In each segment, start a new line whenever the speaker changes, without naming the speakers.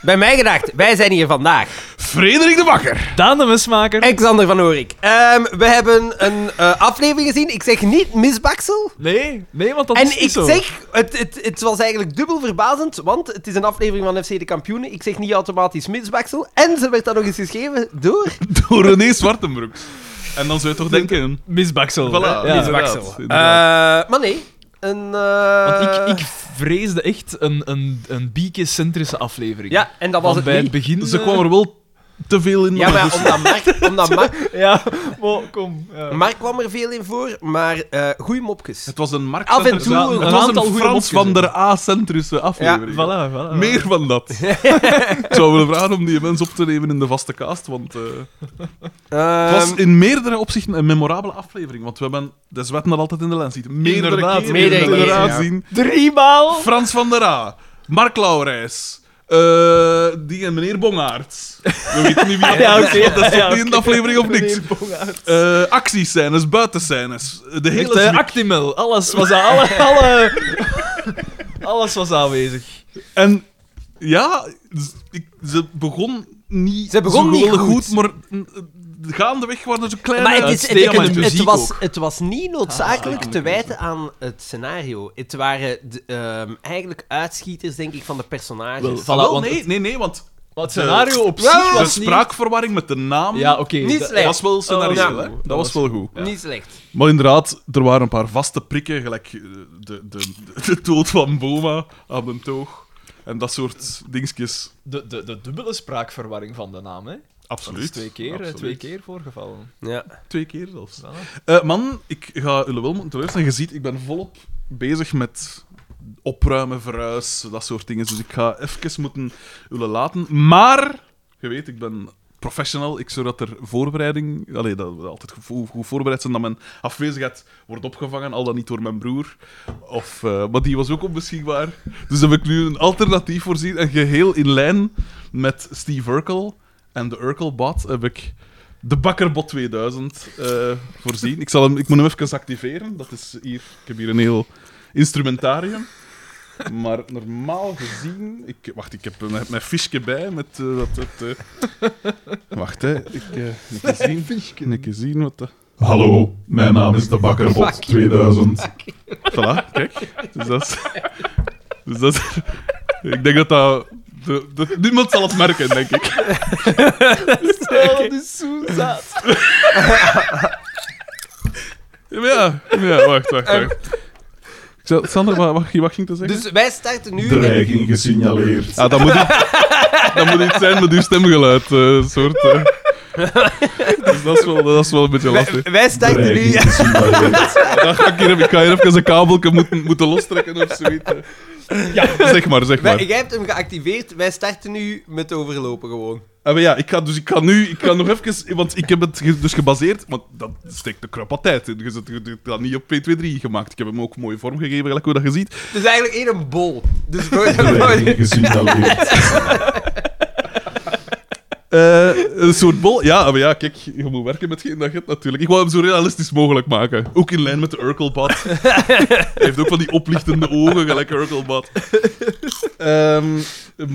Bij mij gedacht, wij zijn hier vandaag.
Frederik de Bakker.
Daan de Mesmaker.
Alexander van Oorik. Ehm, we hebben een eh, aflevering gezien. Ik zeg niet misbaksel.
Nee, nee, want dat
en
is niet
ik
zo.
zeg, het, het, het was eigenlijk dubbel verbazend, want het is een aflevering van FC de Kampioenen. Ik zeg niet automatisch misbaksel. En ze werd dan nog eens geschreven door...
Door René Zwartenbroek. En dan zou je toch denken...
Misbaksel.
Voilà,
ja.
inderdaad,
misbaksel.
inderdaad.
Eh, maar nee, een... eh,
Want ik, ik vreesde echt een, een, een bieke-centrische aflevering.
Ja, en dat was het
Want bij
niet.
het begin...
Ze
eh,
kwam er wel te veel in.
Ja,
maar
maar
dus-
ja, omdat Mark, omdat Mark,
Ja, maar kom. ja.
Mark kwam er veel in voor, maar eh goeie mopjes.
Het was een markt...
Af en toe
het
een
was
aantal
een
goede
Frans van
opgezet.
der A-centrische aflevering.
Voilà, voilà.
Meer van dat. Ik zou willen vragen om die mens op te nemen in de vaste cast, want eh, het was
Ehm,
in meerdere opzichten een memorabele aflevering. Want we hebben de zwet nog altijd in de lens ziet. Meerdere
Inderdaad,
keren
meerdere
inderdaad
keren, ja.
zien.
Driemaal!
Frans van der A, Mark Laurijs, eh, die en meneer Bongaerts. We weten niet wie dat
Ja,
is,
oké.
want dat is
Ja,
toch niet in de
oké.
aflevering of niks.
Meneer Bongaert.
Eh actiescènes, buitenscènes, de
Echt,
hele
eh,
zwik.
Actimel. Alles was, aan- alle, alle, alles was aanwezig.
En ja, z- ik- ze begon niet
Ze begon
zo
niet
geweldig
goed.
maar mm, eh, gaandeweg waren er zo kleine...
Maar het, is, het,
uitstekende
het- het
muziek
was,
ook.
het was niet noodzakelijk
Ah,
te wijten aan het scenario. Het waren de, ehm, eigenlijk uitschieters, denk ik, van de personages.
Wel,
Ah,
voilà,
wel,
want
nee, nee, nee, want
Maar het scenario op
Wel,
zich
de
was niet...
spraakverwarring met de naam...
Ja, oké.
Niet
dat-
slecht.
Dat was wel scenario,
Ja. Oh,
hè? Dat, was wel goed.
Niet slecht.
Maar inderdaad, er waren een paar vaste prikken, gelijk eh, de, de, de, de dood van Boma aan de toog. En dat soort dingetjes.
De, de, de dubbele spraakverwarring van de naam, hè? Dat
Absoluut.
is twee keer, eh,
Absoluut.
twee keer voorgevallen.
Ja.
Twee keer zelfs.
Voilà.
Eh, man, ik ga jullie wel moeten teleurstellen. Je ziet, ik ben volop bezig met opruimen, verhuis, dat soort dingen. Dus ik ga even moeten jullie laten. Maar, je weet, ik ben professional. Ik zorg dat er voorbereiding... Allee, dat we altijd goed, goed voorbereid zijn, dat mijn afwezigheid wordt opgevangen. Al dan niet door mijn broer. Of, eh, maar die was ook onbeschikbaar. Dus heb ik nu een alternatief voorzien. En geheel in lijn met Steve Urkel en de Urkelbot heb ik... De Bakkerbot 2000 eh, voorzien. Ik, zal hem, ik moet hem even activeren. Dat is hier. Ik heb hier een heel instrumentarium. Maar normaal gezien. Ik, wacht, ik heb mijn, mijn fischje bij met eh, wat. wat, eh. wacht, hè. Ik eh een keer zien. Een keer zien wat. dat-
Oh,
Hallo, mijn naam is de Bakkerbot 2000. Voilà, kijk. Dus dat is. Dus dat is ik denk dat dat. de- de- niemand zal het merken, denk ik.
Oh, dat is zo zaad.
Ja, maar ja, ja wacht, wacht, wacht. Ik zal- Sander, wat, wat, wat ging te zeggen?
Dus wij starten nu...
Dreiging gesignaleerd.
Ah, dat moet, iets, dat moet iets zijn met uw stemgeluid, eh, soort. eh. Dus dat is, wel, dat is wel een beetje lastig.
Wij, wij starten nu...
Dreiging gesignaleerd.
Dan ga ik, hier, ik ga hier even een kabeltje moeten, moeten lostrekken of zoiets. eh. Ja, zeg maar, zeg
Wij,
maar.
jij hebt hem geactiveerd, wij starten nu met overlopen gewoon.
Ah, maar ja, ik ga, dus ik ga nu, ik ga nog even, want ik heb het ge- dus gebaseerd, want dat steekt de krap aan tijd in. Dus het het- het had niet op 1, 2, 3 gemaakt. Ik heb hem ook mooi vormgegeven, gelijk hoe dat je ziet.
Het is eigenlijk één een bol. Dus voor-
Dreiging gesignaleerd.
Eh, een soort bol. Ja, maar ja, kijk, je moet werken met geen dat je hebt natuurlijk. Ik wou hem zo realistisch mogelijk maken. Ook in lijn met de Urkelbad. Hij heeft ook van die oplichtende ogen, gelijk Urkelbad. Ehm,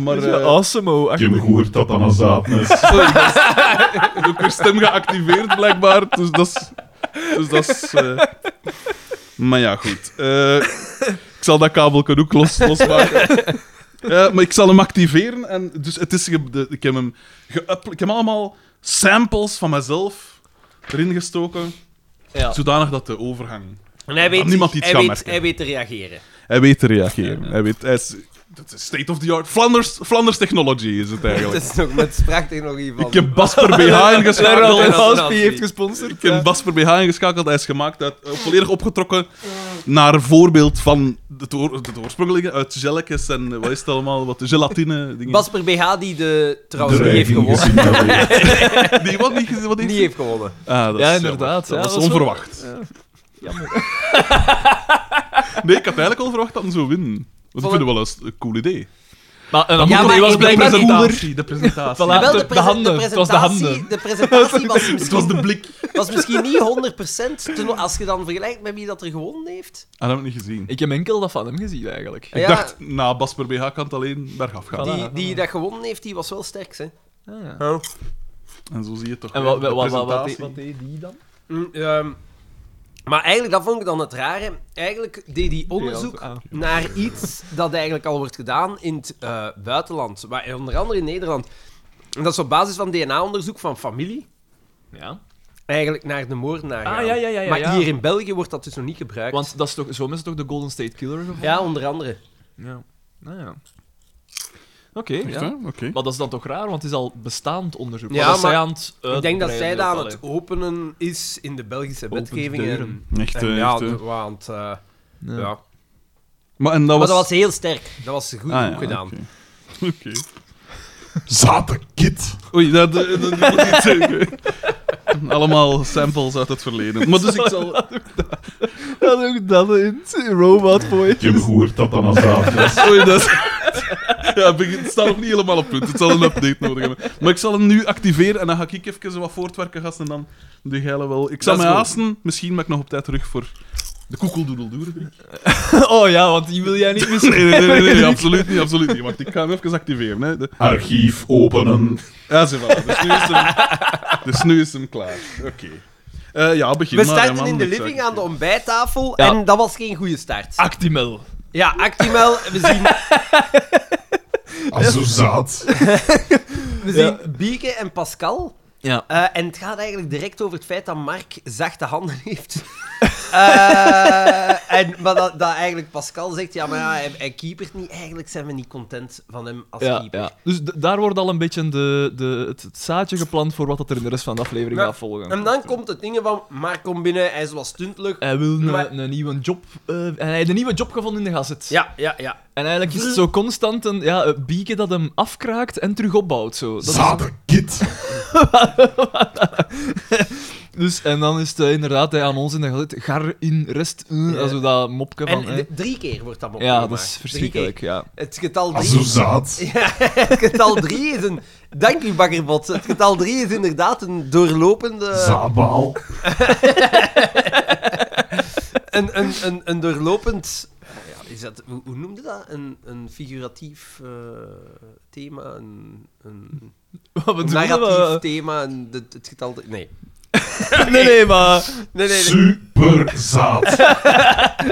maar...
Ja,
eh,
awesome, oh.
Je hebt gehoord dat dat een zaad is.
sorry, dat is- ik heb ook weer stem geactiveerd, blijkbaar. Dus dat is... Dus dat is eh, Maar ja, goed. Eh, ik zal dat kabeltje ook los, losmaken. Eh, maar ik zal hem activeren. En, dus het is, ge- de- ik, heb hem geüp- ik heb allemaal samples van mezelf erin gestoken.
Ja.
Zodanig dat de overgang...
En hij weet,
Kan niemand
zich-
iets
hij,
gaan
weet,
merken.
hij weet te reageren.
Hij weet te reageren. Hij weet... Hij is, dat is state of the art. Flanders, Flanders technology is het
Het
eigenlijk.
is nog met spraaktechnologie van...
Ik heb Basper BH ingeschakeld.
Ronald
en-
Raspie
heeft gesponsord.
Ik heb Basper BH ingeschakeld. Hij is gemaakt uit, eh, volledig opgetrokken naar voorbeeld van het, oor, het oorspronkelijke. Uit gelletjes en eh, wat is het allemaal? Wat gelatine. Dingen.
Basper BH die de... Trouwens, die heeft
Dreiging
gewonnen.
gesignaleerd.
die, wat niet, wat
Die heeft gewonnen.
Ah, dat
Ja,
is
inderdaad,
jammer. dat
ja, dat
was
is wel-
onverwacht. nee, ik had eigenlijk al verwacht dat hij zou winnen. Want ik
Vond-
vind het wel eens een cool idee.
Maar, en dan
Ja,
moet-
maar
die was
ik ben
blijkbaar
de
niet
niet
presentatie. De presentatie.
Voilà.
Wel,
de-
de,
de
presen-
handen.
de
Het was de
presentatie,
handen.
de presentatie was
Het was
misschien,
de blik.
was misschien niet 100% ten- als je dan vergelijkt met wie dat er gewonnen heeft.
Ah, dat heb ik niet gezien.
Ik heb enkel dat van hem gezien, eigenlijk.
Ja,
Ik dacht, na Basper BH kan het alleen bergaf gaan.
Die, die dat gewonnen heeft, die was wel sterk, hè.
Ah, ja.
En zo zie je toch
En
weer
wat,
de
wat, wat, wat,
presentatie.
deed- wat deed die dan?
Mm, ehm, maar eigenlijk, dat vond ik dan het rare. Eigenlijk deed hij onderzoek
Ja, ah.
naar iets dat eigenlijk al wordt gedaan in het eh, buitenland. Maar onder andere in Nederland. En dat is op basis van DNA-onderzoek van familie.
Ja.
Eigenlijk naar de moordenaar.
Ah,
gaan.
ja, ja, ja, ja,
maar
ja.
hier in België wordt dat dus nog niet gebruikt.
Want dat is toch, zo is het toch de Golden State Killer gevonden?
Ja, onder andere.
Ja. Nou ja. Oké,
Echt,
ja.
hè? Oké.
Maar dat is dan toch raar, want het is al bestaand onderzoek.
Ja,
Ja, maar,
maar
zij aan het
ik denk dat zij
uitbreiden
dat
Eh, is,
aan het openen is in de Belgische
Opent
wetgeving.
deuren.
En,
Echt,
en
eh,
ja,
echt, eh.
de- want, eh,
allee.
ja.
Ja.
Maar, en dat
Maar
Oh, was...
dat was heel sterk. Dat was goed,
Ah,
goed
ja,
gedaan.
Oké. Oké.
Zatenkit.
Oei, dat, dat, dat moet ik niet zeggen. Allemaal samples uit het verleden. Maar dus ik zal...
Dat ook dat in Robot Boy.
Ik heb gehoord dat dan aan zaterdag.
Oei, dat is... Ja, het begint- het staat nog niet helemaal op punt. Het zal een update nodig hebben. Maar ik zal hem nu activeren en dan ga ik even wat voortwerken, gasten. En dan doe jij wel... Ik zal
Dat
mij
is goed.
haasten. Misschien ben ik nog op tijd terug voor de koekeldoedeldoer.
Oh ja, want die wil jij niet missen.
Nee, nee, nee, nee, nee, absoluut niet, absoluut niet. Wacht, ik ga hem even activeren. Hè. De...
Archief openen.
Ja, ze wel. Dus nu is hem, dus nu is hem klaar. Oké. Eh, ja, begin
We
maar, hè,
starten
man.
in de
Dat zou
living
ik-
aan de ontbijttafel
Ja.
en dat was geen goede start.
Ah.
Actimel.
Ja, Actimel, we zien,
Azozaat.
we zien Bieke en Pascal.
Ja.
Eh, en het gaat eigenlijk direct over het feit dat Mark zachte handen heeft. Eh, en, maar dat, dat eigenlijk Pascal zegt, ja, maar ja, hij, hij keepert niet. Eigenlijk zijn we niet content van hem als
Ja,
keeper.
ja. Dus d- daar wordt al een beetje de, de, het, het zaadje geplant voor wat dat er in de rest van de aflevering
Ja.
gaat volgen. Eh,
En dan komt het ding van, Mark komt binnen, hij is wel stuntelijk.
Hij wil
Maar-
een, een nieuwe job. eh, en hij heeft een nieuwe job gevonden in de gazet.
Ja, ja, ja.
En eigenlijk is het zo constant een ja, een bieke dat hem afkraakt en terug opbouwt. Zo. Dat is-
Zatenkit.
dus, en dan is het eh, inderdaad hij aan ons in de gazet. Gar in rest. eh,
Ja.
also dat mopje
En
van. eh.
d- drie keer wordt dat opgemaakt.
ja, dat is
Drie
verschrikkelijk. Ah, Ja.
keer. Het getal drie
Azozaat.
Ja, het getal 3 is een. Dank u, bakkerbot. Het getal 3 is inderdaad een doorlopende.
Zabaal.
Een, een, een, een doorlopend. Ja, is dat, hoe, hoe noemde dat? Een, een figuratief eh, thema? Een, een
Wat
een
bedoel je?
narratief
maar-
thema? Een, het, het getal. drie- Nee.
Nee, nee, maar
Nee, nee, nee.
Superzaad.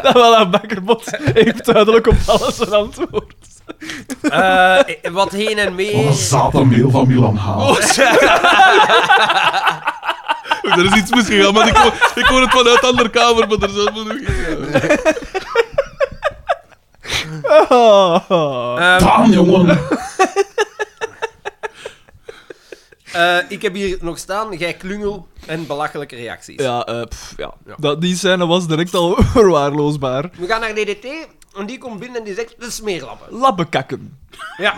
dat wel aan bakkerbot heeft duidelijk op alles een antwoord.
Eh, eh, wat heen
Oh.
en mee.
Wat een zatenmeel van Milan H.
Oh,
Er is iets misgegaan, maar ik hoor, ik hoor het vanuit de andere kamer, maar er is helemaal nog iets.
Ehm,
Daan, jongen.
eh, ik heb hier nog staan. Jij klungel en belachelijke reacties.
Ja, eh, pff, ja.
Ja.
Dat, die scène was direct al verwaarloosbaar.
We gaan naar DDT. En die komt binnen en die zegt: de smeerlappen.
Labbekakken.
Ja.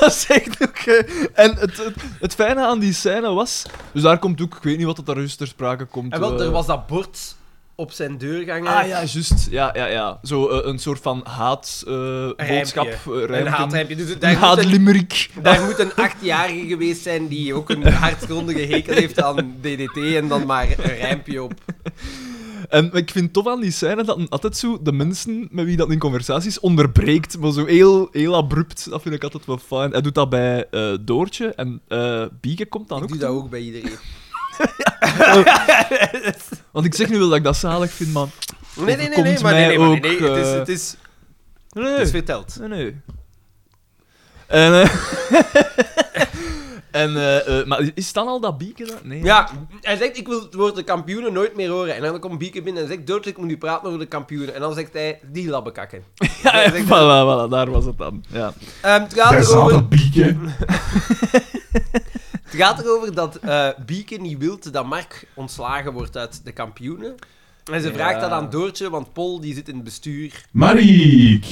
dat zegt ook. eh, En het, het, het fijne aan die scène was. Dus daar komt ook, ik weet niet wat dat daar juist ter sprake komt.
En wel,
eh,
er was dat bord op zijn deurgang.
Ah ja, juist. Ja, ja, ja. Zo eh, een soort van eh, haatboodschap.
Een haatrijmpje. Dus daar, moet een,
Haatlimerick.
daar moet een achtjarige geweest zijn die ook een hartgrondige hekel heeft aan DDT en dan maar een rijmpje op.
En ik vind het tof aan die scène dat een altijd zo de mensen met wie dat in conversaties onderbreekt, maar zo heel, heel abrupt. Dat vind ik altijd wel fijn. Hij doet dat bij eh, Doortje en eh Bieke komt dan
Ik
ook.
doe dat ook bij iedereen.
Want ik zeg nu wel dat ik dat zalig vind, maar...
Nee, nee, nee, nee,
Overkomt
maar nee,
mij
nee, maar nee,
ook,
nee, het, is,
eh,
het, is,
Nee,
het is verteld.
nee. nee. En... eh, en eh, eh, maar is het dan al dat Bieke dat? Nee.
Ja, hij zegt, ik wil het woord de kampioenen nooit meer horen. En dan komt Bieke binnen en zegt, Dood, ik moet nu praten over de kampioenen. En dan zegt hij, die labbekakken.
Ja,
Hij
ja,
zegt-
voilà, voilà, daar was het dan. Ja.
Ehm, het gaat
Daar
erover
zaten pieken.
Het gaat erover dat eh Bieke niet wil dat Mark ontslagen wordt uit de kampioenen. En ze
Ja.
vraagt dat aan Doortje, want Paul die zit in het bestuur.
Mariek.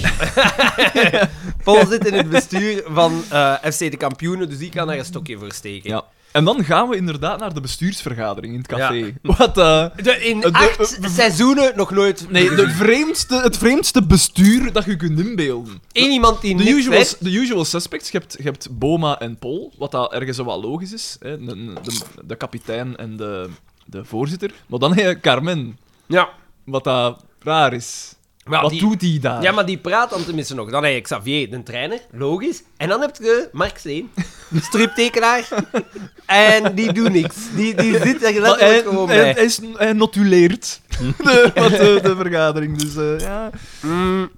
Paul zit in het bestuur van eh, FC de kampioenen, dus die kan daar een stokje voor steken.
Ja. En dan gaan we inderdaad naar de bestuursvergadering in het café.
Ja.
Wat, eh,
De, in
De-
acht seizoenen nog nooit.
nee, de vreemdste, het vreemdste bestuur dat je kunt inbeelden.
Eén iemand die
De
niks
usual,
weet.
de usual suspects, je hebt, je hebt Boma en Pol, wat daar ergens wel logisch is. Hè? De, de, de kapitein en de, de voorzitter. Maar dan heb je Carmen,
Ja.
wat daar raar is.
Maar
wat
die-
doet die daar?
ja, maar die praat dan tenminste nog. Dan heb je Xavier, de trainer, logisch. En dan heb je Mark Steen, de striptekenaar. en die doet niks. Die, die zit er
Maar
letterlijk
hij-
gewoon
hij-
bij.
hij is- hij notuleert de, wat de, de vergadering. Dus, eh, ja.
Mm.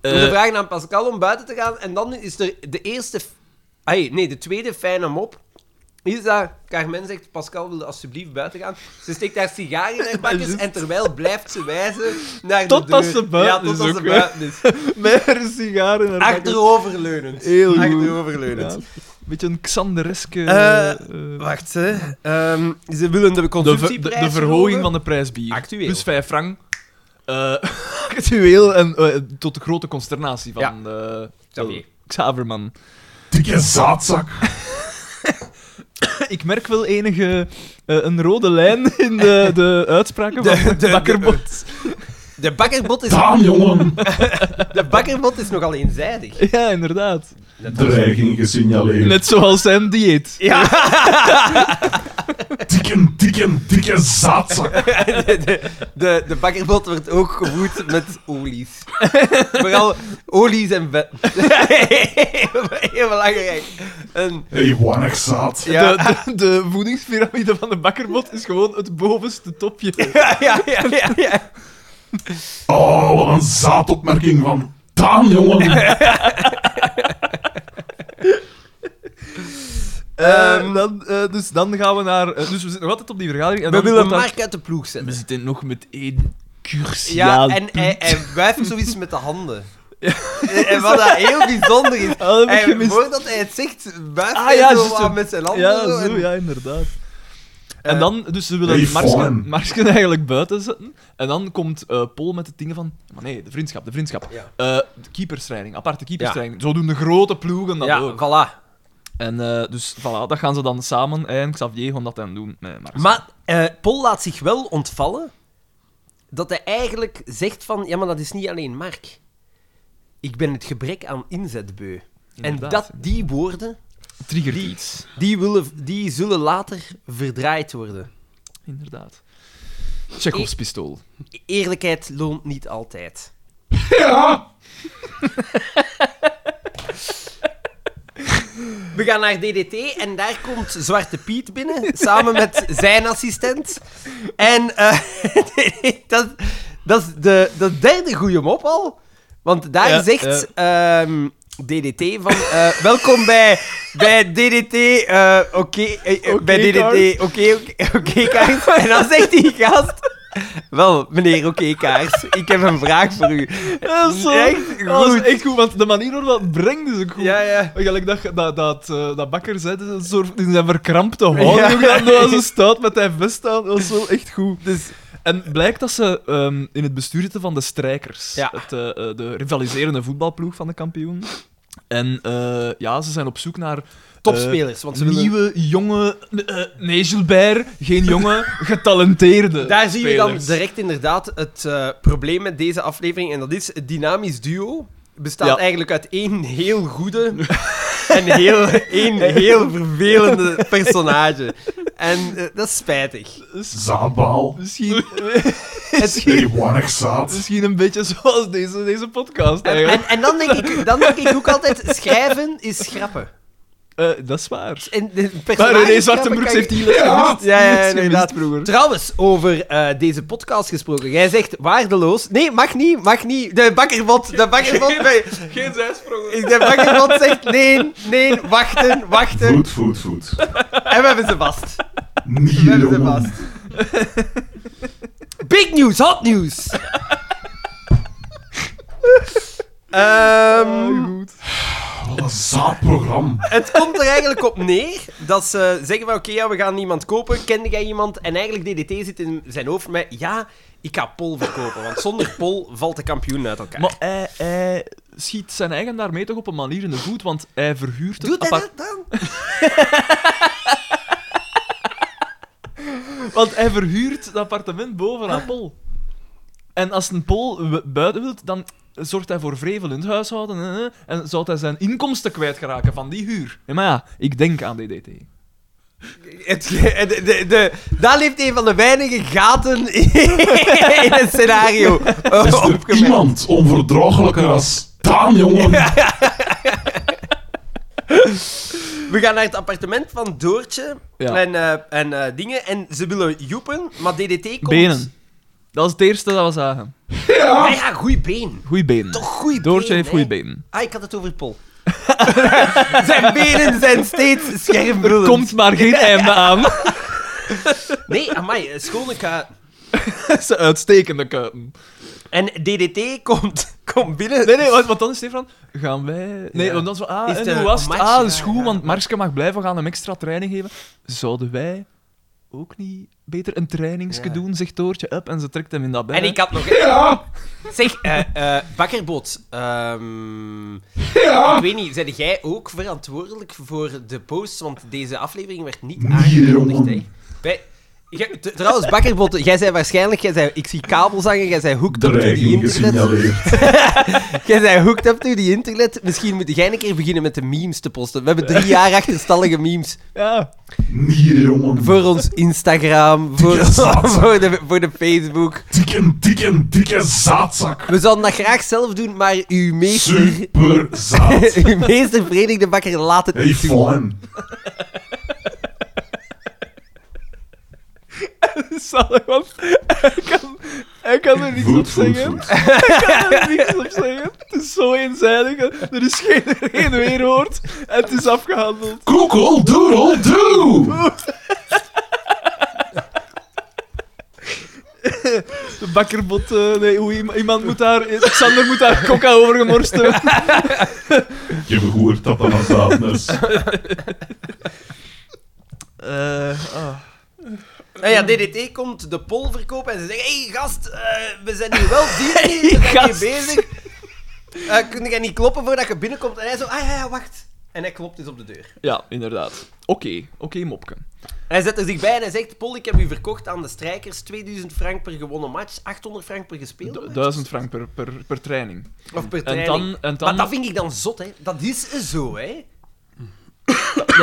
Dus we
Eh.
vragen aan Pascal om buiten te gaan. En dan is er de eerste... Ay, nee, de tweede fijne mop. Is dat Carmen zegt, Pascal wil alsjeblieft buiten gaan. Ze steekt haar sigaar in haar bakjes
juist.
en terwijl blijft ze wijzen naar de
Totdat
deur.
ze buiten
ja, totdat
is
ze
ook, hè.
buiten is.
Met haar sigaar in haar bakjes.
Achteroverleunend.
Heel goed.
Achteroverleunend.
Ja, beetje een Xandereske...
Eh,
eh,
Wacht, hè. Ehm, ze willen de
de, ver- de,
consumptieprijs
de verhoging van de prijs bier.
Actueel.
Plus 5 frank. Eh, actueel en eh, tot de grote consternatie van eh,
Xavier.
Xaverman.
Dikke zaadzak.
Ik merk wel enige eh, een rode lijn in de, de uitspraken van de, bakkerbot.
De bakkerbot is,
Daan, jongen.
de bakkerbot is nogal eenzijdig.
Ja, inderdaad.
Dreiging gesignaleerd.
Net zoals zijn dieet.
Ja,
Dikke, dikke, dikke zaadzak.
de, de bakkerbot wordt ook gevoed met olies. Vooral olies en vet. Heel belangrijk. En,
Ewanig zaad.
ja,
De, de, de voedingspyramide van de bakkerbot is gewoon het bovenste topje.
ja, ja, ja, ja, ja.
Oh, wat een zaadopmerking van Daan, jongen.
Eh,
Ehm,
dan, eh, dus dan gaan we naar... eh, dus we zitten nog altijd op die vergadering. En
We
dan
willen
wordt daar-
Mark uit de ploeg
We
zetten.
zitten nog met één
Ja,
cruciaal
en hij, hij wuift zoiets met de handen. En wat dat heel bijzonder is.
Ah, dat heb ik
Hij-
gemist.
Voordat hij het zegt, wuift
Ah,
hij
ja,
zo
juist,
wat
zo.
met zijn handen.
Ja,
zo,
zo,
en-
ja, inderdaad. En
Eh,
dan, dus ze
Hey,
willen
Fawn.
Marsken, Marsken eigenlijk buiten zetten. En dan komt eh Paul met de dingen van... Maar nee, de vriendschap, de vriendschap. Eh
Ja.
de keeperstraining, aparte keeperstraining. Zo doen de grote ploegen dat
Ja,
ook.
voilà.
En eh, dus, voilà, dat gaan ze dan samen. eh, En Xavier gaat dat dan doen met Marsken.
Maar eh Paul laat zich wel ontvallen dat hij eigenlijk zegt van... Ja, maar dat is niet alleen Mark. Ik ben het gebrek aan inzetbeu. En
Inderdaad,
dat die woorden,
triggert iets.
die, willen, die zullen later verdraaid worden.
Inderdaad. Chekhovs pistool.
Eerlijkheid loont niet altijd.
Ja.
We gaan naar DDT en daar komt Zwarte Piet binnen, samen met zijn assistent. En eh, dat, dat is de, de derde goede mop al. Want daar
Ja,
zegt ehm, DDT van... eh, welkom bij, bij DDT... eh, Oké, eh, eh,
Oké,
bij DDT... Oké, oké, oké, kaars. En dan zegt die gast... Wel, meneer, oké, kaars. Ik heb een vraag voor u.
Ja, zo.
Echt
Dat was
goed.
echt goed, want de manier waarop dat brengt is ook goed. Oh,
Ja, ja.
Gelijk dat, dat, dat, eh, dat bakker zei, dat is een soort, in zijn verkrampte houding,
Ja.
ook dat dat ze staat met hij vest aan, dat is wel echt goed. Dus, en blijkt dat ze ehm, in het bestuur zitten van de strijkers,
Ja.
het, eh, eh, de rivaliserende voetbalploeg van de kampioen. En eh, ja, ze zijn op zoek naar... eh,
Topspelers, want ze willen-
nieuwe, jonge... eh nee, Gilbert, geen jonge, getalenteerde
Daar zie je dan
spelers.
direct inderdaad het eh, probleem met deze aflevering. En dat is het dynamisch duo. Bestaat
Ja.
eigenlijk uit één heel goede en heel, één heel vervelende personage. En eh, dat is spijtig.
Zaadbaal.
Misschien...
Ewanig zaad.
Misschien een beetje zoals deze, deze podcast
En,
eigenlijk.
en, en dan, denk ik, dan denk ik ook altijd, schrijven is schrappen.
Eh, dat is waar.
En de
Maar
personage
René
schrappen
Zwartenbroeks
kan
heeft
je-
die les gemist.
Ja,
Die
ja,
les gemist
inderdaad.
vroeger.
Trouwens, over eh, deze podcast gesproken. Jij zegt waardeloos. Nee, mag niet, mag niet. De bakkerbot, de bakkerbot. bij-
Geen zijsprong.
Ik- De bakkerbot zegt nee, nee, wachten, wachten.
Voet, voet, voet.
En we hebben ze vast. We
Nier,
hebben ze
jongen.
vast. Big news, hot news. Ehm,
goed.
Wat een zaadprogramma.
het komt er eigenlijk op neer dat ze zeggen van oké, ja, we gaan iemand kopen. Kende jij iemand? En eigenlijk DDT zit in zijn hoofd met ja, ik ga Pol verkopen. Want zonder Pol valt de kampioen uit elkaar.
Maar hij, hij schiet zijn eigen daarmee toch op een manier in de voet, want hij verhuurt het
Doet hij
apart-
dat dan?
Want hij verhuurt het appartement boven
Ah.
aan Pol. En als een Pol w- buiten wilt, dan zorgt hij voor vrevel in het huishouden. eh, eh, En zou hij zijn inkomsten kwijtgeraken van die huur. Ja, maar ja, ik denk aan DDT.
Het, ge- de, de, de, daar leeft een van de weinige gaten in het scenario.
Dus
eh,
Is er
opgemerkt.
iemand onverdraaglijker als Daan, jongen?
We gaan naar het appartement van Doortje
Ja.
en, eh, en eh, dingen. En ze willen joepen, maar DDT komt...
Benen. Dat is het eerste dat we zagen.
Ah ja, goeie been.
Goeie benen.
Toch goeie
Doortje
been,
heeft
hè?
goede benen.
Ah, ik had het over Pol. zijn benen zijn steeds schermbrullend.
Komt maar geen einde aan.
Nee, amai, eh, schone kuiten.
Ze uitstekende kuiten.
En DDT komt, komt binnen.
Nee, nee, want, want dan is Stefan, gaan wij... Nee,
Ja.
want dan is van, ah,
Is
en
de-
hoe was het?
een match,
Ah,
ja,
dat is goed,
ja.
want Marske mag blijven, we gaan hem extra training geven. Zouden wij ook niet beter een trainingske
Ja.
doen, zegt Toortje, up, en ze trekt hem in dat bed.
En
hè.
ik had nog... Zeg, eh, eh, Bakkerboot. ehm, Ik weet niet, zijn jij ook verantwoordelijk voor de post? Want deze aflevering werd niet
Nee,
aangekondigd,
jongen.
hè? Wij- jij- t- trouwens, Bakkerboot, jij zei waarschijnlijk... Jij zei, ik zie kabels hangen, jij zei hooked up to the
Dreiging
internet.
gesignaleerd.
Jij zei hooked up to the internet. Misschien moet jij een keer beginnen met de memes te posten. We hebben drie jaar achterstallige memes
Ja.
Nee, jongen.
voor ons Instagram, voor,
Dikke zaad.
voor, de, voor de Facebook.
Dikke, dikke, dikke zaadzak.
We zouden dat graag zelf doen, maar uw meester...
Super zaad.
Uw meester Frederik de Bakker laat het
Hey,
niet toe.
Flan.
Zalig, want hij kan, hij kan er niks op
Voet, voet,
zeggen.
voet.
Hij kan er niks op zeggen. Het is zo eenzijdig, er is geen, geen weerwoord. En het is afgehandeld.
Google doodle doe.
De bakkerbot, eh, nee, hoe, iem- iemand moet daar... Xander moet daar coca over gemorst hebben.
Je hebt gehoord dat dat een zaad is.
Eh, ah.
Nou ja, DDT komt de pol verkopen en ze zeggen: Hé hey, gast, eh, we zijn hier wel dier, we zijn
gast."
hier bezig. Eh kun jij niet kloppen voordat je binnenkomt? En hij zo: Ah ja, ja, wacht. En hij klopt dus op de deur.
Ja, inderdaad. Oké, oké, mopke.
Hij zet er zich bij en hij zegt: Pol, ik heb u verkocht aan de strijkers. 2000 frank per gewonnen match, 800 frank per gespeelde match.
1000 frank per, per, per training.
Of per
En
training.
dan, en
Maar
dan
dat vind ik dan zot, hè? Dat is zo, hè?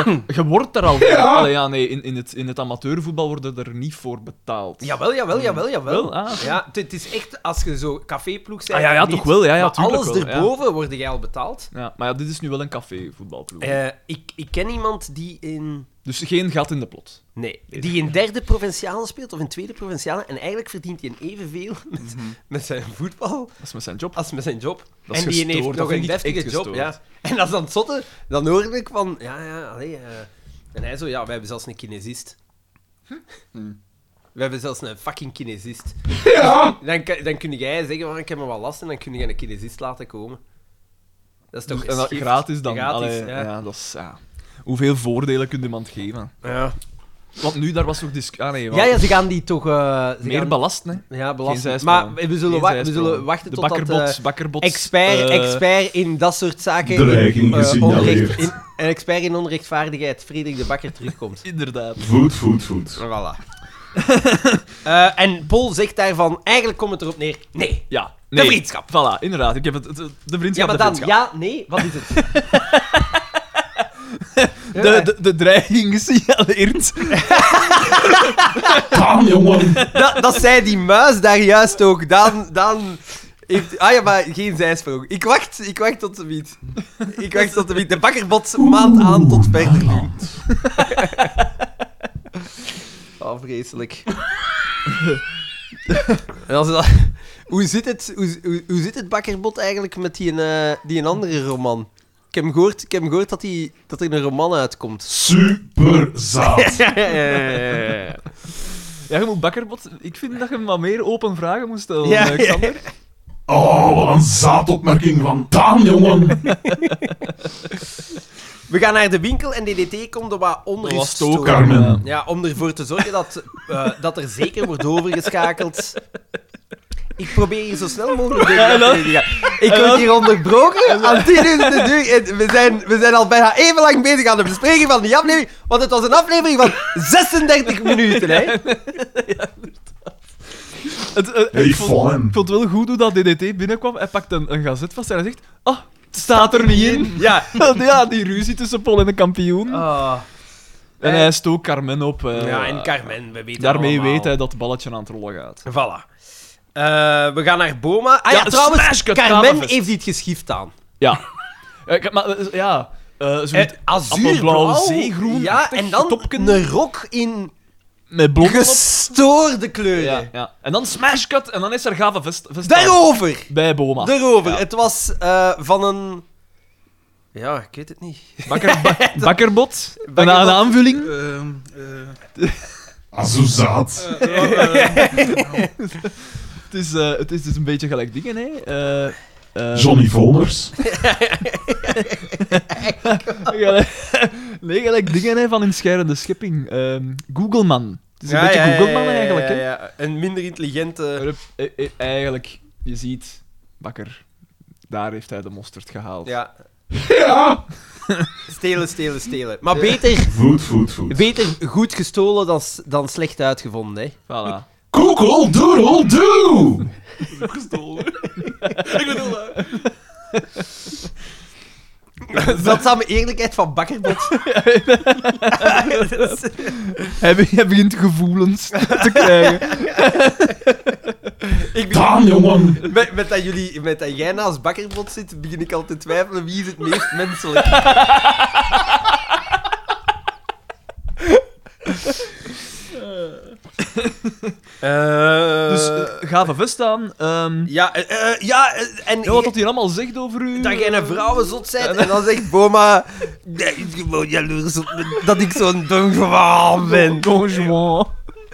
Hm.
je wordt er al. Allee, ja, nee, in, in, het, in het amateurvoetbal worden er niet voor betaald.
Jawel, jawel, jawel, jawel.
Hmm. Wel, ah.
ja, het- het is echt als je zo caféploeg bent.
Ah, ja, ja,
niet,
toch wel, ja, ja,
maar
tuurlijk
alles
wel, ja.
erboven word jij al betaald.
Ja, maar ja, dit is nu wel een cafévoetbalploeg.
Eh, ik, ik ken iemand die in
Dus geen gat in de plot.
Nee, die in derde provinciale speelt of in tweede provinciale. En eigenlijk verdient hij een evenveel met,
Mhm.
met zijn voetbal
Dat is met zijn job.
als met zijn job.
Dat is
en die een
gestoord,
heeft
dat
nog een
vind ik echt
deftige job.
gestoord.
Ja. En dat is dan het zotte. Dan hoorde ik van, ja, ja, allee, eh. En hij zo, ja, wij hebben zelfs een kinesist. Hm. We hebben zelfs een fucking kinesist. Dan, kan- dan kun jij zeggen, van, ik heb me wel last en dan kun je een kinesist laten komen. Dat is toch
Dus- en dat
geschikt.
gratis dan.
Gratis,
Allee, ja.
ja.
dat is... Ja. Hoeveel voordelen kunt iemand geven?
Ja.
Want nu, daar was toch discussie... Ah, nee,
Ja,
want-
ja, ze gaan die toch... eh, ze
meer
gaan-
belast, hè.
Ja,
Geen
belastend.
zijsprong.
Maar we zullen,
Geen
wa- we
zijsprong.
zullen wachten
de
tot dat...
bakkerbots,
eh,
bakkerbots...
expert,
eh,
expert in dat soort zaken...
Dreiging
eh,
gesignaleerd.
onrecht- in, een expert in onrechtvaardigheid, Frederik de Bakker, terugkomt.
Inderdaad.
Voet, voet, voet.
Voilà. Eh, en Paul zegt daarvan, eigenlijk komt het erop neer, nee.
Ja.
De vriendschap.
Voilà, inderdaad. Ik heb het, het- de vriendschap,
Ja, maar
de
dan,
vriendschap.
ja, nee, wat is het?
De, de, de dreiging gesignaleerd.
Daan, jongen.
dat, dat zei die muis daar juist ook. Dan, dan heeft... Ah ja, maar geen zijsprong. Ik wacht, ik wacht tot de wiet. Ik wacht tot de wiet. De bakker botst maand aan tot verder doen. Oh, vreselijk. En als dat- hoe, zit het, hoe, hoe, hoe zit het bakkerbot eigenlijk met die, eh, die een andere roman? Ik heb hem gehoord, ik heb hem gehoord dat, die, dat er een roman uitkomt.
Super zaad.
Ja, je moet bakkerbot... Ik vind dat je hem wat meer open vragen moet stellen,
Ja,
eh, Xander.
Oh, wat een zaadopmerking van Daan, jongen.
We gaan naar de winkel en DDT komt er wat
Dat
onrust
was het ook,
stoken.
Carmen.
ja.
Ja, om ervoor te zorgen dat, eh, dat er zeker wordt overgeschakeld. Ik probeer hier zo snel mogelijk door
en dan-
te gaan. Ik
en
word
dan-
hier onderbroken aan 10 uur in de duur. En we, zijn, we zijn al bijna even lang bezig aan de bespreking van die aflevering. Want het was een aflevering van 36 minuten, hè?
Het, eh,
Hey,
ik, vond,
fun.
ik vond het wel goed hoe dat DDT binnenkwam. Hij pakt een, een gazet vast en hij zegt... Ah, het staat er niet in.
Ja.
ja, die ruzie tussen Paul en de kampioen.
Ah.
En
eh.
hij stoot Carmen op. eh,
ja, en Carmen, we weten
Daarmee
allemaal.
weet hij dat het balletje aan het rollen gaat.
Voilà. Eh, we gaan naar Boma. Ah ja,
Ja,
trouwens,
smash cut
Carmen
Tamerfest.
heeft dit geschift aan.
Ja. Eh, ik- maar, eh, ja... eh, zoiets-
Eh, Azuurblauw,
appelblauw, zeegroen,
Ja, en dan
topken.
een rok in
met blond op.
gestoorde kleuren.
Ja, ja. En dan smash cut en dan is er gave vest, vest
Daarover!
bij Boma.
Daarover.
Ah, Ja.
Het was eh, van een... Ja, ik weet het niet.
Bakker, ba- bakkerbot. Een,
Bakkerbot.
een aanvulling.
Ehm, eh,
Azoezaat.
Het is, eh, het is dus een beetje gelijk dingen, hè. Eh, eh,
Johnny Voners.
gelijk- nee, gelijk dingen hè, van een scherende schepping. Ehm Googleman. Het is een beetje Googleman eigenlijk, hè.
ja. Een minder intelligente...
Rup, eh, eh, Eigenlijk, je ziet, bakker, daar heeft hij de mosterd gehaald.
Ja.
Ja.
Stelen, stelen, stelen. Maar beter,
Food, food, food.
beter goed gestolen dan, s- dan slecht uitgevonden, hè.
Voilà.
Google doodle doo.
gestolen. ik ben heel lui.
Zeldzame eerlijkheid van Bakkerbot.
Hij, be- hij begint gevoelens te
Eh,
krijgen.
ik begin-
Daan, jongen.
met, met, dat jullie, met dat jij naast Bakkerbot zit, begin ik al te twijfelen wie is het meest menselijk. Eh,
Dus eh, ga van vest aan. ehm,
ja, eh, eh, ja, eh, en
ja, wat dat hij allemaal zegt over u. eh,
dat jij een vrouwenzot bent en dan zegt Boma... "Jij is gewoon jaloers op me dat ik zo'n dom gewaal ben.
Bonjour.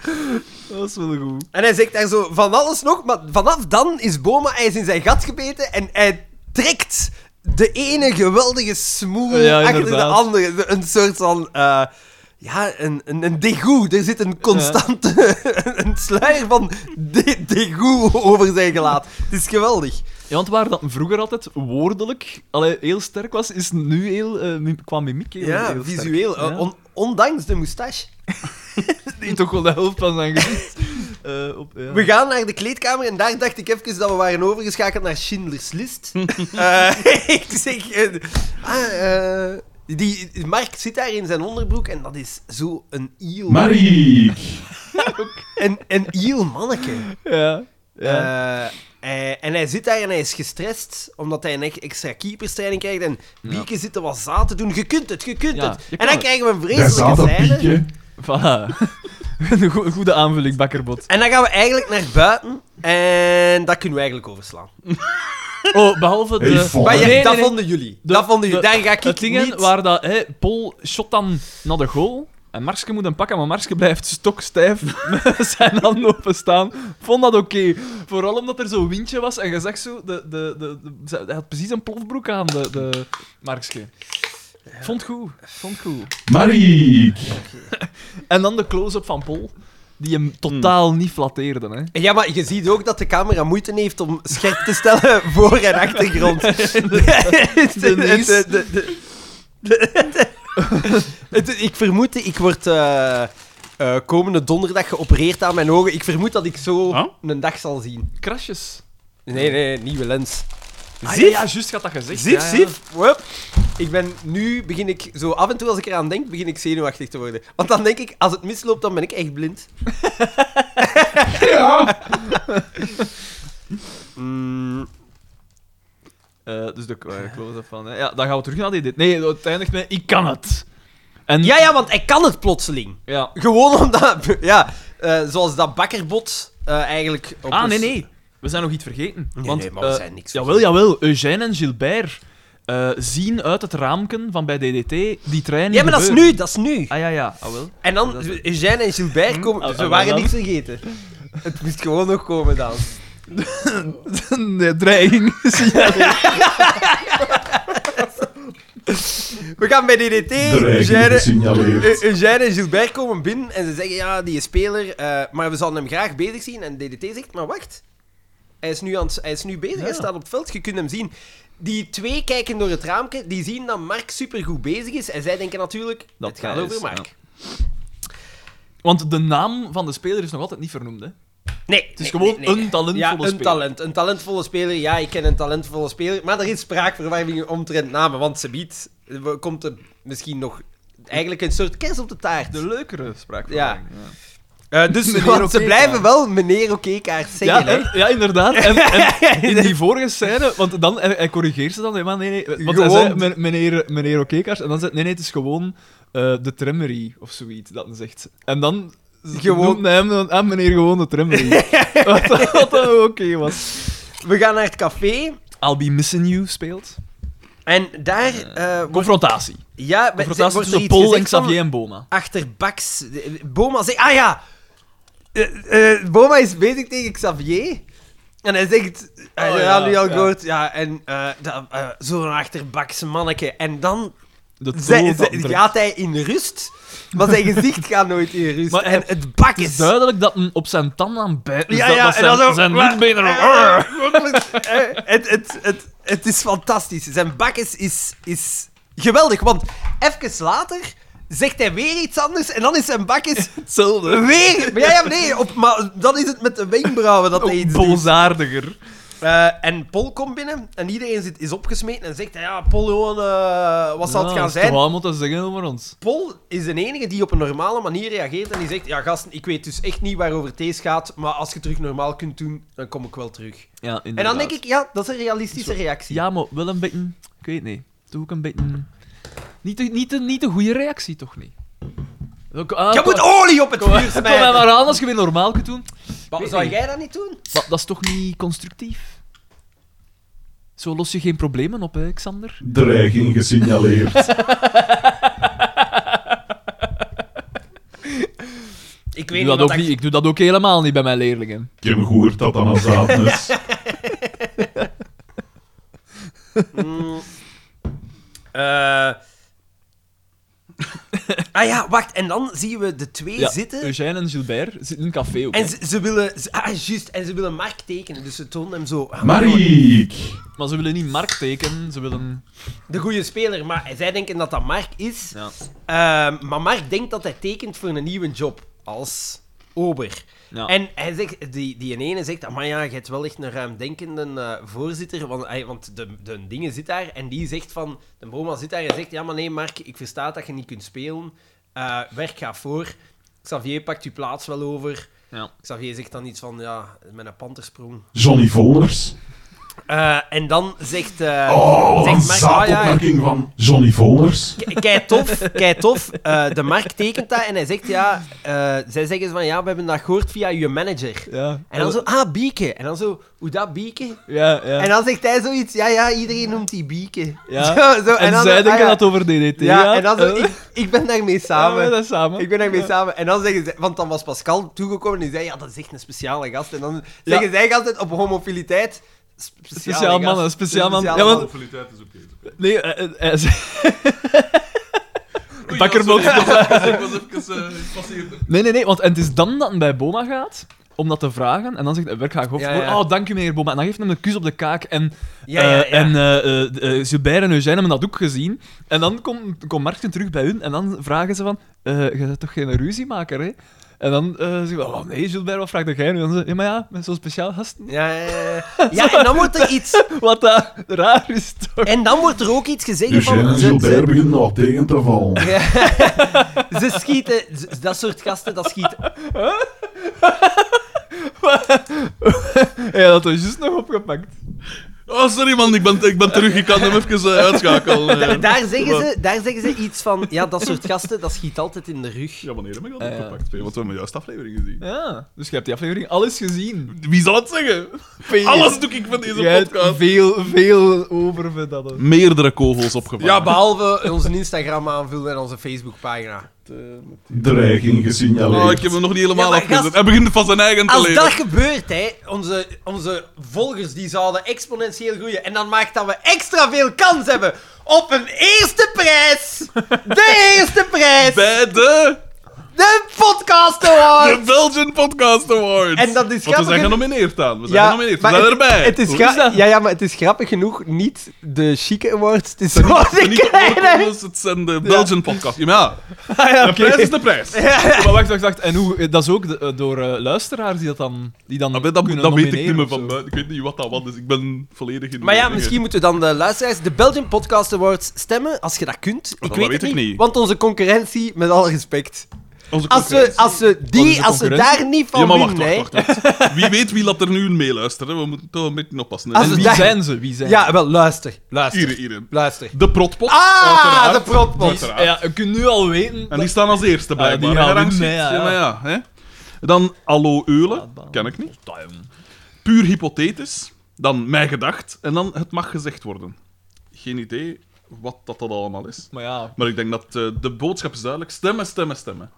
Dat is wel goed.
En hij zegt daar zo van alles nog, maar vanaf dan is Boma hij is in zijn gat gebeten en hij trekt de ene geweldige smoel
Ja,
achter de
inderdaad.
andere. Een soort van... eh, ja, een, een, een dégoût. Er zit een constante... een sluier van dé- dégoût over zijn gelaat. Het is geweldig.
Ja, want waar dat vroeger altijd woordelijk allee, heel sterk was, is nu heel, eh, mi- qua mimiek heel,
Ja,
heel sterk.
visueel.
Ja. Oh,
eh, on- ondanks de moustache.
Die toch wel de helft van zijn gezicht. eh, op, ja.
We gaan naar de kleedkamer en daar dacht ik even dat we waren overgeschakeld naar Schindlers List. Eh, ik zeg... eh, ah, eh, die, Mark zit daar in zijn onderbroek en dat is zo een iel...
Mariek.
Een, een iel manneke.
Ja. ja.
Eh, eh, en hij zit daar en hij is gestrest, omdat hij een e- extra keeperstraining krijgt. En Bieke zit er wat zaad te doen. Je kunt het, je kunt
Ja,
het. En
je kan
dan
het.
krijgen we een
Daar
vreselijke
zat dat
scène.
piekje.
Voilà. een goe- goede aanvulling, bakkerbot.
En dan gaan we eigenlijk naar buiten. En dat kunnen we eigenlijk overslaan.
Oh, behalve de...
Hey, fuck.
Maar ja,
Nee, nee,
dat
nee.
vonden jullie.
De-
dat vonden jullie.
de-
Daar ga ik
Het ding
niet...
in waar dat, hè, Paul shot dan naar de goal. En Marske moet hem pakken, maar Marske blijft stokstijf met zijn handen openstaan. Vond dat oké. Vooral omdat er zo'n windje was en je zag zo... De, de, de, de- ze- hij had precies een plofbroek aan, de, de Markske. Vond goed. Vond goed.
Mariek.
En dan de close-up van Paul. Die
Hmm.
hem totaal niet flatteerde, hè.
Ja, maar je ziet ook dat de camera moeite heeft om scherp te stellen voor- en achtergrond.
niets.
De- de- de- de- Het- Ik vermoed, ik word eh, eh, komende donderdag geopereerd aan mijn ogen. Ik vermoed dat ik zo
Huh?
een dag zal zien.
Krasjes.
Nee, nee, nieuwe lens.
Ah,
Zif,
ja, ja, juist had dat gezegd.
zif,
ja, ja.
zif. Wup. Ik ben nu, begin ik, zo af en toe als ik eraan denk, begin ik zenuwachtig te worden. Want dan denk ik, als het misloopt, dan ben ik echt blind.
Ja.
Mm,
Eh, dus de eh, close-up van... hè. Ja, dan gaan we terug naar die dit. Nee, het eindigt met... Ik kan het. En,
Ja, ja, want hij kan het plotseling.
ja.
Gewoon omdat, ja, eh, zoals dat bakkerbot eh, eigenlijk. Op
Ah,
een-
nee, nee. We zijn nog iets vergeten.
Nee,
want,
nee, maar we
eh,
zijn niks
Jawel, jawel. Eugène en Gilbert eh, zien uit het raamken van bij DDT die trein
Ja, maar dat is
gebeuren.
nu, dat is nu.
Ah, ja, ja. Ah, wel.
En dan,
Dat is-
Eugène en Gilbert komen.
Ah, ah,
Ze
wel
waren
dan.
niks vergeten. Het moest gewoon nog komen dan.
nee, dreiging.
We gaan bij DDT.
Dreiging
Eugène,
gesignaleerd.
Eu- Eugène en Gilbert komen binnen en ze zeggen: Ja, die speler, eh, maar we zouden hem graag bezig zien. En DDT zegt: Maar wacht. Hij is nu, aan het- hij is nu bezig, hij staat op het veld, je kunt hem zien. Die twee kijken door het raampje, die zien dat Mark supergoed bezig is. En zij denken natuurlijk,
Dat
het gaat
hij
over
is,
Mark.
ja. Want de naam van de speler is nog altijd niet vernoemd, hè?
Nee,
Het is gewoon een talentvolle
ja, een
speler.
talent. Een talentvolle speler. Ja, ik ken een talentvolle speler. Maar er is spraakverwarring omtrent namen, want ze biedt... we- Komt er misschien nog eigenlijk een soort kers op de taart.
De leukere spraak.
Ja. Eh, dus
Meneer
want ze
Oké-kaart.
blijven wel meneer Oké-kaart zeggen,
Ja,
hè.
en- ja, inderdaad. En, en in die vorige scène, want dan, hij, hij corrigeert ze dan helemaal. Nee, nee. Want hij
Gewoon-
zei, "Men- meneer, meneer Okekaars, en dan zegt nee, nee, het is gewoon eh, de tremmerie of zoiets, dat hij zegt. En dan
Gewoon-
gewoon hem dan, ah, meneer, gewoon de tremmerie. wat dan- wat dan oké was.
We gaan naar het café.
I'll be missing you speelt.
En daar... eh, wordt-
Confrontatie.
ja, we- ze-
Confrontatie
wordt er
tussen
iets
Paul en
gezegd van-
Xavier en Boma.
achterbaks. Boma zegt... Ah ja! Eh, eh, Boma is bezig tegen Xavier. En hij zegt... Hij
Oh,
ja,
ja,
nu al
ja.
goed. Ja, en eh, dat, eh, zo'n achterbaks manneke. En dan
De
zij-
toon
zij-
van druk.
gaat hij in rust. Maar zijn gezicht gaat nooit in rust.
Maar
en het bak
Het is
is...
duidelijk dat een op zijn tanden aan bijt is.
Ja,
dat,
ja,
dat
en
zijn,
dan zo-
zijn
maar-
hoedbenen- Ah,
Eh, eh, het, het, het, het is fantastisch. Zijn bak is, is, is geweldig. Want even later zegt hij weer iets anders. En dan is zijn bak is
Hetzelfde.
Weer? Maar Ja, ja, nee. Op, maar dan is het met de wenkbrauwen dat hij
Ook
iets doet.
Boosaardiger.
Eh, en Paul komt binnen en iedereen zit, is opgesmeten en zegt... Ja, Paul, gewoon, eh, wat zal het gaan
Ja, dat is
zijn?
Toch wel moeten zeggen over ons.
Paul is de enige die op een normale manier reageert en die zegt... Ja, gasten, ik weet dus echt niet waarover het eens gaat, maar als je terug normaal kunt doen, dan kom ik wel terug.
Ja, inderdaad.
En dan denk ik, ja, dat is een realistische reactie.
Ja, maar wel een beetje... Ik weet niet. Toch ook een beetje... Niet de, niet de, niet de goede reactie, toch niet? Ook- ah,
Je
kom-
moet olie op het
Kom
vuur
kom mij
smijten.
maar aan als je weer normaal kunt doen.
Maar zou jij dat niet doen?
Maar dat is toch niet constructief? Zo los je geen problemen op, hè, Xander?
Dreiging gesignaleerd.
Ik
Ik doe, dat ook niet, ik doe dat ook helemaal niet bij mijn leerlingen.
Ik heb gehoord dat dat een zaad is.
Mm. Eh. ah ja, wacht. En dan zien we de twee
Ja, Eh,
zitten.
Eugène en Gilbert zitten in een café ook.
En ze, ze willen... ze- ah, juist. En ze willen Mark tekenen. Dus ze tonen hem zo... ah,
Mariek.
Maar ze willen niet Mark tekenen, ze willen...
De goede speler. Maar zij denken dat dat Mark is.
Ja.
Ehm, maar Mark denkt dat hij tekent voor een nieuwe job. Als ober.
Ja.
En hij zegt, die, die ene zegt, maar ja, je hebt wel echt een ruimdenkende eh, voorzitter, want, hij- want de, de dingen zit daar en die zegt van, de Boma zit daar en zegt, ja maar nee Mark, ik versta dat je niet kunt spelen, Eh, werk gaat voor, Xavier pakt uw plaats wel over.
Ja.
Xavier zegt dan iets van, ja, met een pantersprong.
Johnny Voners.
Eh, en dan zegt, eh,
Oh, wat een
zegt Mark, ah, ja,
zaadopmerking van Johnny Voners.
K- Kei tof, kei tof. Eh, de Mark tekent dat en hij zegt, ja, eh, zij zeggen van, ja, we hebben dat gehoord via je manager.
Ja.
En dan zo, ah, Bieke. En dan zo, hoe dat Bieke?
Ja, ja.
En dan zegt hij zoiets, ja, ja, iedereen noemt die bieken.
Ja.
Zo, zo,
En,
dan
zij
zo,
denken
ah, ja.
dat het over DDT
Ja,
gaat.
en dan zo,
Eh,
ik, ik ben daarmee
ja, we
samen.
zijn samen.
Ik ben daarmee samen. En dan zeggen ze, want dan was Pascal toegekomen en die zei, ja, dat is echt een speciale gast. En dan zeggen zij altijd op homofieliteit, sp- speciale
Speciaal
gast.
mannen, speciaal man.
Speciale
Ja, want-
man.
Homofieliteit is oké. is oké.
Nee, eh, eh, eh,
Oei,
Bakker
ja, sorry, Ik was even- ik was even eh, gepasseerd.
nee, nee, nee, want en het is dan dat hij bij Boma gaat om dat te vragen. En dan zegt hij, werk ga
Ja,
ja,
ja.
Oh, dank u meneer Boma. En dan geeft hij hem een kus op de kaak. En,
Ja, ja,
eh,
ja.
en eh, eh, eh, Gilbert en Eugène hebben dat ook gezien. En dan komt komt Martin terug bij hun en dan vragen ze van, eh, je bent toch geen ruziemaker, hè? En dan eh zeggen we, oh nee, Gilbert, wat vraagt jij nu? En dan zeggen ze, ja, maar ja, met zo'n speciaal gast.
Ja, ja, ja, ja. Ja, en dan wordt er iets,
Wat dat raar is, toch?
en dan wordt er ook iets gezegd
Eugène en
van... ze-
Gilbert beginnen al tegen te vallen.
Ze, ze schieten, ze- dat soort gasten, dat schiet...
Ja, dat is juist nog opgepakt.
Oh, sorry man, ik ben, ik ben terug. Ik kan hem even eh, uitschakelen.
Daar,
eh.
daar, zeggen ze, daar zeggen ze iets van, ja, dat soort gasten, dat schiet altijd in de rug.
Ja, wanneer heb ik dat
Eh, ja.
opgepakt? Wat we hebben juist aflevering gezien.
Ja, dus je hebt die aflevering alles gezien.
Wie zal het zeggen? Alles doe ik van deze
Jij hebt
podcast.
veel, veel over me dat ook.
Meerdere kogels opgevangen.
Ja, behalve onze Instagram aanvullen en onze Facebookpagina.
Dreiging
Oh, ik
gesignaleerd.
heb hem nog niet helemaal
Ja, maar
afgezet.
gast-
Hij begint van zijn eigen te
Als
leren.
dat gebeurt, hè, onze, onze volgers die zouden exponentieel groeien. En dan maakt dat we extra veel kans hebben op een eerste prijs. De eerste prijs.
Bij de...
De podcast award!
De Belgian Podcast Awards.
En dat is
Want we
grappig,
zijn
hè?
genomineerd aan. We zijn genomineerd. We zijn
het,
erbij.
Het is
Hoe
gra-
is dat?
Ja, ja, maar het is grappig genoeg niet de chique awards. Het is
Het
gewoon
zijn
de
niet de
kleine.
Oracles, het zijn de Belgian Podcast. Ja,
ja,
de prijs is de prijs.
Oh, Maar wacht, wacht, wacht. En hoe, dat is ook de- eh, door eh, luisteraars die dat dan, die
Ah,
dan
Maar dat, dat
kunnen
weet ik
nomineren
niet meer
of zo.
van buiten. Ik weet niet wat dat was, dus ik ben volledig in de
Maar ja,
dingen.
misschien moeten dan de luisteraars de Belgian Podcast Awards stemmen, als je dat kunt. Ik
dat
weet,
weet
het
ik
niet,
niet.
want onze concurrentie, met alle respect.
Onze
Als we,
concurrentie.
als we,
Wat is de
die, als we
concurrentie?
daar niet van
Ja, maar wacht,
winnen, hè.
wacht, wacht, wacht. Wie weet wie dat er nu meeluistert, hè? we moeten toch een beetje oppassen. hè.
Als
En
we
wie
daar-
zijn ze? Wie zijn
Ja, wel, luister. Luister.
Hier, hier.
Luister.
De protpot.
Ah, de
uiteraard.
protpot.
Uiteraard.
ze? Ja, je kunt nu al weten...
En die staan als eerste
Ah, die
blijkbaar.
gaan
hè,
winnen,
rangschikt.
ja, ja.
maar ja, hè. Dan Allo Eulen,
Laatbaan.
ken ik niet. Puur hypothetisch. Dan Mijn Gedacht. En dan Het Mag Gezegd Worden. Geen idee wat dat, dat allemaal is.
Maar ja...
Maar ik denk dat eh, de boodschap is duidelijk. Stemmen, stemmen, stemmen.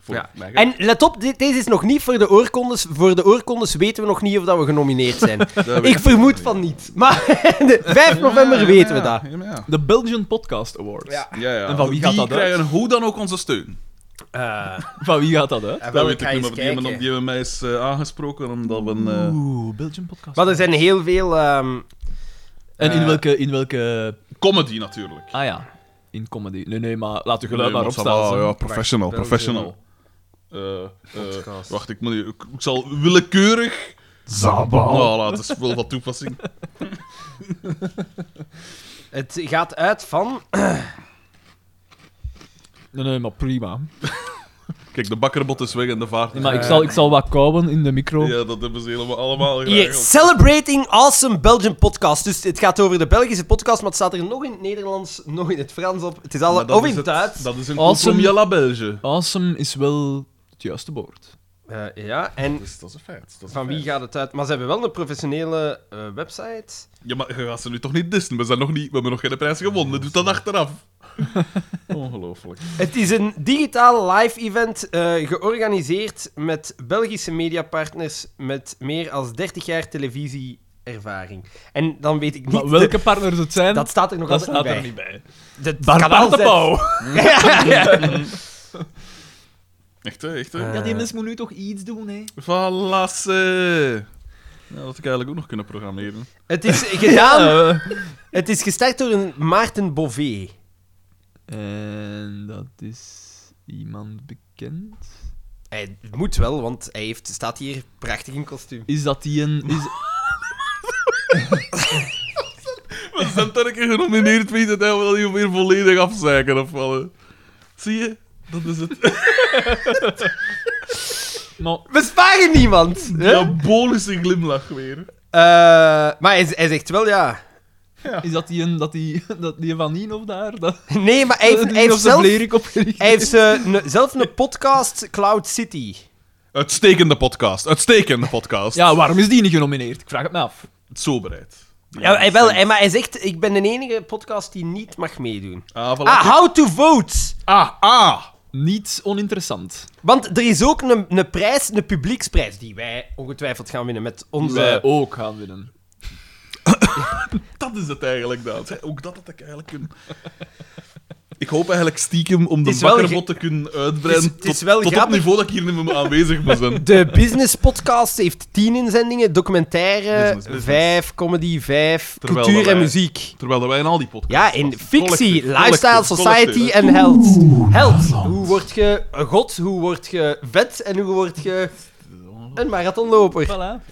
Voor
Ja.
Mijn Gedacht.
En let op, dit- deze is nog niet voor de oorkondes. Voor de oorkondes weten we nog niet of dat we genomineerd zijn.
weet
ik
ik
vermoed van niet. Maar de 5 november weten we dat.
Ja, maar ja.
De Belgian Podcast Awards.
Ja.
Ja, ja.
En van wie gaat
die
dat uit?
krijgen hoe dan ook onze steun.
Eh,
Van wie gaat dat uit?
dat weet ik niet, maar die hebben, die hebben mij eens eh, aangesproken omdat we een... eh,
Oeh, Belgian Podcast
Maar er zijn heel veel... ehm,
En in
Eh.
welke, in welke...
comedy natuurlijk.
Ah ja, in comedy. Nee, nee, maar laat de
Nee,
geluid maar
maar
opstaan.
ça va,
zo.
ah, ja, professional,
Wacht,
professional. Eh, eh, wacht, ik, moet, hier- ik, ik zal willekeurig...
Zabal.
Oh, dat is wel van toepassing.
het gaat uit van...
Nee, nee, maar prima.
Kijk, de bakkerbot is weg en de vaart is
Nee, maar ik
weg.
zal, ik zal wat kouwen in de micro.
Ja, dat hebben ze helemaal allemaal
Hier,
geregeld.
Celebrating Awesome Belgian Podcast. Dus het gaat over de Belgische podcast, maar het staat er nog in het Nederlands, nog in het Frans op. Het is
Maar
al,
dat
of
is
in het
het-
Duits.
Dat is een
Awesome.
awesome. la Belge.
Awesome is wel het juiste woord.
Eh, ja, en
Dus dat is een feit. Dat is
van
een
wie
feit.
gaat het uit? Maar ze hebben wel een professionele eh, website.
Ja, maar je gaat ze nu toch niet dissen? We, zijn nog niet, we hebben nog geen prijs gewonnen. Doe dat achteraf. Ongelooflijk.
Het is een digitaal live-event eh, georganiseerd met Belgische mediapartners met meer dan 30 jaar televisieervaring. En dan weet ik niet...
Maar welke partners het zijn,
Dat
dat,
staat er nog altijd
staat
niet bij.
er niet bij.
Dat kanaal
Bart
zet-
de Pauw.
Echt, hè? Echt, hè?
Eh. Ja, die mens
moet nu toch iets doen, hè?
Valasse. Ja, Nou, dat had ik eigenlijk ook nog kunnen programmeren.
Het is gedaan...
Ah. Eh,
Het is gestart door een Maarten Bové.
en dat is iemand bekend.
Hij moet wel, want hij heeft, staat hier prachtig in kostuum.
Is dat die een. Is,
We zijn toch een keer genomineerd, weet je, dat we dat hier weer volledig afzeiken of wat? hè? Zie je? Dat is het
maar,
We sparen niemand! hè?
diabolische glimlach weer.
Eh, maar hij, hij zegt wel ja.
is dat die een. Dat die, dat die van Nien of daar? Dat,
Nee, maar hij heeft,
dat
hij heeft
of ze
zelf,
Blerik opgericht
hij heeft
heeft.
eh, ne- zelf een podcast, Cloud City.
Uitstekende podcast. Uitstekende podcast.
Ja, waarom is die niet genomineerd? Ik vraag het me af.
Soberheid.
Ja, hij wel, hij- maar hij zegt, ik ben de enige podcast die niet mag meedoen.
Ah, voilà.
Ah, How to Vote!
ah, ah.
Niet oninteressant.
Want er is ook een, een prijs, een publieksprijs, die wij ongetwijfeld gaan winnen met onze...
Wij ook gaan winnen.
Dat is het eigenlijk, Daan. Zeg, Ook dat had ik eigenlijk kunnen... Ik hoop eigenlijk stiekem om
Het
de
is wel
bakkerbot te kunnen uitbreiden
Het is- het is
tot,
wel
tot het
grappig.
niveau dat ik hier niet meer aanwezig moet zijn.
De business podcast heeft tien inzendingen, documentaire,
Business, business.
vijf, comedy, vijf,
Terwijl
cultuur
dat
en
wij-
muziek.
Terwijl wij in al die podcasts...
Ja, in
passen.
fictie,
Collectief,
lifestyle,
collectief,
society
collectief.
en held. Held, hoe word je een god, hoe word je vet en hoe word je een marathonloper.
Voilà.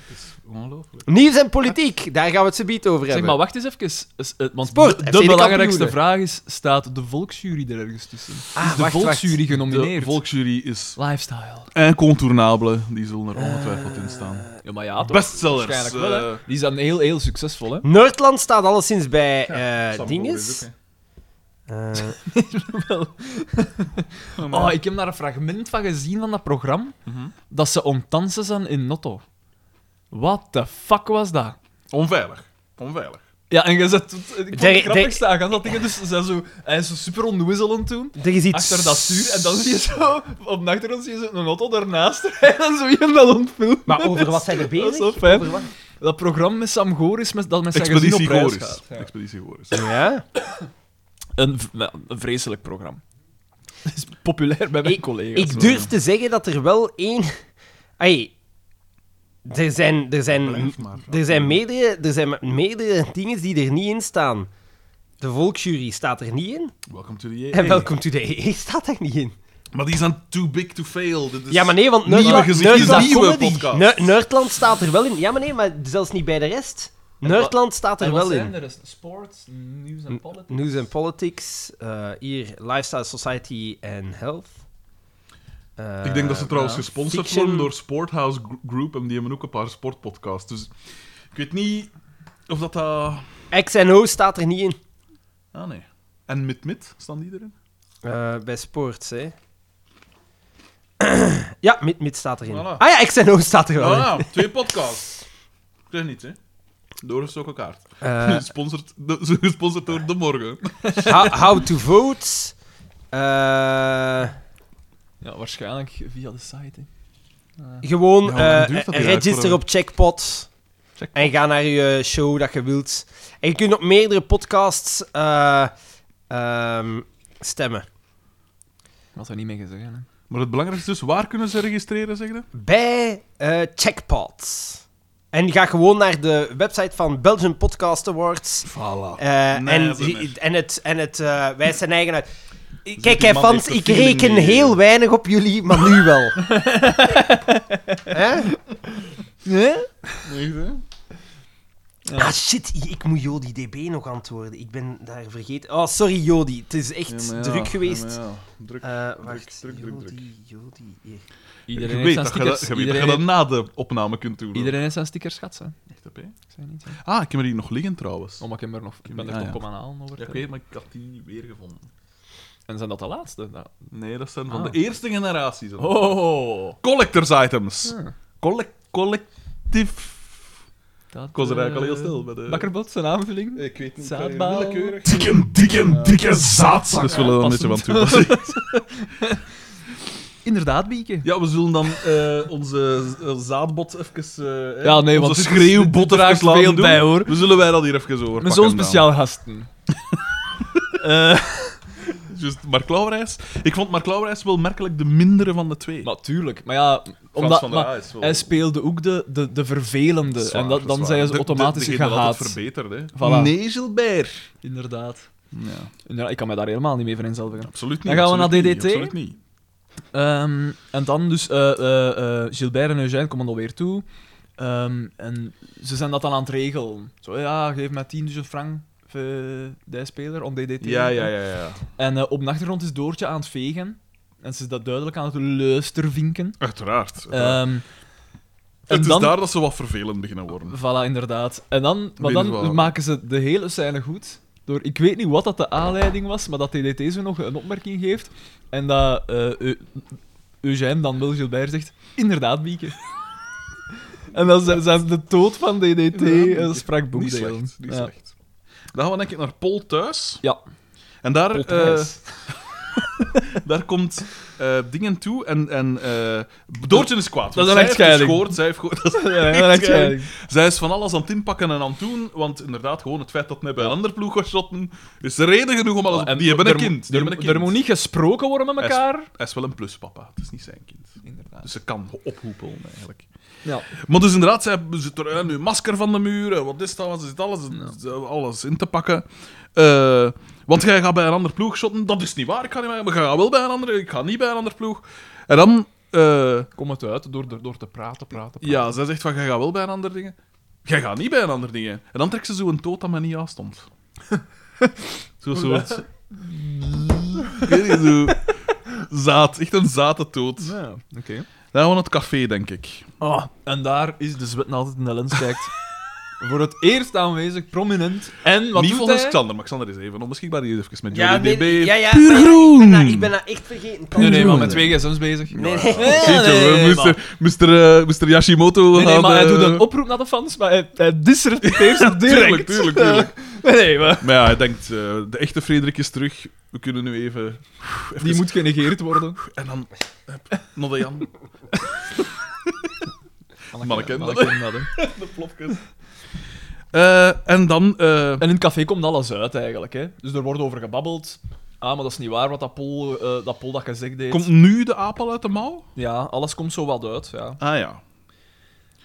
Nieuws en politiek, daar gaan we het zo bied over
Zeg
hebben.
maar, wacht eens even. Is- eh, Want
Sport,
de,
FC
de
de
belangrijkste
kampioenen.
vraag is: staat de volksjury er ergens tussen?
Ah,
is de
wacht,
volksjury
wacht.
De
genomineerd?
volksjury is
Lifestyle.
incontournabele. Die zullen er ongetwijfeld in staan.
Eh,
Ja, maar ja, toch?
Bestsellers.
Waarschijnlijk wel, hè?
eh,
Die zijn heel, heel succesvol, hè?
Noordland staat alleszins bij eh
Sam Boris
dinges.
ook,
Eh,
hè. Ja, maar
Oh,
ja.
ik heb daar een fragment van gezien van dat programma.
Mhm.
Dat ze ontdansen zijn in Notto. What the fuck was dat?
Onveilig. Onveilig.
Ja, en je zet... Ik vond het
Der-
grappig
der-
staan. Gaan dat dingen dus... ze Zijn zo, hij is zo super onnoezelend toen.
er is iets...
Achter dat stuur. En dan zie je zo... Op de achtergrond zie je zo een Notto daarnaast. En dan zo je dat ontfilmen.
Maar over wat zijn we
Dat
bezig?
is wel fijn.
Over wat-
Dat programma met Sam Goris, met, dat met zijn gezin op
Expeditie
reis
Goris.
gaat. Ja.
Expeditie Goris.
Ja.
Een, v- nou, een vreselijk programma. Dat is populair bij mijn
Ik-
collega's.
Ik durf te zeggen dat er wel één. Ai, er zijn, er zijn,
Blijf maar.
er zijn, meerdere, er zijn meerdere dingen die er niet in staan. De volksjury staat er niet in.
Welcome to the
En
AA.
Welcome to the EE staat er niet in.
Maar die zijn too big to fail. Dit is...
Ja, maar nee, want
Dus Nieuwe
Nerdland,
gezicht is
Nerdland-
een nieuwe
Comedy.
podcast.
Ne- Nerdland staat er wel in. Ja, maar nee, maar zelfs niet bij de rest. Nerdland staat er wel in.
Sports, nieuws en politics.
News and Politics, eh, hier Lifestyle Society en Health. Eh,
Ik denk dat ze trouwens
ja.
gesponsord
Fiction.
worden door Sporthouse Gr- Group en die hebben ook een paar sportpodcasts. Dus ik weet niet of dat... dat-
XNO staat er niet in.
Ah, nee. En Mit-Mit, staan die erin?
Eh, bij sports, hè. ja, mid, mid staat erin.
Voilà.
Ah ja, XNO staat er wel in.
Ah, twee podcasts. Ik zeg niets, hè. Doorgestoken kaart.
Eh,
Gesponsord, de- ze gesponsord door De Morgen.
how, how to vote. Eh,
Ja, waarschijnlijk via de site. hè.
gewoon
Ja, hoe lang
eh,
duurt dat
eh,
hier
register
eigenlijk?
op Checkpot.
Checkpot.
En ga naar je show dat je wilt. En je kunt op meerdere podcasts eh, ehm, stemmen.
Dat zou niet meer gezegd hè.
Maar het belangrijkste is, waar kunnen ze registreren, zeg je?
bij eh Checkpot. En ga gewoon naar de website van Belgian Podcast Awards. Eh,
Voilà. Nee,
en,
dat is niet.
en het, en het eh, wijst zijn eigen uit. Ik-
die
Kijk, hè,
man
fans,
heeft de
ik
feeling
reken
niet,
heel
hè.
weinig op jullie, maar nu wel. Hè? Ah, shit, ik moet Jody DB nog antwoorden. Ik ben daar vergeten. Oh, sorry, Jody. Het is echt druk geweest.
druk.
Ah,
Eh, wacht,
druk, druk, druk.
Jody, Jody. hier.
je weet dat je dat, je weet dat je dat na de opname kunt doen.
iedereen heeft zijn stickers gehad, hè.
Echt op, hè?
Ik zei niet, hè.
Ah, ik heb er die nog liggen trouwens.
Oh, maar ik, heb er nog, ik ben er
Ah,
toch
ja.
komen aan halen over.
Ja, ik
het-
weet, maar ik had die niet weer gevonden.
En zijn dat de laatste? Nou.
Nee, dat zijn van
Ah.
de eerste generatie. zo.
Oh!
Collectors items.
Hm.
Collec- collectief.
Dat,
Ik was er eigenlijk
eh,
al heel snel bij de-
Bakkerbot, zijn aanvulling.
Ik weet eh,
niet, Zaadbaal. willekeurig.
Dikke, dikke, dikke zaadzak.
Dus we willen er een beetje van
passend.
toepassen.
Inderdaad, Bieke.
Ja, we zullen dan eh, onze eh, zaadbot even... eh, hè,
Ja, nee, want
onze
dit is- dit
schreeuwbot
draagt
even laten
veel
doen.
bij, hoor.
We zullen wij dat hier even horen.
Met zo'n speciaal gasten. Eh,
Just Mark Lauwerijs. Ik vond Mark Lauwerijs wel merkelijk de mindere van de twee.
natuurlijk, maar ja,
Frans
omdat,
van der
maar
Aa is wel-
hij speelde ook de, de, de vervelende.
Zwaar,
en dat, dan
zwaar.
zijn
De-
ze
de-
automatisch
degene dat altijd
gehaat.
verbeterd, hè.
Voilà.
Nee, Gilbert.
Inderdaad.
Ja,
Inderdaad, Ik kan me daar helemaal niet mee vereenzelvigen.
absoluut niet.
Dan gaan we
absoluut
naar
niet,
DDT.
absoluut niet.
Ehm, en dan dus eh, eh, eh, Gilbert en Eugène komen alweer toe. Ehm, en ze zijn dat dan aan het regelen. Zo, ja, geef mij 10.000 frank voor die speler om DDT.
Ja, ja, ja, ja.
En eh, op de achtergrond is Doortje aan het vegen. En ze is dat duidelijk aan het luistervinken.
Uiteraard. uiteraard.
Ehm en
het is
dan...
daar dat ze wat vervelend beginnen worden.
Voilà, inderdaad. En dan, maar
Binnen
dan
waar.
maken ze de hele scène goed. Door, ik weet niet wat dat de aanleiding was, maar dat DDT zo nog een opmerking geeft. En dat eh, Eu- Eugène dan wel Gilbert zegt, inderdaad, Bieke. en dan zijn, zijn ze de dood van DDT
Bieke.
eh, sprak
Niet
boekdelen.
slecht, niet
Ja.
slecht. Dan gaan we denk ik naar Pol thuis.
Ja.
En daar,
Pot
eh,
ijs.
daar komt eh, dingen toe en... en eh, Doortje is kwaad. want
is
zij
een
heeft
echtscheiding.
gescoord, zij heeft gehoord. Dat is-
Ja, ja, dat zei ik.
eh, Zij is van alles aan het inpakken en aan het doen, want inderdaad, gewoon het feit dat hij bij een ander ploeg was shotten, is de reden genoeg om alles...
Oh, En
Oh, die hebben
er
een
mo-
kind. Die
Er,
hebben een
er
kind.
moet niet gesproken worden met
Hij is-
elkaar.
Hij is wel een pluspapa, het is niet zijn kind.
Inderdaad.
Dus ze kan ophoepelen, eigenlijk.
Ja.
Maar dus inderdaad, zij zit er eh, nu een masker van de muur, eh, wat is dat, wat is dit, alles, eh, alles in te pakken. Eh, want jij gaat bij een ander ploeg shotten, dat is niet waar, ik ga niet bij, maar jij gaat wel bij een andere, ik ga niet bij een ander ploeg. En dan, eh,
Kom het uit door, door, door te praten, praten, praten.
ja, zij zegt van, jij gaat wel bij een ander dingen, jij gaat niet bij een ander dingen. En dan trekt ze zo een toot dat mij niet aanstond. Zo'n soort... Ik weet niet, zo... Zaad, echt een zate toot.
Ja, oké.
Dan gaan we naar het café, denk ik.
Ah, en daar is de zwet altijd in de lens kijkt. Voor het eerst aanwezig, prominent. En wat
niet
doet
volgens
hij?
Xander, maar Xander is even onbeschikbaar hier even met Jody
Ja, nee,
DB.
ja, ja,
Puur
maar ik ben
groen!
dat- Ik ben dat echt vergeten.
Nee, nee, maar met twee gsm's bezig.
Nee, nee.
Ja, nee, nee,
Mr. Mr. eh, Mr. Yashimoto
Nee, nee,
gaat,
maar hij
eh,
doet een oproep naar de fans, maar hij, hij disrespecteert ze direct.
Tuurlijk, tuurlijk, tuurlijk.
Nee, nee, maar
Maar ja, hij denkt, eh, de echte Frederik is terug. We kunnen nu even...
die moet genegeerd worden.
En dan... hup, Nog de Jan. Manneken,
Manneken, dat, hè.
de plopjes. Eh, en eh, dan... eh,
En in het café komt alles uit, eigenlijk. Hè. Dus er wordt over gebabbeld. Ah, maar dat is niet waar wat dat Pol, eh, dat, Pol dat gezegd heeft.
Komt nu de aap al uit de mouw?
Ja, alles komt zo wat uit. Ja.
Ah ja.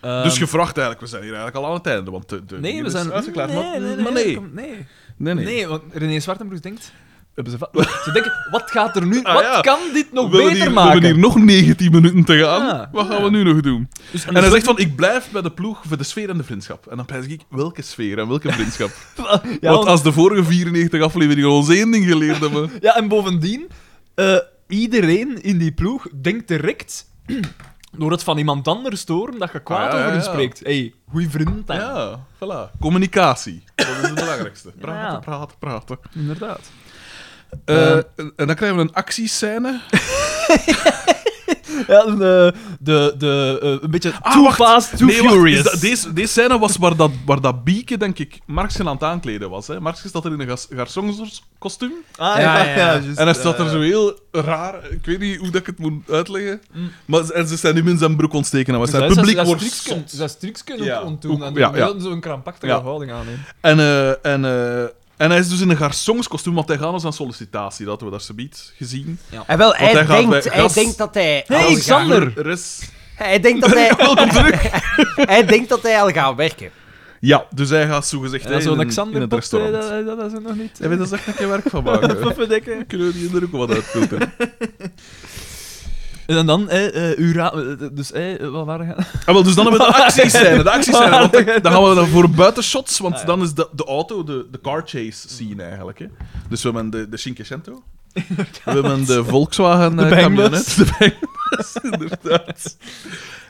Ehm,
dus gevraagd eigenlijk, we zijn hier eigenlijk al aan het einde. Want de, de
Nee,
dingen
we
is
zijn.
uitgeklaard.
nee,
maar,
nee,
maar nee.
kom- nee.
nee, Ah, nee.
Nee, want René Zwartenbroek denkt... Hebben ze, va- ze denken, wat gaat er nu...
Ah,
wat
ja.
kan dit nog
we hebben
beter
hier, we
maken?
hebben hier nog 19 minuten te gaan.
Ah,
Wat gaan we nu nog doen?
Dus-
En hij zegt van, ik blijf bij de ploeg voor de sfeer en de vriendschap. En dan pijs ik, welke sfeer en welke vriendschap?
ja,
Want
want-
als de vorige 94 afleveringen ons één ding geleerd hebben...
ja, en bovendien, eh, iedereen in die ploeg denkt direct, door het van iemand anders te horen, dat je kwaad
Ah, ja,
over hem
ja, ja.
spreekt. hey, goeie vriend. dan.
Ja, voilà. Communicatie. Dat is het belangrijkste. Praten,
Ja.
praten, praten.
Inderdaad.
Eh,
Eh,
en en dan krijgen we een actiescène.
Ja, en, eh, de, de, eh, een beetje
Ah,
too
wacht.
fast, too
Nee, wacht,
furious.
is dat- deze, deze scène was waar dat, waar dat Bieke, denk ik, Marxen aan het aankleden was. Hè. Marxen staat er in een gas- garçonskostuum.
Ah,
Ja,
ja,
ja,
ja,
ja.
juist.
En hij staat er zo heel raar... Ik weet niet hoe dat ik het moet uitleggen. Maar en ze zijn hem in zijn broek ontsteken. En was zijn
Dus dat Mm. is-
publiek
dat
wordt
is trucs kunnen-
zot.
Dat is trucs kunnen
Ja.
ook ontdoen. En
Ook- ja,
ja,
ja.
zo'n krampachtige
Ja.
houding aannemen.
En, eh, en, eh, en hij is dus in een garçonskostuum, want hij gaat ons aan sollicitatie. Dat hadden we daar zobiet gezien.
En wel, hij,
hij gaat
denkt,
bij
hij
gas-
denkt dat hij...
Hey,
al gaat-
Xander.
Er is...
Hij denkt dat hij...
Welkom terug.
hij denkt dat hij al gaat werken.
Ja, dus hij gaat zogezegd
En dan
hè,
zo'n
in, een- in
Alexander
het
Pop,
restaurant.
eh, dat, dat, dat is er nog niet.
Ja, maar daar zou ik een keer werk van maken.
Pufferdekken.
Kunnen we die er ook wat uitfilteren?
En dan, eh, eh, uw ra- eh, eh, dus eh, eh, wat waren we gaan-
Ah, wel, dus dan hebben we de actiescène. De actiescène want dan dan gaan we dan voor buitenshots, want
Ah,
dan is de, de auto, de, de car chase scene eigenlijk. Hè. Dus we hebben de, de Cinquecento. We hebben de Volkswagen
De
eh,
bangbus.
camionet. De bangbus, inderdaad.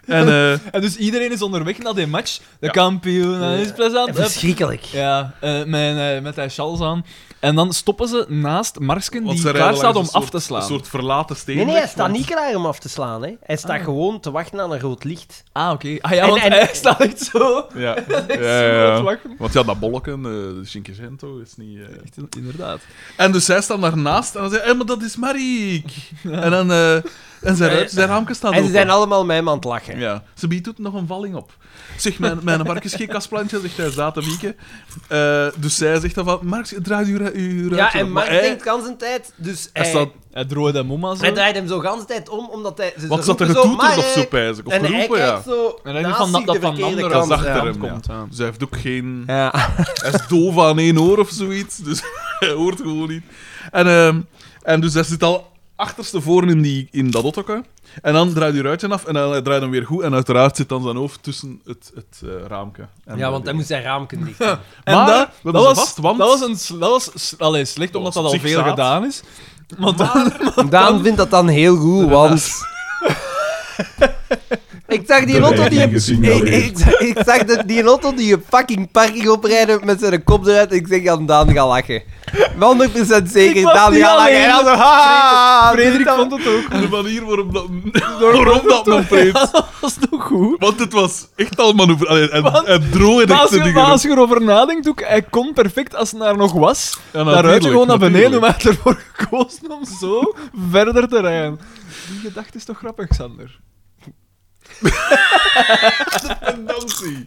En eh,
En dus iedereen is onderweg naar die match. De
Ja.
kampioen, dat is plezant. Hup.
Verschrikkelijk.
Ja, eh, met, eh, met die chals aan. En dan stoppen ze naast Marsken,
want ze
die
rijden
klaar
langs
staat
een
om
soort-
af te slaan.
Een soort verlaten steen.
Nee, nee, hij staat niet klaar om af te slaan. Hè. Hij staat
Ah.
gewoon te wachten aan een rood licht.
Ah, oké. Ah ja,
En-
want
en-
hij staat echt zo.
Ja, ja,
Echt
ja,
zo aan het
ja.
lachen.
Want ja, dat bolken, eh, de Cinquecento, is niet... eh,
Echt, Inderdaad.
En dus zij staan daarnaast en dan zei hij, maar dat is Mariek. En dan... eh, en zijn, ruit- zijn raampje staat
En ze
open.
zijn allemaal met hem aan het lachen.
Ah, Ja. Ze biedt doet nog een valling op. Zeg, mijn, mijn Mark is geen kastplantje, zegt hij, zaten wieken. Eh, dus zij zegt dan van, Mark, draai je ru- je ruitje
Ja,
op.
en
Maar
Mark
hij-
denkt de hele tijd... Dus
Hij
hij,
staat...
Hij drooide hem om aan zo.
hij draait hem zo de hele tijd om, omdat hij... ze- ze
Wat zat er
roepen zo,
getoeterd
"Mark!"
of zo, pijs ik? Of
En hij
geroepen, ja.
kijkt zo
En hij denkt
naast
van dat-
zich de
dat van
verkeerde
anderen
Dat is
kant.
achter
ja.
hem, ja.
komt, ja.
Dus hij heeft ook geen...
Ja.
Hij is doof aan één oor of zoiets, dus hij hoort gewoon niet. En, ehm, en dus hij zit al achterstevoren in, die, in dat ottoke. En dan draait hij ruitje af en dan draait hem weer goed. En uiteraard zit dan zijn hoofd tussen het, het eh, raampje. En
ja, want
de-
hij moest zijn raam kunnen dichten.
En
Maar,
dat,
we
dat
hebben ze
was,
vast, want...
dat was, een, s- dat was s- allee, slecht,
Dat
omdat
was
dat al
op zich
veel
zaad.
gedaan is. Want
Daan vindt dat dan heel goed, want... Ik zag die
De
auto die...
leiding gesignaleerd.
Ik, ik, ik zag dat die auto die je fucking parking oprijden met zijn kop eruit. Ik zeg aan Daan gaan lachen. 100% zeker,
Ik was
Daan
niet
gaat lachen.
alleen.
En dan zo, haha,
Frederik
dit
vond het ook.
De manier waarop dat, waarom dat nog
Ja,
preet.
dat was toch goed?
Want het was echt al manoeuvre. Allee, en,
Want-
en droog en
Maar als,
echte
je,
dingen.
maar als je erover nadenkt, ook, hij kon perfect als hij daar nog was.
Ja,
daaruit
natuurlijk,
gewoon naar beneden,
natuurlijk.
maar hij had ervoor gekozen om zo verder te rijden. Die gedachte is toch grappig, Xander?
Pendantie.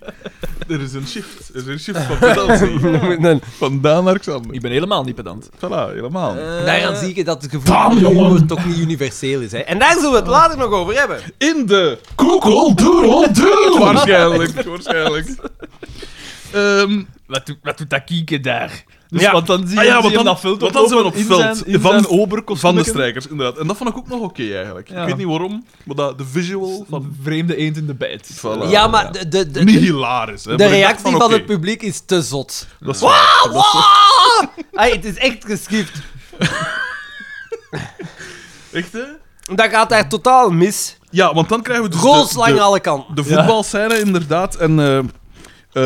Er is een shift. Er is een shift van pendantie.
dan-
Van Daan naar Xander.
Ik ben helemaal niet pedant.
Voilà, helemaal.
Eh.
Daaraan zie je dat het gevoel
Daan,
van humor
jongen.
toch niet universeel is. Hè. En daar zullen we het later nog over hebben.
In de
Koekel, doerel, doerel.
Waarschijnlijk, waarschijnlijk. Ehm,
Wat, doet- wat doet dat kieken daar? Dus,
Ja.
Want dan zie je,
Ah ja,
zie
want
je
dan-
hem dat veld
want dan zijn we op
in
veld.
Zijn, in
Van-
zijn oberkostuum.
van de strijkers, inderdaad. En dat vond ik ook nog oké, eigenlijk.
Ja.
Ik weet niet waarom, maar dat, de visual van...
Van vreemde eend in de bijt.
Voilà.
Ja, maar de, de, de,
Niet
de,
hilarisch, hè.
de
maar ik dacht
reactie van,
oké,
het publiek is te zot.
Dat is waar.
Hey, het is echt geschipt.
Echt, hè?
Dat gaat daar totaal mis.
Ja, want dan krijgen we dus de-
Roos lang
de,
alle kanten.
de voetbalscène, inderdaad. En eh,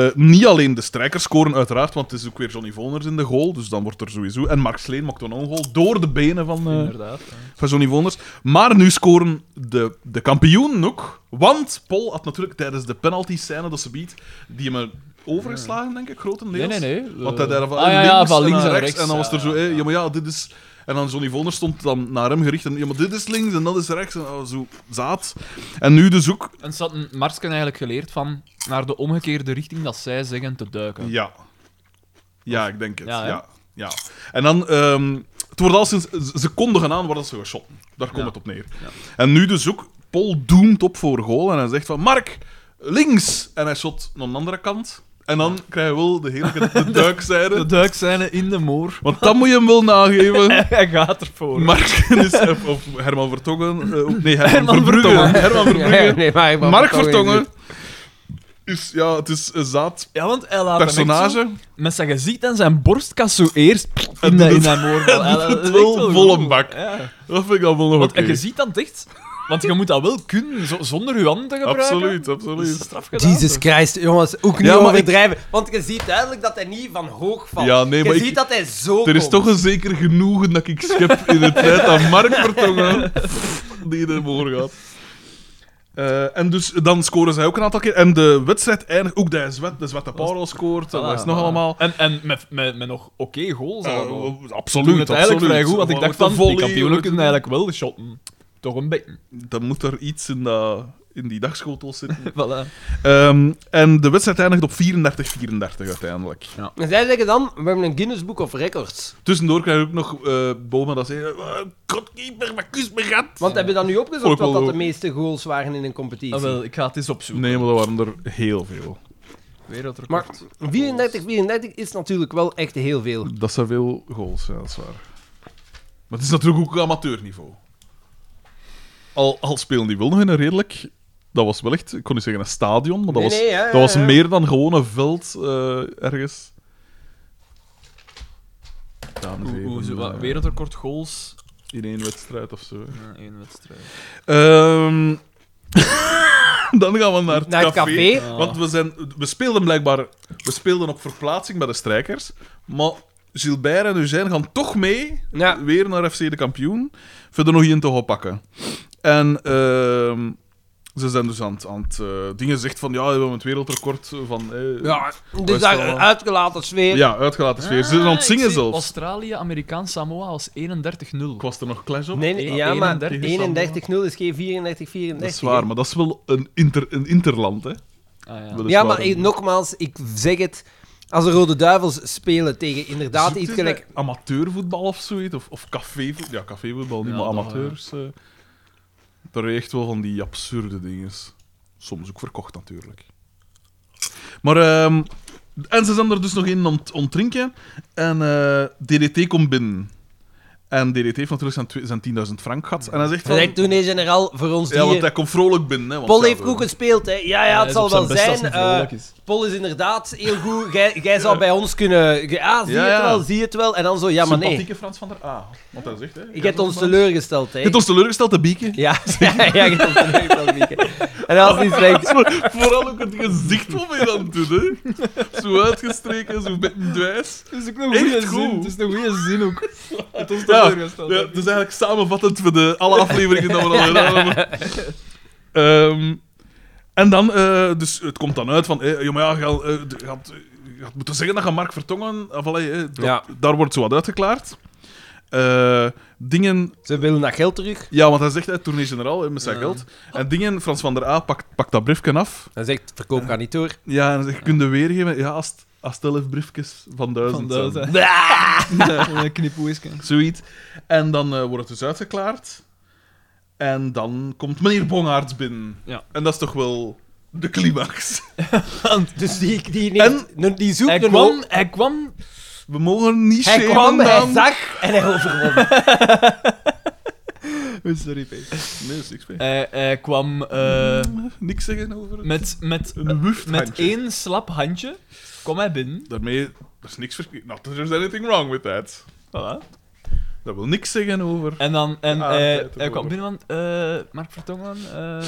eh, niet alleen de strijkers scoren, uiteraard, want het is ook weer Johnny Voners in de goal, dus dan wordt er sowieso... En Mark Sleen maakt dan ook een goal door de benen van... eh,
Inderdaad.
van Johnny Wonders. Maar nu scoren de, de kampioenen ook. Want Paul had natuurlijk tijdens de penalty-scène dat ze biedt, die hem overgeslagen, denk ik, grotendeels.
Nee, nee, nee.
Want hij daar van,
Ah, ja,
links,
ja, van links
en,
en
naar rechts.
rechts,
En dan was
ja,
er zo, hé, ja, maar ja, dit is... En dan Johnny Wonders stond dan naar hem gericht en ja, maar dit is links en dat is rechts. En oh, zo zaad. En nu dus ook...
En ze hadden Marsken eigenlijk geleerd van naar de omgekeerde richting dat zij zeggen te duiken.
Ja. Ja, ik denk het.
Ja,
Ja,
hè?
ja. En dan... ehm, Het wordt al sinds... Ze kondigen aan waar dat ze geschoten. Daar komt het op neer. En nu dus ook, Paul doemt op voor goal en hij zegt van, Mark, links! En hij shot naar de andere kant. En dan krijg je wel de hele de duikzijde.
De duikzijde in de moor.
Want dan moet je hem wel nageven.
Hij gaat ervoor.
Mark is, of, of Herman Vertongen. eh, of- nee, Herman,
Herman
Verbrugge.
Vertongen.
Herman Verbrugge.
Ja, nee, maar ik wou
Mark
Vertongen
Vertongen.
niet.
Is, ja, het is een zaad
ja, want hij laat hem echt zo-
personage.
met zijn gezicht en zijn borstkas zo eerst in,
doet
de, in
het-
dat moor. Ja, dat
doet het
is
wel
echt wel
vol een
goed.
bak.
Ja.
Dat vind ik dan wel nog
Want
oké.
en je ziet dan het echt... Want je moet dat wel kunnen, zo- zonder je handen te gebruiken.
Absoluut,
Dat is
absoluut.
straf gedaan,
Jesus
toch?
Christ, jongens, ook niet
Ja, maar
overdrijven. Want je ziet duidelijk dat hij niet van hoog valt.
Ja, nee, maar
je
ik-
ziet dat hij zo
Er is
komt.
toch een zeker genoegen dat ik schep in het feit dat Mark Vertongen die ervoor gaat. Eh, en dus dan scoren zij ook een aantal keer. En de wedstrijd eindigt ook. De Zwet, de Zwette Parel scoort. En
Voilà,
wat is het nog
voilà.
allemaal?
En, en met, met, met nog oké goals
Eh,
allemaal.
absoluut,
Toen
absoluut.
het eigenlijk vrij goed, want ik
Maar
dacht
met
van,
de
die
volley,
kampioenen
met-
kunnen eigenlijk wel shotten. Toch een beetje.
Dan moet er iets in, dat, in die dagschotel zitten.
Voilà.
Ehm, en de wedstrijd eindigt op 34-34 uiteindelijk.
En zij zeggen dan, we hebben een Guinness Book of Records.
Tussendoor krijg je ook nog eh Boma dat zei... eh, Godkeeper, maar kus me gat.
Want hebben we dan nu
Vond
opgezocht
ik wel
wat dat
goed.
de meeste goals waren in een competitie?
Ah, wel, ik ga het eens opzoeken.
Nee, maar er waren er heel veel.
Maar
Wereldrecord.
34, 34 is natuurlijk wel echt heel veel.
Dat zijn veel goals, ja, dat is waar. Maar het is natuurlijk ook amateurniveau. Al, al spelen die wel nog in een redelijk... Dat was wel echt, ik kon niet zeggen een stadion, maar dat,
Nee,
was,
nee, ja, ja,
dat was
ja.
meer dan gewoon een veld eh, ergens. Dames en
Hoe- hoe-
heren,
zo- wat,
eh,
Wereldrecord goals
in één wedstrijd of zo.
na één wedstrijd.
Ehm, dan gaan we naar het
Naar
café.
het café.
Ah.
Want we, zijn, we speelden blijkbaar we speelden op verplaatsing bij de strijkers. Maar Gilbert en Eugène gaan toch mee
Ja.
weer naar FC de kampioen. Verder nog in te oppakken. En ehm, ze zijn dus aan het, aan het eh, dingen zegt van ja, we hebben het wereldrecord van. eh,
Ja,
is
dus daar
wel-
een uitgelaten sfeer.
ja, uitgelaten sfeer. Ze zijn aan het
Ah, ik
zingen
zie
zelfs.
Australië, Amerikaans Samoa was 31-0.
Ik was er nog clash op.
Nee, nee,
Ja,
ja, maar
31
is dan-
31-0 is geen 34, 34.
dat is waar, maar dat is wel een, inter, een interland, hè?
Ah, ja.
Dat is
Ja,
waar,
maar
een-
ik- nogmaals, ik zeg het. Als de Rode Duivels spelen tegen inderdaad
Zoekt
iets
eens
gelijk...
bij Amateurvoetbal of zoiets, of, of cafévoetbal. Ja, cafévoetbal, niet
Ja,
maar
dat,
amateurs. eh daar heb je echt wel van die absurde dingen. Soms ook verkocht, natuurlijk. Maar, ehm, en ze zijn er dus nog in om te ontdrinken. En eh, DDT komt binnen. En DDT heeft natuurlijk zijn, twee- zijn 10.000 frank gehad. En hij zegt van...
Gelijk toen nee, generaal voor ons
Ja, want
drieën.
hij komt vrolijk binnen. Hè, want
Paul
ja,
heeft
we-
goed gespeeld, hè. Ja, ja, het zal wel zijn. Eh, Paul is inderdaad heel goed. Jij, jij zou bij ons kunnen... ge- Ah, zie
Ja,
het
ja.
wel, zie het wel. En dan zo, ja, maar nee.
Sympathieke Frans van der A. Want hij zegt, hè...
Je hebt ons teleurgesteld, hè.
Je hebt ons teleurgesteld, de bieken.
Ja, ja, ja, je hebt ons teleurgesteld, Mieke. En dat was niet slecht.
Maar Vooral ook het gezicht wat mij dan doet, hè. Zo uitgestreken, zo met een dwijs.
Het is ook een
Echt
goede
goed.
zin. Het is een goede zin ook. Het was
Ja,
teleurgesteld.
ja, het is eigenlijk samenvattend voor de, alle afleveringen die we al gedaan hebben. Ehm, en dan, eh, dus het komt dan uit van... eh, ja, maar ja, je had, eh, je had- je had moeten zeggen dat je Mark Vertongen... Of, allee, eh, dat-
Ja.
Daar wordt zo wat uitgeklaard. Eh, dingen
Ze willen dat geld terug.
Ja, want hij zegt, hè, tournee generaal, hè, met zijn
Ja.
geld. En dingen, Frans van der A pakt, pakt dat briefje af.
Dan zegt, verkoop gaat niet door.
Ja, en hij zegt, kun je weergeven? Ja, als, het- als het elf briefjes van duizend,
Van
zijn.
duizend. Een knipoeisken.
Zoiets. En dan eh, wordt het dus uitgeklaard. En dan komt meneer Bongaerts binnen.
Ja.
En dat is toch wel de climax.
Dus die, die, neemt- die zoekt
Hij
een
kwam, hij kwam
We mogen niet
Hij
shamen
kwam, hij
dan.
zag en hij overwon.
Oh, Sorry, Peter.
Nee, dus dat is niks mee.
Hij, hij kwam eh,
Niks zeggen over het.
met, met,
Een wufthandje.
met één slap handje. Kwam hij binnen.
Daarmee, er is niks verkeerd. Not that there's anything wrong with that.
Voilà.
Dat wil niks zeggen over...
En, dan, en
Ah,
eh,
oké,
hij
toch
kwam binnen van... eh, Mark Vertongen, eh,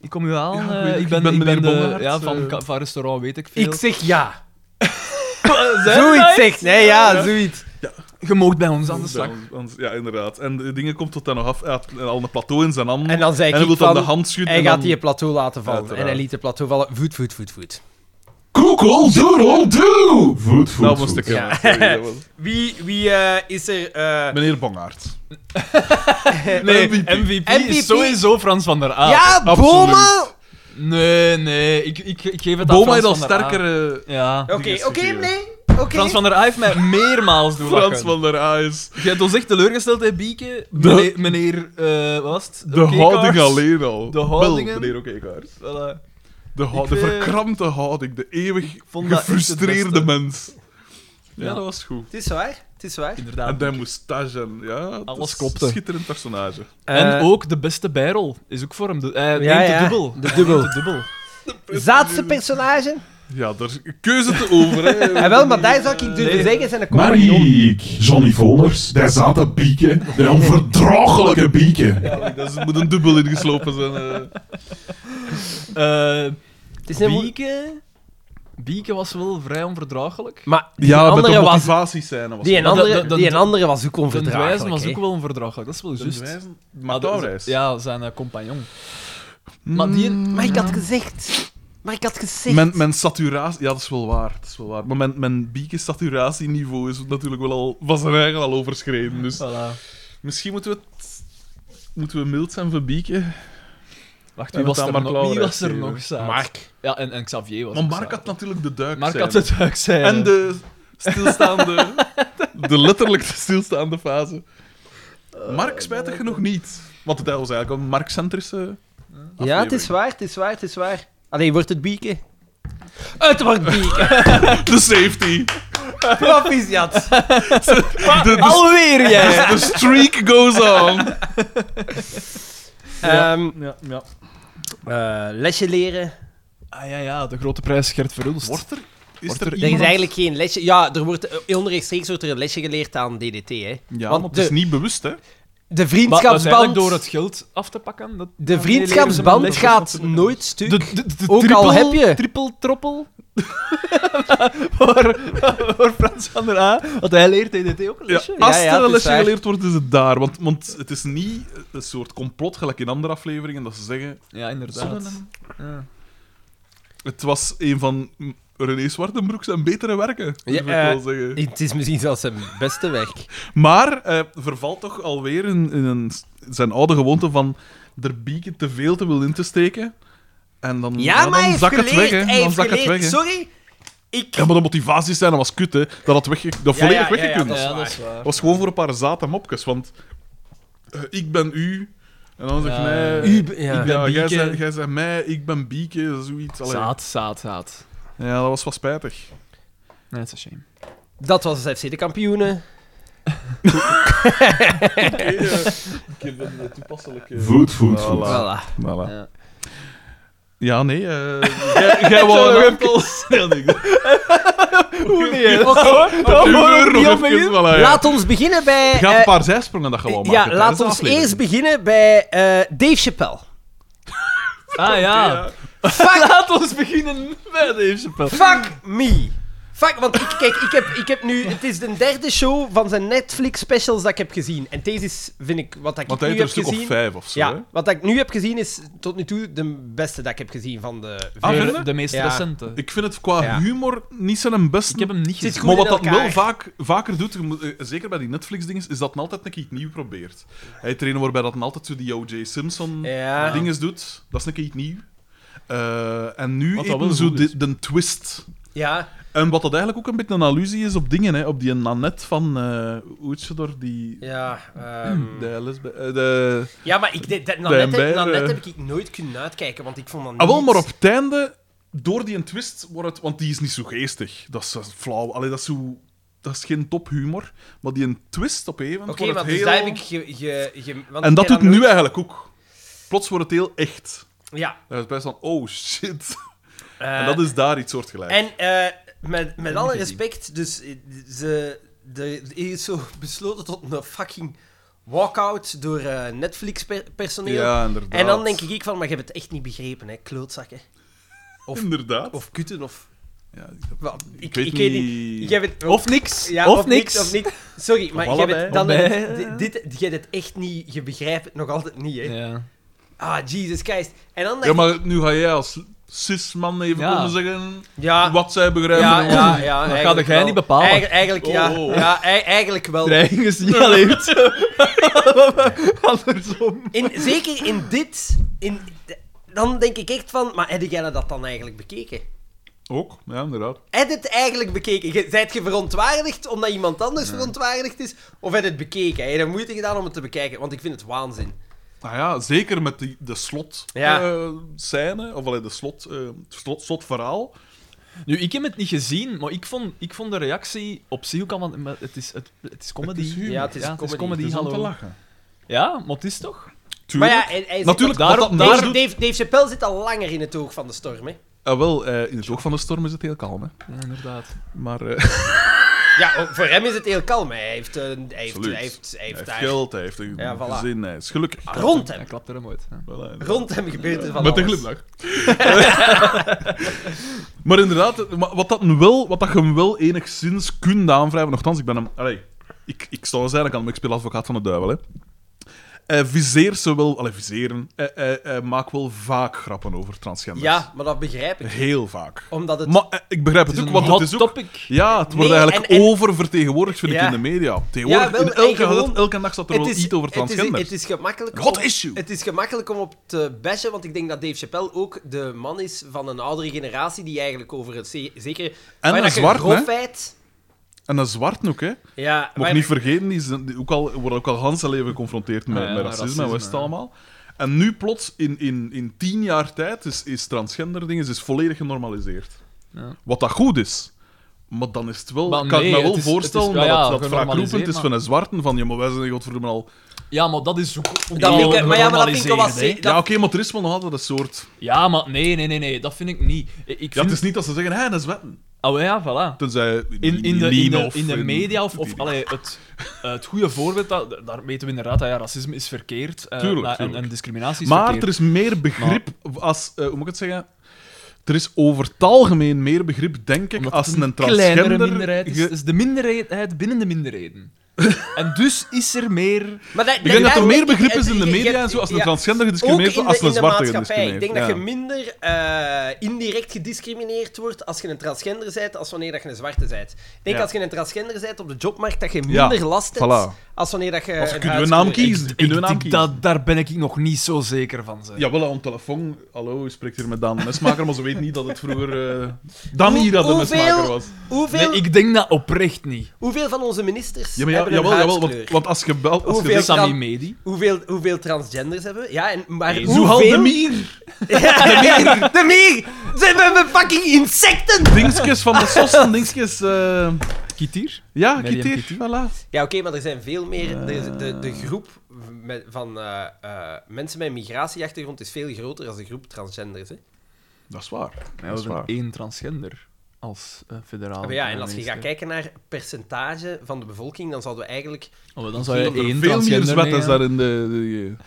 ik kom u halen.
Ja,
eh,
goeiedag,
ik ben,
ik ben
ik ben
meneer
de,
Bongaerts,
ja, van,
eh.
ka- van restaurant weet ik veel.
Ik zeg ja.
Zijn
Zoiets
wij?
zegt, nee, ja, zoiets.
Je moogt bij ons aan de slag.
Anders- anders- Ja, inderdaad. En de dingen komt tot dan nog af. Hij had al een plateau in zijn hand.
En dan zei
En hij
ik
wil dan de
van,
hand schudden.
hij
en
gaat
dan-
die plateau laten vallen.
Uiteraard.
En hij liet de plateau vallen. Voet, voet, voet, voet.
Koekel, doodle, doe! Voet, voet,
Dat Nou, moest ik
voet.
Ja.
hebben. Sorry, dat was-
Wie, wie eh, is er... eh,
Meneer Bongaert.
Nee,
MVP.
MVP,
MVP.
is sowieso Frans van der A.
ja,
absoluut.
Boma!
Nee, nee, ik, ik, ik geef het aan
Boma
Frans
heeft al
van der A.
sterkere...
Ja.
Oké,
Die is
oké,
gegeven.
nee. oké.
Frans van der Aa heeft mij meermaals doen
Frans
lachen.
van der Aes.
Jij hebt ons echt teleurgesteld, hè, Bieke?
De-
Meneer, meneer eh, wat was het?
De
Oké,
houding
Kaars.
alleen al.
De houdingen.
Wel, meneer Oké-kaars.
Voilà.
De, hou-
Ik
de
vind-
verkrampte houding. De eeuwig
vond dat echt het
gefrustreerde
beste.
mens. Ja,
Ja.
dat was goed.
Het is waar, het is waar.
Inderdaad.
En die moustache en... Ja, het
Alles
is
klopte.
Een schitterend personage.
En
Eh,
ook de beste bijrol is ook voor hem. De, hij
Ja,
neemt
ja,
de dubbel.
de dubbel.
Neemt de dubbel.
Zaatste personage?
Ja, daar is een keuze te over, hè.
En wel, maar daar zou ik durven
Nee.
zeggen, zijn de compagnon.
Mariek, Johnny Voners, daar zaten bieken, de onverdraaglijke bieken.
Dat is- er moet een dubbel ingeslopen zijn. eh.
Eh,
Het is een moe-
Bieke... Bieke was wel vrij onverdraaglijk.
Maar die
Ja, met
andere
de
was...
motivatiescène was
Die een
Maar dat-
andere,
dat- dat-
die een andere was ook
Den Dwijzen
onverdraaglijk.
was
hè.
ook wel onverdraaglijk, dat is wel juist.
Maar
dat-
Touwreis.
Ja, zijn eh, compagnon. Maar die...
Mm.
Maar ik had gezegd... Maar ik had gezegd...
Mijn, mijn saturatie... Ja, dat is wel waar. Dat is wel waar. Maar mijn, mijn bieke saturatieniveau is natuurlijk wel al... Was er eigenlijk al overschreden, dus...
Voilà.
Misschien moeten we... het- Moeten we mild zijn voor Bieke?
Wacht,
Ja,
wie was
dat
er,
Mark
nog, wie
Laurens
was er
geven.
nog zaad?
Mark.
Ja, en, en Xavier was
Maar
ook
Mark
zaad.
had natuurlijk de duik
Mark
zijn.
had het ook zijn.
En de stilstaande... de letterlijk stilstaande fase.
Eh,
Mark spijtig genoeg niet. Want het was eigenlijk een Mark-centrische...
Ja, het is waar, het is waar, het is waar. Allee, wordt het bieken? Het wordt bieken!
De safety.
Proficiat!
De, de,
Alweer jij!
de streak goes on.
Ehm,
Ja, ja.
eh, lesje leren.
Ah ja, ja, de grote prijs Gert Verhulst.
Wordt er... Is
Wordt
er,
er-
Er is
iemand...
eigenlijk geen lesje... Ja, er wordt, eh, onrechtstreeks wordt er een lesje geleerd aan DDT, hè. Want
Ja, want het
de-
is niet bewust, hè.
De
Maar uiteindelijk
vriendschapsband...
door het geld af te pakken... Dat...
De
Ja, nee,
vriendschapsband
nee, nee,
gaat
dat is-
nooit stuk.
De, de, de
Ook al heb je-
Triple troppel. voor, voor Frans van der A. Want hij leert DDT ook een
Ja,
lesje.
als
Ja, ja,
er
het
een
is
lesje
waar.
geleerd wordt, is het daar. Want, want het is niet een soort complot, gelijk in andere afleveringen, dat ze zeggen...
Ja, inderdaad.
Zonnen-
Ja.
Het was een van René Zwartenbroek zijn betere werken,
Ja,
zou ik
eh,
wel zeggen.
Het is misschien zelfs zijn beste werk.
Maar eh vervalt toch alweer in, in een, zijn oude gewoonte van er bieken te veel te willen in te steken. En dan,
Ja, maar hij
dan
heeft
zak
geleerd.
het weg, hè.
hij
Dan
heeft
zak het
geleerd.
weg, hè.
Sorry, ik...
Ja, maar de motivaties zijn, dat was kut, hè. Dat had wegge- dat volledig weggekund.
dat is
Ja,
waar.
dat is waar.
Dat was gewoon voor een paar zate mopjes, want eh, ik ben u... En dan zegt
Ja.
mij...
U b- ja.
ik ben
Ik ben
jij,
Bieke.
zei, jij zei mij, ik ben Bieke, zoiets. Allee.
Zaad, zaad, zaad.
Ja, dat was wel spijtig.
Nee, het is een shame.
Dat was het FC de kampioenen.
ik eh, heb een toepasselijke...
Voet, voet, voet.
Voilà.
Voilà.
Ja.
Ja, nee. eh, jij- Jij wou een aantal... Ja, nee, ik-
Hoe niet?
Doe
hoor
maar nog
ik niet op
even,
mijn
voilà, ja.
Laat ons beginnen bij...
Je gaat
eh,
een paar zijsprongen dat gewoon
ja,
maken.
laat ons eerst beginnen bij eh, Dave Chappelle.
Ah ja.
Fuck,
Laat ons beginnen met Dave Chappelle.
fuck
Hmm.
me. Fuck, want ik, kijk, ik heb, ik heb nu... Het is de derde show van zijn Netflix-specials dat ik heb gezien. En deze is, vind ik, wat dat
Want
ik
hij
nu
heeft er
heb
een stuk of
gezien...
vijf of zo. hè?
Ja, wat dat ik nu heb gezien is tot nu toe de beste dat ik heb gezien van de...
Ah,
vele.
vind je?
De, de meest
Ja.
recente. Ik,
Ik vind het qua
Ja.
humor niet zijn best.
heb hem niet
Zit
gezien.
goed
maar
in
wat dat
elkaar.
wel vaak, vaker doet, je moet- eh, zeker bij die Netflix-dingen, is dat hij altijd een keer iets nieuw probeert. Hij trainen waarbij dat hij altijd zo die O.J.
Ja.
Simpson-dinges doet. Dat is een keer iets nieuw. Eh, en nu
Wat dat
even
wel
zo
goed is.
de, de twist.
Ja,
En wat dat eigenlijk ook een beetje een allusie is op dingen, hè, op die Nanette van eh hoe heet ze daar, die...
ja. ehm,
De lesbe- eh, de...
Ja, maar ik, dit- dat, nou,
Bij
net,
een
heb- nou,
bij-
net heb ik nooit kunnen uitkijken, want ik vond dat niet...
Ah, wel, maar op het einde, door die twist, wordt het, want die is niet zo geestig. Dat is eh, flauw. Allee, dat is zo... Dat is geen tophumor. Maar die een twist op even
Oké, maar
wordt het
dus
heel...
daar heb ik... Ge, ge, ge- want
En
ik
dat
heb
doet nu
nooit-
eigenlijk ook. Plots wordt het heel echt.
Ja.
Daar is het bij van, oh shit.
eh,
En dat is daar iets soortgelijks.
En eh, met, met alle
gezien.
respect, dus eh, ze, de, er is zo besloten tot een fucking walkout door eh, Netflix-personeel.
Ja, inderdaad.
en dan denk ik van, maar je hebt het echt niet begrepen, hè, klootzakken.
Of, inderdaad.
Of kutten, of...
ja,
Wel, ik,
ik weet niet.
Jij bent-
Of niks.
Ja,
of, niks.
Of niks. Sorry, maar jij
allebei.
bent dan...
Of
Dit,
bij-
dit, jij dit echt niet... Je begrijpt het nog altijd niet, hè.
Ja.
Ah, Jesus Christ. En dan dacht
ja, maar nu ga jij als cisman even
Ja.
komen zeggen
ik- Ja,
wat zij begrijpen.
ja,
en
ja,
wat
ja,
ze-
Dat
eigenlijk
ga dat jij
wel.
niet bepalen.
Eigen- eigenlijk, ja.
Oh, oh.
Ja, ei- eigenlijk wel.
Dreiging is niet alleen het. Andersom.
In, zeker in dit... In, dan denk ik echt van... Maar heb jij dat dan eigenlijk bekeken?
Ook, ja, inderdaad.
Heb je het eigenlijk bekeken? Je- Zijt je verontwaardigd omdat iemand anders verontwaardigd is? Of heb je het bekeken? Heb je er moeite gedaan om het te bekijken? Want ik vind het waanzin.
Nou ja, zeker met die, de slot
Ja.
eh, scène, of allee, de slot, eh, slot, slotverhaal.
Nu, ik heb het niet gezien, maar ik vond, ik vond de reactie op zich ook allemaal... maar Het is, het, het is comedy.
Het is humor.
Ja, het is comedy.
Het is om te
hallo.
lachen.
Ja, maar het is toch?
Maar
Tuurlijk.
ja, hij, hij zit
Natuurlijk,
al-
daarom-
wat dat-
daar
Dave,
daar
Dave,
doet-
Dave Chappelle zit al langer in het oog van de storm, hè?
Ah, wel, eh, in het oog van de storm is het heel kalm, hè.
Ja, inderdaad.
Maar eh,
Ja, ook voor hem is het heel kalm. Hè. Hij heeft, eh, hij heeft,
Absoluut.
hij heeft, hij
hij
heeft
heeft
daar-
geld, hij heeft een
Ja, voilà.
gezin, hij is gelukkig.
Rond
Hij
hem.
klapt er hem ooit. Ja.
Voilà,
Rond hem gebeurt er van
Met een
alles.
glimlach. maar inderdaad, maar wat, dat hem wel, wat dat je hem wel enigszins kunt aanwrijven, nogthans, ik ben hem... Allee, ik, ik sta er eigenlijk aan, maar ik speel advocaat van de duivel, hè. Hij viseert ze wel... Allee, viseren. Hij, hij- hij maakt wel vaak grappen over transgenders.
Ja, Oh, maar dat begrijp ik.
Heel vaak.
Omdat het...
Maar eh, ik begrijp het,
Het is
ook,
een
want
hot
het is ook...
topic.
Ja, het wordt
Nee,
eigenlijk
en- en-
oververtegenwoordigd, vind
Ja.
ik, in de media. Tegenwoordig,
Ja, wel,
in elke,
en gewoon-
elke nacht staat er wel iets over
het, is,
transgenders.
het is gemakkelijk.
Hot
om-
issue.
Het is gemakkelijk om op te bashen, want ik denk dat Dave Chappelle ook de man is van een oudere generatie die eigenlijk over het ze- zekere. waar
een
dat je
zwart, hè?
grofheid.
En een zwart ook, hè.
Ja,
Mag
waar-
niet vergeten, die, zijn- die ook al, worden ook al hans leven geconfronteerd met,
Ah ja,
met
met
racisme, en
racisme,
wat is het
ja.
allemaal. En nu plots, in, in, in tien jaar tijd, is, is transgender dingen is volledig genormaliseerd.
Ja.
Wat dat goed is. Maar dan is het wel...
Maar
kan
nee,
ik me wel
het is-
voorstellen
het is- ja, ja,
dat dat, dat vaak
genormaliseerd,
roepend is
maar-
van een zwarte, van ja, maar wij zijn godverdomme al...
Ja, maar dat is ook... ook
Dat
al
vind ik- maar ja, maar dat vind ik wel wat
genormaliseerd, hè.
ze-
Ja,
Dat-
oké, maar er is wel nog altijd een soort...
Ja, maar nee, nee, nee, nee, dat vind ik niet. Ik vind...
Ja, het is niet dat ze zeggen, hé, dat is wetten.
Oh ja, voilà.
Tenzij...
In, in, de, in,
Nino
de,
of
in de media of, of
die-
allee, het, eh, het goede voorbeeld, dat, daar weten we inderdaad dat ja, racisme is verkeerd eh,
Tuurlijk,
maar-
tuurlijk.
En, en discriminatie is
Maar
verkeerd.
er is meer begrip als... eh, hoe moet ik het zeggen? Er is over het algemeen meer begrip, denk ik,
Omdat
als
het
een
kleinere
transgender...
minderheid is,
ge-
Dus-
is de minderheid binnen de minderheden. en dus is er meer...
Maar dat,
Ik denk dat er meer begrip is in de
je- je-
media en zo als een
ja,
transgender
Ook
gediscrimineerd
in
wordt
de,
als
in
een
de
zwarte
maatschappij. Ik
gediscrimineerd.
denk dat je minder
Ja.
eh, indirect gediscrimineerd wordt als je een transgender bent, als wanneer dat je een zwarte bent. Ik denk
Ja.
als je een transgender bent op de jobmarkt, dat je
Ja,
minder last hebt
voilà.
als wanneer dat je...
Als je
een
kunt je
huidskleur
naam
hebt.
kiezen. Kunnen we een naam
Ik,
kiezen?
dat, daar ben ik nog niet zo zeker van. Zeg.
Jawel, aan de telefoon. Hallo, u spreekt hier met Daan de Mesmaker, maar ze weet niet dat het vroeger eh Dan
Hoe-
hier dat de
hoeveel-
Mesmaker was.
Hoeveel,
Nee, ik denk dat oprecht niet.
hoeveel van onze ministers
Ja, maar ja,
hebben een
jawel, jawel,
huidskleur?
want, want als je belt... Als je
Hoeveel-
zegt,
Dus Sammy
kan-
Medi.
Hoeveel, hoeveel transgenders hebben we? Ja, en, maar
Nee,
Zoek al
hoeveel...
de mier!
Ja, de mier! Ze hebben fucking insecten!
Dingetjes van de sossen, dingetjes... eh,
Kitier.
Ja,
Miriam
kitier,
Kitty.
voilà.
Ja, oké, maar er zijn veel
Ah.
meer. er is- de, de groep met, van eh, eh, mensen met een migratieachtergrond is veel groter dan de groep transgenders. Hè?
Oh, Dat is waar.
We
dat is
hebben
waar.
één transgender als eh federaal
Maar ja, en als je
minister.
gaat kijken naar percentage van de bevolking, dan zouden we eigenlijk.
Oh, maar dan zou je
Veel
één
Veel meer
transgender
zwet is
nemen.
daar in de...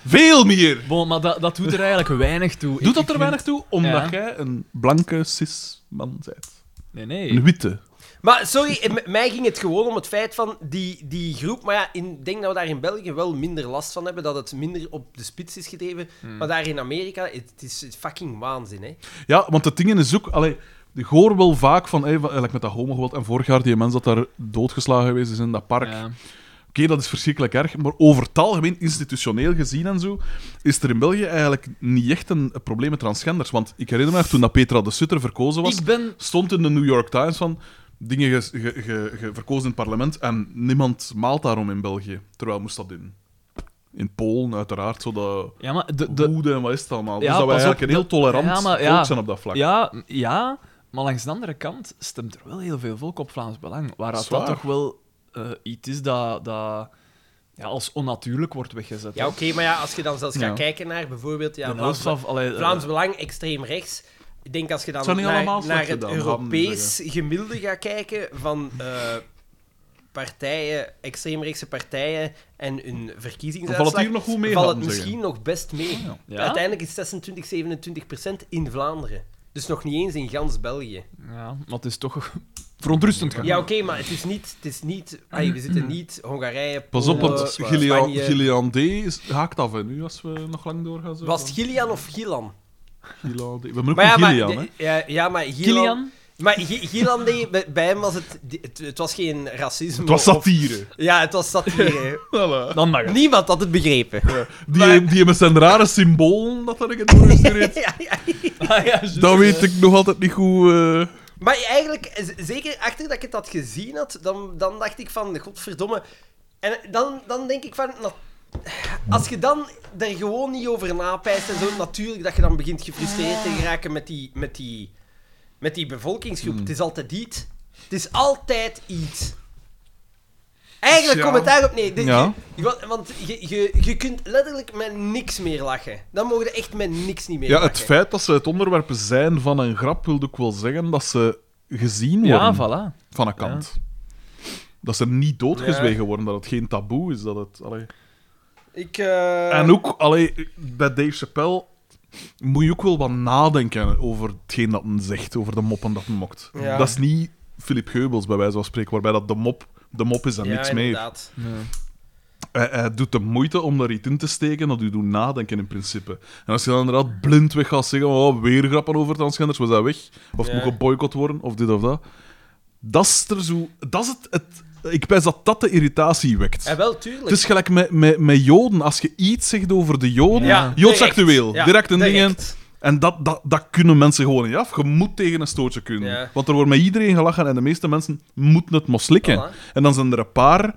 de- Veel meer!
Bon, maar dat, dat doet er eigenlijk weinig toe. Ik-
Doet dat
ik
er
vind-
weinig toe? Omdat
Ja.
jij een blanke cis-man bent.
Nee, nee.
Een witte.
Maar sorry, eh, m- mij ging het gewoon om het feit van die, die groep. Maar ja, ik denk dat we daar in België wel minder last van hebben, dat het minder op de spits is gedreven. Maar daar in Amerika, het, het is fucking waanzin. Hè?
Ja, want het ding in de zoek... Allee, ik hoor wel vaak van... Hey, van- like met dat homogeweld en vorig jaar die mens dat daar doodgeslagen geweest is in dat park.
Ja.
Oké, dat is verschrikkelijk erg, maar over het algemeen, institutioneel gezien en zo, is er in België eigenlijk niet echt een, een probleem met transgenders. Want ik herinner me nog, toen dat Petra de Sutter verkozen was,
Ik ben...
stond in de New York Times van dingen ge- ge- ge- ge- verkozen in het parlement en niemand maalt daarom in België. Terwijl moest dat in, in Polen uiteraard, zo dat
Ja, maar de... de...
woede en wat is het allemaal.
Ja,
dus dat wij
pas op,
eigenlijk een heel
dat-
tolerant
ja, maar- ja.
volk zijn op dat vlak.
Ja, ja, maar langs de andere kant stemt er wel heel veel volk op Vlaams Belang. Waar dat,
Zwaar.
toch wel eh, iets is dat, dat ja, als onnatuurlijk wordt weggezet.
Ja,
hè.
oké, maar ja, als je dan zelfs
Ja.
gaat kijken naar bijvoorbeeld. Ja,
De
Vlaams
helft van- allee, eh,
Vlaams Belang, extreem rechts. Ik denk als je
Het zou
dan
niet
naar,
allemaal
naar
slecht
het
gedaan, laten
Europees gemiddelde gaat kijken van eh, partijen, extreemrechtse partijen en hun
Dan valt
verkiezingsuitslag,
het hier nog goed mee,
valt
laten
het
we zeggen.
misschien nog best mee.
Oh,
Ja?
Uiteindelijk is 26, 27 procent in Vlaanderen. Dus nog niet eens in gans België.
eh, Ja, maar het is toch verontrustend.
Ja, oké, maar het is niet... Het is niet ai, we zitten niet Hongarije,
Pas op,
Polen,
want Gillian,
Spanje.
Gillian D is- haakt af hè, nu, als we nog lang doorgaan. Zo.
Was het Gillian of Gilan?
Gillian D. We hebben ook
Maar ja,
een
maar,
Gillian, hè.
de- ja, ja, maar Gilan...
Kilian?
Maar G- Gielan, nee, bij- bij hem was het, di- het... Het was geen racisme.
Het was
of-
satire.
Ja, het was satire.
Voilà.
Dan mag het.
Niemand had het begrepen.
Die, die met zijn rare symbool dat er in het doorgestuurd.
ja, ja.
Ah, ja, juist.
Dat weet ik nog altijd niet goed. eh,
Maar eigenlijk, z- zeker achter dat ik het had gezien had, dan, dan dacht ik van, godverdomme. En dan, dan denk ik van, na- als je dan er gewoon niet over napijst en zo, natuurlijk dat je dan begint gefrustreerd te geraken met die, met die, met die bevolkingsgroep.
Hmm.
Het is altijd iets. Het is altijd iets. Eigenlijk
Ja.
komt het daarop neer. Dit-
Ja.
je- want want je, je, je kunt letterlijk met niks meer lachen. Dan mogen je echt met niks niet meer
Ja,
lachen.
het feit dat ze het onderwerp zijn van een grap wil ook wel zeggen dat ze gezien worden
Ja, voilà.
van een kant. Dat ze niet doodgezwegen worden, dat het geen taboe is. Dat het, allee.
Ik, eh,
En ook, allee, bij Dave Chappelle moet je ook wel wat nadenken over hetgeen dat men zegt, over de moppen dat men mokt.
Ja.
Dat is niet Philip Geubels, bij wijze van spreken, waarbij dat de mop de mop is en
ja,
niks meer.
inderdaad.
Hij, hij doet de moeite om daar iets in te steken dat u doet nadenken in principe. En als je dan inderdaad blindweg gaat zeggen, oh, weer grappen over transgenders, was dat weg? Of het
Ja.
moet geboycott worden, of dit of dat. Dat is er zo... Dat is het... het ik pijs dat dat de irritatie wekt.
En wel, tuurlijk.
Het is gelijk met, met, met Joden. Als je iets zegt over de Joden,
Ja,
Joods
direct.
actueel,
Ja,
direct een dingen.
direct.
En dat, dat, dat kunnen mensen gewoon niet af. Je moet tegen een stootje kunnen.
Ja.
Want er wordt met iedereen gelachen en de meeste mensen moeten het moslikken.
Voilà.
En dan zijn er een paar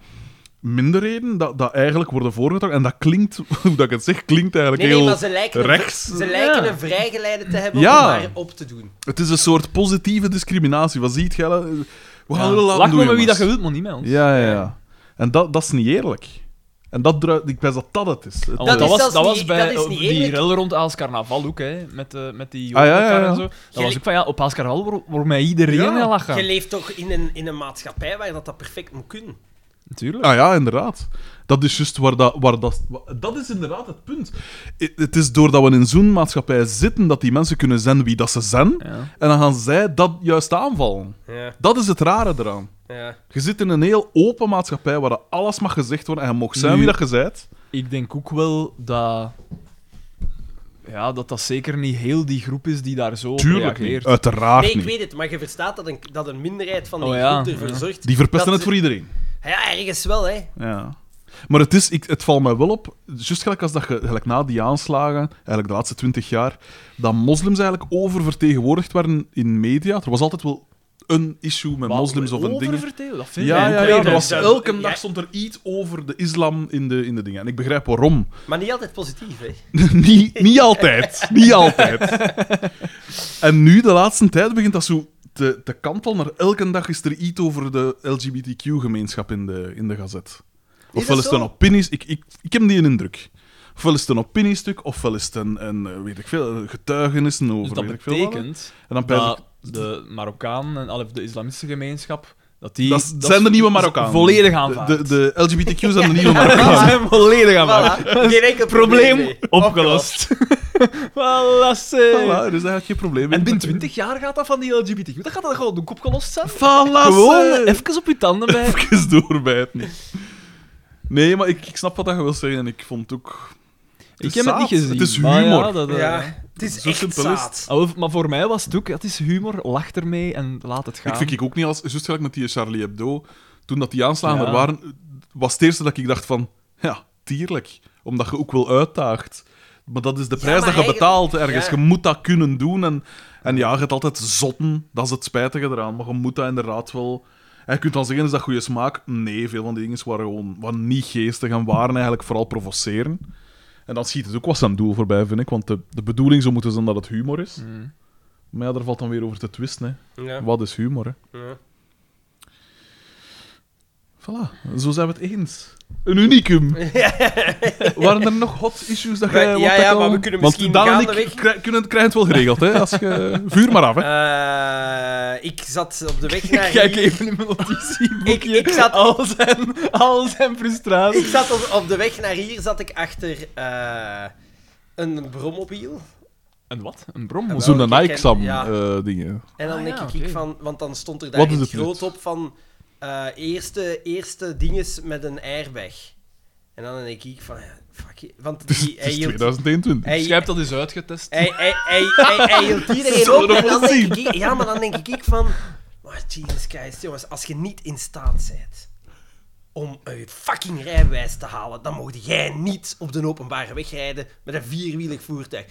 minderheden dat, dat eigenlijk worden voorgetrokken. En dat klinkt, hoe dat ik het zeg, klinkt eigenlijk
Nee, nee,
heel
maar ze lijken, een-
rechts.
ze lijken
Ja.
een vrijgeleide te hebben
Ja.
om daar op te doen.
Het is een soort positieve discriminatie. Wat ziet je? hè? We gaan
Ja.
er laten
Lach
doen,
maar met wie
jongens.
dat je wilt, maar niet met ons.
Ja, ja, ja. En dat, dat is niet eerlijk. En dat druipt, ik wijs dat dat het is. Het-
Dat
Oh, dat,
is
was,
zelfs
dat
niet-
was bij
dat is niet
die
eerlijk.
rel rond Aals Carnaval ook, hè, met, eh, met die
Ah, ja,
jongen
ja, ja.
en zo. Dat was
Jullie-
ook van, ja, op Aals Carnaval wordt wordt mij iedereen
Ja.
aan lachen.
Je leeft toch in een, in een maatschappij waar dat, dat perfect moet kunnen.
Natuurlijk.
Ah ja, inderdaad. Dat is juist waar dat... Waar dat, wa- dat is inderdaad het punt. I- Het is doordat we in zo'n maatschappij zitten dat die mensen kunnen zijn wie dat ze zijn.
Ja.
En dan gaan zij dat juist aanvallen.
Ja,
Dat is het rare eraan.
ja.
Je zit in een heel open maatschappij waar dat alles mag gezegd worden en je mag zijn
Nu-
wie dat je bent.
Ik denk ook wel dat... Ja, dat dat zeker niet heel die groep is die daar zo op
Tuurlijk
reageert.
niet. Uiteraard
Nee, ik
niet.
weet het, maar je verstaat dat een, dat een minderheid van die
Oh, ja.
groep ervoor
Ja.
zorgt.
Die verpesten
dat
het voor iedereen.
ze- Ja, ergens wel, hè.
Ja. Maar het, is, ik, het valt mij wel op, juist gelijk als dat je gelijk na die aanslagen, eigenlijk de laatste twintig jaar, dat moslims eigenlijk oververtegenwoordigd waren in media. Er was altijd wel een issue met
Wat,
moslims of een ding.
oververteld? Dat vind
Ja,
ik
ja,
ook
ja,
niet.
er was,
Ja.
elke dag stond er iets over de islam in de, in de dingen. En ik begrijp waarom.
Maar niet altijd positief, hè.
niet, niet altijd. Niet altijd. En nu, de laatste tijd, begint dat zo te, te kantelen. Maar elke dag is er iets over de LGBTQ-gemeenschap in de, in de gazet. Ofwel is het
zo?
een opinie... Ik, ik, ik heb die indruk. Ofwel is het een opiniestuk, ofwel is het een, een eh, weet ik veel, een getuigenissen over
Dus dat
weet ik veel wat.
betekent
En dan pijs ik-
dat de Marokkaan en allee, de islamitische gemeenschap... Dat die...
dat, zijn de nieuwe Marokkanen.
Volledig
aan.
aanvaard.
De, de, de LGBTQ zijn de nieuwe
Die
Marokkanen.
zijn volledig
Ah,
aanvaard.
Voilà. Geen enkel probleem.
Probleem
mee.
opgelost. voilà,
Voilà, dus
zeg.
er is eigenlijk geen probleem.
En binnen 20 jaar gaat dat van die LGBTQ. Dat gaat dat gewoon de kop gelost zijn.
Voilà,
Gewoon
zeg.
even op je tanden bij.
even doorbijten. Nee, maar ik, ik snap wat dat je wil zeggen en ik vond het ook... Het
Ik
is
heb het niet
zaad.
gezien.
Het is
maar
humor.
ja, dat, eh,
Ja, het is
Zo
echt
simpel is het.
zaad.
Ah, wel, Maar voor mij was het ook, het is humor, lach ermee en laat het gaan.
Ik vind ik ook niet als... Juist gelijk met die Charlie Hebdo. Toen dat die aanslagen
Ja.
er waren, was het eerste dat ik dacht van... Ja, tierlijk. Omdat je ook wel uitdaagt. Maar dat is de prijs
maar
dat je
eigenlijk-
betaalt ergens.
ja.
Je moet dat kunnen doen. En, en ja, je hebt altijd zotten. Dat is het spijtige eraan. Maar je moet dat inderdaad wel... En je kunt dan zeggen, is dat goede smaak? Nee, veel van die dingen waren gewoon waren niet geestig en waren eigenlijk vooral provoceren. En dan schiet het ook wat zijn doel voorbij, vind ik. Want de, de bedoeling zou moeten zijn dat het humor is.
Mm.
Maar ja, daar valt dan weer over te twisten. Hè.
Ja.
Wat is humor, hè?
Ja.
Voilà, zo zijn we het eens. Een unicum. Waren er nog hot issues dat jij...
Ja,
wat
ja,
dat kan-
maar we kunnen
Want
misschien
Daan en ik
gaandeweg-
krij- kunnen, krijgen het wel geregeld, hè. Als je... Vuur maar af, hè.
Eh, ik zat op de weg naar
Kijk
hier.
even in mijn notitieboekje.
Ik- ik zat-
al, zijn, al zijn frustraties.
Ik zat op, op de weg naar hier zat ik achter eh, een brommobiel.
Een wat? Een brom?
wel,
Zo'n eh,
ik ken- ja.
Nike-Sam-dingen.
En dan
Ah,
denk
ja,
ik,
oké.
van, want dan stond er
Wat
daar
is
in
het
het groot
nut?
op van eh, eerste, eerste dinges met een airbag. En dan denk ik van, ja, fuck je. Want
het is,
die,
het
hij,
is
hield,
2021.
hij,
Ik heb dat eens uitgetest.
hij, hij, hij, hij- hij hield iedereen
Zullen
op.
we
En dan
wel
denk ik, ja, maar dan denk ik van, maar Jesus Christ, jongens, als je niet in staat bent om een fucking rijbewijs te halen, dan mocht jij niet op de openbare weg rijden met een vierwielig voertuig.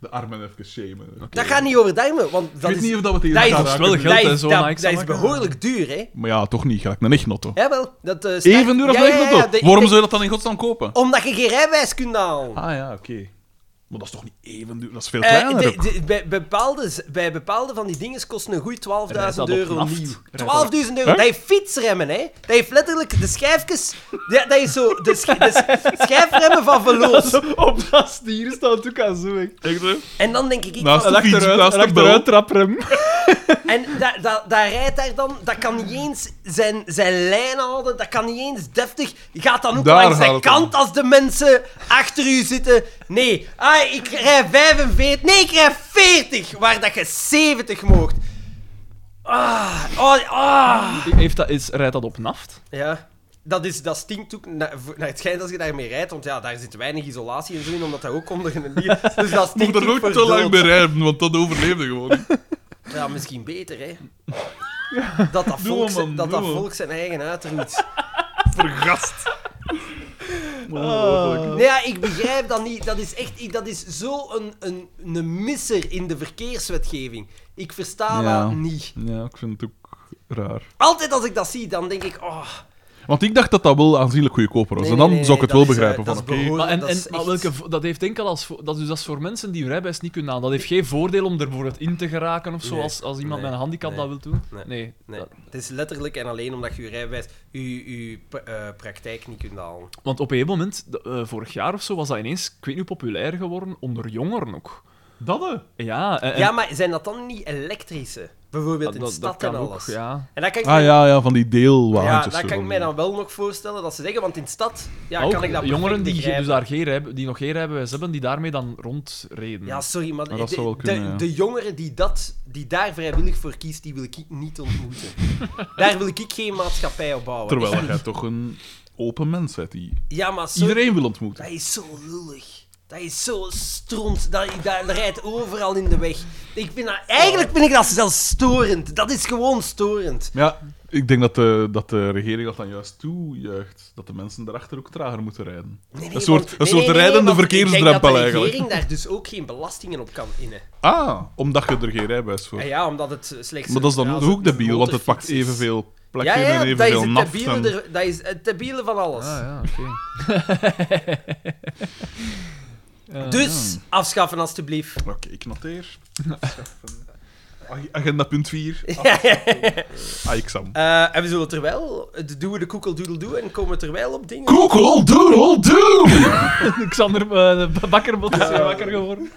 de armen even shamen.
Dat gaat niet over darmen, want
Ik
dat
weet
is...
niet of dat we tegen
dat
elkaar
is-
dat is
raken.
wel geld
dat
en
is-
zo,
dat-
Mike,
dat is
Samaka.
behoorlijk duur, hè.
Maar ja, toch niet. Gelijk een echtnotto.
Jawel, dat... eh, start-
Even duur als
Ja,
een
ja, ja,
echtnotto.
de-
Waarom
de-
zou je dat dan in godsnaam kopen?
Omdat je geen rijbewijs kunt halen.
Ah ja, oké. Maar dat is toch niet even duur? Dat is veel
Eh,
kleiner.
de-
ook.
de- bij, bepaalde, z- bij bepaalde van die dingen kosten een goeie 12.000
Rijdt dat op
euro
naft?
nieuw. 12.000
Rijdt
euro.
Huh?
Dat heeft fietsremmen, hè? Dat heeft letterlijk de schijfjes. Ja, dat is zo. De, sch- de sch- schijfremmen van verloos.
Zo, op dat stier staat ook aan zo. Echt.
Echt, hè?
En dan denk ik. ik
Naast
van-
Een
de fiets,
achteruit,
naast
een
de bel.
achteruit traprem.
en dat da, da rijdt daar dan. Dat kan niet eens zijn, zijn lijn houden. Dat kan niet eens deftig. Je gaat dan ook
Daar
langs
gaat
de
het
kant als de mensen achter u zitten. Nee, ah, ik rij 45. Nee, ik rij 40. Waar dat je 70 moogt. Ah, oh, ah.
Heeft dat, is, rijdt dat op naft?
Ja, dat, is, dat stinkt ook naar, voor- naar het schijnt als je daarmee rijdt, want ja, daar zit weinig isolatie en zo in, omdat dat ook onder een dier... Dus dat
Moet
stinkt ook
er ook
voor
te lang
dood.
bij rijden, want dat overleefde gewoon. niet.
Ja, misschien beter, hè. Dat dat
Doe
volk,
hem,
zijn-
man,
dat dat
doe hem.
volk zijn eigen uitermoet.
Vergast.
Ah.
Nee, ja, ik begrijp dat niet. Dat is echt... ik- Dat is zo een, een, een misser in de verkeerswetgeving. Ik versta
Ja.
dat niet.
Ja, ik vind het ook raar.
Altijd als ik dat zie, dan denk ik... Oh,
Want ik dacht dat dat wel aanzienlijk goedkoper was.
nee,
en
nee,
dan
nee,
zou ik het
nee,
wel
dat is, eh,
begrijpen.
dat
van,
is
oké,
behoorlijk-
Maar, en,
dat
en,
is
maar
echt-
welke, vo- dat heeft enkel als... vo- Dat is, dus, dat is voor mensen die hun rijbewijs niet kunnen halen. Dat heeft geen voordeel om er bijvoorbeeld in te geraken of zo,
Nee,
als, als iemand
nee,
met een handicap
nee,
dat wil doen.
nee,
Nee.
Nee,
dat-
het is letterlijk en alleen omdat je je rijbewijs, je, je pra- eh, praktijk niet kunt halen.
want op een gegeven moment, de- eh, vorig jaar of zo, was dat ineens, ik weet niet, hoe populair geworden onder jongeren ook.
Dat hè?
Ja, en, Ah, en-
Ja, maar zijn dat dan niet elektrische? Bijvoorbeeld in de stad en alles.
ja.
En dat kan ik,
Ah
mij,
ja, ja, van die
ja,
deelwagentjes.
dat kan ik
van-
mij dan wel nog voorstellen dat ze zeggen, want in de stad ja,
Ook
kan ik dat
jongeren
perfect
die, ge-
begrijpen.
dus daar geen rijbe- die nog geen rijbewijs hebben, die daarmee dan rondreden.
Ja, sorry, maar,
Maar dat
de,
zou wel
de-
kunnen, ja.
de jongeren die, dat, die daar vrijwillig voor kiest, die wil ik niet ontmoeten. daar wil ik geen maatschappij op bouwen. Dus
Terwijl dat jij toch een open mens bent die
Ja, maar sorry,
iedereen wil ontmoeten.
dat is zo lullig. Dat is zo stront. Dat, dat, dat rijdt overal in de weg. Ik vind dat, eigenlijk vind ik dat zelfs storend. Dat is gewoon storend.
Maar ja, ik denk dat de, dat de regering dat dan juist toejuicht. Dat de mensen daarachter ook trager moeten rijden.
Nee, nee,
een soort,
want-
een
nee,
soort
nee, nee,
rijdende
want Ik
verkeersdrempel
denk dat de
eigenlijk.
regering daar dus ook geen belastingen op kan innen.
Ah, omdat je er geen rijbewijs voor
En ja, omdat het eh, slechts...
Maar dat is dan
ja,
ook
zo'n
ook debiel, want het pakt
motorfiets is.
evenveel plek
Ja,
in
ja,
en
dat is
evenveel
het
naft.
debiele,
en-
er- dat is het debiele van alles.
Ah, ja, oké. Eh,
Dus, afschaffen alstublieft.
Oké, ik noteer. Ag- Agenda punt Ah, 4. Aixam.
Eh, en we zullen het er wel... eh, Doen we de koekeldoedel doen en komen we het er wel op dingen?
Google Doodle Doo!
ja. Xander eh, de bakkerbot is weer wakker geworden.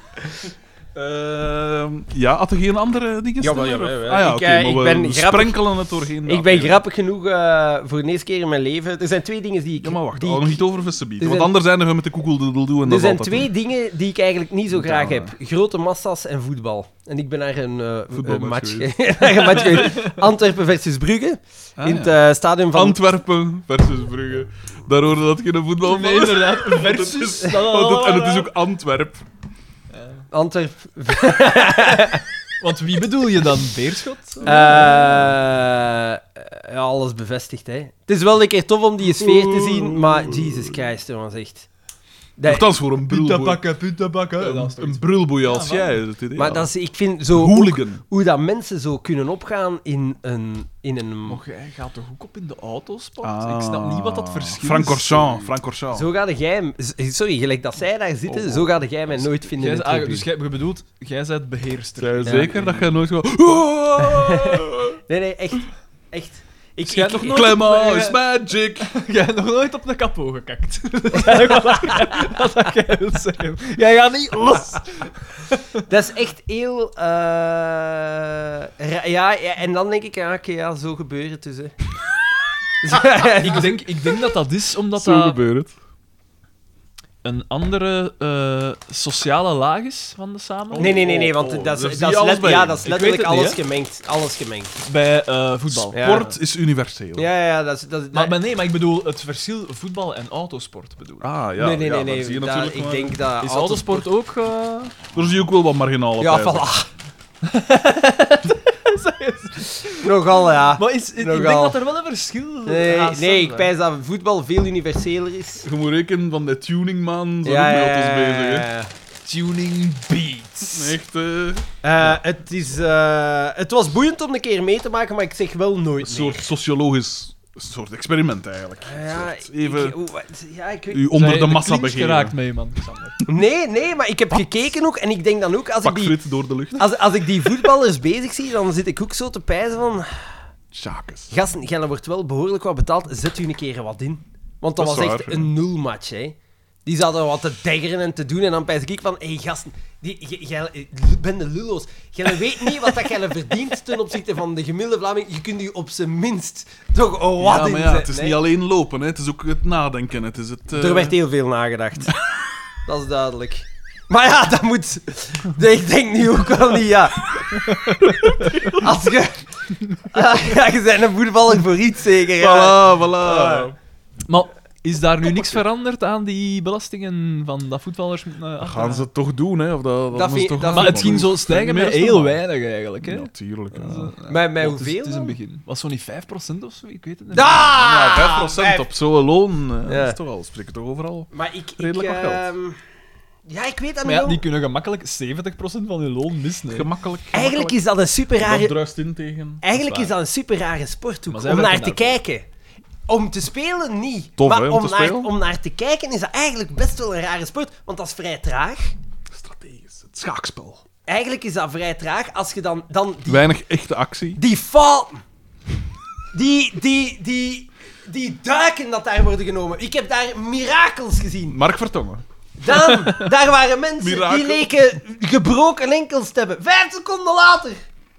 Ehm ja, had er geen andere dingen
Jawel,
sneller,
jawel,
of-
jawel.
Ah ja,
Ik,
oké,
eh, ik
maar we
ben grappig-
sprenkelen het doorheen. de
Ik ben
aflevering.
grappig genoeg eh, voor de eerste keer in mijn leven... Er zijn twee dingen die ik...
Ja, maar wacht,
die
al nog
ik-
niet over vissen bieden,
Er
want
zijn-
anders zijn we met de koekeldoedeldoe en dat
Er
is
zijn
altijd
twee dingen die ik eigenlijk niet zo graag
Ja.
heb. Grote massa's en voetbal. En ik ben naar een, eh,
Voetbalmatch
een match ge- naar een match geweest. Antwerpen versus Brugge.
Ah,
in het
ja.
eh, stadion van...
Antwerpen versus Brugge. Daar hoorde dat geen voetbal van.
Nee, inderdaad. Versus.
Want het is- want het- en het is ook Antwerp.
Antwerp...
Want wie bedoel je dan? Beerschot?
eh, ja, alles bevestigd, hè. Het is wel een keer tof om die sfeer te zien, maar Jesus Christ, jongens, echt. Dat-
Althans, voor een brulboei.
pitabakken.
Een, een brulboei als
Ja,
jij. is het idee,
maar
ja.
dat is, ik vind zo...
Hooligan.
Hoe dat mensen zo kunnen opgaan in een... In een
Och, jij gaat toch ook op in de autosport?
Ah.
Ik snap niet wat dat verschil
Frank
is.
Corchamp, Frank Corchamp.
zo ga jij... Sorry, gelijk dat zij daar zitten,
Oh.
zo ga jij mij nooit vinden.
Jij,
in het
ah,
rugby.
dus jij je bedoelt, jij bent beheerster.
Zij
Ja.
zeker dat jij nooit gewoon...
Nee, nee, echt. Echt. Ik,
Schijnt
ik-
dus nog
ik-
nooit-
Clemma is magic.
Jij hebt nog nooit op de kapot gekakt. dat is eigenlijk wat ik- wat dat jij wil zeggen. Jij gaat niet los.
Dat is echt heel... eh, ra- ja, ja, en dan denk ik, ja, oké, ja, zo gebeurt het dus. Hè.
ik, denk, ik denk dat dat is omdat
Zo
dat
gebeurt het.
een andere eh, sociale laag is van de samenleving.
Nee, nee, nee, nee,
Oh,
want
oh,
dat
daar
is, dat
zie je
is,
alles
let-
bij.
ja, dat is
Ik weet
letterlijk
het niet,
alles gemengd. Alles gemengd.
Bij eh, voetbal.
Ja.
Sport is universeel.
Ja, ja, dat is... Dat, dat-
Maar, maar nee, maar ik bedoel het verschil voetbal en autosport bedoel. ik.
Ah, ja.
nee, nee,
ja,
nee,
dan
nee.
zie je
daar-
natuurlijk
ik
maar-
denk dat...
Is autosport ook... eh,
Daar zie je ook wel wat marginale
Ja,
prijzen.
voilà. Nogal, ja.
Maar is, ik denk
Nogal.
dat er wel een verschil
Nee,
haast
nee
is,
ik
hè.
pijs dat voetbal veel universeler is.
Je moet rekenen van de tuningman, zijn
Ja,
ook
ja,
mee
ja,
bezig.
ja,
hè.
ja.
Tuning beats.
Echt, eh,
Eh, het, is, eh, het was boeiend om een keer mee te maken, maar ik zeg wel
een
nooit nee.
soort sociologisch soort experiment eigenlijk.
Ah, Ja,
Een soort even
ik- oeh, wat- ja, ik weet-
u onder de massa
clinch geraakt
begeven.
mee, man. Xander.
Nee, nee, maar ik heb gekeken ook en ik denk dan ook, als ik
Pak
die,
frit door de lucht.
als, als ik die voetballers bezig zie, dan zit ik ook zo te pijzen van...
Tjakes.
Gasten, jij wordt wel behoorlijk wat betaald, zet u een keer wat in. Want dat,
Dat
was
is
echt
waar,
een nulmatch, hè. Die zaten wat te deggeren en te doen en dan pijs ik van... Hé, hey, gasten, die- jij- jij bent de lullo's. Jij weet niet wat dat jij verdient ten opzichte van de gemiddelde Vlaming. Je kunt u op zijn minst toch een wat
Ja,
in
maar ja, het is
zetten, hè.
niet alleen lopen, hè. het is ook het nadenken. Het is het, eh,
Er werd heel veel nagedacht. dat is duidelijk. Maar ja, dat moet. Nee, Ik denk nu ook wel niet, ja. Als je. Ja, ja, je bent een voetballer voor iets zeker. Ja.
Voilà, voilà.
Ah.
Maar is daar nu niks veranderd aan die belastingen van dat voetballers moeten eh,
Gaan
achterhalen?
ze het toch doen, hè? Of dat, dat
Dat
is
vind-
toch
dat-
Maar het ging zo
Dat is
stijgen
niet
met
meer
heel
normaal.
weinig eigenlijk. Hè?
Natuurlijk.
Ah.
Ja,
Dat is, eh, ja.
Met, met
Het is-
hoeveel?
Het is een
dan?
begin. Was zo'n niet 5% of zo? Ik weet het niet.
Ah!
Ja, 5% op zo'n loon. eh,
Ja.
Dat is toch al. Spreek het toch overal?
Maar ik. ik
Redelijk wat geld.
ehm, Ja, ik weet dat
Maar
niet.
ja,
hoor.
die kunnen gemakkelijk 70% van hun loon missen. hè.
Gemakkelijk.
Eigenlijk is dat een super
Dat
rare.
druist in tegen.
Eigenlijk
waar.
is dat een super rare sporthoek. Om
Maar zij
naar te
werken daarvoor.
kijken. Om te spelen niet.
Tof,
maar
hè, om
om,
te
naar,
spelen?
om naar te kijken is dat eigenlijk best wel een rare sport. Want dat is vrij traag.
Strategisch. Het schaakspel.
Eigenlijk is dat vrij traag als je dan, dan die,
Weinig echte actie.
die fouten. Die, die, die, die duiken dat daar worden genomen. Ik heb daar mirakels gezien.
Mark Vertongen.
Dan, daar waren mensen die
Mirakel.
leken gebroken enkels te hebben. Vijf seconden later.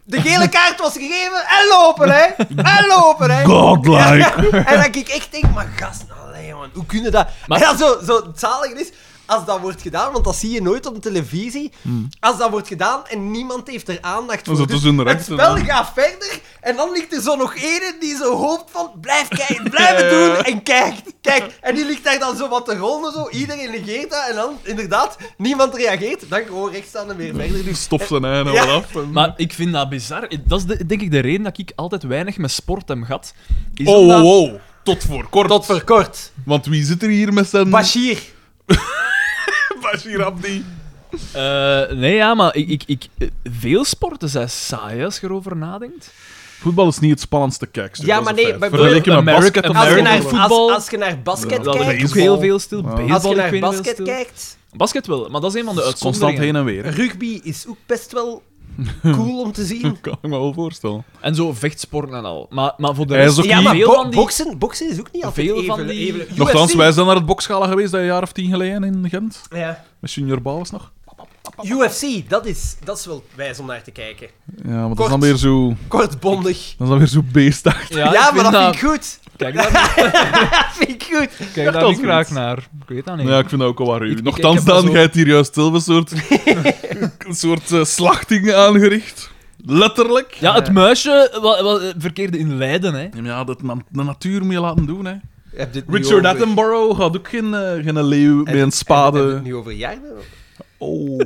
De gele kaart was gegeven en lopen, hè. En lopen, hè.
Godlike.
En dat ik echt denk, maar gast, allee, man, hoe kun je dat...
Maar-
En dat zo, zo het zalige is, als dat wordt gedaan, want dat zie je nooit op televisie, als dat wordt gedaan en niemand heeft er aandacht
Dan
voor. dus
zitten ze in de
het
rechten,
spel
hè.
gaat verder en dan ligt er zo nog ene die zo hoopt van, blijf kijken, blijf het doen en kijkt, kijk. En die ligt daar dan zo wat te rollen, zo, iedereen negeert dat en dan, inderdaad, niemand reageert. Dan gewoon rechts aan en weer verder. Dus
Stof zijn eigen
Ja.
wel af. en-
Maar ik vind dat bizar. Dat is de- denk ik de reden dat ik altijd weinig met sport heb gehad. Is
Oh,
omdat-
oh, oh. Tot voor kort.
tot voor kort.
Want wie zit er hier met zijn...
Bashir.
Bashir Abdi.
Eh, nee, ja, maar ik, ik, ik, eh, veel sporten zijn saai als je erover nadenkt.
Voetbal is niet het spannendste kijkstuk.
Ja,
dat is
maar
een
nee,
feit.
bij-
Vergeleken met
American-
basket.
Als je
American
naar,
American
als,
voetbal-
als je naar basket
dat
kijkt,
ligt ook
Baseball.
heel veel stil.
Ja.
Baseball,
als je
ik
naar
weet niet veel
basket
stil.
kijkt...
Basket wel, maar dat is een van de
is constant heen
uitzonderingen.
en weer. hè.
Rugby is ook best wel cool om te zien.
Kan ik me wel voorstellen.
En zo vechtsporten en al. Maar, maar voor de
Hij is
rest...
ook
Ja,
niet-
maar
veel
bo-
van die-
boksen, boksen is ook niet altijd
Veel
even...
van die-
even-
Nochtans,
UFC.
wij zijn naar het bokschalen geweest dat een jaar of tien geleden in Gent.
Ja.
Met junior Bales nog.
UFC, dat is, dat is wel wijs om naar te kijken.
Ja, maar dat
Kort.
is dan weer zo,
Kortbondig.
dat is dan weer zo beestachtig.
Ja, maar dat vind ik goed.
Kijk daar,
Dat vind ik goed.
kijk daar
dat
niet
is
graag
goed.
naar. Ik weet dat niet.
Ja, ik vind dat ook al waar
Ik-
u.
ik-
Nochtans,
ik heb dat
dan
zo-
jij hebt hier juist zelf een soort, een soort eh, slachting aangericht. Letterlijk.
Ja, het muisje wa, wa- eh, verkeerde in Leiden, hè.
Ja, maar ja, dat na- de natuur moet je laten doen, hè.
Heb dit
Richard Attenborough had ook geen, eh, geen leeuw met een
Heb het
spade.
nu over jaren?
Oh.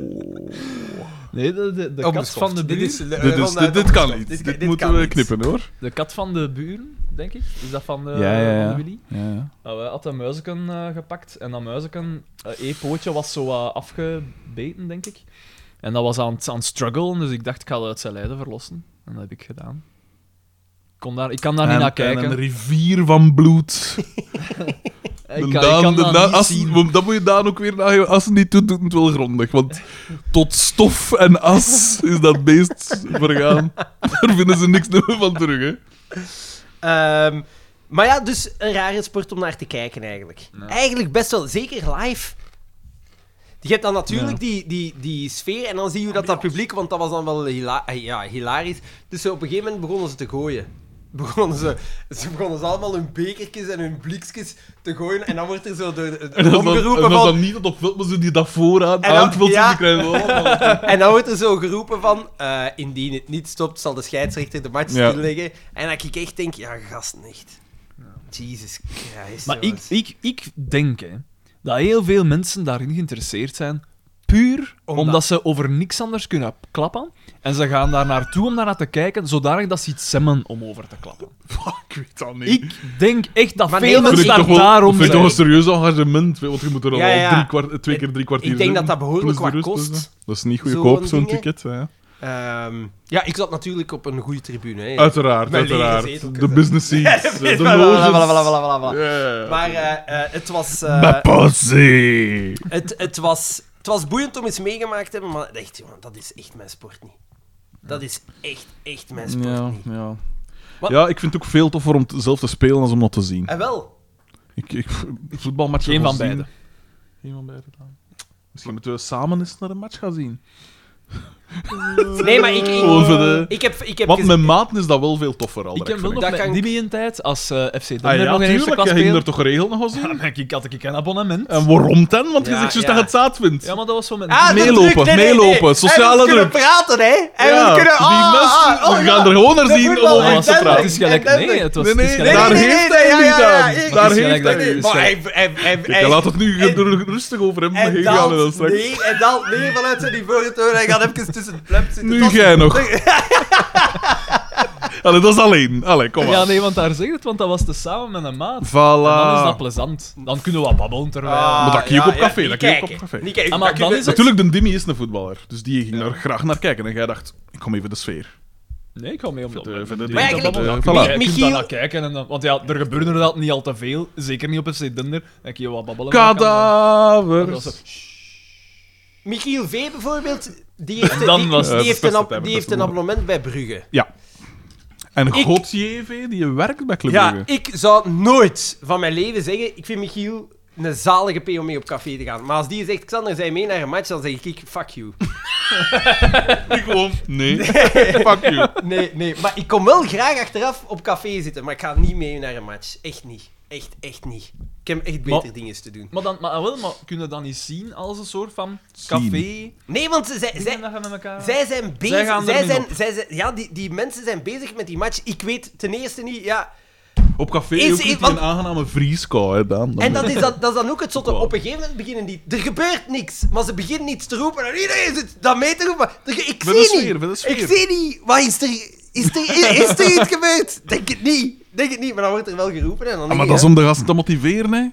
Nee, de, de, de kat van de
Oh, Dit, is,
buren.
eh,
dit, is,
ronduit
dit, dit kan
opgestopt.
niet. Dit,
dit
moeten
kan
we
niet.
knippen, hoor.
De kat van de buren, denk ik. Is dat van de,
Ja, ja, ja.
Van de Willy?
Ja, ja.
Nou, hij had dat muizenken eh, gepakt en dat muizenken, eh één pootje was zo wat afgebeten, denk ik. En dat was aan het, aan het struggelen, dus ik dacht, ik ga dat uit zijn lijden verlossen. En dat heb ik gedaan. Ik, kon daar, ik kan daar
en,
niet naar
en
kijken.
een rivier van bloed.
ik,
De
kan,
Daan-
ik kan
de
dat
Daan-
niet
als-
zien.
want dat moet je Daan ook weer nageven. Als ze niet doet, doet het wel grondig. Want tot stof en as is dat beest vergaan. Daar vinden ze niks meer van terug, hè.
Ehm, maar ja, dus een rare sport om naar te kijken eigenlijk. Eigenlijk best wel, zeker live. Je hebt dan natuurlijk die, die, die sfeer en dan zie je hoe dat, dat publiek, want dat was dan wel hila- eh, ja, hilarisch. Dus zo op een gegeven moment begonnen ze te gooien. Begonnen ze, ze begonnen ze allemaal hun bekertjes en hun blikjes te gooien en dan wordt er zo door de-
En als dan, en
omgeroepen
als
van...
dan niet dat op film ze die dat vooraan
En dan-
aanvult,
ja.
ze krijgen Oh, wel allemaal-
En dan wordt er zo geroepen van, eh, indien het niet stopt, zal de scheidsrechter de match
Ja.
stilleggen. En dat ik echt denk, ja, gast, echt. Jesus Christ.
Maar ik,
jongens.
ik, ik denk hè, dat heel veel mensen daarin geïnteresseerd zijn, puur
Omdat-
omdat... ze over niks anders kunnen klappen. En ze gaan daar naartoe om daarnaar te kijken, zodanig dat ze iets semmen om over te klappen.
ik weet dat niet.
Ik denk echt dat
Maar
veel
nee,
vind
mensen
ik toch
daar
wel,
daarom eh,
vind ik toch
zijn.
een serieus engagement, want je moet er al
Ja, ja.
Drie kwart, twee keer drie kwartier
Ik denk dat
zitten,
dat behoorlijk
plus de
wat
rust,
kost.
dus, hè. Dat is niet
Zo'n
goedkoop, zo'n
dingen.
ticket. hè.
Ehm, ja, ik zat natuurlijk op een goede tribune. Hè.
Uiteraard,
Mijn lege
uiteraard.
zetelkens,
De
hè.
business seats, de
Blablabla,
loges.
blablabla, blablabla.
Ja.
Maar eh, eh, het was... eh,
Pussy.
Het, het, was, het was boeiend om iets meegemaakt te hebben, maar echt, jongen, dat is echt mijn sport niet. Dat is echt, echt mijn sport
Ja,
niet.
ja.
Wat- Eh,
ja, ik vind het ook veel toffer om t- zelf te spelen dan om dat te zien.
En wel,
Ik, ik, voetbalmatchen
Geen
gewoon
van
zien.
beide.
Geen van beide. dan. Misschien moeten we samen eens naar een match gaan zien.
nee, maar ik...
Gewoon
ik
voor de...
ik heb, ik heb
Want
gezien-
met maten is dat wel veel toffer al.
Ik heb
direct,
wel
vind
nog
Dat
met
kan-
Nibby in tijd, als eh, FC Denver
Ah, ja,
nog in eerste
tuurlijk.
klas
Je ging er
speelde.
toch Ah, regel nog eens
Ja,
in?
dan denk ik, had ik een abonnement.
En waarom dan? Want je
Ja,
zegt juist
ja.
dat je het zaad vindt.
ja, maar dat was zo met...
Ah, de
Meelopen,
druk, nee, nee, nee.
meelopen, sociale
en we kunnen
druk.
praten, hè. En
Ja,
we kunnen...
die
ah,
mensen
ah, oh,
we
ja.
gaan er gewoon naar
De
zien om
voetbal
over
en
te
Denver.
het
praten.
is gelijk...
En
Nee, het was,
Nee,
het is
nee,
gelijk-
daar
nee, nee,
heeft
nee,
hij
ja,
niet
ja, ja,
aan.
ik-
Daar
is
heeft
gelijk
hij
dat
niet
je-
Maar hij... hij, hij,
Kijk,
hij-
hij laat het nu
en-
er rustig over hem
en
heen gaan. en dan
daalt
straks-
nee, en daalt nee vanuit zijn ivoren toren. Hij gaat even tussen het plep zitten.
Nu
Dat is-
jij nog. Allee, dat is alleen. Allee, kom maar.
Ja, nee, want daar zeg je het, want dat was te samen met een maat.
Voilà.
En dan is
Ah.
dat plezant. Dan kunnen we wat babbelen terwijl...
Ah,
Maar dat kun je ook op café,
niet
dat kun je ook
kijken,
op café.
niet kijken,
Ah, maar
dat kun
dan
je-
is het-
Natuurlijk, de Dimmy is een voetballer. Dus die ging daar graag naar kijken. En jij dacht, ik kom even de sfeer.
Nee, ik ga mee om dat.
de-
om
voor
dat-
de-
om dat-
Maar eigenlijk-
om dat-
eh,
om dat-
voilà.
Je kunt
Michiel-
daar naar kijken en dan... Want ja, er gebeurde inderdaad niet al te veel. Zeker niet op FC Dinder. Dan kun je wat babbelen. En dan-
Kadavers.
Michiel V bijvoorbeeld, die heeft,
Dan
die,
was
die
het.
heeft, een, ab-
Beste
die heeft
beste
een abonnement bij Brugge.
En
Ik-
Godjev, die werkt bij Club
Ja,
Brugge.
ik zou nooit van mijn leven zeggen, ik vind Michiel een zalige P om mee op café te gaan. Maar als die zegt, Xander, zij mee naar een match, dan zeg ik, fuck you.
Ik gewoon, nee. Fuck you.
Nee, nee, maar ik kom wel graag achteraf op café zitten, maar ik ga niet mee naar een match. Echt niet. Echt, echt niet. Ik heb echt beter
Maar-
dingen te doen.
Maar dan... Maar ah, wel, maar kunnen dat niet zien als een soort van
Zien.
café?
Nee, want ze, zij, zij,
Dingen dat je met elkaar...
Zij zijn bezig.
Zij
Zij
gaan er niet
zijn,
op.
zij zijn, ja, die, die mensen zijn bezig met die match. Ik weet ten eerste niet. Ja.
Op café
Is-
ook
is-
niet
want-
een aangename vrieskou, hè, Daan. Dan
En dat
ben-
is, dat, dat is dan ook het zotte.
Wow.
Op een gegeven moment beginnen die. Er gebeurt niks. Maar ze beginnen iets te roepen. En iedereen zit dat mee te roepen. Er ge- ik
Met
zie
een sfeer, met een
niet.
sfeer.
Ik zie niet. Wat is er. Is er, is, is er iets gebeurd? Denk het niet. Denk het niet. Maar dan wordt er wel geroepen. En dan
Ah,
denk
maar
ik,
dat is
hè.
om de gasten te motiveren, hè.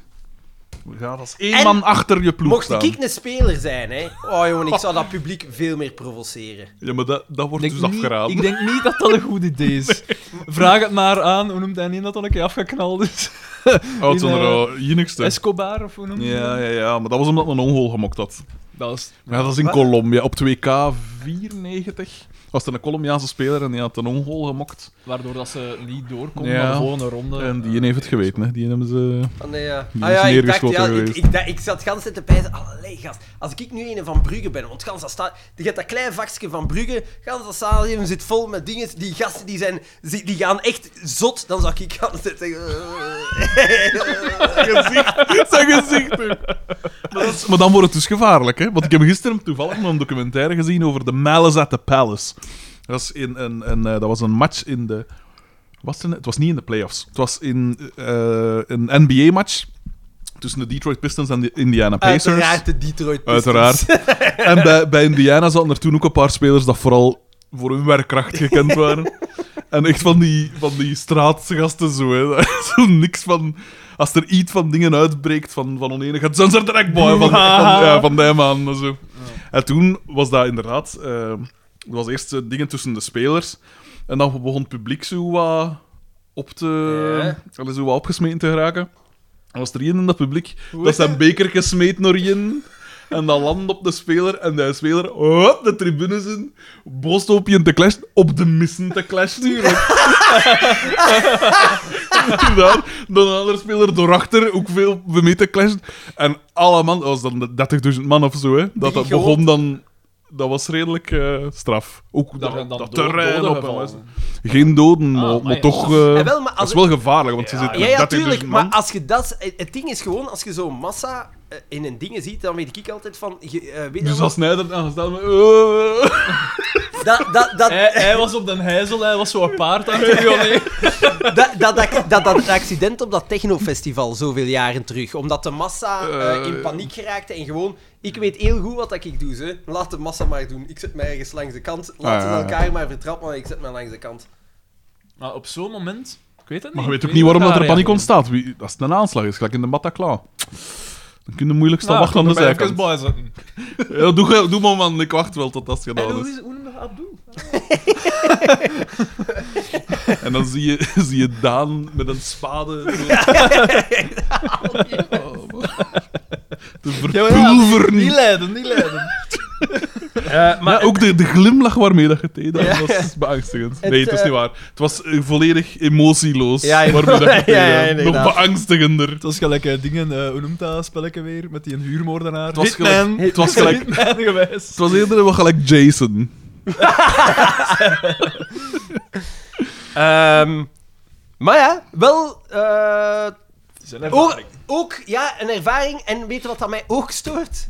Ja, dat is één
En-
man achter je ploeg
Mocht
staan.
ik een speler zijn, hè? Oh jongen, ik zou dat publiek veel meer provoceren.
Ja, maar dat, dat wordt
Ik
dus
denk niet-
afgeraden.
Ik denk niet dat dat een goed idee is. Vraag het maar aan, hoe noemt hij niet dat al een keer afgeknald is?
Oh, het
in,
zijn er
eh,
al jinigste.
Escobar of hoe noemt hij
Ja,
dat?
ja, ja, maar dat was omdat men een ongol gemokt had.
Dat was...
Maar ja, dat is in
Wat?
Colombia. Op 2K 94 was er een Colombiaanse speler en die had een ongol gemokt.
Waardoor dat ze niet doorkomt
Ja.
naar de volgende ronde.
En die heeft het geweten, hè. Die hebben ze...
Ah, nee, ja.
Die
Ah,
is
ja, ik dacht,
neergeschoten
ja, ik,
geweest.
ik, dacht- ik zat gans te pijzen. Allee, gast. Als ik nu een van Brugge ben, want gans dat staat... Je hebt dat klein vakje van Brugge, gans dat stadion zit vol met dingen. Die gasten, die zijn... zi- Die gaan echt zot. Dan zou ik gaan zitten... eh,
gezicht. Zijn gezicht. hè. Maar, dat is- maar dan wordt het dus gevaarlijk, hè? Want ik heb gisteren toevallig nog een documentaire gezien over de Malice at the Palace. Dat was, in een, een, eh, dat was een match in de. Was het, een- het was niet in de playoffs. Het was in eh, een NBA-match tussen de Detroit Pistons en de Indiana Pacers.
Uiteraard de Detroit Pistons.
Uiteraard. En bij, bij Indiana zaten er toen ook een paar spelers dat vooral voor hun werkkracht gekend waren. En echt van die, van die straatgasten zo, hè. Zo niks van... Als er iets van dingen uitbreekt van, van oneenigheid, zijn ze er direct bij, van, van, ja, van die man en zo. En toen was dat inderdaad... eh, er was eerst eh, dingen tussen de spelers. En dan begon het publiek zo wat op te... allee, Zo wat opgesmeten te geraken. En was er één in dat publiek dat zijn bekertje smeet naar in. En dat land op de speler. En de speler, hop, de tribunes in. Boos op je te clashen. Op de missen te clashen. Daar, dan een andere speler daarachter, ook veel mee te clashen. En alle man, dat was dan de 30.000 man of zo, hè. Dat, dat
Die gewoon-
begon dan... Dat was redelijk eh, straf. Ook
Daar
dat,
gaan
dat,
dan doden-
terrein
doden
op. en
gevallen.
alles. Geen doden,
Ah,
maar,
maar
maar
ja.
toch... eh,
Ah, wel, maar
dat
als-
is wel gevaarlijk, want ze zitten
Ja,
met
ja,
30.000
tuurlijk.
dus man.
Maar als je dat... Het ding is gewoon, als je zo'n massa eh, in een ding ziet, dan weet ik altijd van... Je, eh, weet je
Dus
wat?
als Snyder aangesteld met... eh,
dat, dat, dat,
Hij, hij was op den heizel, hij was zo'n paard aan het violen.
dat, dat, dat, dat, dat accident op dat technofestival zoveel jaren terug. Omdat de massa eh,
Eh.
in paniek geraakte en gewoon... Ik weet heel goed wat dat ik doe, ze. Laat de massa maar doen. Ik zet mij ergens langs de kant. Laat
Ah,
ze
ja, ja.
elkaar maar vertrappen, maar ik zet mij langs de kant.
Maar op zo'n moment, ik weet het niet.
Maar je
ik
weet ook niet waarom
hoe
dat er
ik ga
paniek
reageren.
ontstaat. Wie, als het een aanslag is, gelijk in de Bataclan. Dan kun je moeilijk staan
Nou,
wachten aan de
ik kan er
zijkant.
even bij zitten.
Ja, doe, ge- doe maar, man. Ik wacht wel tot dat
En
gedaan
hoe
is.
is hoe noem je dat Abdul?
En dan zie je, zie je Daan met een spade... Oh, man. Te verpulveren.
Niet lijden, niet lijden.
maar ook de, de glimlach waarmee dat je het deed, dat was beangstigend.
Het,
nee, het is
eh,
niet waar. Het was eh, volledig emotieloos
Ja, ja,
waarmee dat je het deed.
ja, ja,
hè.
inderdaad.
Nog beangstigender.
Het was gelijk eh, dingen, eh, hoe noemt dat spelletje weer? Met die huurmoordenaar.
Het was
Hitman.
gelijk- het was gelijk-
Hitman geweest.
Het was eerder wel gelijk Jason.
Ehm, maar ja, wel... eh,
Het is een
ook,
ervaring.
ook, ja, een ervaring. En weet je wat dat mij ook stoort?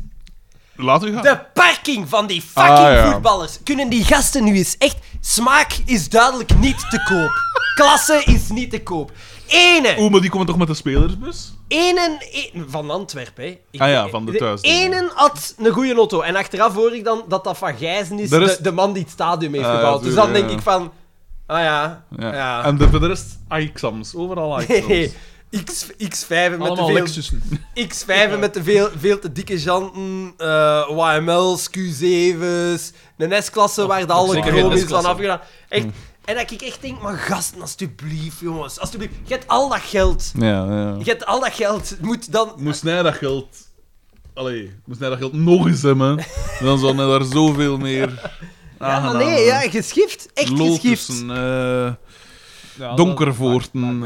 Laat u gaan.
De parking van die fucking
Ah, ja.
voetballers. Kunnen die gasten nu eens echt... Smaak is duidelijk niet te koop. Klasse is niet te koop. Ene...
Oeh, Oh, maar die komen toch met de spelersbus?
Enen, e- van Antwerpen, hè? Ik-
Ah ja, van de thuis.
Enen had een goede auto. En achteraf hoor ik dan dat dat van Gijzen is,
Daar is-
De, de man die het stadion heeft
Ah, ja,
gebouwd. Dus dan
tuurlijk,
denk
ja.
ik van. Ah ja.
Ja.
ja.
En de, voor de rest, Aixams. Overal Aixams.
X, X5 met
Allemaal
te
Lexussen.
veel, X5 met te veel, veel te dikke janten, eh, YML's, Q7's, een S-klasse waar de alle
Oh, zeker
chroom
geen
is van
S-klasse.
afgedaan.
Hmm.
Echt. En dat ik echt denk, maar gasten, alstublieft, jongens, alstublieft. Je hebt al dat geld.
Ja, ja.
Je hebt al dat geld. Moet dan
Moest hij dat geld... Allee, moest hij dat geld nog eens hebben, dan zou hij daar zoveel meer...
Ja, maar
aangenaam
nee, ja, geschift. Echt geschift.
Lotussen, eh,
Ah,
Donkervoorten,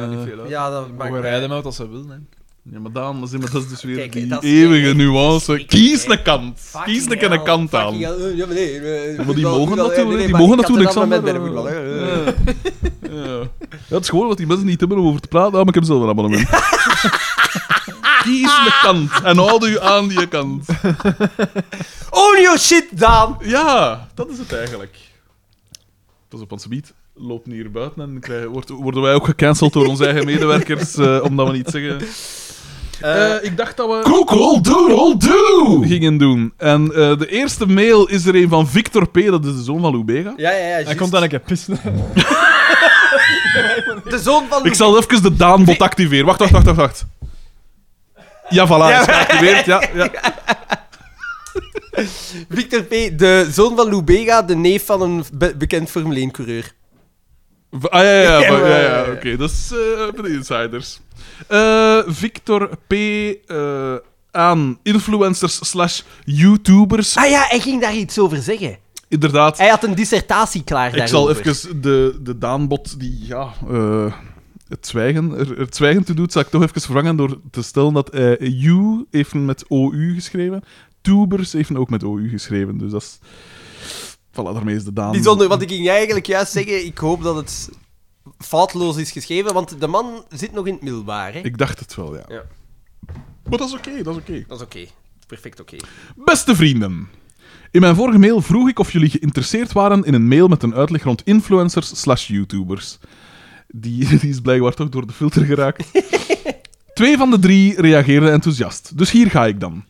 Ja, dat maakt
Mogen
mij-
rijden met wat ze willen. hè.
ja, maar dan, dat is dat is dus weer
Kijk,
die
dat is-
eeuwige
ik-
nuance.
ik- ik-
Kies
ik-
een kant.
Fucking
Kies een keer een
hell,
kant aan.
fucking hell. Ja, maar nee, eh,
die
voetbal-
mogen
voetbal-
dat
ja,
doen,
nee,
hè.
nee,
Die
maar
mogen
ik
dat
had
doen,
het
Alexander.
allemaal met bij de voetbal, hè.
Ja. Ja. Ja, het is gewoon wat die mensen niet hebben om over te praten, Ah, maar ik heb zelf een abonnement. Kies de kant en houd u aan die kant.
Own your Oh, shit, Daan!
Ja, dat is het eigenlijk. Pas op, ons gebied. Lopen hier buiten en krijgen, wordt- worden wij ook gecanceld door onze eigen medewerkers eh, omdat we niet zeggen. Eh, ik dacht dat we
Google Doodle Doo!
gingen doen. En eh, de eerste mail is er een van Victor P., dat is de zoon van Lubega.
Ja, ja, ja.
Hij
juist.
komt dan een keer pissen.
De zoon van...
Ik zal even de Daanbot activeren. Wacht, wacht, wacht, wacht. wacht. Ja, voilà, is geactiveerd. Ja, ja.
Victor P., de zoon van Lubega, de neef van een be- bekend Formule 1-coureur.
V- Ah, ja, ja, ja.
Ja,
ja, ja,
ja, ja.
Oké, dat is eh, voor de insiders. Eh, Victor P. eh, aan influencers slash YouTubers.
Ah ja, hij ging daar iets over zeggen.
Inderdaad,
Hij had een dissertatie klaar
ik zal
daarover.
even de, de Daanbot die, ja... eh, het zwijgen, er, het zwijgen toe doet, zal ik toch even vervangen door te stellen dat eh U heeft met OU geschreven. Tubers heeft ook met OU geschreven. Dus dat is... Voilà, daarmee is de Daan.
Bijzonder, want ik ging eigenlijk juist zeggen, ik hoop dat het foutloos is geschreven, want de man zit nog in het middelbaar, hè.
Ik dacht het wel, ja.
Ja.
Maar dat is oké, dat is oké.
Dat is oké. Perfect oké.
Beste vrienden. In mijn vorige mail vroeg ik of jullie geïnteresseerd waren in een mail met een uitleg rond influencers slash YouTubers. Die, die is blijkbaar toch door de filter geraakt. Twee van de drie reageerden enthousiast. Dus hier ga ik dan.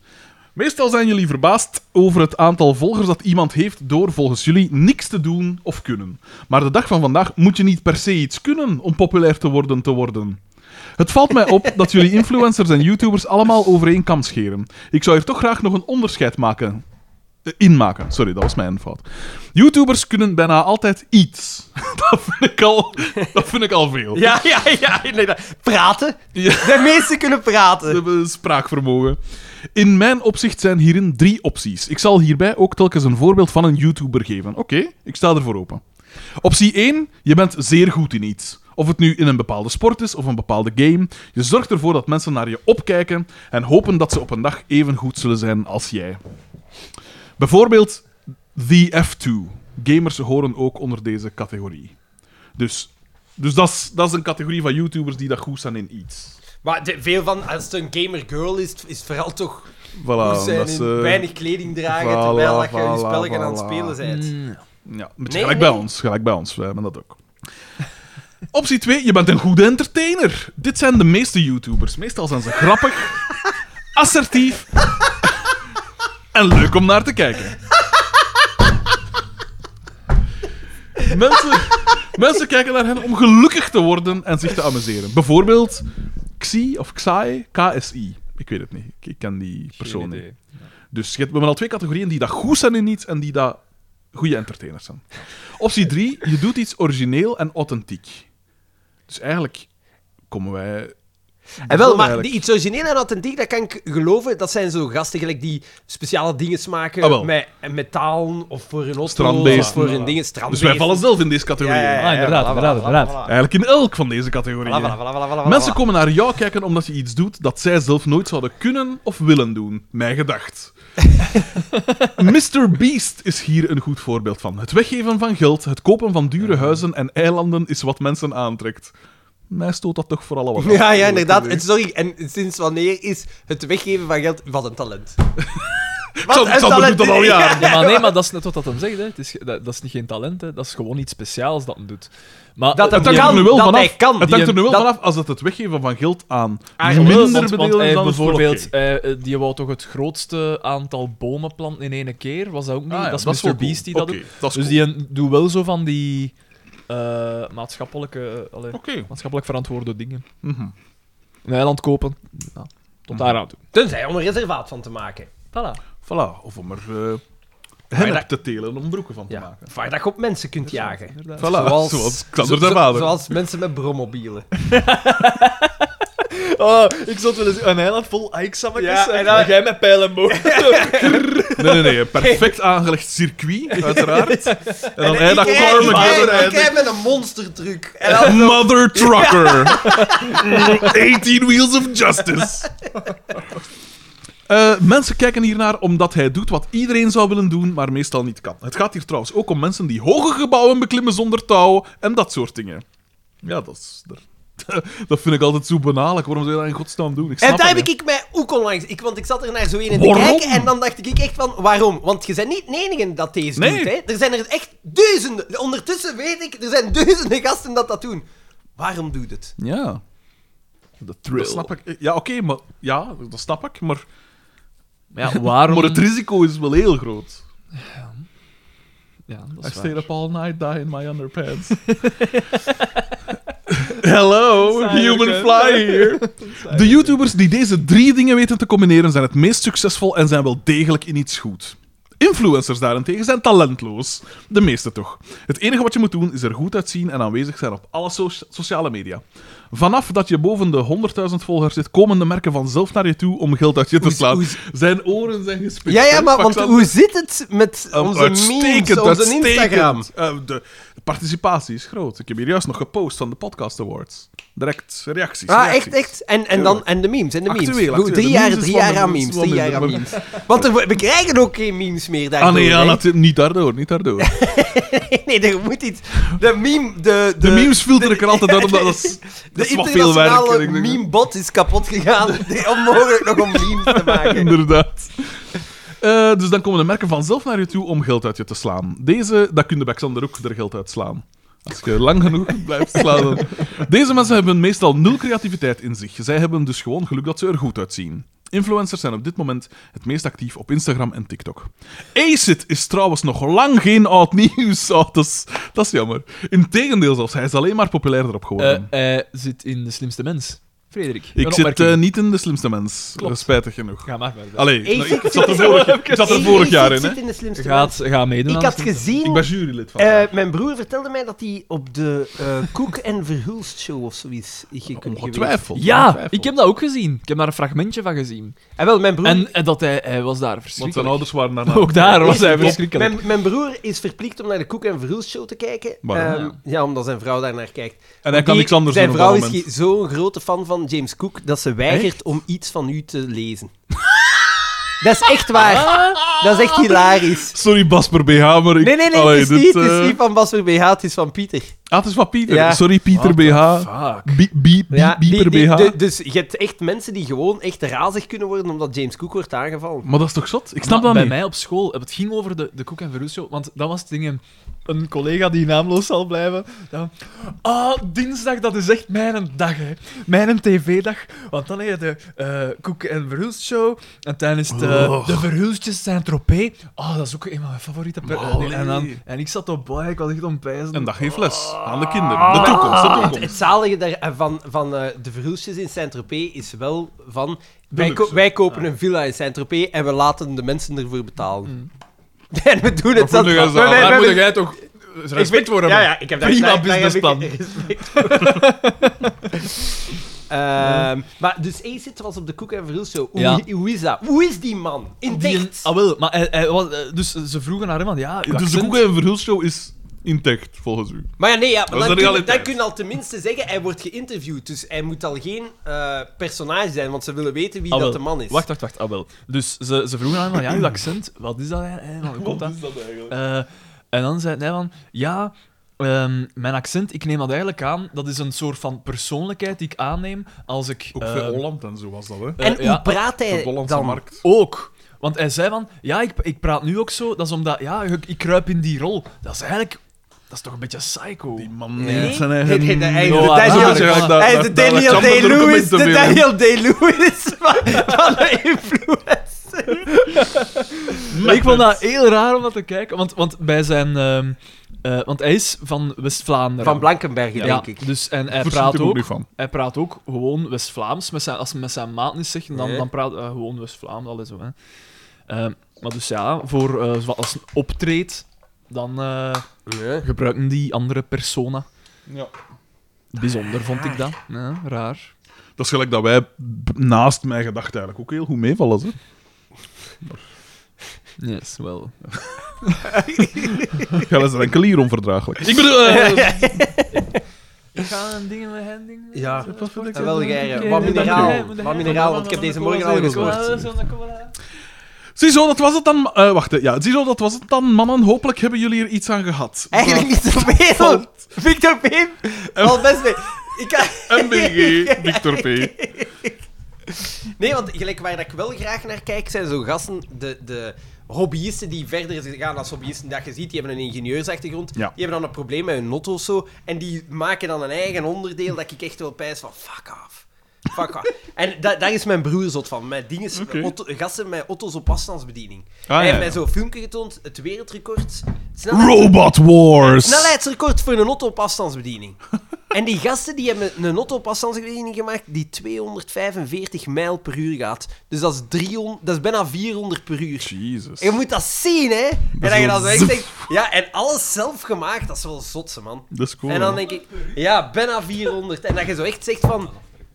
Meestal zijn jullie verbaasd over het aantal volgers dat iemand heeft door volgens jullie niks te doen of kunnen. Maar de dag van vandaag moet je niet per se iets kunnen om populair te worden te worden. Het valt mij op dat jullie influencers en YouTubers allemaal over één kam scheren. Ik zou hier toch graag nog een onderscheid maken. eh, Inmaken, sorry, dat was mijn fout. YouTubers kunnen bijna altijd iets. Dat vind ik al, dat vind ik al veel.
Ja, ja, ja. inderdaad. Praten.
Ja.
De meesten kunnen
Ze
praten.
hebben spraakvermogen. In mijn opzicht zijn hierin drie opties. Ik zal hierbij ook telkens een voorbeeld van een YouTuber geven. Oké, ik sta ervoor open. Optie 1, je bent zeer goed in iets. Of het nu in een bepaalde sport is of een bepaalde game. Je zorgt ervoor dat mensen naar je opkijken en hopen dat ze op een dag even goed zullen zijn als jij. Bijvoorbeeld The F2. Gamers horen ook onder deze categorie. Dus, dus dat is- dat is een categorie van YouTubers die dat goed zijn in iets.
Maar de- veel van, als het een gamer girl is, is het vooral toch
Voilà,
goed zijn
dat eh,
in
ze-
weinig kleding dragen,
voilà,
terwijl dat je je
voilà,
spelletje aan het
voilà.
spelen bent.
Ja, met
Nee,
gelijk
nee.
bij ons. Gelijk bij ons, wij hebben dat ook. Optie 2, je bent een goede entertainer. Dit zijn de meeste YouTubers. Meestal zijn ze grappig, assertief en leuk om naar te kijken. Mensen, mensen kijken naar hen om gelukkig te worden en zich te amuseren. Bijvoorbeeld Xi of Xai, KSI. Ik weet het niet. Ik, ik ken die persoon niet. Dus je hebt- we hebben al twee categorieën die dat goed zijn in iets en die dat goede entertainers zijn. Optie 3, je doet iets origineel en authentiek. Dus eigenlijk komen wij.
En wel, maar
eigenlijk-
die, iets origineel en authentiek, dat kan ik geloven. Dat zijn zo gasten gelijk die speciale dingen maken
Ah, wel.
met, eh, met talen of voor hun auto,
Strandbeesten.
of voor hun
Voilà.
dingen.
Dus
Strandbeesten.
wij vallen zelf in deze categorie.
Ah, inderdaad, inderdaad, inderdaad.
Eigenlijk in elk van deze categorieën. Mensen komen naar jou kijken omdat je iets doet dat zij zelf nooit zouden kunnen of willen doen. Mijn gedacht. Mr. Beast is hier een goed voorbeeld van. Het weggeven van geld, het kopen van dure huizen en eilanden is wat mensen aantrekt. Mij stoot dat toch vooral wat af.
Ja, ja, inderdaad. En sorry, en sinds wanneer is het weggeven van geld wat een talent? Wat
Sam- Sam doet dat nou, al jaren.
Ja, maar nee, maar dat is net wat dat hem zegt. Hè. Het is, ge- dat, dat is niet geen talent, hè. dat is gewoon iets speciaals dat hem doet. Maar, eh,
Dat hem
Het hangt
kan,
er nu wel
dat
vanaf.
hij kan.
Het hangt er
Die-
nu wel
dat-
vanaf als het het weggeven van geld aan
Ah,
minder
Want-
bedeelden
want hij
dan is het wel
bijvoorbeeld,
oké.
eh, die wou toch het grootste aantal bomen planten in één keer? Was dat ook niet?
Ah ja,
eh, dat is Mr.
wel cool.
Beast die dat
Oké,
doet.
dat is
Dus
cool.
die een- doet wel zo van die eh, maatschappelijke, eh, allee,
Oké.
maatschappelijk verantwoorde dingen.
Mhm.
Een eiland kopen, ja, tot daar aan toe.
Tenzij om er reservaat van te maken.
Voilà.
Voilà. Of om er eh
Maar
hennep
dat-
te telen om broeken van te
Ja.
maken.
Waar dat je op mensen kunt jagen.
Voilà.
Inderdaad.
Zoals, Xander zijn
zo-
vader.
Zoals mensen met brommobielen.
Oh, ik zat wel eens een eiland vol eiksammetjes
Ja, en
en,
dan-
en jij met pijl en boog.
Nee, nee, nee. Een perfect aangelegd circuit, uiteraard. En dan hij dat
ik,
karma
ik, ik met een monstertruc. En dan-
Mother Trucker. 18 Wheels of Justice. Eh, mensen kijken hiernaar omdat hij doet wat iedereen zou willen doen, maar meestal niet kan. Het gaat hier trouwens ook om mensen die hoge gebouwen beklimmen zonder touw en dat soort dingen. Ja, dat is... daar- Dat vind ik altijd zo banalig. Waarom zou je dat in godsnaam doen? Ik snap
En daar
het
heb ik,
niet.
ik mij ook onlangs... Ik, want ik zat er naar zo een in te
Waarom?
kijken en dan dacht ik echt van, waarom? Want je bent niet de enige dat deze
Nee.
doet, hè. Er zijn er echt duizenden. Ondertussen weet ik, er zijn duizenden gasten dat dat doen. Waarom doet het?
Ja.
De
Dat snap ik. Ja, oké, maar... Ja, dat snap ik, maar...
Ja, waarom...
Maar het risico is wel heel groot.
Ja, dat
I
is
stayed
waar.
up all night, die in my underpants. Hello,
Saai,
human
oké.
fly here. De YouTubers die deze drie dingen weten te combineren zijn het meest succesvol en zijn wel degelijk in iets goed. Influencers daarentegen zijn talentloos. De meeste toch. Het enige wat je moet doen is er goed uitzien en aanwezig zijn op alle so- sociale media. Vanaf dat je boven de 100.000 volgers zit, komen de merken vanzelf naar je toe om geld uit je te slaan.
oes.
Zijn oren zijn gespitst.
Ja, ja,
hè,
maar want
Paxander?
hoe zit het met
Um,
onze memes, onze Instagram? Ah,
Eh, de, de participatie is groot. Ik heb hier juist nog gepost van de Podcast Awards. Direct reacties.
Ah,
reacties.
echt, echt. En, en, dan, en de memes, en de memes.
Actueel,
Goed,
actueel.
Drie
De
jaar,
memes is
drie
wel
jaar aan memes,
minder, is wel
drie jaar aan
minder,
memes. Want er, wo- we krijgen ook geen memes meer daardoor.
Ah nee, ja,
hè.
natuurlijk niet daardoor, niet daardoor.
nee, er moet iets... De meme... De, de,
De memes filteren ik er altijd uit, omdat dat is, dat is
de
wat veel werk.
internationale
Ik denk eh, dat-
memebot is kapot gegaan. Nee, Onmogelijk nog om memes te maken.
Inderdaad. Eh, dus dan komen de merken vanzelf naar je toe om geld uit je te slaan. Deze, dat kun je bij Xander ook er geld uit slaan. Als je lang genoeg blijft slaan. dan- Deze mensen hebben meestal nul creativiteit in zich. Zij hebben dus gewoon geluk dat ze er goed uitzien. Influencers zijn op dit moment het meest actief op Instagram en TikTok. Acid is trouwens nog lang geen oud nieuws. Oh, dat, is, dat is jammer. Integendeel zelfs, hij is alleen maar populairder op geworden.
Eh, hij zit in de slimste mens. Frederik,
ik zit eh, niet in de slimste mens,
Klopt.
spijtig genoeg.
Ga maar verder.
Allee,
Hey,
nou,
zit-
ik zat er
zit-
vorig, ik zat er
Hey,
vorig jaar
zit-
in, hè?
zit in de slimste
Ga,
mensen.
het- ga meedoen
Ik
aan
had
de slimste
gezien...
Ik ben jurylid van.
eh, mijn broer vertelde mij dat hij op de eh, Koek en Verhulst show of zoiets ge- ge- geweest.
ongetwijfeld.
mens. Ja,
ongetwijfeld.
ik heb dat ook gezien. Ik heb daar een fragmentje van gezien.
En Ah, wel, mijn broer...
En, en dat hij, hij was daar
Want zijn
verschrikkelijk.
ouders waren daarna.
Ook daar was hij
Klopt.
verschrikkelijk.
Mijn, mijn broer is verplicht om naar de Koek en Verhulst show te kijken.
Waarom?
Ehm, ja. omdat zijn vrouw daar naar kijkt.
En hij kan
Die-
niks anders
Zijn
doen op
vrouw
dat
is
moment.
ge- zo'n grote fan van James Cook dat ze weigert om iets van u te lezen. dat is echt waar. Dat is echt hilarisch.
Sorry, Basper B. Hamer. Ah. ik-
Nee, nee, nee,
Allee,
het, is
dit,
niet, het
eh,
is niet van Bas BH, het is van Pieter.
Ah, het is van Pieter.
Ja.
Sorry, Pieter BH.
Fuck.
Bie- bie- bie-
Ja, die-
Bieber
die-
BH.
de- dus je hebt echt mensen die gewoon echt razig kunnen worden omdat James Cook wordt aangevallen.
Maar dat is toch zot? Ik snap
Maar
dat
bij
niet.
mij op school, het ging over de, de Koek en Verhoes want dat was het ding. een- Een collega die naamloos zal blijven. Dan, ah, dinsdag, dat is echt mijn dag, hè. Mijn tv-dag. Want dan heb je de eh, Koek en Verhoes show. En tijdens de,
Och.
eh, de Verhoesjes zijn tropee. Ah, dat is ook een van mijn favoriete per- eh, dingen. en, dan,
Allee.
en ik zat op boy, ik was echt ontpijzen.
En dat geeft les aan de kinderen. De toekomst, de
Ah. Het,
toekomst.
het zalige daar, van, van eh, de verhoestjes in Saint-Tropez is wel van... Wij,
luxe.
ko- wij kopen een villa in Saint-Tropez en we laten de mensen ervoor betalen. En we doen het
Maar
zelf.
voelde jij zo-
We- we-
daar
we-
moet
we-
jij toch
ik weet- Ja, ja, ik heb daar
Prima
daar- daar heb ik
businessplan.
respect voor. Ehm, maar dus één zit was op de Koek en Verhoes show. Hoe,
Ja.
hoe is dat? Hoe is die man? In het echt?
Ah, wel, maar hij, hij was, eh, dus ze vroegen naar hem, van, ja, uw
Dus de
accent-
Google en Verhulshow is intact, volgens u.
Maar ja, nee, ja, maar dan,
is de
kun je,
realiteit.
dan kun je al tenminste zeggen, hij wordt geïnterviewd. Dus hij moet al geen eh, personage zijn, want ze willen weten wie
Ah,
dat
wel.
de man is.
Wacht, wacht, wacht. Ah, wel. Dus ze, ze vroegen aan hem van, ja, uw accent, wat is dat eigenlijk? Van, hoe komt dat? Eh, en dan zei hij van, ja, ehm, mijn accent, ik neem dat eigenlijk aan. Dat is een soort van persoonlijkheid die ik aanneem als ik...
Ook
eh,
veel Holland en zo was dat, hè?
en
eh,
hoe
ja,
praat
Voor
hij
de Hollandse
dan?
markt.
Ook. Want hij zei van, ja, ik, ik praat nu ook zo, dat is omdat, ja, ik, ik kruip in die rol. Dat is eigenlijk, dat is toch een beetje psycho.
Die man
Nee,
heeft zijn
nee,
eigen...
nee, nee, hij is
de Daniel-
Hij is de Daniel Day-Lewis, de Daniel Day-Lewis van, van de influencer.
Maar ik vond dat heel raar om dat te kijken, want, want bij zijn... ehm, eh, want hij is van West-Vlaanderen.
Van Blankenbergen,
ja,
denk ik.
dus en hij
Hij
praat ook
niet van.
Hij praat ook gewoon West-Vlaams. Met zijn- Als hij met zijn maat niet zegt, dan,
Nee.
dan praat hij gewoon West-Vlaams. Alles zo, hè. Eh, maar dus ja, voor, eh, zo- als een optreedt, dan eh,
Nee.
gebruiken die andere persona.
Ja.
Bijzonder vond ik
Ah,
dat. Ja, raar.
Dat is gelijk dat wij b- naast mijn gedachten eigenlijk ook heel goed meevallen. Hè?
Yes, wel.
Ja, we zijn enkel hier onverdraaglijk. Ik bedoel... eh,
Ik ga een ding met hen ding.
Ja.
Zo, wat wil ik
En wel,
zeggen?
jij, eh,
Oké,
wat
nee,
mineraal.
dank je. Moet
Wat
jij-
mineraal, want ik heb deze morgen al
Cola,
gescoord.
cola, cola, cola.
Ziezo, dat was het dan... Eh, wacht, hè. ja. Ziezo, dat was het dan, mannen. Hopelijk hebben jullie er iets aan gehad.
Eigenlijk niet zoveel. Victor Pim, al best mee. Ik kan-
MBG, Victor P.
Nee, want gelijk waar dat ik wel graag naar kijk, zijn zo gasten, de, de hobbyisten die verder gaan als hobbyisten. Dat je ziet, die hebben een ingenieursachtergrond,
Ja.
die hebben dan een probleem met hun not of zo. En die maken dan een eigen onderdeel dat ik echt wel pijs van, fuck off. Fuck off. en da, daar is mijn broer zot van, met dingen,
Oké.
auto- gasten met auto's op afstandsbediening.
ja,
Hij heeft
ja.
mij zo'n filmpje getoond, het wereldrecord. snelheid-
Robot Wars!
Nou, Snelheidsrecord voor een auto op afstandsbediening. en die gasten die hebben een auto op afstandsbediening gemaakt die 245 mijl per uur gaat. Dus dat is, 300, dat is bijna 400 per uur.
Jezus.
Je moet dat zien, hè? en dan je
wel
dan zo echt
zoef.
denkt, ja, en alles zelf gemaakt, dat is wel zotse, man.
Dat is cool.
en dan
hè.
denk ik, ja, bijna 400. En dat je zo echt zegt van,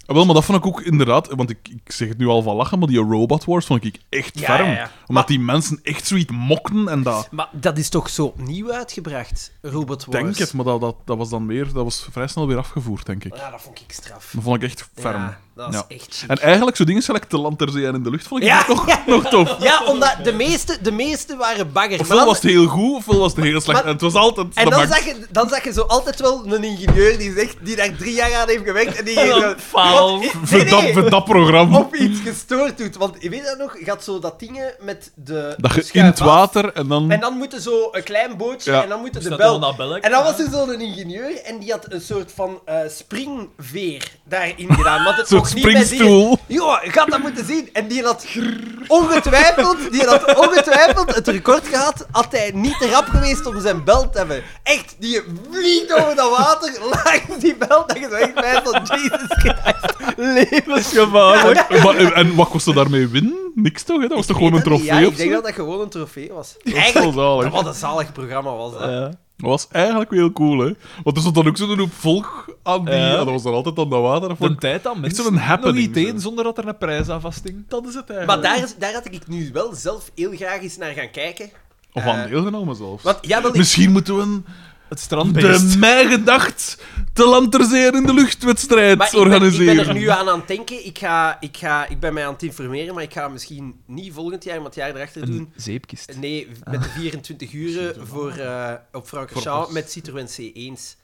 Ah, Wel, maar dat vond ik ook inderdaad... Want ik, ik zeg het nu al van lachen, maar die Robot Wars vond ik echt
Ja,
ferm.
ja, ja.
Omdat die mensen echt zoiets mokten en dat...
maar dat is toch zo nieuw uitgebracht, Robot
Ik
Wars?
denk het, maar dat, dat, dat was dan weer... Dat was vrij snel weer afgevoerd, denk ik.
Ja, dat vond ik straf.
Dat vond ik echt ferm.
Ja, dat is
Ja.
echt chic.
En eigenlijk, zo dingen gelijk te land, ter zee en in de lucht, vond ik
Ja.
nog, nog tof.
Ja, omdat de meeste, de meeste waren bagger. Maar
Ofwel
dan-
was het heel goed, ofwel was het heel slecht.
Maar-
en het was altijd
En
de
dan
max.
zag, je, dan zag je zo altijd wel een ingenieur die zegt, die daar drie jaar aan heeft gewerkt en die
En dan
zo-
faal.
Wat- nee,
Voor dat,
nee,
voor dat programma.
op iets gestoord doet. Want je weet dat nog, gaat zo dat dingen met de
Dat je in
schuif
het
af.
water en dan...
Dus En dan moeten zo een klein bootje
Ja.
en dan moeten
Dus
de
dat dan
bel.
dat belletje,
En dan was
hè?
er zo'n ingenieur en die had een soort van eh, springveer daarin gedaan. Want het
Een soort
mocht niet met dingen-
springstoel.
Joh, je gaat dat moeten zien. En die had ongetwijfeld, die had ongetwijfeld het record gehad, had hij niet te rap geweest om zijn bel te hebben. Echt, die vliegt over dat water, langs die bel, dat je zo echt bij van Jesus Christ, levensgevaarlijk.
Maar, en, en wat kostte daarmee winnen? Niks toch? Hè? Dat was toch gewoon een trofee
Ja, ik
of zo?
denk dat dat gewoon een trofee was.
was wel zalig.
Eigenlijk, wat een zalig programma was dat.
Ja.
Dat was eigenlijk weer heel cool, hè? Want er stond dan ook zo'n hoop volk aan die...
Ja.
en dat was dan altijd aan dat water. Dat vond
De
ik-
tijd dat mensen
zo'n
nog
happening,
iets deden
zo.
zonder dat er een prijs aan vasthing. Dat is het
Maar
eigenlijk.
daar, is- daar had ik nu wel zelf heel graag eens naar gaan kijken.
Of aan
Eh,
deelgenomen zelfs.
Want ja, wel, ik,
Misschien moeten we een...
Het
De
strandbeest.
mij gedacht te land ter zee en in de luchtwedstrijd
maar ik, ben, ik
organiseren.
ben er nu aan aan het denken. Ik, ga, ik, ga, ik ben mij aan het informeren, maar ik ga misschien niet volgend jaar, maar het jaar erachter doen.
zeepkist. Ah.
Nee, met de 24 uren voor, eh, op Francorchamps met Citroën C1's.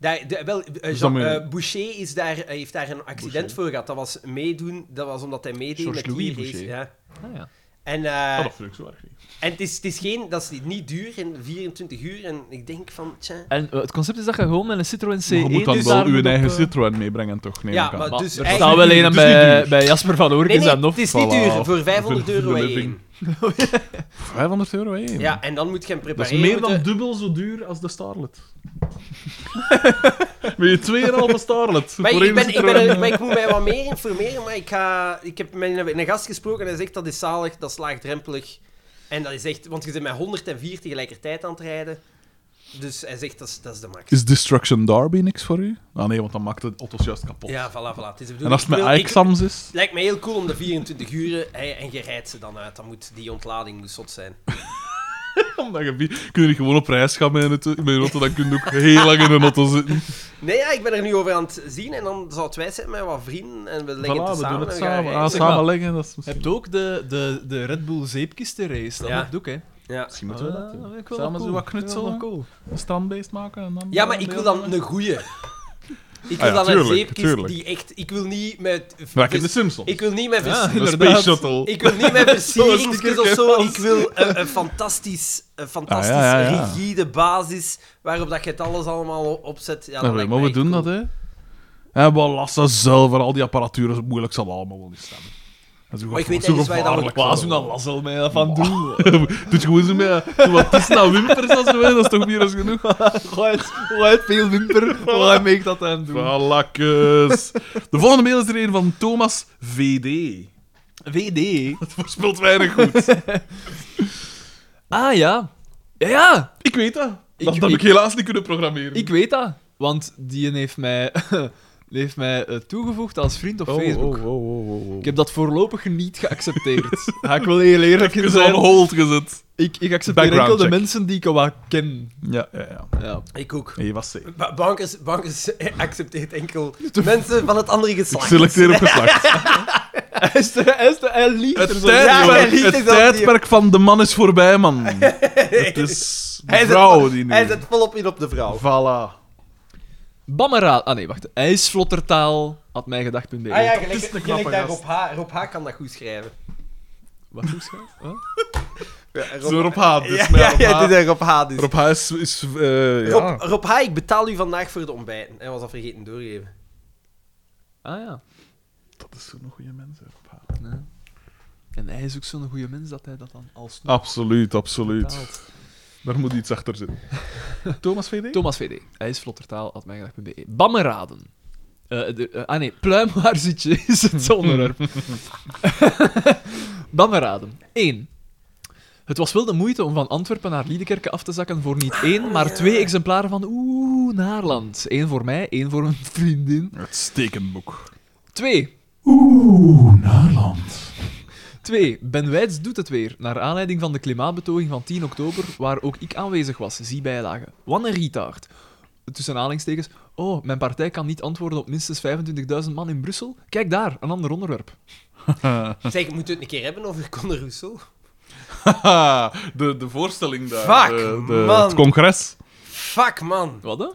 Daar, de- wel, eh,
Dus
Jean-
dan moet je-
eh, Boucher is daar, eh, heeft daar een accident
Boucher.
voor gehad. Dat was meedoen, dat was omdat hij meedeed
Georges
met
Louis
die race.
Boucher.
Ja.
Ah, ja.
En,
Ah,
eh,
dat vind ik zo erg niet.
en het is, het is geen, dat is niet- niet duur, in 24 uur. En ik denk van, tja.
En eh, het concept is dat je gewoon met een Citroën C1...
Maar je moet dan
dus
wel
daar
uw
moet op,
eigen
eh,
Citroën meebrengen, toch? Neem
Ja,
ik aan.
maar
Maar
dus
er
eigenlijk-
staat wel een
Het is niet
bij, eh,
duur.
bij Jasper van Oorkens
Nee, nee,
en Nof.
het is niet
voilà.
duur. Voor 500
Voor-
euro
voor de
één.
living. 500 euro, hé.
Ja, en dan moet je hem
Dat is
prepareren.
meer
moeten-
dan dubbel zo duur als de Starlet. Met je 2,5 Starlet.
Maar
voor
ik,
één
ben, ik,
Citroën.
ben, maar ik moet mij wat meer informeren, maar ik, ga, ik heb met een, een gast gesproken en hij zegt dat is zalig, dat is laagdrempelig. En dat is echt, want je bent met 104 tegelijkertijd aan het rijden. Dus hij zegt dat is, dat is de max.
Is Destruction Derby niks voor u? Ah nee, want dan maakt het auto's juist kapot.
Ja, voilà, voilà. Het is de bedoeling.
Oh. en als het met
Ik wil- ik-
Aixams is...
Het lijkt me heel cool om de 24 uur hè, en je rijdt ze dan uit. Dan moet die ontlading moet zot zijn.
Omdat je, kun je niet gewoon op reis gaan met een auto, met een auto, dan kun je ook heel lang in een auto zitten.
Nee, ja, ik ben er nu over aan het zien en dan zal het wij zijn met wat vrienden en we leggen
Voilà,
het
we
samen.
doen het
en we gaan
samen.
rijden.
Ah,
Zeg maar,
samen leggen, dat is
Je
misschien...
hebt ook de, de, de Red Bull zeepkistenrace. Dat
Ja.
ja. heb ik ook, hè.
Ja.
Misschien moeten we dat doen.
Ah, ik wil
Samen
dat
zo
cool.
wat
Ik wil
knutselen,
dat cool.
een strandbeest maken en dan...
Ja, maar ik wil dan een goeie. Ik wil
Ah ja,
dan een
tuurlijk,
zeepkist
tuurlijk.
die echt... Ik wil niet met...
Werk in de
vers-
Simpsons.
ik wil niet met vers-
Ah,
De Space
inderdaad.
Shuttle.
Ik wil niet met versieringskes
stickerke
of zo.
van.
Ik wil een, een fantastisch, een fantastisch
Ah, ja, ja, ja.
rigide basis waarop dat je het alles allemaal o- opzet. Ja, dat
Ja,
lijkt mij
maar we
echt
doen
cool.
dat, hè. En we lassen zelf en al die apparatuur, is moeilijk zal allemaal wel niet stemmen. Dat is
Maar ik
gevaar-
weet ergens waar je dat
gevaarlijk
moet
Waar
zo.
zou dat lasel mij dat van
Bah.
doen?
Doet je gewoon zo met zo wat tussen aan wimpers als zo, hè. dat is toch meer dan genoeg?
Gooi het- gooi het veel wimper, waar ik dat aan doen?
Valakkes. De volgende mail is er een van Thomas VD.
VD.
Het voorspelt weinig goed.
Ah, ja. Ja, ja.
Ik weet dat.
Ik-
Dat, dat heb ik
ik-
helaas niet kunnen programmeren.
Ik weet dat, want die heeft mij, heeft mij eh, toegevoegd als vriend op
Oh,
Facebook. Ik heb dat voorlopig niet geaccepteerd. Ga ik wel heel eerlijk in
Even on
zijn.
hold gezet.
Ik, ik accepteer
Background
enkel de
check.
mensen die ik wat ken.
Ja, ja, ja.
Ja.
Ik ook.
Nee, was zeker.
Ba- Bankers, bankers accepteert enkel mensen van het andere
Ik
geslacht.
selecteer op geslacht.
Hij is de, hij is de, hij liet er
Het
zo-
hij
tijdperk,
liet
het
het wel
tijdperk van de man is voorbij, man. Het is
Hij
de
zet-
vrouw die nu...
Hij zet volop in op de vrouw.
Voilà.
Bammera. Ah nee, wacht. Hij is vlottertaal. Had mijngedacht.be.
Ah ja,
het is een
gelijk,
knappe
gelijk daar
gast.
Rob H. Rob H. kan dat goed schrijven.
Wat hoe schrijf huh?
Ja, Rob-
Zo Rob H. Dus
ja,
met
ja,
Rob
ja,
H.
dit is Rob H. Dus.
Rob H. is... is eh, ja.
Rob, Rob H., ik betaal u vandaag voor de ontbijten. Hij was al vergeten doorgeven.
Ah ja.
Dat is zo'n goede mens, hè, Rob H.
Nee. En hij is ook zo'n goede mens dat hij dat dan als
Absoluut, absoluut. Daar moet iets achter zitten. Thomas VD?
Thomas VD. Hij is vlottertaal.mijgedacht.be. Bammeraden. e- Eh, de- eh, ah nee, pluim waar zit je is het onderwerp. Bammeraden. 1. Het was wel de moeite om van Antwerpen naar Liedekerke af te zakken voor niet één, maar twee exemplaren van Oeh, Naarland. Eén voor mij, één voor een vriendin.
Uitstekend boek.
Twee.
Oeh, Naarland.
2. Ben Wijts doet het weer, naar aanleiding van de klimaatbetoging van 10 oktober, waar ook ik aanwezig was. Zie bijlage. Wat een retard. Tussen aanhalingstekens. Oh, mijn partij kan niet antwoorden op minstens 25.000 man in Brussel. Kijk daar, een ander onderwerp.
Zeg, moeten we het een keer hebben over Conor Rousseau?
Haha, de, de voorstelling daar.
Fuck,
de, de-
man.
Het congres.
Fuck, man.
Wat dan?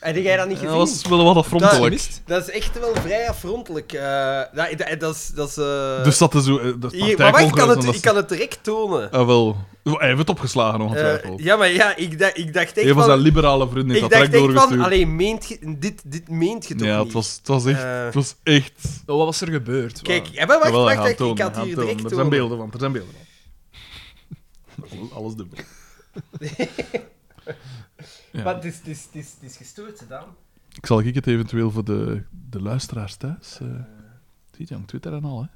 Heb jij dat niet gezien?
Dat was wel wat afrontelijk.
Gemist?
Dat is echt wel vrij afrontelijk. eh, dat, dat, dat is... Dat is eh,
Dus dat is zo... eh, Dat
hier- maar wacht, ik kan,
partijcongres en
het,
dat
ik kan het direct tonen.
Ah, wel. Hij heeft het opgeslagen,
Eh,
ongetwijfeld.
ja, maar ja, ik, dacht- ik dacht echt
Een van zijn
van...
liberale vrienden heeft
Ik
dat
dacht
direct
echt van,
doorgestuurd.
allee, meent je- dit, dit meent je toch
Ja,
niet?
het was, het was echt...
Eh.
Het was echt...
Oh, wat was er gebeurd?
Kijk, ja, maar wacht,
Jawel, hij
wacht,
gaat
wacht,
tonen,
ik
hij
had
gaat
hier
tonen.
direct
Er zijn
tonen.
beelden van, er zijn beelden van. Alles- Alles dubbel. Ja.
Maar het is, het is, het is, het is gestoord, hè, Daan.
Ik zal ik het eventueel voor de, de luisteraars thuis... eh Ziet je, op Twitter en al, hè.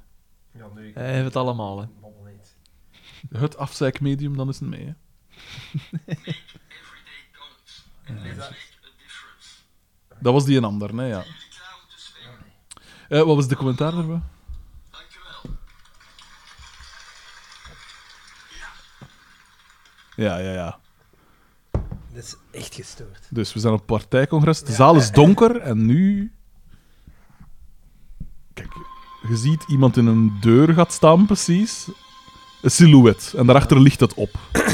Ja, nee,
Hij heeft het allemaal, hè.
babbel niet.
Het afzeikmedium, dan is het mee, hè. Dat was die een ander, nee, ja. Eh, wat was de commentaar erbij? Ja, ja, ja.
Dat is echt gestoord.
Dus we zijn op partijcongres. De zaal is donker en nu. Kijk, je ziet iemand in een deur gaat staan, precies. Een silhouet. En daarachter ligt het op.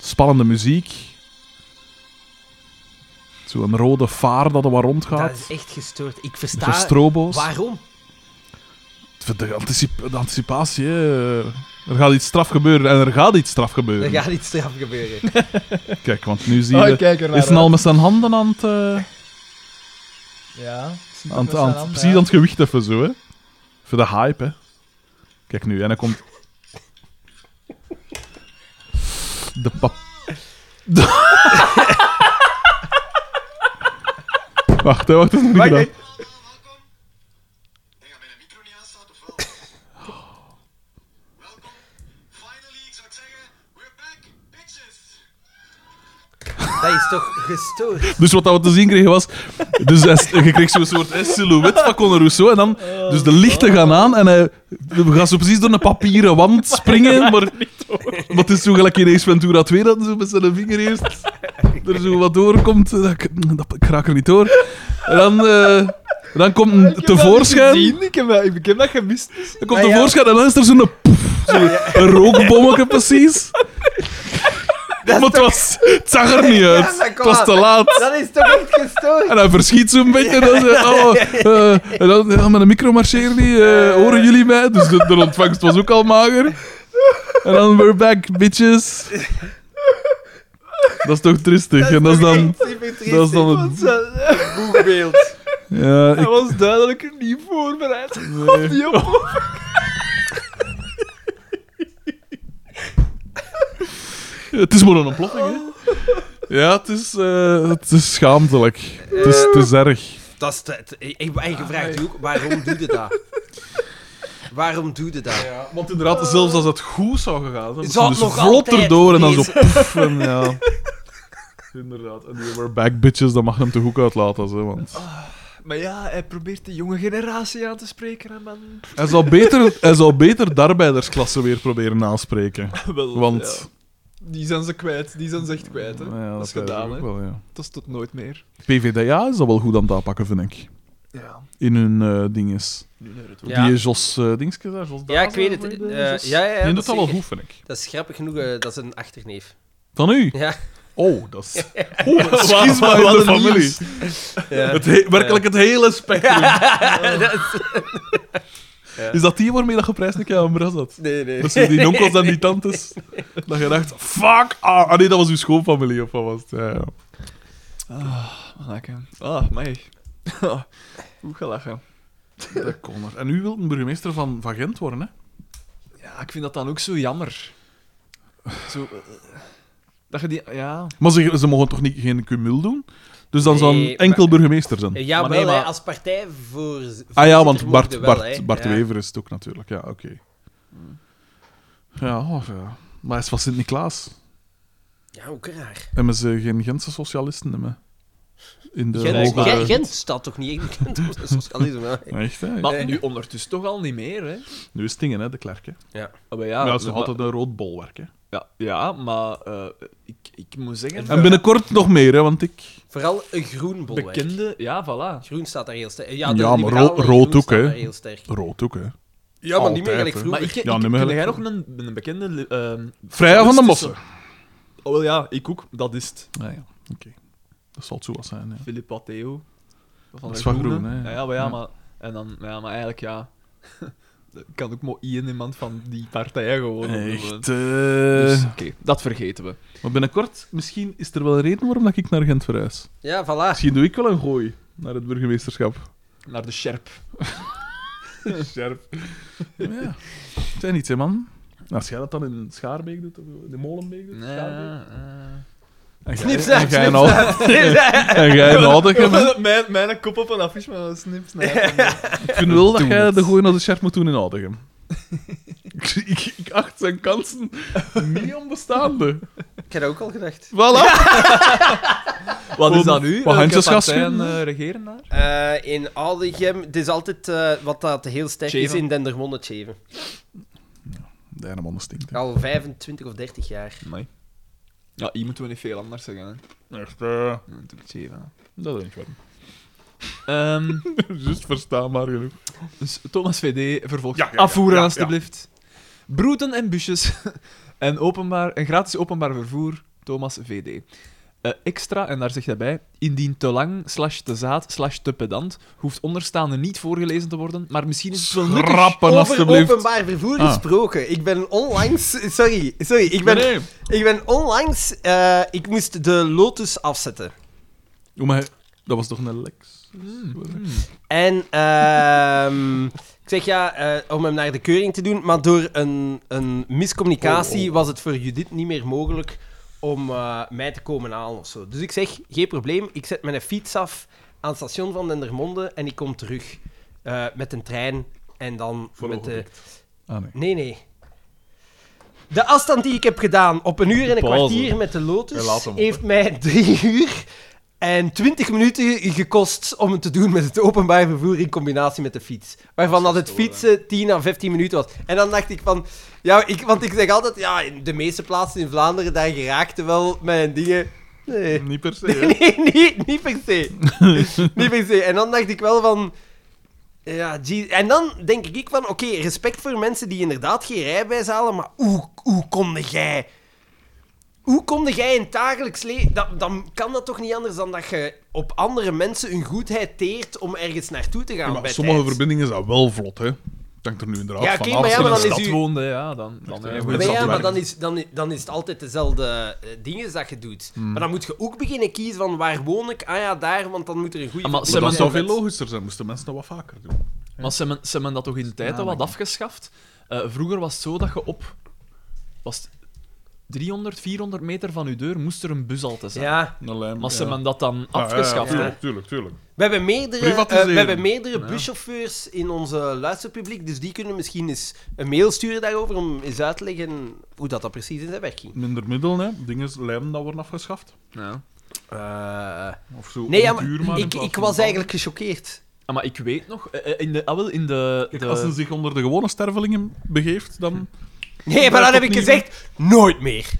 Spannende muziek. Zo'n rode vaar dat er wat
Dat
rondgaat.
is echt gestoord. Ik
Zo'n
versta
strobo's.
waarom.
Voor De, anticip- de anticipatie, hè. Er gaat iets straf gebeuren en er gaat iets straf
Er
gebeuren.
gaat iets straf gebeuren.
Kijk, want nu zie
Oh,
je...
ik kijk ernaar
is
nou
hij al met zijn handen aan het... eh,
Ja. ziet het met
aan het, aan
zijn
het-
hand,
precies
ja.
aan het gewicht even zo, hè. Voor de hype, hè. Kijk nu, en dan komt... De pap... wacht, hè, wacht, dat is nog niet gedaan.
Ik ga mijn micro niet aanstaan of wel? Welkom. Finally, ik zou het zeggen, uh, we're back, bitches!
Dat is toch gestoord.
Dus wat dat we te zien kregen was... Dus hij s- je kreeg zo'n soort eh, silhouet van Conor Rousseau. En dan, dus de lichten gaan aan en hij gaat zo precies door een papieren wand springen. Maar, maar het is zo gelijk in Ace Ventura 2 dat hij zo met zijn vinger eerst er zo wat doorkomt. Dat, ik- dat, ik raak er niet door. En dan, eh, dan komt een
Ik heb dat niet
tevoorschijn...
gezien, Ah, Ik heb, dat- ik heb dat gemist.
Dan komt tevoorschijn en dan is er zo'n poef. Zo,
Ah,
een rookbommetje precies. Maar het, was, het zag er niet uit.
dat
Het
kon
was te
aan.
laat.
Dat is toch echt gestoord.
En hij verschiet zo'n beetje. En dan, ze, oh, eh, en dan ja, met een micro marcheer die. eh, horen jullie mij? Dus de, de ontvangst was ook al mager. En dan, we're back, bitches. Dat is toch tristig. en dat is dan. Dat is dan het.
boegbeeld.
Ja,
Hij
ik,
was duidelijk er niet voorbereid
Oh,
op die op.
het is maar een ontploffing, hè? Ja, het is, eh, het is schaamtelijk. Het is, het is erg.
Dat is te, te- ik, ik, en je vraagt je ook, waarom doe je dat? Waarom doe je dat?
Want inderdaad, zelfs als het goed zou gegaan, dan
Zou
zou
het
dus
nog
vlot
altijd
erdoor en dan zo
deze-
poef. En, ja. Inderdaad. En die we're back, bitches, dat mag hem te goed uitlaten. Zo, want...
Maar ja, hij probeert de jonge generatie aan te spreken. En man.
Hij zou beter, hij zou beter de arbeidersklasse weer proberen aanspreken. Want...
Die zijn ze kwijt, die zijn ze echt kwijt. Hè.
nou ja,
dat is
lijkt
gedaan,
me
hè.
ook wel, ja.
Dat is tot nooit meer.
PVDA is dat wel goed aan het aanpakken, vind ik.
Ja,
In hun eh, dinges.
nu naar het
Ja.
Die Jos eh dingske daar, Jos
Ja, ik
Dazen,
weet het.
hoe heet
eh,
die?
ja,
Jos-
ja, ja,
die
dat
doet dat wel
zeker.
goed, vind ik.
Dat is grappig genoeg, eh, dat is een achterneef.
Dan u.
Ja.
Oh, dat is... Oh, dat is
Wat-
schisma in
wat
de
een
familie.
nieuws.
Het he- werkelijk het hele spectrum. Is dat die waarmee dat geprijsd een keer aan Bras had?
Nee, nee.
Dat zijn die onkels en die tantes. Dat je dacht, fuck, ah, ah, nee, dat was uw schoonfamilie of wat was het? Ja, ja.
Lekker. Ah, mij. Hoe gelachen.
Dat kon er. En u wilt een burgemeester van, van Gent worden, hè?
Ja, ik vind dat dan ook zo jammer. Zo... eh, dat je die... Ja...
Maar ze, ze mogen toch niet, geen cumul doen? Dus dan zou
Nee,
een enkel
maar-
burgemeester zijn.
Ja,
Maar
wel,
nee,
hè,
maar-
als partij voor.
ah ja, want Bart,
wel, hè.
Bart, Bart
ja.
Wever is het ook natuurlijk. Ja, oké. Ja, of ja. Maar hij is van Sint-Niklaas.
Ja, ook raar.
Hebben ze geen Gentse socialisten? Hebben? In de
Gent,
hogere-
Gent- Gent staat toch niet echt bekend om zijn socialisme? hè?
Echt, hè?
Maar nu ondertussen toch al niet meer, hè?
Nu is het dingen, hè, de klerk. Hè.
Ah, Maar ja,
ja, ze
maar-
hadden een rood bolwerk. Hè.
ja, ja, maar eh, ik, ik moet zeggen...
En binnenkort nog meer, hè, want ik...
Vooral een groen bolwerk.
Bekende... Ja, voilà.
Groen staat daar heel sterk. Ja, de
Ja, maar
liberalen
ro-
en
rood
groen
ook,
staan
hè.
daar heel sterk.
Rood ook, hè.
Ja, maar niet meer gelijk
Altijd, hè.
Maar
vroeger.
ik, ik,
Ja, nu
ken
maar-
jij nog een, een bekende... ehm
Vrij van de
Russische-
Mossen. Ah,
Oh wel ja, ik ook. Dat is het.
Ja, ja. Oké. Dat zal het zo wat zijn, ja.
Philip Theo.
Dat
Van
is
de
van
Groene.
Groen, hè, ja.
Ja, ja, maar ja,
Ja.
maar... En dan... Ja, maar eigenlijk, ja... dat kan ook maar één iemand van die partij gewoon opnoemen.
Echt.
Dus,
eh.
oké, dat vergeten we.
Maar binnenkort, misschien is er wel een reden waarom dat ik naar Gent verhuis.
Ja, voilà.
Misschien doe ik wel een gooi naar het burgemeesterschap.
Naar de Sherp.
Scherp. Ja. Het zijn iets, hè, man. Als jij dat dan in Schaarbeek doet, of in de Molenbeek doet, Schaarbeek... En jij-
Snip, snap,
en jij
snip,
nou- En jij nodig hebt, hè.
mijn, mijn kop op een affiche met een snipsnijp.
Ik vind wel dat jij de gooi naar de Scherp moet doen in Oudegem. ik, ik, ik acht zijn kansen niet onbestaande.
Ik heb dat ook al gedacht.
Voilà.
Wat
Om-
is dat nu?
wat Hensjes gaat
partijen,
schieten?
eh, regeren daar?
Eh, in Aldegem, het is altijd eh, wat dat heel sterk is
Cheven.
in Dendermonde Cheven.
De ene man stinkt. hè.
Al 25 of 30 jaar.
Nee. Ja, hier moeten we niet veel anders zeggen. Hè.
Echt, eh,
Dat doe ik het even.
dat denk ik wel.
Ehm,
Just verstaanbaar genoeg.
dus Thomas VD vervolgt.
Ja, ja, ja,
Afvoeren,
ja,
alstublieft. Broeten en busjes. en openbaar, en gratis openbaar vervoer. Thomas VD. eh, extra, en daar zegt hij bij, indien te lang, slash te zaad, slash te pedant, hoeft onderstaande niet voorgelezen te worden, maar misschien is het wel nuttig.
Schrappen,
Over
alstublieft.
openbaar vervoer
Ah.
gesproken. Ik ben onlangs... Sorry, sorry. Ik ben,
Nee, nee.
Ik ben onlangs... eh, ik moest de Lotus afzetten.
Oh, maar hij- dat was toch een Lex?
En ehm, ik zeg ja, eh, om hem naar de keuring te doen, maar door een, een miscommunicatie was het voor Judith niet meer mogelijk om eh, mij te komen halen of zo. Dus ik zeg, geen probleem, ik zet mijn fiets af aan het station van Dendermonde en ik kom terug eh, met een trein en dan
Voor
met de...
Ah, nee.
Nee, nee. De afstand die ik heb gedaan op een uur en een
Pauze.
kwartier met de
Ja,
Lotus
laat hem op,
heeft mij drie uur en twintig minuten gekost om het te doen met het openbaar vervoer in combinatie met de fiets. Waarvan dat het fietsen 10 à 15 minuten was. En dan dacht ik van... Ja, ik, want ik zeg altijd, ja, in de meeste plaatsen in Vlaanderen, daar geraakte wel mijn dingen... Nee.
Niet per se. hè.
Nee, niet, niet per se. niet per se. En dan dacht ik wel van... Ja, gee- En dan denk ik van, oké, respect voor mensen die inderdaad geen rijbewijs halen, maar hoe, hoe konde jij... Hoe konde jij in het dagelijks leven... Dat, dan kan dat toch niet anders dan dat je op andere mensen hun goedheid teert om ergens naartoe te gaan
Ja, maar
bij
sommige
tijd.
verbindingen zijn wel vlot, hè. Het hangt er nu inderdaad
Ja,
van
oké,
af.
maar ja,
Als je
maar
in
dan
de
is
stad
u-
woonde, ja, dan... dan
Ja,
eh,
maar
wordt
Maar
dat
ja, maar
te werken.
dan is, dan, dan is het altijd dezelfde eh, dingen dat je doet.
Hmm.
Maar dan moet je ook beginnen kiezen van waar woon ik? Ah ja, daar, want dan moet er een goede...
Ah, maar
Maar
Ze
dat
verbinding
zou
zijn
veel
met-
logischer zijn. Moesten mensen dat wat vaker doen.
Maar ze hebben, ze hebben dat toch in de tijd al wat afgeschaft? Eh, vroeger was het zo dat je op was het 300, 400 meter van je deur moest er een bus al te zijn.
Ja,
Een lijn,
Maar ze
ja.
hebben dat dan
Ah, ja,
afgeschaft.
Ja,
hè.
tuurlijk, tuurlijk, tuurlijk.
We hebben meerdere,
Privatiseren.
eh, we hebben meerdere buschauffeurs in onze luisterpubliek, dus die kunnen misschien eens een mail sturen daarover om eens uit te leggen hoe dat, dat precies in zijn werk ging.
Minder middelen, hè. Dingen, lijnen dat worden afgeschaft.
Ja.
Eh,
Of zo.
nee, ja,
op duur
maar
in
ik,
plaats
ik
van
was
van-
eigenlijk gechoqueerd.
Ah, maar ik weet nog, eh, eh, in de, ah, wel, in de,
Kijk,
de-
als
Eh.
ze zich onder de gewone stervelingen begeeft, dan...
Nee, maar dan heb ik
opnieuw.
gezegd, nooit meer.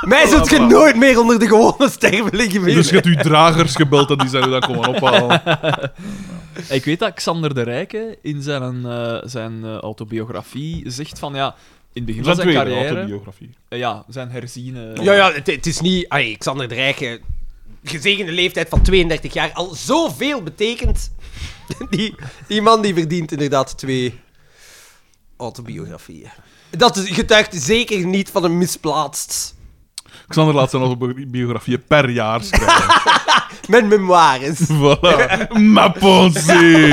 Mij zult je nooit meer onder de gewone stervelingen mee.
Dus je hebt uw dragers gebeld en die zijn u dan komen ophalen.
Ik weet dat Xander de Rijke in zijn, eh, zijn eh, autobiografie zegt van ja, in het begin van
Zijn
zijn
tweede
carrière,
autobiografie.
eh, ja, zijn herziene.
Ja, ja, het, het is niet... Allee, Xander de Rijke, gezegende leeftijd van 32 jaar, al zoveel betekent. Die, die man die verdient inderdaad twee autobiografieën. Dat is- getuigt zeker niet van een misplaatst...
Xander laat zijn autobiografie per jaar schrijven.
Mijn memoires.
voilà. Ma pensée.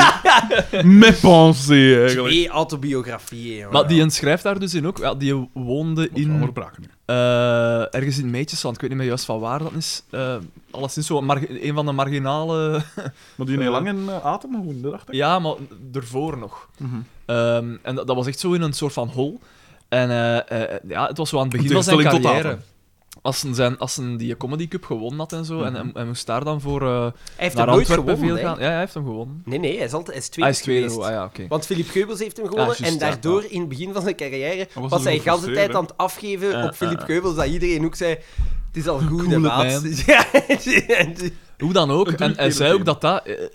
Mes pensées, eigenlijk.
Twee autobiografieën, jongen.
Maar die en schrijft daar dus in ook, ja, die woonde
In...
in
Allemaal braken nu.
Eh, ergens in Meetjesland, ik weet niet meer juist van waar dat is. Eh alleszins zo mar- een van de marginale...
Maar die heel lang in eh, Atem woonde, dacht ik. Mhm.
ja, maar ervoor nog. Ehm, en dat, dat was echt zo in een soort van hol. En eh, eh, ja, het was zo aan het begin van zijn
tegenstelling tot
carrière. Als ze, zijn, als ze die Comedy Cup gewonnen had en zo,
Mhm.
en, en, en moest daar dan voor eh,
Hij heeft hem
naar
nooit
Antwerpen
gewonnen,
veel
hè.
gaan. Ja, hij heeft hem gewonnen.
Nee, nee, hij is altijd hij is tweede
Hij is tweede,
geweest.
geworden, ah, ja, oké.
Want Philip Geubels heeft hem gewonnen
Ah, juist,
en
ja,
daardoor
ja.
in het begin van zijn carrière
was
was,
dus
hij
ook
de hele
gefrustreerd,
tijd
hè?
aan het afgeven
Ja,
op Philip
ja, ja.
Geubels dat iedereen ook zei het is al goed,
Coole
hè, maat. Ja,
Hoe dan ook,
Een
en hij
terugkerend
zei ook
thema.
dat dat... eh, eh,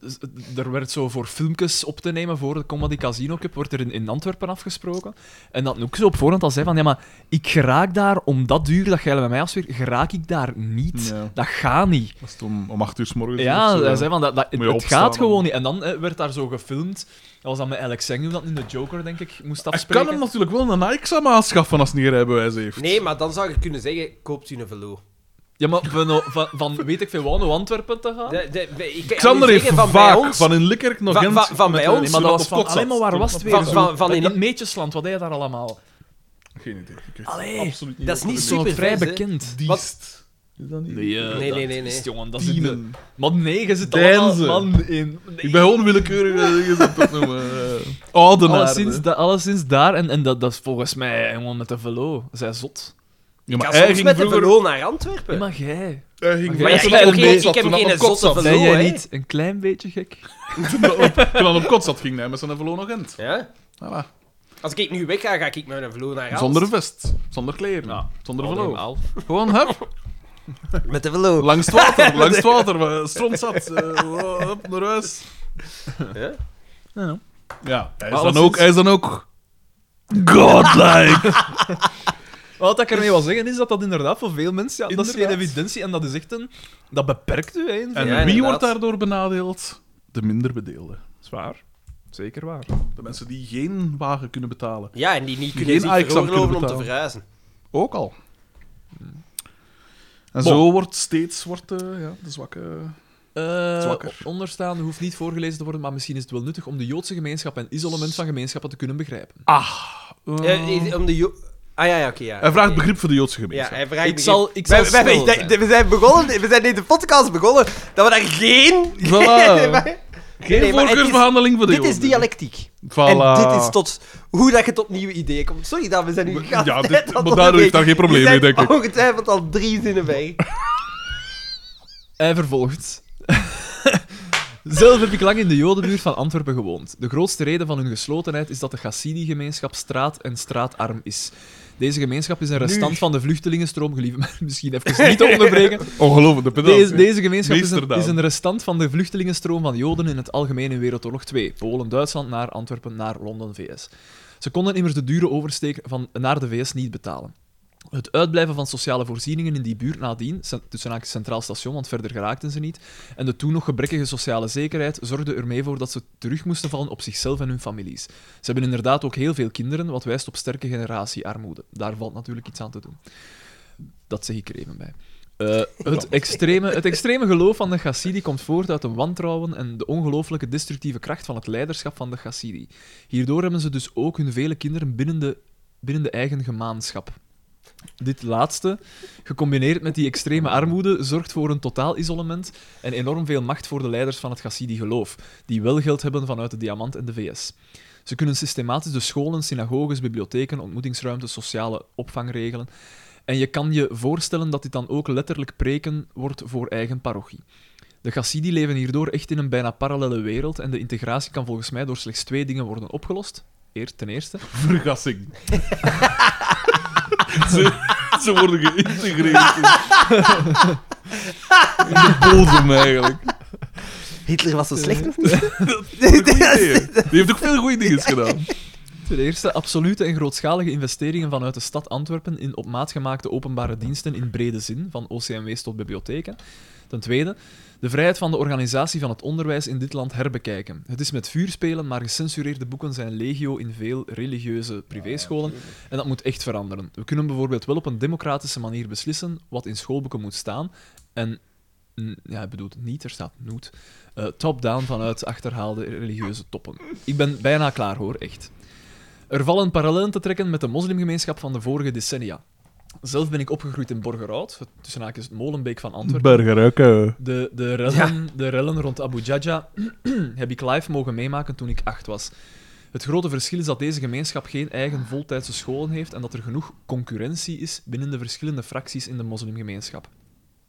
dus, eh, er werd zo voor filmpjes op te nemen voor de Comedy Casino Cup, wordt er in, in Antwerpen afgesproken. En dat ook zo op voorhand al zei van, ja maar, ik geraak daar, om dat uur dat jij met mij afspreekt, geraak ik daar niet.
Ja.
Dat gaat niet.
Was het om, om acht uur s morgens? eh,
Ja,
of zo,
hij zei van, dat, dat, het,
Moet je
het
opstaan
gaat
en-
gewoon niet. En dan eh, werd daar zo gefilmd. Dat was dan met Alex Sengum dat in de Joker, denk ik, moest
Hij kan
afspreken.
hem natuurlijk wel een Nike-examen aanschaffen als hij geen rijbewijs heeft.
Nee, maar dan zou je kunnen zeggen, koopt u een velo.
Ja, maar van, van, van weet ik veel waar naar Antwerpen te gaan?
De- de- we- ik kan
Xander
alleen
heeft
zeggen,
van
bij
vaak,
ons-
van in Likkerk nog
van-
Gent...
van- van bij
met, eh,
ons,
Nee, maar dat
iemand
was
op
van...
kot zat.
Alleen maar waar was het weer?
Van-
Zo,
van- van
in
in-
het Meetjesland, wat deed je daar allemaal?
Geen idee. Ik weet
Allee,
absoluut niet
dat is
wat
niet
er
zo-
Zo'n
Super
vrij
vers, hè?
bekend.
is.
Wat-
Diest. Is dat niet?
Nee, eh,
Nee,
dat
nee, nee,
is-
nee.
jongen, dat is in de...
Tienen.
Maar nee, je zit
Deinzen.
allemaal man in.
Ik ben gewoon willekeurig eh, dingen dat dat noemen. eh. Oudenaarde.
Alleszins, da, alleszins daar, en, en dat, dat is volgens mij gewoon met de velo. Zij zot.
Ja, maar
Kan
hij
soms
ging
met de
vroeger...
velo naar Antwerpen.
Ja, maar jij...
Hij ging
Maar
Maar
Ja,
ja,
ze
ik
vroeger
heb geen,
op kot
ik
zat,
heb
toen hij
geen
op kot
zotte velo,
zat.
Zijn jij
hè.
niet een klein beetje gek?
Toen hij op kot zat, ging hij met zijn velo nog Gent.
Ja?
Voilà.
Als ik nu wegga, ga ik met een velo naar Aalst.
Zonder vest, zonder kleren,
Ja.
Oh,
zonder velo.
Allemaal.
Gewoon, hup,
Met de velo.
langs het water, langs het water, eh, stront zat, eh, hup, naar huis.
Ja?
Ja.
Ja, hij is,
Maar
dan
alleszins-
ook, hij is dan ook godlike.
Wat ik ermee wil zeggen is dat dat inderdaad voor veel mensen, ja, dat is geen
Inderdaad.
evidentie en dat is echt een... Dat beperkt u, hè.
En
in
Ja,
veel-
wie
inderdaad.
wordt daardoor benadeeld? De minder bedeelden.
Zwaar. Zeker waar.
De mensen die geen wagen kunnen betalen.
Ja, en die niet
Geen
kunnen zich
Ajax zou
veroorloven om
kunnen
te verhuizen.
Ook al. En
Bon.
zo wordt steeds wordt, eh, ja, de zwakke...
Eh,
Zwakker.
onderstaande hoeft niet voorgelezen te worden, maar misschien is het wel nuttig om de Joodse gemeenschap en isolement van gemeenschappen te kunnen begrijpen.
Eh,
Oh.
eh, om de jo- ah ja, ja oké. ja.
Hij vraagt begrip voor de Joodse gemeenschap.
Ja, hij vraagt
Ik
begrip.
zal- ik zal
Wij- wij- wij-
snel zijn.
dat- We zijn begonnen, we zijn deze podcast begonnen, dat we daar geen... Nee, maar- nee, maar
Geen
het is-
voorkeursbehandeling voor de
Dit is
Joden.
dialectiek.
Voilà.
En dit is tot hoe dat je tot nieuwe ideeën komt. Sorry dat we zijn nu gegaan.
Ja, dit- maar daardoor heeft daar geen probleem mee, denk ik.
Ongetwijfeld al drie zinnen bij.
Hij vervolgt. Zelf heb ik lang in de Jodenbuurt van Antwerpen gewoond. De grootste reden van hun geslotenheid is dat de Hassidi-gemeenschap straat- en straatarm is. Deze gemeenschap is een restant van de vluchtelingenstroom. Gelieve mij misschien even niet te onderbreken.
Ongelooflijk, de pedant.
Deze,
hè.
deze gemeenschap is een,
Meesterdaan.
is een restant van de vluchtelingenstroom van Joden in het algemeen in Wereldoorlog 2. Polen, Duitsland, naar Antwerpen, naar Londen, VS. Ze konden immers de dure oversteek van, naar de VS niet betalen. Het uitblijven van sociale voorzieningen in die buurt nadien, cent- tussen haakjes centraal station, want verder geraakten ze niet, en de toen nog gebrekkige sociale zekerheid zorgde ermee voor dat ze terug moesten vallen op zichzelf en hun families. Ze hebben inderdaad ook heel veel kinderen, wat wijst op sterke generatiearmoede. Daar valt natuurlijk iets aan te doen. Dat zeg ik er even bij. Eh, het, extreme, het extreme geloof van de Chassidi komt voort uit een wantrouwen en de ongelooflijke destructieve kracht van het leiderschap van de Chassidi. Hierdoor hebben ze dus ook hun vele kinderen binnen de, binnen de eigen gemaanschap. Dit laatste, gecombineerd met die extreme armoede, zorgt voor een totaal isolement en enorm veel macht voor de leiders van het Chassidi-geloof, die wel geld hebben vanuit de diamant en de VS. Ze kunnen systematisch de scholen, synagoges, bibliotheken, ontmoetingsruimtes, sociale opvang regelen. En je kan je voorstellen dat dit dan ook letterlijk preken wordt voor eigen parochie. De Chassidi leven hierdoor echt in een bijna parallele wereld en de integratie kan volgens mij door slechts twee dingen worden opgelost. Eer, ten eerste,
Vergassing. ze, ze worden geïntegreerd. in- In de bodem, eigenlijk.
Hitler was zo slecht.
Goeie ideeën. Die heeft ook veel goede dingen gedaan.
Ten eerste absolute en grootschalige investeringen vanuit de stad Antwerpen in op maat gemaakte openbare diensten in brede zin, van OCMW's tot bibliotheken. Ten tweede, de vrijheid van de organisatie van het onderwijs in dit land herbekijken. Het is met vuur spelen, maar gecensureerde boeken zijn legio in veel religieuze privéscholen en dat moet echt veranderen. We kunnen bijvoorbeeld wel op een democratische manier beslissen wat in schoolboeken moet staan en... n- Ja, hij bedoelt niet, er staat noet. eh, Top-down vanuit achterhaalde religieuze toppen. Ik ben bijna klaar hoor, echt. Er vallen parallellen te trekken met de moslimgemeenschap van de vorige decennia. Zelf ben ik opgegroeid in Borgerhout, het, tussen haakjes het Molenbeek van Antwerpen.
Burgerukken.
De, de, rellen, de rellen rond Abu Jaja heb ik live mogen meemaken toen ik acht was. Het grote verschil is dat deze gemeenschap geen eigen voltijdse scholen heeft en dat er genoeg concurrentie is binnen de verschillende fracties in de moslimgemeenschap.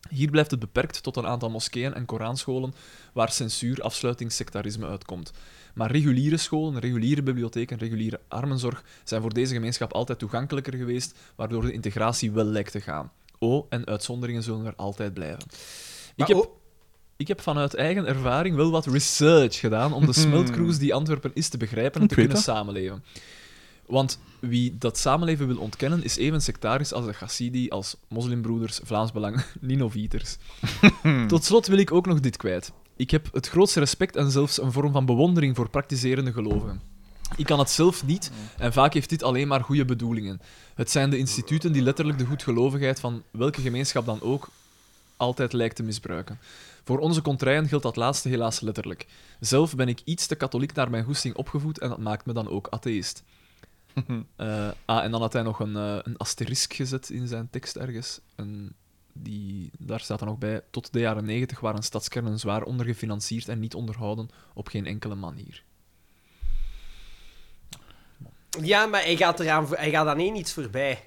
Hier blijft het beperkt tot een aantal moskeeën en Koranscholen waar censuur, afsluiting, sectarisme uitkomt. Maar reguliere scholen, reguliere bibliotheken, reguliere armenzorg zijn voor deze gemeenschap altijd toegankelijker geweest, waardoor de integratie wel lijkt te gaan. O, en uitzonderingen zullen er altijd blijven. Ik
Maar
heb,
o-
ik heb vanuit eigen ervaring wel wat research gedaan om de smeltcruise die Antwerpen is te begrijpen en
Hmm. Ik
te
weet
kunnen
dat.
samenleven. Want wie dat samenleven wil ontkennen, is even sectarisch als de Chassidi, als moslimbroeders, Vlaams Belang, Ninoviters. Tot slot wil ik ook nog dit kwijt. Ik heb het grootste respect en zelfs een vorm van bewondering voor praktiserende gelovigen. Ik kan het zelf niet
Hmm.
en vaak heeft dit alleen maar goede bedoelingen. Het zijn de instituten die letterlijk de goedgelovigheid van welke gemeenschap dan ook altijd lijkt te misbruiken. Voor onze contraien geldt dat laatste helaas letterlijk. Zelf ben ik iets te katholiek naar mijn goesting opgevoed en dat maakt me dan ook atheïst. Eh, ah, en dan had hij nog een, eh, een asterisk gezet in zijn tekst ergens. En die, daar staat dan ook bij: Tot de jaren negentig waren stadskernen zwaar ondergefinancierd en niet onderhouden op geen enkele manier.
Ja, maar hij gaat, eraan, voor- hij gaat aan één iets voorbij.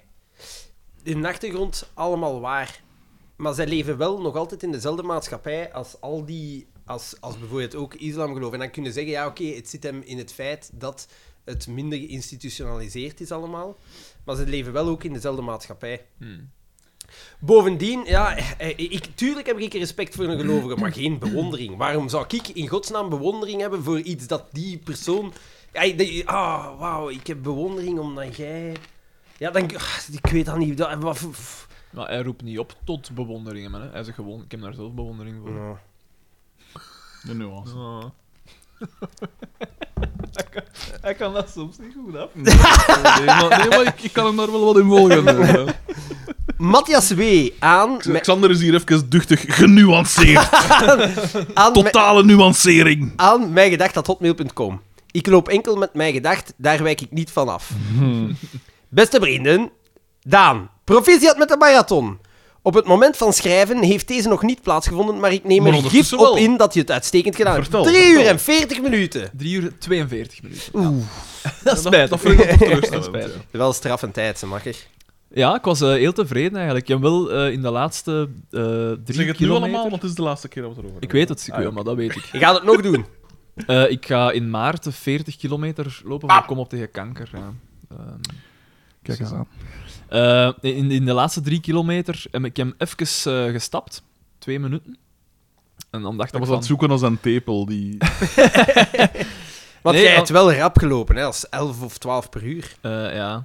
In de achtergrond allemaal waar. Maar zij leven wel nog altijd in dezelfde maatschappij als al die... Als, als bijvoorbeeld ook islam geloven. En dan kunnen zeggen, ja, oké, het zit hem in het feit dat het minder geïnstitutionaliseerd is allemaal. Maar ze leven wel ook in dezelfde maatschappij. Bovendien, ja, eh, ik, tuurlijk heb ik respect voor een gelovige, maar geen bewondering. Waarom zou ik in godsnaam bewondering hebben voor iets dat die persoon... Ja, ik denk, Ah, wauw, ik heb bewondering omdat jij Ja, dan... Ik weet dat niet. Dat, wat- f-
Maar hij roept niet op tot bewonderingen, man. Hè. Hij zegt gewoon, ik heb daar zelf bewondering voor.
Ja.
De nuance.
Ah. hij, kan, hij kan dat soms niet goed af.
Nee, maar, nee, maar ik, ik kan hem daar wel wat in volgen. eh.
Matthias W. aan... met-
Xander is hier even duchtig genuanceerd.
aan met-
Totale nuancering.
aan mijngedacht.hotmail.com. Ik loop enkel met mijn gedacht, daar wijk ik niet van af. Beste vrienden, Daan, proficiat met de marathon. Op het moment van schrijven heeft deze nog niet plaatsgevonden, maar ik neem
Maar
er gif
ondertussen
op
wel.
in dat je het uitstekend gedaan hebt.
Vertel,
3 uur
vertel.
en 40 minuten.
3 uur 42 minuten.
Dat is
spijtig.
Dat vind ik wel
Dat is
teleurstellend.
spijtig.
ja.
Wel straffend tijd, ze makker.
Ja, ik was eh, heel tevreden eigenlijk. Ik heb wel eh, in de laatste eh drie
Zeg het nu
kilometer-
allemaal, want het is de laatste keer dat we erover
Ik
hebben.
weet het, ik
Ah, ja.
maar dat weet ik.
Je gaat het nog doen.
Eh, ik ga in maart de 40 kilometer lopen van Kom op tegen kanker. Ja. Ehm,
Kijk eens aan.
eh, in, in de laatste drie kilometer heb ik hem even eh, gestapt. Twee minuten. En dan dacht
Dat
ik
was aan het
van,
zoeken als een tepel die...
Want
Nee,
jij
al-
hebt wel rap gelopen, hè? als 11 of 12 per uur.
eh, ja.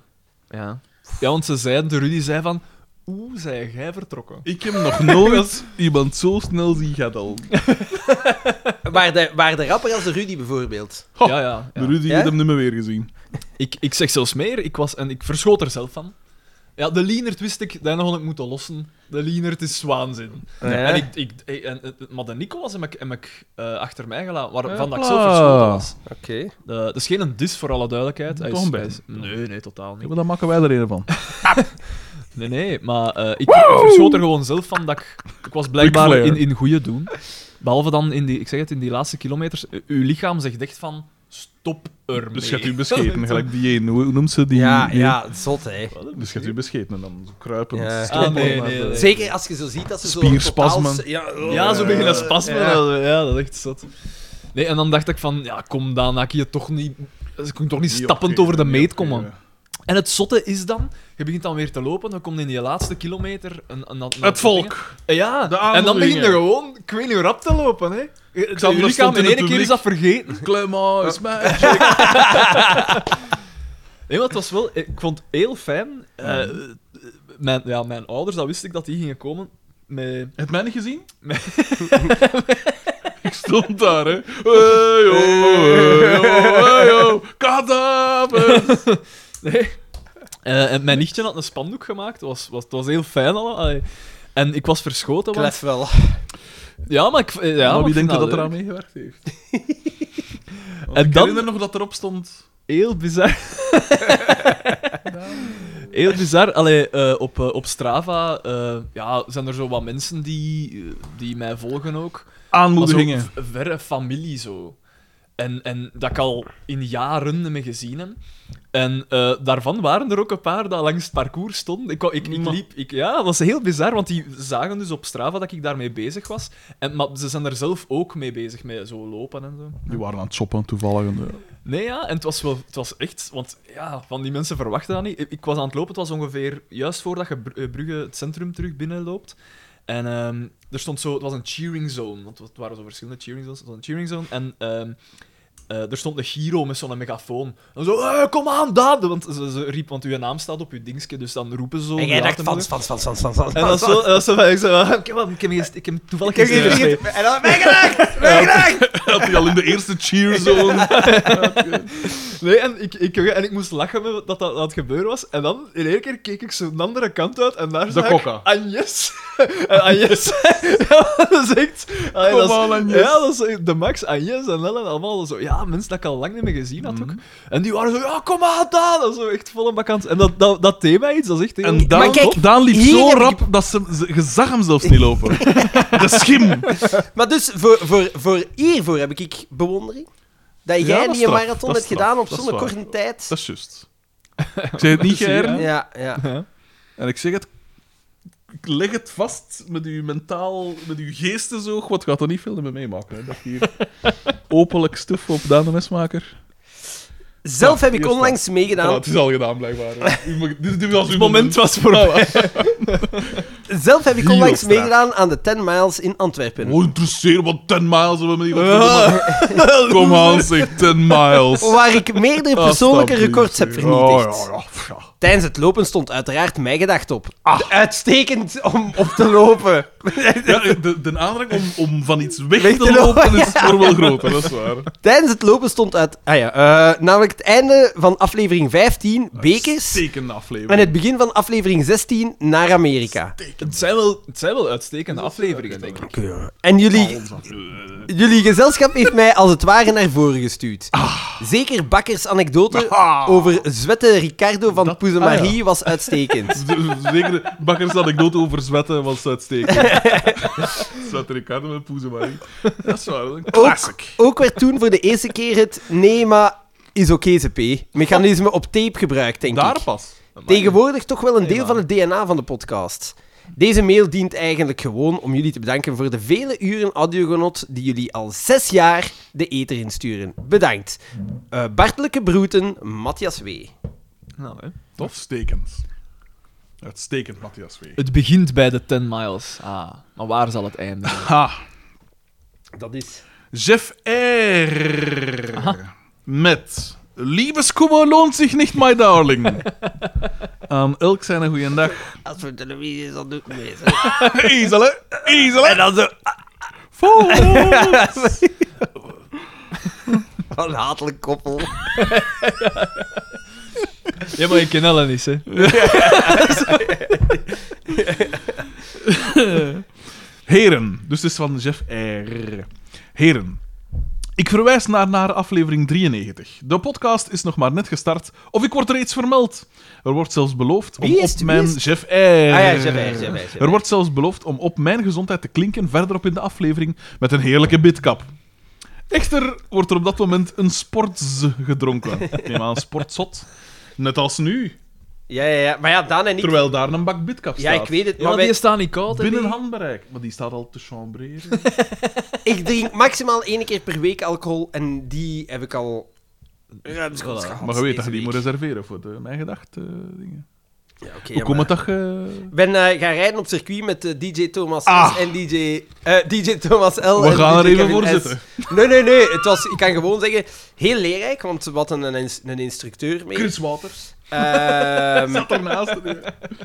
ja. Ja, want ze zeiden, de Rudy zei van... Oeh, zei jij vertrokken?
Ik heb nog nooit iemand zo snel zien gadden.
Waar de, waar de rapper als de Rudy bijvoorbeeld.
Ha,
Ja, ja. ja.
De Rudy
Ja?
heeft hem niet meer weer gezien.
Ik, ik zeg zelfs meer, ik was... En ik verschoot er zelf van. Ja, de Lienert wist ik, daarna had ik moeten lossen. De Lienert is waanzin.
Eh?
En ik, ik, eh, en, en- maar de Nico was hem ik, hem ik eh, achter mij gelaten, waarvan dat ik zo
Hopla.
verschoten was.
Oké.
Eh, Dat is geen een dis voor alle duidelijkheid. Hij is-
Toch een
hij
bit.
is- nee, nee, totaal
Ja,
niet.
maar dan maken wij er een van.
Nee, nee, maar eh, ik, ik verschoot er gewoon zelf van dat ik... Ik was blijkbaar
Flair.
in, in goede doen. Behalve dan, in die, ik zeg het, in die laatste kilometers, eh, uw lichaam zegt echt van... Stop ermee.
Dus je hebt u bescheten, gelijk die een. Hoe hoe noemt ze die?
Ja,
die-
ja, zot, hè.
Dus je hebt u bescheten en dan zo kruipen.
Ja.
stoppen,
Ah, nee,
maar,
nee,
eh,
nee.
Zeker als je zo ziet dat ze zo...
Spierspasmen.
totaal- Ja, oh.
Ja, zo beginnen spasmen.
Ja.
Ja. ja, dat is echt zot. Nee, en dan dacht ik van... Ja, kom dan, dan kun je toch niet... dus Ik kon toch niet
niet
stappend
opgeven,
over de
niet
meet
opgeven.
komen. En het zotte is dan, je begint dan weer te lopen, dan komt in die laatste kilometer een, een, een-
Het volk.
Eh, Ja,
De
en dan
aanmoedigingen.
begin je gewoon, ik weet niet hoe rap te lopen, hè. Ik
Xander
lichaam
stond in
in
het
één keer is
publiek.
dat vergeten.
Klema, oh, is mij.
Nee, maar het was wel... Ik vond het heel fijn. Eh, mijn, ja, mijn ouders, dat wist ik dat die gingen komen. Met...
Heb mij niet gezien? ik stond daar, hè. Hey, yo, hey, yo, hey, oh. yo. Kadavers.
Nee. Eh, en mijn nichtje had een spandoek gemaakt. Het was, was, het was heel fijn al. allee. En ik was verschoten. want-
Klef wel.
Ja, maar ik... eh, Ja,
maar
maar
wie
ik vind
denkt dat dat
leuk.
eraan meegewerkt heeft? Want
En
ik
dan-
herinner nog dat erop stond...
Heel bizar. Heel bizar. Allee, eh, op, eh, op Strava eh, ja, zijn er zo wat mensen die, eh, die mij volgen ook. Maar zo
Aanmoedigingen.
v- verre familie zo. En, en dat ik al in jaren niet meer gezien heb. En eh, daarvan waren er ook een paar dat langs het parcours stonden. Ik, wou- ik, ik
Ma-
liep... Ik, ja, dat was heel bizar, want die zagen dus op Strava dat ik daarmee bezig was. En, maar ze zijn er zelf ook mee bezig, met zo lopen en zo.
Die waren aan het shoppen, toevallig. En, eh,
Nee, ja, en het was, wel, het was echt... Want ja, van die mensen verwachten dat niet. Ik, ik was aan het lopen, het was ongeveer juist voordat je Br- eh, Brugge het centrum terug binnenloopt. En ehm, er stond zo... Het was een cheering zone, want het waren zo verschillende cheering zones. Het was een cheering zone en... ehm, eh, er stond een Giro met zo'n megafoon. En zo, "Eh, kom aan, Daan! Want ze, ze riep, want uw naam staat op uw dingetje, dus dan roepen ze zo.
En
om je
jij
aan
dacht
te
fans,
moedigen.
fans, fans, fans, fans, fans.
En dat is zo, dat is zo, ik zo, ik heb, ik heb, gist- ik heb toevallig gisteren gespeeld."
En dan mijn gedacht, mijn gedacht.
Had hij al in de eerste cheerzone.
Nee, en ik, ik, en ik moest lachen met dat dat aan het gebeuren was. En dan, in één keer, keek ik zo de andere kant uit en daar zag
kokka.
ik Agnes. en Agnes... ja, dat is echt... allee,
Kom
dat is-
aan, Agnes.
Ja, dat is echt de Max, Agnes en Ellen allemaal zo... Ja, mensen dat ik al lang niet meer gezien had
Mhm.
ook. En die waren zo... Ja, kom aan, Daan! En zo echt volle bakant. En dat, dat, dat thema iets, dat is echt heel...
En Daan,
Maar kijk,
Daan liep
hier
zo
heb ik-
rap dat ze, ze- je zag hem zelfs niet lopen. De schim.
Maar dus, voor, voor, voor hiervoor heb ik bewondering. Dat
Ja,
jij
dat is
niet een
straf,
marathon
dat is
hebt gedaan op
straf, dat
zo'n
is waar.
korte tijd.
Dat is juist. Ik zeg het niet,
Zie je,
Geir.
hè?
Ja, ja.
En ik zeg het... ik Leg het vast met uw mentaal, met uw geestesoog. Wat gaat er niet veel mee meemaken? Hè? Dat hier openlijk stuf op Daan de Mesmaker.
Zelf heb
hier
ik
staat-
onlangs
Voilà,
meegedaan.
het is al gedaan, blijkbaar. U mag- dit, dit was uw
Het moment was
Ah,
voorbij.
Zelf heb ik
Hier
onlangs
op straat.
meegedaan aan de 10 miles in Antwerpen.
Oh, interesseer wat 10 miles hebben we met die Kom aan, zeg 10 miles.
Waar ik meerdere persoonlijke
Alsjeblieft,
records heb
zeg. Oh,
vernietigd.
Oh,
ja, ja, ja.
Tijdens het lopen stond uiteraard mijn gedacht op. Uitstekend om op te lopen.
Ja, de, de aandrang om, om van iets weg,
Weg
te
te
lopen
lopen, dus
is voor wel groter, dat is waar.
Tijdens het lopen stond uit... Ah ja, eh, namelijk het einde van aflevering 15, Bekers.
Stekende aflevering.
En het begin van aflevering 16, naar Amerika.
Het zijn wel, het zijn wel uitstekende afleveringen, denk ik.
En jullie, jullie gezelschap heeft mij als het ware naar voren gestuurd.
Ah.
Zeker Bakkers anekdote over zwette Ricardo van Poeze Marie
ah,
was uitstekend.
Z- Zeker, bakkers anekdote over zwetten was uitstekend. Zwet Ricardo met poezen, maar niet. Dat is waar, dat is een classic.
Ook werd toen voor de eerste keer het nee, maar is oké CP mechanisme op tape gebruikt, denk
Daar
ik.
pas.
Tegenwoordig toch wel een deel van het DNA van de podcast. Deze mail dient eigenlijk gewoon om jullie te bedanken voor de vele uren audiogenot die jullie al zes jaar de eter insturen. Bedankt. Eh, Bartelijke Broeten, Matthias W.
Nou, hè.
Tof. Uitstekend. Uitstekend, Matthias W.
Het begint bij de 10 miles. Ah, maar waar zal het eindigen?
Ha.
Dat is...
Jeff R. Met... Liebeskummer loont zich niet, my darling. Aan Ehm, elk zijn een goeiedag.
Als voor televisie is, dan doet het mee.
Ezelen, ezelen. En dan zo...
Wat een hatelijk koppel.
Ja, maar ik ken Ellen niet, hè.
Heren, dus het is van Jeff R. Heren, ik verwijs naar, naar aflevering 93. De podcast is nog maar net gestart, of ik word reeds vermeld. Er wordt zelfs beloofd om
Wie is het?
op
Wie
mijn
is het?
Jeff R.
ja, Jeff R, Jeff R, Jeff R.
Er wordt zelfs beloofd om op mijn gezondheid te klinken verderop in de aflevering met een heerlijke bidkap. Echter wordt er op dat moment een sports gedronken. Ik Neem aan, sportzot. Net als nu,
Ja, ja, ja. Maar ja, Daan en ik...
terwijl daar een bak bidkap
Ja,
staat.
ik weet het,
Ja,
maar
maar die
wij...
staan niet koud, hè,
Binnen
die.
handbereik. Maar die staat al te chambreren.
ik drink maximaal één keer per week alcohol en die heb ik al... Ruimschoots gehad
Maar je weet dat
deze
je die moet
week.
reserveren voor de mijn gedachten dingen.
Ja, oké,
Hoe
ja,
komt
maar-
het dat je...
Ik ben eh, gaan rijden op circuit met eh, DJ Thomas S
Ah.
en DJ, eh, DJ Thomas L.
We
en
gaan
DJ
er even
Kevin
voor
S.
zitten.
Nee, nee, nee. Het was, ik kan gewoon zeggen, heel leerrijk, want wat een, een, ins- een instructeur mee.
Chris Waters.
Ehm
Zat ernaast.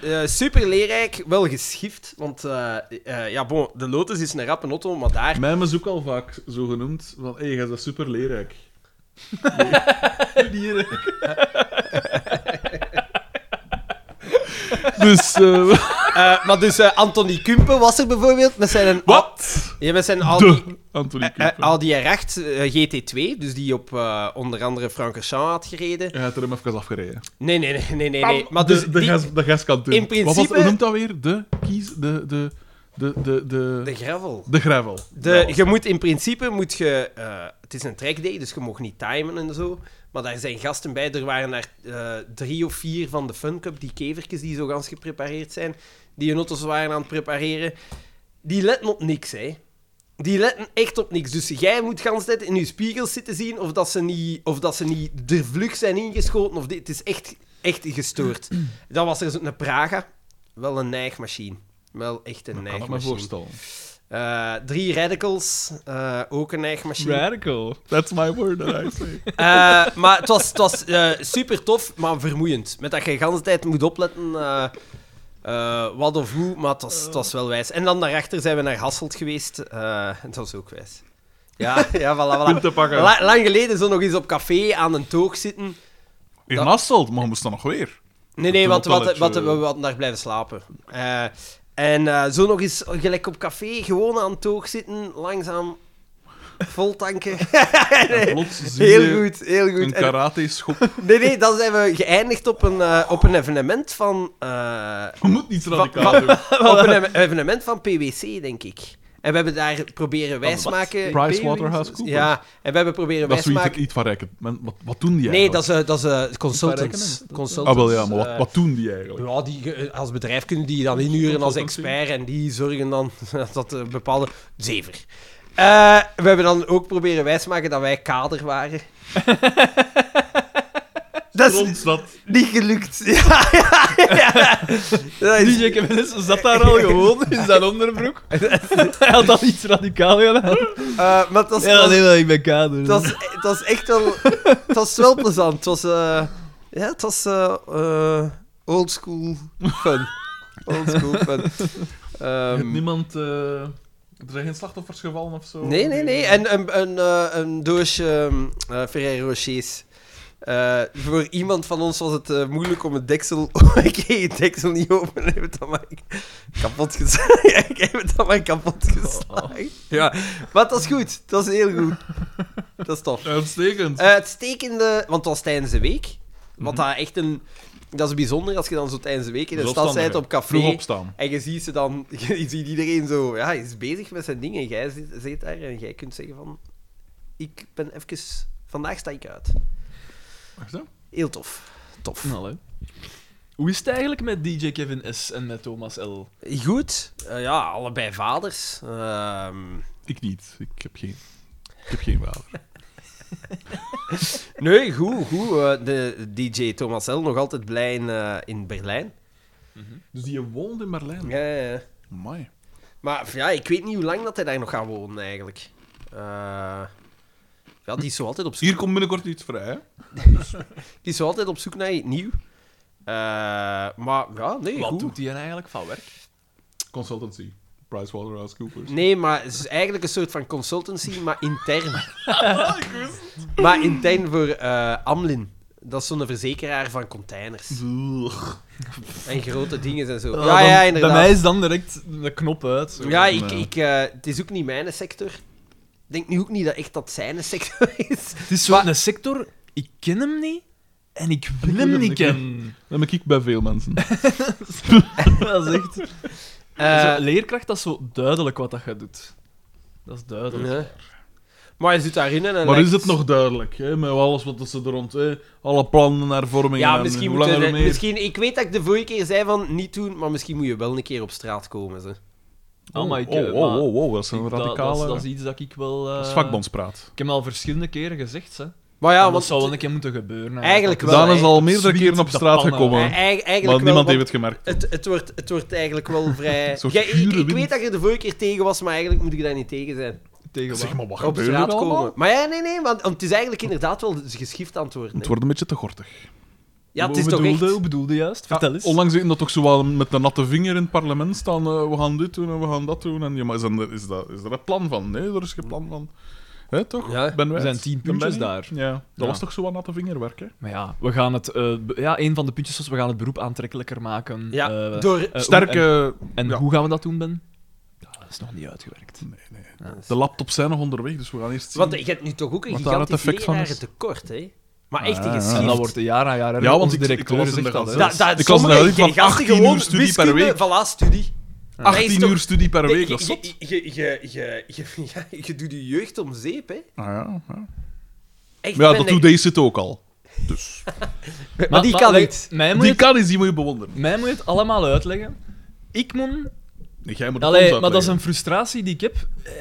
eh, super leerrijk, wel geschift, want eh, eh, ja, bon, de Lotus is een rappe auto, maar daar...
Mij is ook al vaak zo genoemd. Van, hé, hey, jij bent super leerrijk. Leerrijk. dus... eh,
Eh, maar dus eh, Anthony Kumpen was er bijvoorbeeld, met zijn...
wat?
Ja, met zijn Audi,
De Anthony
eh,
Cooper.
Audi R8 eh, GT2, dus die op eh, onder andere Francorchamps had gereden.
Je hebt er hem even afgereden.
Nee, nee, nee, nee, nee. nee. Maar
de,
dus
de,
die-
gas, de gaskantine.
in
Wat was,
principe-
hoe noemt dat weer? De kies... De... De... De... De... De,
de gravel.
de gravel.
De,
Nou,
je moet in principe, moet je, eh, het is een trackday, dus je mag niet timen en zo. Maar daar zijn gasten bij. Er waren er eh, drie of vier van de Fun Cup, die kevertjes die zo gans geprepareerd zijn, die hun auto's waren aan het prepareren. Die letten op niks, hè. Die letten echt op niks. Dus jij moet gans tijd in je spiegels zitten zien of dat ze niet, of dat ze niet er vlug zijn ingeschoten. Of dit. Het is echt, echt gestoord. Dan was er zo'n Praga. Wel een neigmachine. Wel echt een
Kan ik me
neigmachine.
voorstellen.
Eh, drie radicals, eh, ook een eigen machine.
Radical.
That's my word that I say.
Eh, maar het was, het was eh, super tof, maar vermoeiend. Met dat je de hele tijd moet opletten eh, eh, wat of hoe, maar het was, het was wel wijs. En dan daarachter zijn we naar Hasselt geweest. eh, en dat was ook wijs. Ja, ja, voilà, voilà.
te pakken.
La- lang geleden zo nog eens op café aan een toog zitten.
In
Dat-
Hasselt, maar we moesten nog weer.
Nee, nee,
Toen
want
op
wat,
toilet,
wat,
eh.
we hadden daar blijven slapen. Eh, en eh, zo nog eens, gelijk op café, gewoon aan het toog zitten, langzaam vol tanken.
En plots zie je
Heel goed, heel
een
goed. En-
karate-schop.
nee, nee, dan zijn we geëindigd op een, eh, op een evenement van... eh,
Je moet niet radicaal
Wat-
doen.
op een ev- evenement van PwC, denk ik. En we hebben daar proberen wijsmaken...
PricewaterhouseCoopers?
Ja, en we hebben proberen
Dat is zoiets
wijsmaken...
iets van rijken. Men, wat, wat doen die
Nee,
eigenlijk?
dat is, eh, dat is eh,
Iets
consultants.
van
consultants
Ah, wel ja, maar wat,
eh,
wat doen die eigenlijk?
ja, die, eh, als bedrijf kunnen die dan inhuren als expert en die zorgen dan dat er bepaalde... Zever. Eh, we hebben dan ook proberen wijsmaken dat wij kader waren. dat is
Ons dat.
niet gelukt. Ja, ja, ja. Dat is-
DJ Kevin S. zat daar al gewoon in zijn onderbroek. Hij had al iets radicaal gedaan.
Eh, maar het was,
Ja,
het was-
nee, wel, ik ben kader.
het was, het was echt wel... Het was wel plezant. Het was... eh, ja, het was... eh, eh, Old school fun. Old school fun. Ehm,
Niemand... eh, er zijn geen slachtoffers gevallen of zo?
nee, nee, nee. En een, een, eh, een doosje ehm, eh, Ferrero Rochers. Eh, voor iemand van ons was het eh, moeilijk om het deksel... Oh, ik kreeg het deksel niet open. Ik heb het dan maar kapot geslagen. ik heb het dan maar kapot geslagen. Ja, maar dat is goed. Dat is heel goed. Dat is tof.
Uitstekend.
Eh, uitstekende, want dat was tijdens de week. Want dat echt een. Dat is bijzonder als je dan zo tijdens de week in de
Dus
stad bent
opstandiger.
op café.
Vroeg opstaan.
En je ziet ze dan, je ziet iedereen zo, ja, hij is bezig met zijn ding. En jij zit, zit daar en jij kunt zeggen van, ik ben even, vandaag sta ik uit.
Wacht, hè.
Heel tof. Tof.
Nou, hè. Hoe is het eigenlijk met DJ Kevin S en met Thomas L?
Goed. Eh, ja, allebei vaders. Ehm,
Ik niet. Ik heb geen... Ik heb geen vader.
nee, goed, goed. Eh, de DJ Thomas L. nog altijd blij in, eh, in Berlijn.
Dus die woont in Berlijn?
Ja, ja, ja.
Amai.
Maar ja, ik weet niet hoe lang dat hij daar nog gaat wonen eigenlijk. Eh, ja, die is zo altijd op zoek,
Hier komt binnenkort iets vrij, hè?
die is zo altijd op zoek naar iets nieuws. Eh, maar ja, nee,
Wat
goed.
doet hij eigenlijk van werk?
Consultancy. PricewaterhouseCoopers.
Nee, maar het is eigenlijk een soort van consultancy, maar intern. maar intern voor eh, Amlin. Dat is zo'n verzekeraar van containers. En grote dingen en zo. ja, ja, inderdaad.
Bij mij is dan direct de knop uit. zo.
Ja,
Ja.
ik, ik, eh, het is ook niet mijn sector. Ik denk nu ook niet dat echt dat zijn sector is.
Het is
Maar-
zo'n sector, ik ken hem niet en ik wil hem niet kennen.
Dat ben ik bij veel mensen.
Dat is echt...
Eh,
Zo'n leerkracht, dat is zo duidelijk wat dat je doet. Dat is duidelijk.
Nee. Maar je zit daarin en dan
Maar
lijkt-
is het nog duidelijk, hè? Met alles wat ze er rond... Hè? Alle plannen naar vorming
Ja,
en
misschien
hoe
moet
langer
je...
hoe meer.
Misschien, ik weet dat ik de vorige keer zei van niet doen, maar misschien moet je wel een keer op straat komen. Ze.
Oh, maar ik,
oh,
eh,
oh,
maar-
oh, oh, dat is
Ik-
een
dat- dat is-
radicale...
Dat, is iets dat ik wel... eh,
dat is vakbondspraat.
Ik heb al verschillende keren gezegd, hè.
Maar ja,
dat
want...
zou wel een keer moeten gebeuren.
Eigenlijk wel.
Daan is al meerdere
Sweet
keren op
de
straat
pannen.
gekomen,
eh, eigen- eigenlijk wel,
maar niemand
want
heeft het gemerkt.
Het, het, wordt, het wordt eigenlijk wel vrij...
soort
Jij- ik,
gure
ik
wind.
weet dat je de vorige keer tegen was, maar eigenlijk moet ik daar niet tegen zijn.
Tegen
Zeg
wat?
maar, wat
op
gebeurt er
straat
allemaal?
komen. Maar ja, nee, nee, want, want het is eigenlijk inderdaad wel geschift aan het worden.
Het
hè.
wordt een beetje te gortig.
Ja, het
Hoe
is toch
bedoelde,
echt...
Hoe bedoelde juist? Vertel eens.
Onlangs zien dat toch zo wel met de natte vinger in het parlement staan. eh, we gaan dit doen en we gaan dat doen. En, ja, maar is, dan- is, dat, is er een plan van? Nee, er is geen plan van. Hè, toch?
Ja.
ben wij
Er zijn
het?
tien
Ben
puntjes
Benny?
daar.
Ja, dat
Ja.
was toch zo wat natte vingerwerk, hè?
Maar ja, we gaan het... eh, be- ja, een van de puntjes was, we gaan het beroep aantrekkelijker maken.
Ja,
Eh,
door...
eh, hoe-
Sterke...
En, en
ja.
hoe gaan we dat doen, Ben? Ja, dat is nog niet uitgewerkt.
De laptops zijn nog onderweg, dus we gaan eerst zien.
Want eh, je hebt nu toch ook een
Wat daar het
gigantisch
effect van is.
lerarentekort, hè? Maar echt een
Ah, ja.
geschift.
En dat wordt een jaar aan jaar... erger.
want
Onze
ik- ik
directeur
las
dus
in de
zegt dat,
gazet.
hè.
Da,
Dat-
da,
ik was
sommige-
nou niet
jij
van
gaat
18
hier gewoon
uur studie per
wiskunde-
week.
Voilà, studie. Dat
18
is toch-
uur studie per week, dat is
je,
zot.
je, je, je, je, je- ja, je doet je jeugd om zeep, hè?
Ah, ja, ja.
Echt,
Maar ja,
ben
dat
ik-
doet deze het ook al. Dus.
Maar, die kan
wij-
niet.
Mij moet,
Die
je het,
kan eens, die moet je bewonderen.
mij moet je het allemaal uitleggen. Ik moet...
Nee, jij moet het
Allee,
ons
maar dat is
uitleggen.
een frustratie die ik heb. Eh,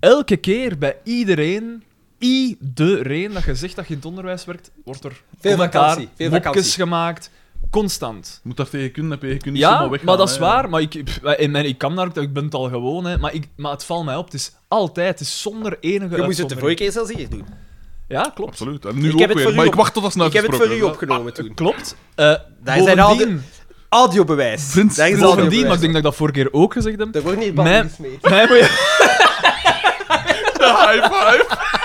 elke keer bij iedereen, iedereen dat je zegt dat je in het onderwijs werkt, wordt er
Veel
commentaar,
vakantie, veel
mopjes
vakantie.
gemaakt. Constant.
Je moet daar tegen kunnen, heb je kunnen
ja,
zomaar
maar,
weggaan,
dat is
hè.
waar. Maar ik, pff, en mijn- ik kan daar ook, ik ben het al gewoon, hè, maar, ik, maar het valt mij op. Het is altijd, het is zonder enige
Je moest het de vorige
uitzondering.
keer zelfs hier doen.
Ja, klopt.
Absoluut. En nu
Ik
ook
heb het voor
weer.
u
Maar ik
op-
wacht tot dat snel
Ik heb het voor u
uitgesproken
opgenomen toen.
Klopt. Eh
Daar zijn
bovendien,
Audiobewijs.
Sinds-
Daar is
sinds-
bovendien, maar
audiobewijs.
ik denk dat ik dat vorige keer ook gezegd heb.
Er wordt niet
Mij-
bang gesmeed.
Mij moet je...
High five!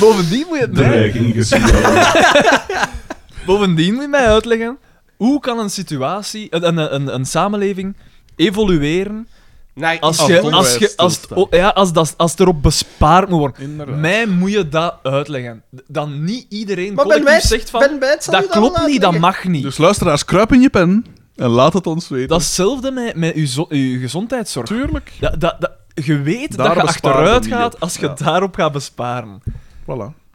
Bovendien moet je het mij-
Dreiging gezien.
Bovendien moet je mij uitleggen hoe kan een situatie, een, een, een, een samenleving evolueren
Naar
als,
iets
je,
goed.
als, je, als, het- oh, ja, als, dat, als het erop bespaard moet worden.
Inderdaad.
Mij moet je dat uitleggen. Dan niet iedereen
Maar Ben
collectief
Wijs-
zegt van,
Ben Wijs zal
dat
je dat
klopt
wel
niet, dat
uitleggen."
mag niet.
Dus luisteraars, kruip in je pen en laat het ons weten.
Dat is hetzelfde met, met uw, zo- uw gezondheidszorg.
Tuurlijk.
Dat, dat, dat, je weet
Daar
dat je
besparen
achteruit
niet
gaat
op.
als je
Ja.
daarop gaat besparen.
Voilà.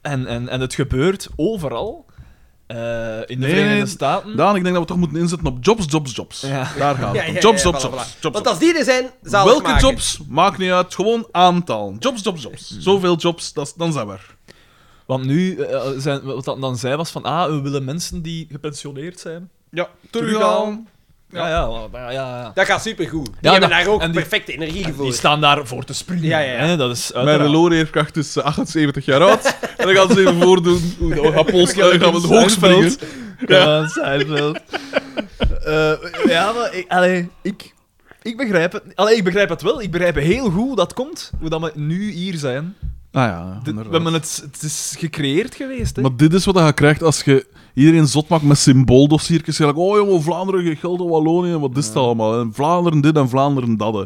En, en, en het gebeurt overal. eh, in de
Nee,
Verenigde
nee,
Staten.
Daan, ik denk dat we toch moeten inzetten op jobs, jobs, jobs.
Ja.
Daar gaan we.
Ja, ja, ja,
jobs,
ja,
jobs,
voilà,
jobs,
voilà.
jobs,
Want
jobs.
als die er zijn, zal
Welke
maken.
jobs? Maakt niet uit. Gewoon aantal. Jobs, jobs, jobs. Zoveel jobs, dat, is- dan zijn we er.
Want nu, eh, zijn, wat dat dan zei was van, ah, we willen mensen die gepensioneerd zijn.
Ja,
terughalen. Ja, ja, ja. ja, ja.
Dat gaat supergoed. Die
Ja,
hebben
dat-
daar ook
en die-
perfecte energie voor.
Die staan daarvoor te springen.
Ja, ja, ja.
Hè? Dat is
Mijn
uiteraard.
reload-airkracht is eh, 78 jaar oud. en dan gaan ze even voordoen hoe dat gaat polsen. En gaan we hoog springen.
Ja, Seinfeld. Eh, ja, maar ik, allee, ik, ik begrijp het. Allee, ik begrijp het wel. Ik begrijp heel goed hoe dat komt. Hoe dat we nu hier zijn.
Ah ja,
Dit- we
inderdaad.
hebben het, het is gecreëerd geweest. Hè?
Maar dit is wat je krijgt als je iedereen zot maakt met symbooldossiertjes. Je zegt, oh jongen, Vlaanderen, je Gelder, Wallonië, wat is het allemaal? En Vlaanderen dit en Vlaanderen dat. hè.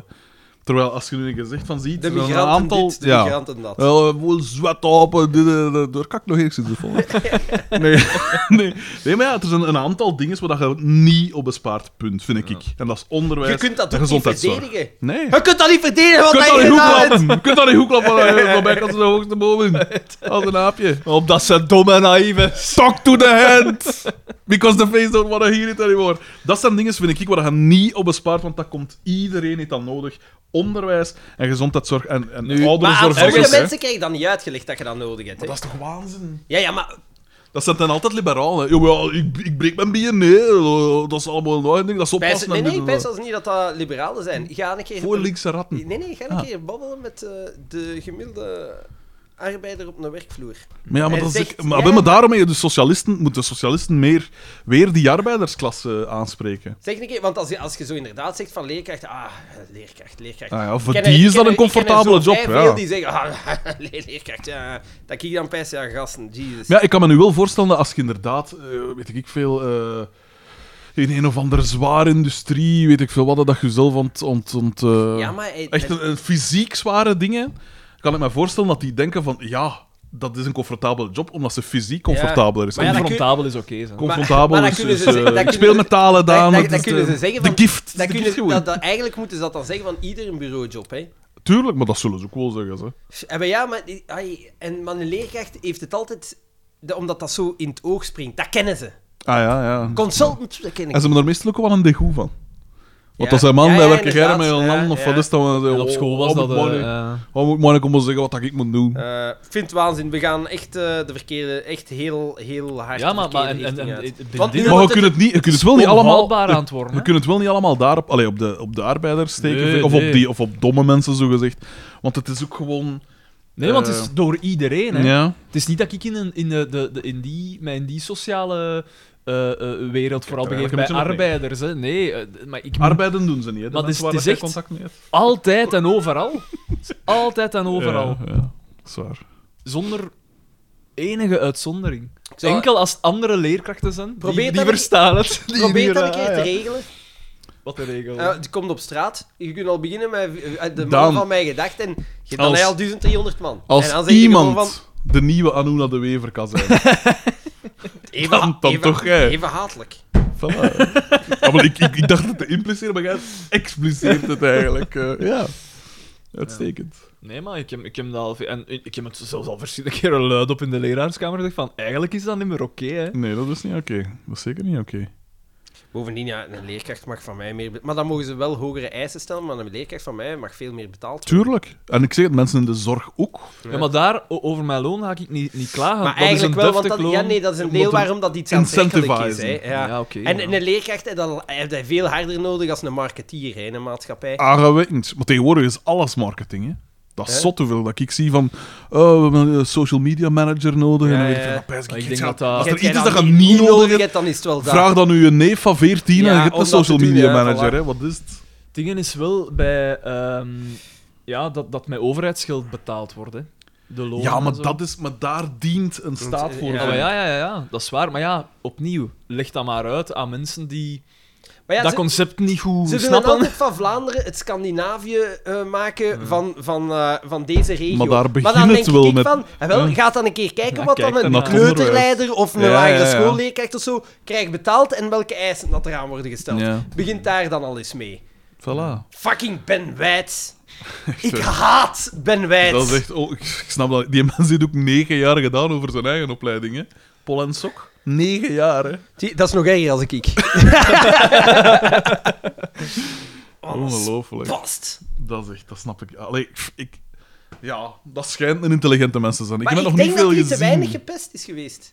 Terwijl als je nu een gezicht van ziet,
De
er zijn
migranten
een aantal...
dit, de
ja. Eh,
migranten dat.
Ja, wel zwetapen, dit, eh, dat- daar kan ik nog eens in vallen. nee, nee. nee, maar ja, er zijn een aantal dingen waar je niet op bespaart, punt, vind ik. En dat is onderwijs
je kunt dat
en
toch niet
gezondheidszorg.
verdedigen?
Nee.
Je kunt dat niet verdedigen wat hij gedaan heeft.
Je kunt dat niet goed klappen. Je kunt dat niet goed klappen. eh, Van mij kan ze de hoogste boom in. Als een aapje.
Omdat ze dom en naïef is.
Talk to the hand! Because the face don't wanna hear it anymore. Dat zijn dingen, vind ik, waar je niet op bespaart, want dat komt iedereen heeft dat nodig. Onderwijs en gezondheidszorg en, en
Maar aan
ouderenzorg.
sommige
is, hè.
mensen krijg je dan niet uitgelegd dat je dat nodig hebt. hè.
Maar dat is toch waanzin?
Ja, ja, maar
Dat zijn dan altijd liberalen. Jawel, ik, ik breek mijn bier. Nee, eh, dat is allemaal nooit. Dat is
wij
oppassen.
zijn- nee, nee,
en dit
ik
en
ben
dat.
zelfs niet dat dat liberalen zijn. Ga een keer...
Hm. Voor linkse ratten.
Nee, nee, ga een
Ah.
keer babbelen met eh, de gemiddelde arbeider op een werkvloer.
Maar ja, maar,
Hij
dat is,
zegt,
ik- maar,
ja,
maar
maar-
daarom heb je de socialisten, moeten de socialisten meer, weer die arbeidersklasse eh, aanspreken.
Zeg een keer, want als je, als je zo inderdaad zegt van leerkracht, ah, leerkracht, leerkracht.
Ah ja,
Ik
voor
ken er-
die
ik
is
ken
dat
er-
een
ik ken er
comfortabele
zo
job.
vrij
Ja.
veel die zeggen, ah, le- leerkracht, ja. Dat ik dan pijs, ja, gasten, Jesus.
Ja, ik kan me nu wel voorstellen dat als je inderdaad, eh, weet ik veel, eh, in een of andere zware industrie, weet ik veel wat, dat je zelf ont... ont, ont eh,
Ja, maar hij-
echt een, een fysiek zware dingen, kan ik me voorstellen dat die denken van, ja, dat is een comfortabele job, omdat ze fysiek comfortabeler is.
Maar ja, dat kun-
Confrontabel is oké. zo.
Confrontabel
Maar- maar dat
is,
kunnen
is,
ze zeggen-
eh,
dat
ik
kunnen
speel
ze-
met
dat-
talen, Daan.
dat-
het
dat
is
kunnen
de-
ze zeggen
eh, De
van-
gift.
dat
de
kunnen,
gift gewoon.
dat, dat, eigenlijk moeten ze dat dan zeggen van ieder bureaujob, hè.
Tuurlijk, maar dat zullen ze ook wel zeggen. Ze.
En eh, maar ja, maar, die- ai, en, maar een leerkracht heeft het altijd, de- omdat dat zo in het oog springt. Dat kennen ze.
Ah ja, ja.
Consultant, dat kennen
En ze hebben er meestal ook wel een degoe van.
Ja.
Want als zijn man,
Ja, ja,
wij werken
inderdaad.
jij met een
Ja,
man, of
ja.
wat is dat?
En op school was dat... eh, eh,
Oh, moet maar komen zeggen wat dat ik moet doen.
Eh, ik vind het waanzin. We gaan echt eh, de verkeerde, echt heel, heel hard
Ja,
de
maar- maar en-
verkeerde
en- en-
richting uit.
en-
Want nu
dit-
maar je
wordt
kunt
het-
het, niet, je kunt het wel niet allemaal...
onhoudbaar aan het
Je
worden, hè?
kunt het wel niet allemaal daarop... Allee, op de, op de arbeiders steken.
Nee,
of
nee.
op, die, of op domme mensen, zogezegd. Want het is ook gewoon...
Nee, want het is door iedereen. Hè.
Eh, Ja.
Het is niet dat ik in, een, in, de, de, de- in, die, mij in die sociale eh, eh, wereld vooral
er
begeef
eigenlijk
bij
een beetje
arbeiders. Hè. Nee, eh, d- maar ik moet
Arbeiden doen ze niet, hè.
Maar
Dat
het
is
is-
waar
het
dat
is
jij
echt-
contact mee hebt.
altijd en overal. Het is altijd en overal.
Ja, ja. Dat is waar.
Zonder enige uitzondering.
zou-
Enkel als het andere leerkrachten zijn,
Probeer
die, die
dat een-
verstaan het. Die,
Probeer
die-
dat een
eh,
ah,
keer te
ja.
regelen.
Wat de regel.
Eh, die komt op straat. Je kunt al beginnen met eh, de man
Dan.
van mijn gedacht. En je- dan
Als-
heb je al 1300 man. en
Als
dan zeg je
iemand
gewoon van,
de nieuwe Anuna de Wever kan zijn...
even,
dan- dan
even-
toch, eh. hè.
Even hatelijk.
Voilà. Ja, maar ik, ik, ik dacht het te impliceren, maar jij expliceert het eigenlijk. eh, ja. Uitstekend.
Nee, maar ik heb, ik, heb dat al, veel- en ik heb het zelfs al verschillende keren luid op in de leraarskamer gezegd van eigenlijk is dat niet meer oké. hè.
Nee, dat is niet oké. Dat is zeker niet oké.
Bovendien, ja, een leerkracht mag van mij meer... be- Maar dan mogen ze wel hogere eisen stellen, maar een leerkracht van mij mag veel meer betaald worden.
Tuurlijk. En ik zeg het, mensen in de zorg ook.
Ja, maar daar, o- over mijn loon ga ik niet, niet klagen.
Maar
dat is een
eigenlijk wel, want
deftig
dat, ja,
loon.
nee, dat is een
omdat
deel
er
waarom dat iets aantrekkelijk is. Hè.
incentivizen.
Ja.
Ja, oké,
en,
ja.
en een leerkracht hè, dan heeft hij veel harder nodig als een marketeer hè, in een
Ah,
maatschappij.
Aangewekkend. Maar tegenwoordig is alles marketing, hè. Dat
Hè?
is zot hoeveel dat ik zie van... Oh, we hebben een social media manager nodig. En
Ja,
dan weet ik
ja.
veel, maar pijs,
Maar ik
ik
denk
ga-
dat dat-
Als
Heb
er
jij
iets is dat je
dan
niet nodig hebt,
hebt, dan is het wel dat.
vraag dan uw neef van 14
Ja,
en je hebt
om
een
dat te
social
doen,
media
ja,
manager,
voilà.
hè. Wat is het?
Het ding is wel bij ehm, ja, dat, dat met overheidsgeld betaald wordt. Hè. De lonen
Ja,
en
maar,
zo.
dat is, maar daar dient een staat voor.
ja.
eh, Ja, maar ja, ja, ja, ja, dat is waar. Maar ja, opnieuw, leg dat maar uit aan mensen die
Maar ja,
dat
ze-
concept niet goed
ze willen
snappen.
altijd van Vlaanderen het Scandinavië eh, maken van, van, eh, van deze regio.
Maar daar begint
dan
het
denk
wel
ik
met-
van, eh, wel,
Ja.
gaat dan een keer kijken
Ja,
wat
kijk
dan een
dan
naar het
kleuterleider of een
Ja,
lagere
ja, ja.
schoolleerkracht of zo krijgt betaald en welke eisen dat eraan worden gesteld.
Ja.
Begint daar dan al eens mee.
Voilà.
Fucking Ben Wijts. Ik haat Ben Wijts.
Dat is echt... Oh, ik ik snap dat. Die mens heeft ook negen jaar gedaan over zijn eigen opleiding, hè. Pol en sok. Negen jaar, hè.
Zie, Oh, dat is nog erger als ik ik.
Ongelooflijk.
Past.
Dat is echt... Dat snap ik. Allee, ik... ik- Ja, dat schijnt een intelligente mensen te zijn. Ik
Maar
heb
ik,
het nog
denk
niet veel
dat hij
gezien.
te weinig gepest is geweest.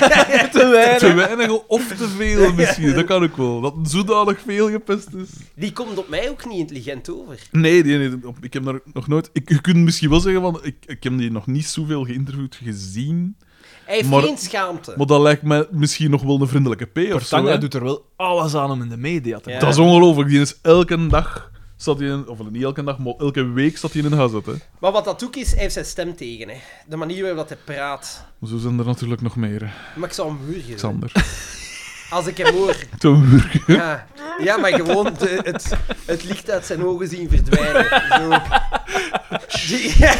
Te weinig.
Te weinig of te veel misschien, dat kan ook wel. Dat het zodanig veel gepest is.
Die komt op mij ook niet intelligent over.
Nee, die, nee, op- ik heb daar nog nooit... Ik, je kunt misschien wel zeggen, van, ik, ik heb die nog niet zoveel geïnterviewd gezien.
Hij heeft
Maar-
geen schaamte.
Maar dat lijkt mij misschien nog wel een vriendelijke P of zo.
Tanga
hè.
doet er wel alles aan om in de media te
Ja.
Dat is ongelooflijk. Die is elke dag... Zat hij in, of niet elke dag, maar elke week zat hij in een gazet. Hè.
Maar wat dat ook is, hij heeft zijn stem tegen. Hè. De manier waarop dat hij praat.
Zo zijn er natuurlijk nog meer, hè.
Maar ik zou hem wurgen.
Xander.
Als ik hem hoor.
Tom Wurk.
Ja, ja maar gewoon de- het, het licht uit zijn ogen zien verdwijnen. Zo. Die-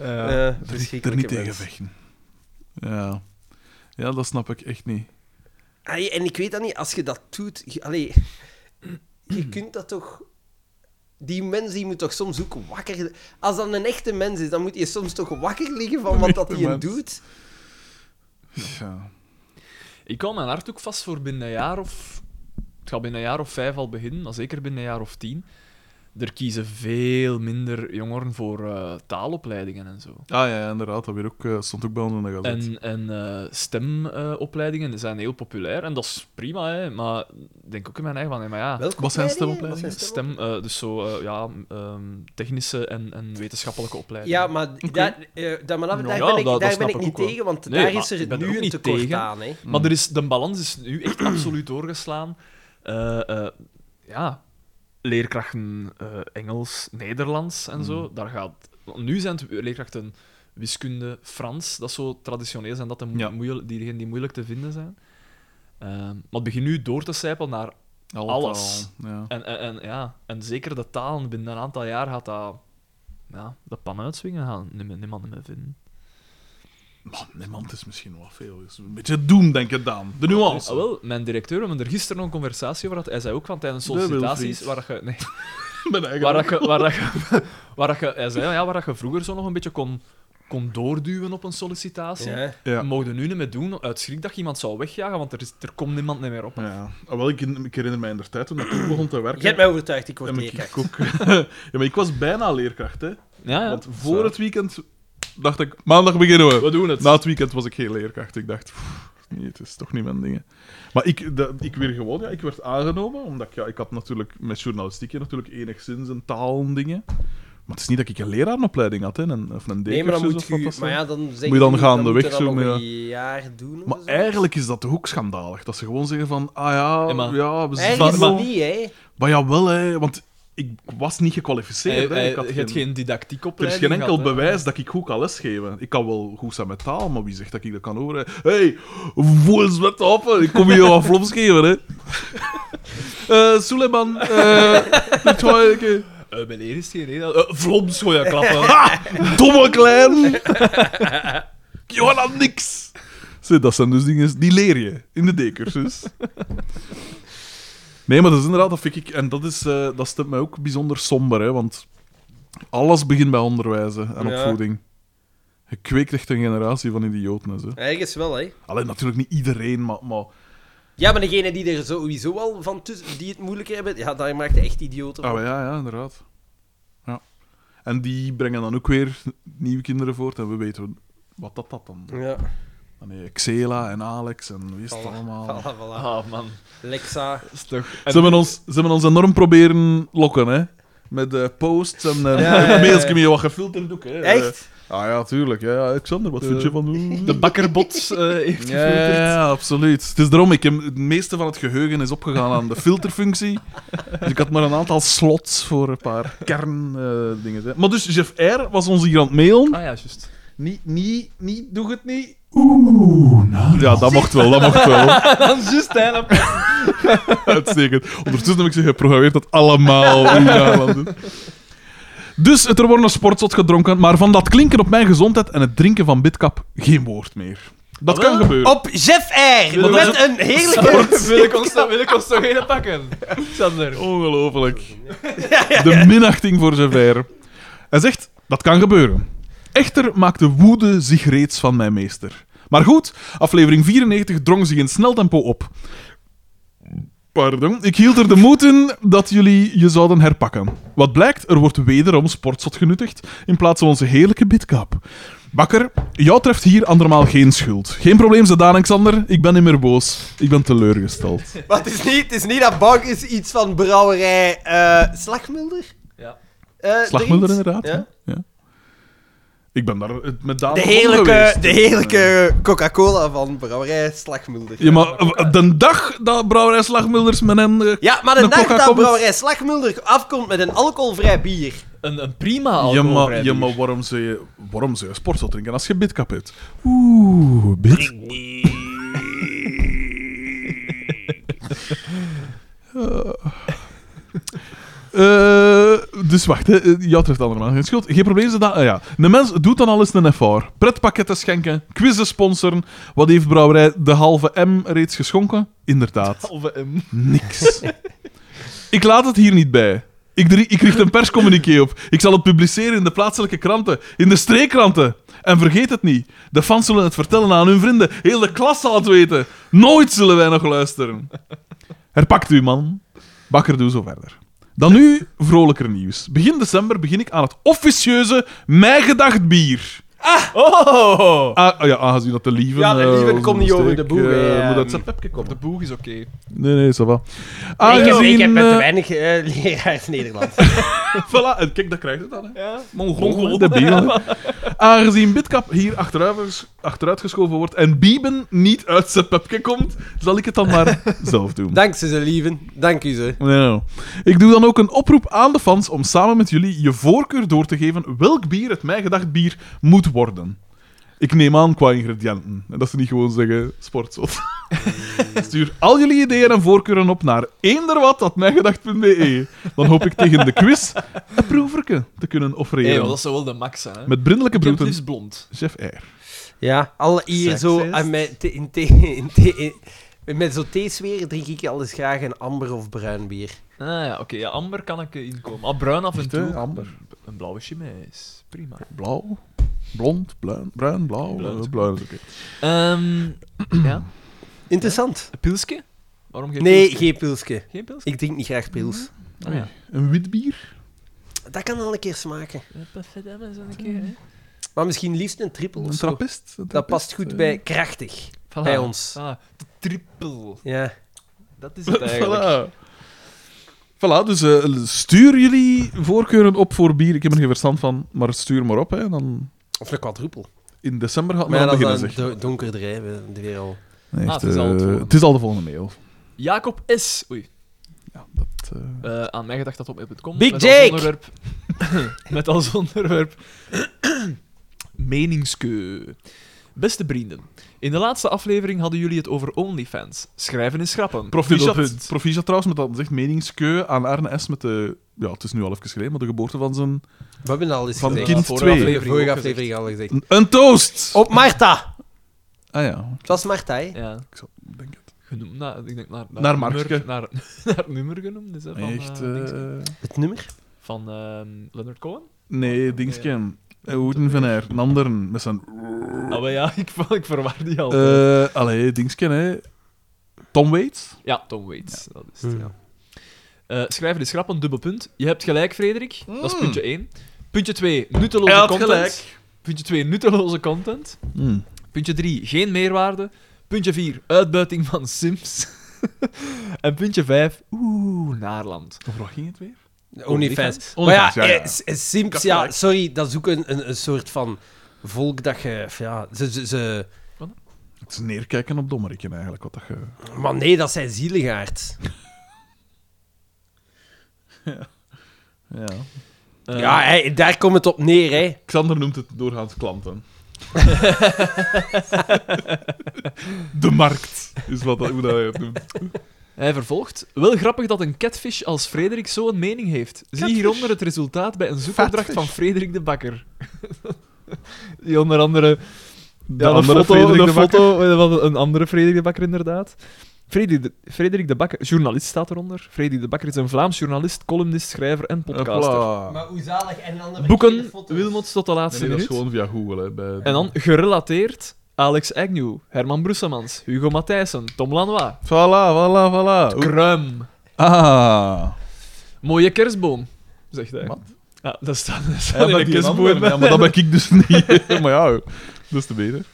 Eh,
Ik er
verschrikkelijke
niet
mens.
tegen vechten. Ja. ja, dat snap ik echt niet.
Allee, en ik weet dat niet, als je dat doet... Je, allee, je kunt dat toch... Die mens die moet toch soms ook wakker... Als dat een echte mens is, dan moet je soms toch wakker liggen van wat dat hij
Mens.
doet.
Ja.
Ik hou mijn hart ook vast voor binnen een jaar of... Het gaat binnen een jaar of vijf al beginnen, maar zeker binnen een jaar of tien. Er kiezen veel minder jongeren voor eh, taalopleidingen en zo.
Ah ja, inderdaad. Dat weer ook, eh, stond ook bij ons in de gazet.
En, en eh, stemopleidingen eh, zijn heel populair en dat is prima, hè, maar ik denk ook in mijn eigen van, nee, maar ja.
Welke
Wat zijn
opleidingen?
stemopleidingen?
Wat zijn stem-
Stem, eh, dus zo eh, ja, ehm, technische en, en wetenschappelijke opleidingen.
Ja, maar daar, eh, daar, maar daar
Ja,
ben
dat-
ik,
dat
daar ben
snap
ik
ik
niet
ook wel.
tegen, want
Nee,
daar
maar
is
ik
er
ben er
nu
ook
een
niet
tekort
tegen.
aan. Hè.
Maar er is, de balans is nu echt absoluut doorgeslaan. Eh, eh, ja, leerkrachten eh, Engels, Nederlands en zo. Daar gaat, want nu zijn het leerkrachten wiskunde, Frans. Dat is zo traditioneel zijn dat de mo-
Ja.
moeilijk- diegenen die moeilijk te vinden zijn. Ehm, maar het begint nu door te sijpelen naar...
Alle
alles.
talen, Ja.
En, en, en, ja, en zeker de talen, binnen een aantal jaar gaat dat... Ja, de pan uitswingen gaan niemand niemand meer vinden.
Man, niemand is misschien wel veel. Is een beetje doem, denk ik, Daan. De nuance.
Ah, wel, mijn directeur, we hebben er gisteren nog een conversatie over gehad. Hij zei ook van tijdens sollicitaties,
Wilfried.
waar je, nee,
Mijn eigen
waar dat je, waar dat je, waar dat je, hij zei, ja, waar dat je vroeger zo nog een beetje kon, kon doorduwen op een sollicitatie.
Ja.
Ja.
We mogen nu niet meer doen, uit schrik dat je iemand zou wegjagen, want er, is, er komt niemand meer op.
Ja. Ah, wel, ik, ik herinner mij in de tijd toen ik toen begon te werken.
Je hebt mij overtuigd, ik
Ja,
word
maar
leerkracht.
ik ook. ja, maar ik was bijna leerkracht, hè.
Ja, ja.
Want voor het weekend dacht ik, maandag beginnen we.
We doen het.
Na het weekend was ik geen leerkracht. Ik dacht, "Pff, nee, het is toch niet mijn ding. hè." Maar ik, dat- ik, weer gewoon, ja, ik werd aangenomen, omdat ik, ja, ik had natuurlijk met journalistiek hier natuurlijk enigszins een taal en dingen. Maar het is niet dat ik een leraaropleiding had, hè, een, of een
Nee, maar dan moet
dekursus of wat
je...
dat
Maar
zijn.
ja, dan zeg
Moet je dan
niet,
gaandeweg
moet je
zo,
dat nog
ja.
een jaar doen of
Maar
zo.
eigenlijk is dat toch ook schandalig, dat ze gewoon zeggen van, ah ja,
Ja,
ja,
maar-
we zijn...
Eigenlijk is
Maar-
dat niet, hè.
Maar jawel, hè, want ik was niet gekwalificeerd. hè.
Hij-
ik
hij-
had
je hebt geen didactiek
Er is
opleiding
geen enkel
gehad, hè.
bewijs dat ik goed kan lesgeven. Ik kan wel goed zijn met taal, maar wie zegt dat ik dat kan horen? hey, voel eens wat op. hè. Ik kom hier wat flops geven, hè. Eh Suleiman, eh... de Toijke.
Eh, mijn eer is geen reden. Eh, Vloms, gooi je klappen.
Domme klein. Johanna niks. Zie, dat zijn dus dingen die leer je in de D-cursus. Nee, maar dat is inderdaad, dat vind ik, en dat, is, eh, dat stemt mij ook bijzonder somber, hè, want alles begint bij onderwijs hè, en
Ja.
opvoeding. Je kweekt echt een generatie van idioten. hè, Zo.
Ergens wel, hè.
Alleen natuurlijk niet iedereen, maar, maar
Ja, maar degene die er sowieso al van tussen... Die het moeilijker hebben, ja, daar maakt hij echt idioten van.
Ah, ja, ja, inderdaad. Ja. En die brengen dan ook weer nieuwe kinderen voort en we weten wat dat, dat dan
Ja,
Dan heb je Xela en Alex en wie is het
voilà,
allemaal.
voilà, voilà.
Ah, man.
Lexa.
Dat is toch...
Ze, hebben ons, ze hebben ons enorm proberen lokken, hè. Met eh, posts en eh
Ja, ja, ja.
mails kun je wat gefilterd ook, hè.
Echt?
Eh, ah ja, tuurlijk. Ja, ja, Alexander, wat vind je van...
De bakkerbot eh, heeft
Ja, ja,
gefilterd.
ja, absoluut. Het is daarom, ik heb, het meeste van het geheugen is opgegaan aan de filterfunctie. Dus ik had maar een aantal slots voor een paar kerndingen. hè. maar dus, Jeff R. was ons hier aan het mailen.
Ah ja, juist.
Niet, niet, niet, doe het niet.
Oeh, nou.
Ja, dat mocht wel, dat mocht wel.
Dan juist, hè. dan-
Uitstekend. Ondertussen heb ik ze geprogrammeerd dat allemaal in Nederland doen. Dus het er wordt een sportzot gedronken, maar van dat klinken op mijn gezondheid en het drinken van Bitkap geen woord meer. Dat kan gebeuren.
Op Jeff Air!
Wil
Met
dat-
een heerlijke...
Wil ik ons toch- wil ik ons toch geen pakken? Xander.
Ongelooflijk. De minachting voor Javert. Hij zegt, dat kan gebeuren. Echter maakt de woede zich reeds van mijn meester. Maar goed, aflevering 94 drong zich in snel tempo op. Pardon. Ik hield er de moed in dat jullie je zouden herpakken. Wat blijkt, er wordt wederom sportzot genuttigd in plaats van onze heerlijke bidkap. Bakker, jou treft hier andermaal geen schuld. Geen probleem, Zedaan en Xander. Ik ben niet meer boos. Ik ben teleurgesteld.
Maar het is niet, het is niet dat bank is iets van brouwerij eh Slagmulder?
Ja.
Eh,
Slagmulder,
er iets?
inderdaad.
Ja.
Ja. Ja. Ik ben daar eh, met Daan
De
begonnen
heerlijke,
geweest.
de heerlijke Coca-Cola van brouwerij Slagmulder.
Ja, maar eh, de dag dat Brouwerij Slagmulders met hen... eh,
Ja, maar de
De
dag
Coca-Cola-
dat brouwerij Slagmulder afkomt met een alcoholvrij bier.
Een, een prima
ja,
alcoholvrij
maar,
bier.
ja, maar waarom zou je, waarom zou je sportzot drinken als je bidkap hebt? Oeh, bid. Eh, dus wacht, hè. Eh, jou treft andermaal geen schuld. Geen probleem, ze dat... ah, ja. Een mens doet dan alles een effort. Pretpakketten schenken, quizzen sponsoren. Wat heeft brouwerij de halve M reeds geschonken? Inderdaad,
Halve M.
niks. ik laat het hier niet bij. Ik, drie- ik richt een perscommuniqué op. Ik zal het publiceren in de plaatselijke kranten, in de streekkranten. En vergeet het niet, de fans zullen het vertellen aan hun vrienden. Heel de klas zal het weten. Nooit zullen wij nog luisteren. Herpakt u, man. Bakker, doe zo verder. Dan nu vrolijker nieuws. Begin december begin ik aan het officieuze Mijn Gedacht bier.
Oh!
Ah, ja, aangezien dat de lieven...
Ah! Ja, de
eh,
lieven
was
komt
een
niet over
mistake,
de boeg,
eh,
hè.
moet uit zijn pepje komen.
De boeg is oké.
Nee, nee, ça va.
ik, heb, ik heb
Aangezien,
met te
eh,
weinig eh, leraars Nederlands.
Voilà, en kijk, dat krijgt het dan. Hè.
Ja.
Mongool, de Bijbel. Aangezien Bitcap hier achteruit, achteruitgeschoven wordt en Bieben niet uit zijn pepje komt, zal ik het dan maar zelf doen.
Dank ze, ze lieven. Dank u ze.
Nee, nee, nee. Ik doe dan ook een oproep aan de fans om samen met jullie je voorkeur door te geven welk bier het mijn gedacht bier moet worden. Ik neem aan qua ingrediënten. En dat ze niet gewoon zeggen sportzot. Stuur al jullie ideeën en voorkeuren op naar eenderwat.mijgedacht.be. Dan hoop ik tegen de quiz een proeverke te kunnen offeren.
Hey, maar dat zou wel de max zijn, hè?
Met brindelijke
Ik heb het
broeten,
liefst blond.
chef R.
Ja, alle hier zo...
Succes.
En met, te- in te- in te- in- met zo'n theesfeer drink ik alles graag een amber of bruin bier.
Ah ja, oké. ja, amber kan ik eh, inkomen. Ah, bruin af en toe.
hè, amber.
Een blauwe chimé is prima.
Blauw, blond, bruin, bruin blauw.
Blauw is
eh, Blauw is oké.
Ehm ja,
Interessant.
een pilsje? Waarom geen
Nee,
pilsje?
geen pilsje.
geen pilsje?
Ik drink niet graag pils.
Mhm.
Oh ja.
Een wit bier?
Dat kan al een keer smaken.
Perfedem is een keer, hè.
Maar misschien liefst een triple. of
Een
zo.
trappist? Een
Dat
trappist,
past goed
eh.
bij krachtig.
Voilà,
Bij ons.
voilà. De triple.
Ja.
Dat is het eigenlijk.
Voilà. Voilà, dus eh, stuur jullie voorkeuren op voor bier. Ik heb er geen verstand van, maar stuur maar op. Hè. Dan
Of een quadruple.
in december gaat
Maar
men
ja,
aan
dat is
beginnen,
dan
zeg.
do- donker drijven, de weer al.
Nee,
Ah,
echt,
het is al het
eh,
volgende.
het is al de volgende mail.
Jacob S. Oei.
Ja, dat, eh,
Eh, aan mij gedacht dat op eb.com.
Big
met
Jake!
Als onderwerp, met als onderwerp. Meningskeu. Beste vrienden, in de laatste aflevering hadden jullie het over OnlyFans. Schrijven is grappen.
Proficiat,
Dubbelpunt.
proficiat trouwens met dat zegt meningskeu aan Arne S. met de... Ja, het is nu al even geleden, maar de geboorte van zijn...
We hebben al eens
Van
gezegd.
kind
Vorige
twee.
aflevering,
Aflevering
vorige
ook
aflevering al gezegd.
Een, een toast!
Op Marta!
Ah ja,
Het was Marta, hè?
Ja,
ik zal, denk het.
genoemd naar, ik denk naar,
Naar
nummer,
Markske.
naar, naar nummer genoemd. Dus, hè, van,
Echt...
eh, dingske.
eh,
Het nummer?
van ehm, Leonard Cohen?
nee, dingske. Eh, Hoeden van haar. Een ander met zijn...
Ah, maar ja, ik, ver- ik verwar die al.
eh allee, dingske, hè. Tom Waits?
Ja, Tom Waits. Dat is het,
Hmm.
ja. Eh, schrijven is grappen, dubbel punt. Je hebt gelijk, Frederik. Dat is puntje 1. Puntje 2, nutteloze
Hij had
content.
gelijk.
Puntje 2, nutteloze content.
Hmm.
Puntje 3, geen meerwaarde. Puntje 4, uitbuiting van Sims. en puntje 5, oeh, Naarland.
Of waar ging het weer?
OnlyFans.
OnlyFans,
Maar ja,
ja, ja.
eh, s- eh, Sims, ja, sorry, dat is ook een, een, een soort van volk dat je... Ja, ze, ze, ze-
Het is neerkijken op dommerikken eigenlijk. Wat dat ge...
maar nee, dat zijn zieligaards.
ja.
Eh,
ja, hè, daar komt het op neer, hè.
Xander noemt het doorgaans klanten. De markt is wat dat, hoe dat hij het noemt.
Hij vervolgt. Wel grappig dat een catfish als Frederik zo'n mening heeft. Zie hieronder het resultaat bij een zoekopdracht van Frederik de Bakker. Die onder andere
De
Ja, een
andere
foto,
Frederik
een
de Bakker.
foto eh, van een andere Frederik de Bakker, inderdaad. Frederik de, Frederik de Bakker, journalist staat eronder. Frederik de Bakker is een Vlaams journalist, columnist, schrijver en podcaster.
Hopla. Nee,
hoe zalig en dan
Boeken Wilmots tot de laatste
nee, dat is
minuut.
gewoon via Google. Hè, bij...
En dan gerelateerd Alex Agnew, Herman Brussemans, Hugo Matthijssen, Tom Lanois,
Voilà, voilà, voilà. Oeh.
Kruim.
Ah.
Mooie kerstboom, zegt hij.
Wat?
Ja, dat staat, dat staat
Ja,
in
maar
de
die
kerstboom.
andere, ja, maar dat ben ik dus niet. maar ja, dat is te beter.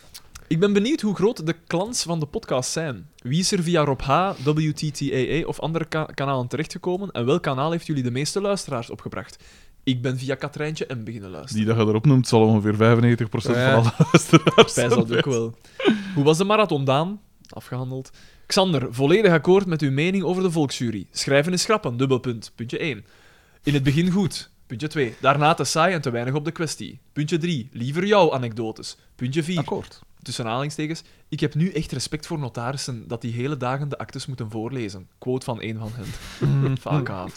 Ik ben benieuwd hoe groot de klans van de podcast zijn. Wie is er via Rob H, WTTAA of andere ka- kanalen terechtgekomen en welk kanaal heeft jullie de meeste luisteraars opgebracht? Ik ben via Katrijntje M beginnen luisteren.
Die dat je erop noemt, zal ongeveer 95%
Ja.
van alle luisteraars
Spijs dat ook wel. Hoe was de marathon, Daan? Afgehandeld. Xander, volledig akkoord met uw mening over de volksjury. Schrijven is schrappen, dubbelpunt. Puntje 1. In het begin goed. Puntje 2. Daarna te saai en te weinig op de kwestie. Puntje 3. Liever jouw anekdotes. Puntje 4.
Akkoord.
tussen aanhalingstekens, ik heb nu echt respect voor notarissen dat die hele dagen de actes moeten voorlezen. Quote van een van hen. Vaak aan.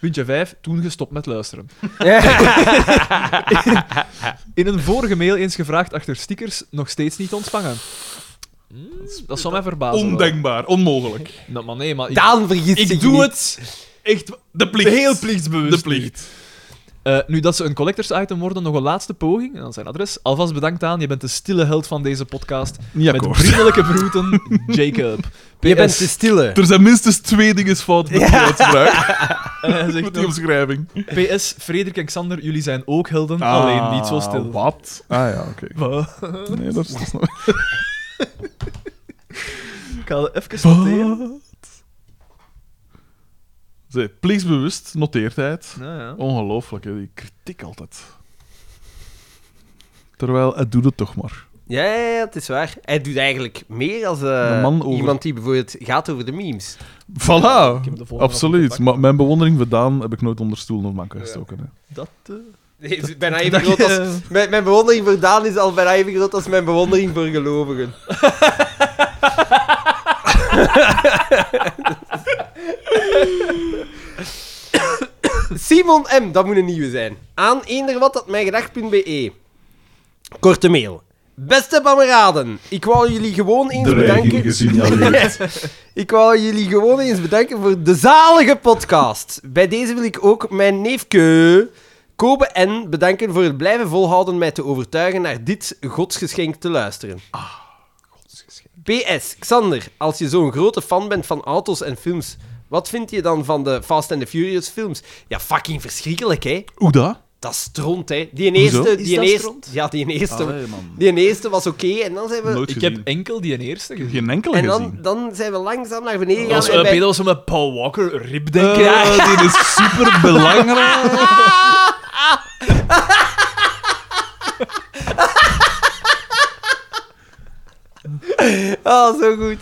Puntje 5. Toen gestopt met luisteren. In een vorige mail eens gevraagd achter stickers, nog steeds niet ontvangen. Hmm, dat zal mij verbazen. wel.
Ondenkbaar, onmogelijk.
Nou, maar nee, maar ik,
Daan vergist
ik
zich
doe
niet.
het echt
De plicht.
heel plichtsbewust.
De plicht.
Eh, nu dat ze een collectors item worden, nog een laatste poging. En dan zijn adres. Alvast bedankt aan. Je bent de stille held van deze podcast.
Niet
Met
akkoord.
vriendelijke groeten, Jacob.
Je bent
PS,
te stille.
Er zijn minstens twee dingen fout met die uitspraak.
en hij eh, zegt
Met die
nog,
omschrijving.
PS, Frederik en Xander, jullie zijn ook helden, alleen niet zo stil.
Ah, Wat? Ah ja, oké.
Wat?
Nee, dat is dat is nog...
Ik ga even noteren.
Zee, plichtsbewust, noteert hij het.
Nou ja.
Ongelooflijk, hè, die kritiek altijd. Terwijl, het doet het toch maar.
Ja, ja, ja, het is waar. Hij doet eigenlijk meer als eh,
Een man over-
iemand die bijvoorbeeld gaat over de memes.
Voilà,
Ik heb de volgende
absoluut.
afgepakt.
Maar mijn bewondering voor Daan heb ik nooit onder stoelen of banken gestoken. Hè.
Dat, eh,
Nee, het is bijna even groot als... Mijn, mijn bewondering voor Daan is al bijna even groot als mijn bewondering voor gelovigen. Simon M, dat moet een nieuwe zijn. Aan eenderwat at mijngedacht.be. E. Korte mail. Beste kameraden, ik wou jullie gewoon eens
Dreiging
bedanken.
gesignaleerd.
Ik wou jullie gewoon eens bedanken voor de zalige podcast. Bij deze wil ik ook mijn neefke Kobe N bedanken voor het blijven volhouden mij te overtuigen naar dit godsgeschenk te luisteren. Ah, godsgeschenk. PS, Xander, als je zo'n grote fan bent van auto's en films, wat vind je dan van de Fast and the Furious films? Ja, fucking verschrikkelijk, hè?
Hoe dat?
Dat is stront, hè? Die
Hoezo?
eerste...
Is
Die
dat
eerste
stront?
ja, die eerste,
Allee, man.
die eerste was oké, en dan zijn we...
Nooit
ik
gezien.
heb enkel die eerste gezien.
geen enkele
Eh, En
gezien.
dan, dan zijn we langzaam naar beneden
Dat was,
gegaan. en
eh,
bij-
Peter was zo met Paul Walker, rib denk ik.
Eh, Dit is super belangrijk.
Ah, zo goed.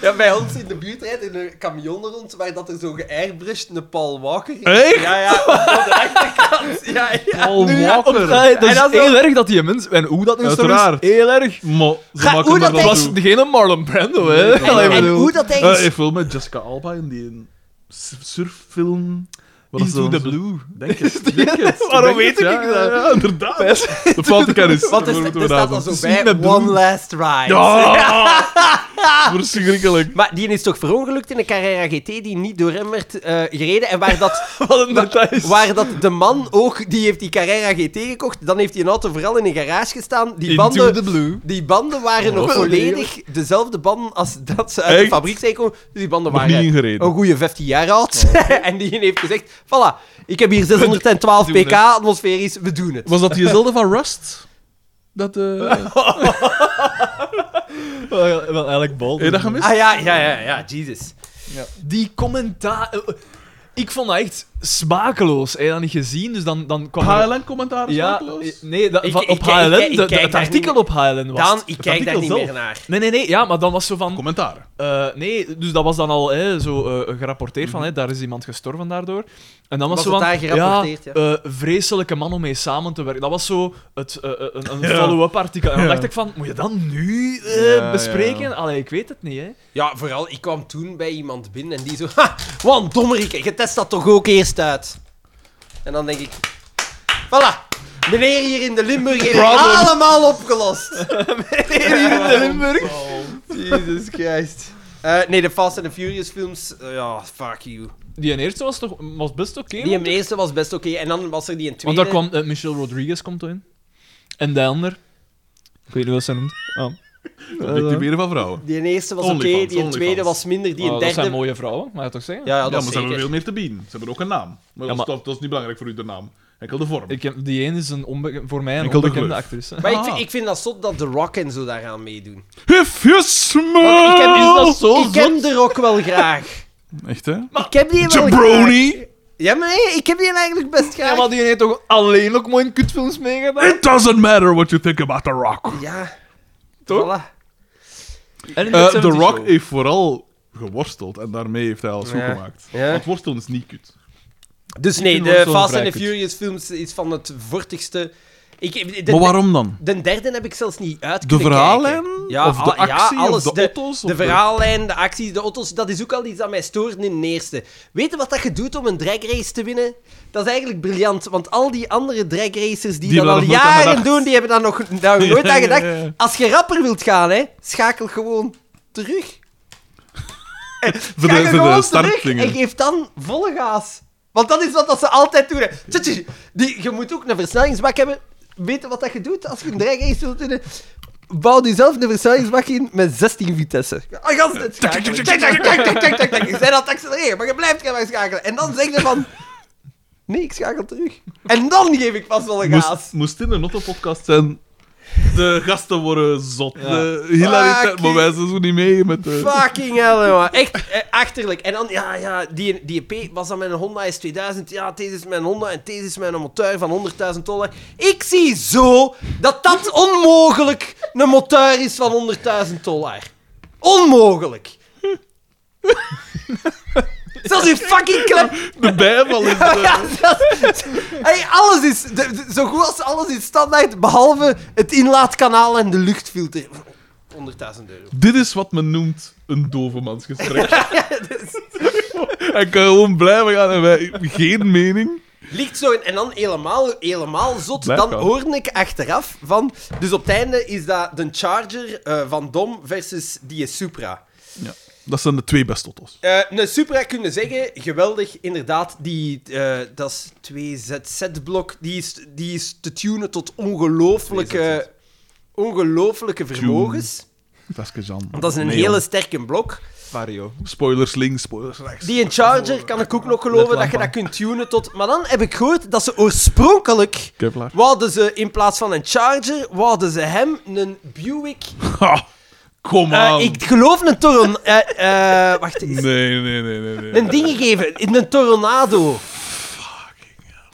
Ja, bij ons in de buurt rijdt in een camion rond waar dat er zo geairbrushed een Paul Walker is.
Echt?
Ja, ja, op de achterkant. Ja, ja.
Paul
Nu, ja,
Walker.
op- eh, dat
En
is
dat is
heel erg dat die mens... En hoe dat nu zo is,
Uiteraard.
heel erg.
Maar ze
Ga-
maken
hoe
er
dat
Dat
dan
hij-
was
toe.
geen Marlon Brando, hè. Allee,
En
bedoel.
hoe dat hij...
Eh,
ges-
Ik film met Jessica Alba in die s- surffilm. Wat is
Into
dat?
the
Blue. Denk het. Denk het.
Waarom
Denk
weet
het,
ik
ja,
dat?
Ja, ja, inderdaad. De foute kennis.
Wat is
Daar
er
moeten we
staat
naar
dan zo
zijn.
bij?
Zien met
One
bloed.
last ride.
Ja! Verschrikkelijk.
Maar die is toch verongelukt in een Carrera GT die niet door hem werd eh, gereden en waar dat,
Wat een detail.
waar dat de man ook, die heeft die Carrera GT gekocht, dan heeft die auto vooral in een garage gestaan. Die banden,
the blue.
Die banden waren nog volledig dezelfde banden als dat ze uit de
Echt?
fabriek zijn gekomen. Dus die banden
Nog
waren
niet ingereden.
een goede 15 jaar oud. en die heeft gezegd, voilà, ik heb hier 612
Doen
pk atmosferisch, we doen het.
Was dat diezelfde van Rust? Dat, eh
Wel, eigenlijk bal.
Heb je dat gemist?
Ah ja, ja, ja, ja, Jesus.
Die commentaar... eh, Ik vond dat echt smakeloos. Heb je dat niet gezien? Dus dan, dan kwam er-
HLN-commentaar
Ja, eh, nee, dat,
Ik-
van-
ik-
op
ik-
HLN.
ik- ik
de- de-
kijk
het
daar
artikel
niet-
op HLN was.
Dan,
het.
ik
Het
kijk daar
artikel
niet
zelf.
meer naar.
Nee, nee, nee. Ja, maar dan was zo van...
Commentaar.
eh, nee, dus dat was dan al hè, zo eh, gerapporteerd van, hè, daar is iemand gestorven daardoor. En dan was,
Was
zo
het
van,
daar gerapporteerd, ja?
eh, vreselijke man om mee samen te werken. Dat was zo het, eh, eh, een, een follow-up artikel. En dan
Ja.
dacht ik van, moet je dat nu eh,
Ja,
bespreken?
ja.
Allee, ik weet het niet, hè.
Ja, vooral, ik kwam toen bij iemand binnen en die zo... Ha, want dommerik, je test dat toch ook eerst uit? En dan denk ik... Voilà, meneer hier in de Limburg heeft het allemaal opgelost. meneer hier in de Limburg. Jesus Christ. Eh, nee, de Fast and the Furious films, eh, ja, fuck you.
Die in eerste was, toch, was best oké.
Die in de eerste was best oké, en dan was er die in
want
tweede.
daar kwam eh, Michelle Rodriguez komt erin. En de ander. Ik weet niet wat ze noemt. Ah.
Objectiveren van vrouwen.
Die eerste was oké,
Onlyfans,
die tweede
Onlyfans.
was minder, die
Oh, dat
derde...
zijn mooie vrouwen, mag je toch zeggen?
Ja, ja,
Ja,
dat
maar
is
ze hebben
zeker.
veel meer te bieden. Ze hebben ook een naam. Maar,
Ja, maar-
Dat, is, dat is niet belangrijk voor u, de naam. Enkel de vorm.
Ik heb, die een is een onbe- voor mij een
Enkel de
onbekende
gleuf.
actrice.
Maar ik,
Ah.
vind- ik vind dat zot dat The Rock en zo daaraan meedoen.
If you smell...
Ik heb, dus
Is dat zo
ik heb The Rock wel graag.
Echt, hè?
Ik heb die wel graag.
Jabroni!
Ja, maar nee, ik heb die eigenlijk best
Ja,
graag.
maar die heeft toch alleen ook mooie kutfilms meegedaan?
It doesn't matter what you think about The Rock.
Ja.
Toch?
Voilà.
Eh, The Rock heeft vooral geworsteld en daarmee heeft hij alles goed
Ja.
gemaakt.
Ja.
Want worstelen is niet kut.
Dus nee,
vind
de
Worst wel
Fast
vrij
and the
kut.
Furious films is van het vortigste... Ik, de,
Maar waarom dan?
De derde heb ik zelfs niet uit
De
kunnen
verhaallijn?
kijken.
of de
al- ja,
actie?
alles.
of de, auto's?
De verhaallijn, de acties, de auto's, dat is ook al iets dat mij stoort in de eerste. Weet je wat dat je doet om een drag race te winnen? Dat is eigenlijk briljant, want al die andere drag racers die,
Die
dat al
hebben daar nog nooit aan
jaren
gedacht.
doen, die hebben daar nog, daar nog nooit aan gedacht.
ja, ja.
Als je rapper wilt gaan, hè, schakel gewoon terug.
Voor
Schakel
de, voor
gewoon
de
terug en
startdingen.
geef dan volle gaas. Want dat is wat dat ze altijd doen. hè. Tjutje, Die, je moet ook een versnellingsbak hebben. Weet je wat dat je doet als je een drag race wilt winnen? Bouw nu zelf een versnellingsbak in met 16 vitesse. Ah, gans het schakelen. Tik, tik, tik, tik, tik, tik, tik. Je bent aan het accelereren, maar je blijft gaan schakelen. En dan zeg je van... Nee, ik schakel terug. En dan geef ik pas wel een gaas.
Moest, moest in een Notto-podcast zijn. De gasten worden zot. De
Fucking-
hilariteit. Maar wij zijn zo niet mee met de...
Fucking hell, man. Echt eh, achterlijk. En dan, ja, ja, die, die EP was dan mijn Honda S2000. Ja, deze is mijn Honda en deze is mijn motor van 100.000 dollar. Ik zie zo dat dat onmogelijk een motor is van 100.000 dollar. Onmogelijk. Zelfs die fucking klep...
De bijval is... De...
Ja, zelfs- Hey, alles is... de- de- zo goed als alles is standaard, behalve het inlaatkanaal en de luchtfilter. 100.000 euro.
Dit is wat men noemt een dovemansgesprek. Hij kan gewoon blijven gaan en wij... Geen mening.
Ligt zo in, en dan helemaal, helemaal zot.
Blijf
dan
gaan.
hoorde ik achteraf van. Dus op het einde is dat de Charger eh, van Dom versus die Supra.
Dat zijn de twee beste tottos.
Eh een Supra kunnen zeggen, geweldig, inderdaad. Die, eh, dat is 2ZZ-blok. Die is, die is te tunen tot ongelooflijke, ongelooflijke vermogens.
Vaskejan.
Dat is een hele sterke blok.
Mario.
Spoilers links, spoilers rechts.
Die in Charger kan ik ook nog geloven dat je dat kunt tunen tot. Maar dan heb ik gehoord dat ze oorspronkelijk.
Kevlar.
Wouden ze in plaats van een Charger, wouden ze hem een Buick.
Ha, kom
eh,
aan.
ik geloof een Toron. eh, eh, wacht eens.
Nee, nee, nee, nee. nee.
Een ding gegeven, in een Tornado.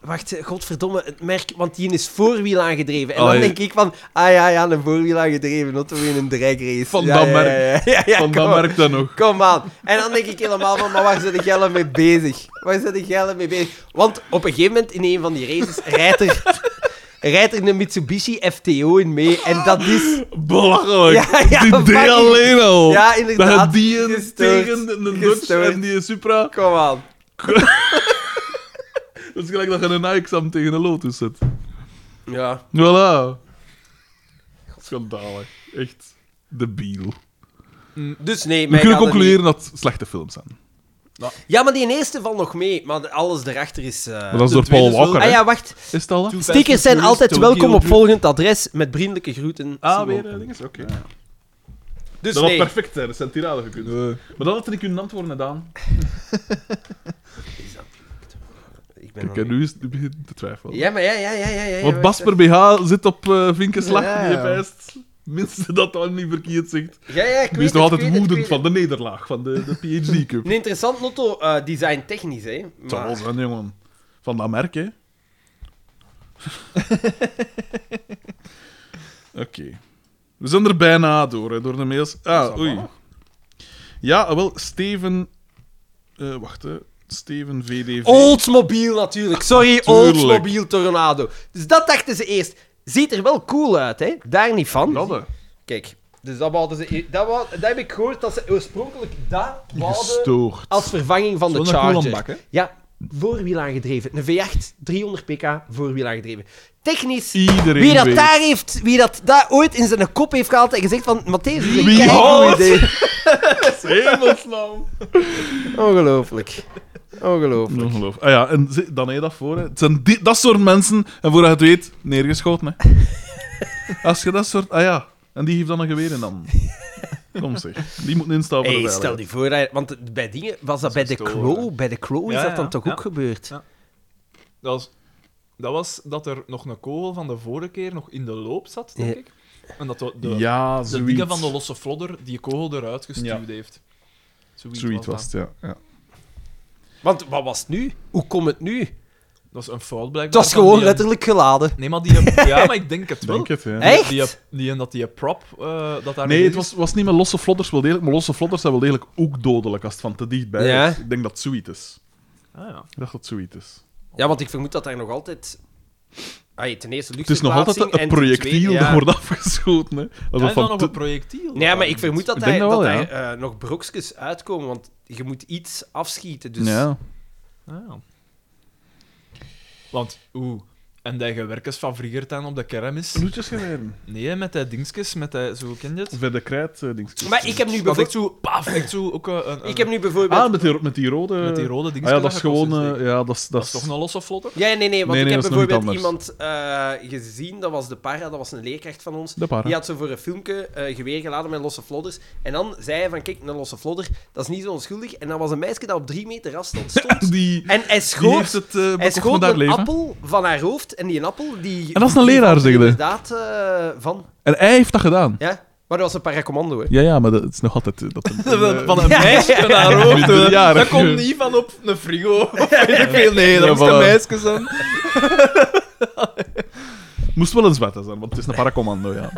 Wacht, eh, godverdomme, het merk, want die is voorwiel aangedreven. En dan
Allee.
denk ik van, ah ja, ja, een voorwiel aangedreven auto in een drag race.
Van
ja,
dat
ja,
merk.
Ja, ja, ja,
Van
kom,
dat merk dan nog.
Kom aan. En dan denk ik helemaal van, maar waar zijn de gellen mee bezig? Waar zijn de gellen mee bezig? Want op een gegeven moment in een van die races rijdt er, rijdt er een Mitsubishi FTO in mee. En dat is...
Belachelijk.
Ja, ja,
die
fucking-
D alleen al.
Ja, inderdaad.
Dat had die een
Gestoord.
tegen de- een
Gestoord.
Dodge en die een Supra.
Kom aan.
Dat is gelijk dat je een Ajax aan tegen een Lotus zet.
Ja.
Voilà. Schandalig. Echt debiel.
Dus nee,
We
mij
kunnen
gaat het niet-
concluderen dat het slechte films zijn.
Ja, maar die eerste valt nog mee, maar de- alles erachter is... eh,
Maar dat is door
tweede
Paul
is wel-
Walker,
Ah
hè?
ja, wacht.
Is het al?
Stickers zijn altijd welkom op volgend adres met vriendelijke groeten.
Ah,
Simon.
weer eh, dinges? Oké.
Dus
dat
nee.
was perfect, hè. Dat zijn tiraden gekund. Maar dat had er niet kunnen antwoorden, Daan.
Ik ben
Kijk, en
alweer-
nu, is, nu begint het te twijfelen.
Ja, maar ja, ja, ja, ja. ja
Want
ja,
Basper BH zit op eh vinkenslag,
Ja,
die
ja.
je wijst. Minste dat dan niet verkeerd zegt.
Ja, ja, ik weet
Die is
het,
nog
ik weet
altijd
het, ik
woedend
weet
van
het.
de nederlaag, van de, de PhD Cup.
Een interessant motto, eh, design technisch, hè.
Het
Maar-
zal wel zijn, jongen. Van dat merk, hè. Oké. We zijn er bijna door, hè, door de mails. Ah, oei. Ja, wel, Steven... eh, wacht, hè. Steven VDV.
Oldsmobile natuurlijk. Sorry,
Tuurlijk.
Oldsmobile Tornado. Dus dat dachten ze eerst. Ziet er wel cool uit, hè? Daar niet van.
Dat, hè.
Kijk, dus dat wouden ze. e- Dat, wou- dat heb ik gehoord dat ze oorspronkelijk dat wouden
Gestoord.
als vervanging van de
Zo'n
Charger.
koelenbak, hè?
Ja, voorwiel aangedreven. Een V8, 300 pk, voorwiel aangedreven. Technisch,
Iedereen
wie dat
weet.
daar heeft, wie dat daar ooit in zijn kop heeft gehaald en gezegd van, Matthäus, is
Wie
een goed
houdt?
idee.
Hemelsnaam.
Ongelooflijk. Ongelooflijk.
Ongelooflijk. Ah ja, en zi- dan heb je dat voor. Hè. Het zijn die- dat soort mensen, en voordat je het weet, neergeschoten. Hè. Als je dat soort... Ah ja, En die heeft dan een geweer in dan. Kom zeg. Die moet instaan voor de
Hey,
veiligheid.
stel die voor, hè, want bij dingen was dat eh, bij de
gestolen,
Crow. Bij de Crow is
Ja,
dat dan
ja,
toch
ja.
ook gebeurd?
Ja. Dat was, dat was dat er nog een kogel van de vorige keer nog in de loop zat, denk
Ja.
ik. En dat de, de,
ja,
de
zoiets.
dingen van de losse flodder die kogel eruit gestuurd
Ja.
heeft. Zoiets,
Zoiets was
was
het,
dat.
ja. ja.
Want wat was het nu? Hoe komt het nu?
Dat was een fout blijkbaar.
Dat is
van
gewoon
die-
letterlijk geladen.
Nee, maar die... Ja, maar ik denk het
Ik
wel.
denk het, ja.
Echt?
Die, die, dat die prop... eh, dat daar
Nee,
nog
het
is.
was, was niet met losse vlodders wel degelijk, maar losse vlodders zijn wel degelijk ook dodelijk als het van te dichtbij
Ja.
is. Ik denk dat het zoiets is.
Ah, ja.
Ik dacht dat het zoiets is.
Ja, want ik vermoed dat daar nog altijd. Ah, ten eerste
Het is nog altijd een- een projectiel dat wordt afgeschoten. Hè.
En
Alsof
dan
van
nog
te-
een projectiel.
Nee, maar ik vermoed dat
Ik
daar
denk
dat
dat wel,
daar, eh, nog brokjes uitkomen, want je moet iets afschieten. Dus...
Ja.
Ah, ja. Want, oeh... En die gewerkers van vroeger dan op de kermis?
Bloedjes gereden.
Nee, met die dingetjes, met die... Zo, ken je het?
Verder krijt eh, dingetjes.
Maar ik heb nu
Dat echt
bijvoorbeeld.
zo... Paf, echt zo ook eh, een...
Ik heb nu bijvoorbeeld.
Ah, met die, ro- met die rode...
Met die rode
Ah,
dingetjes.
ja, dat is gewoon... eh,
dat,
ja, dat is... Dat
is
is
toch een losse vlotter?
Ja, nee, nee, want
Nee, nee,
ik
dat
heb
is nog iets
bijvoorbeeld iemand eh, gezien, dat was de para, dat was een leerkracht van ons.
De para.
Die had zo voor een filmpje eh, geweer geladen met losse flodders. En dan zei hij van, kijk, een losse flodder, dat is niet zo onschuldig. En dan was een meisje dat op drie meter afstand stond.
Die,
en hij
die heeft
schoot,
het... eh
hij
bekocht met
schoot
haar
een
leven.
appel van haar hoofd. En die een appel, die...
En dat is een leraar, zeg je.
Inderdaad, eh, van.
En hij heeft dat gedaan.
Ja, maar dat was een paracommando, hè.
Ja, ja, maar dat het is nog altijd... eh, Dat,
Van een meisje naar
Een
hoofd.
minderjarige.
Dat komt niet van op een frigo. Of weet ik veel. Nee, dat
Ja,
is de
voilà.
meisjes dan.
Moest wel een zwette zijn, want het is een paracommando, ja.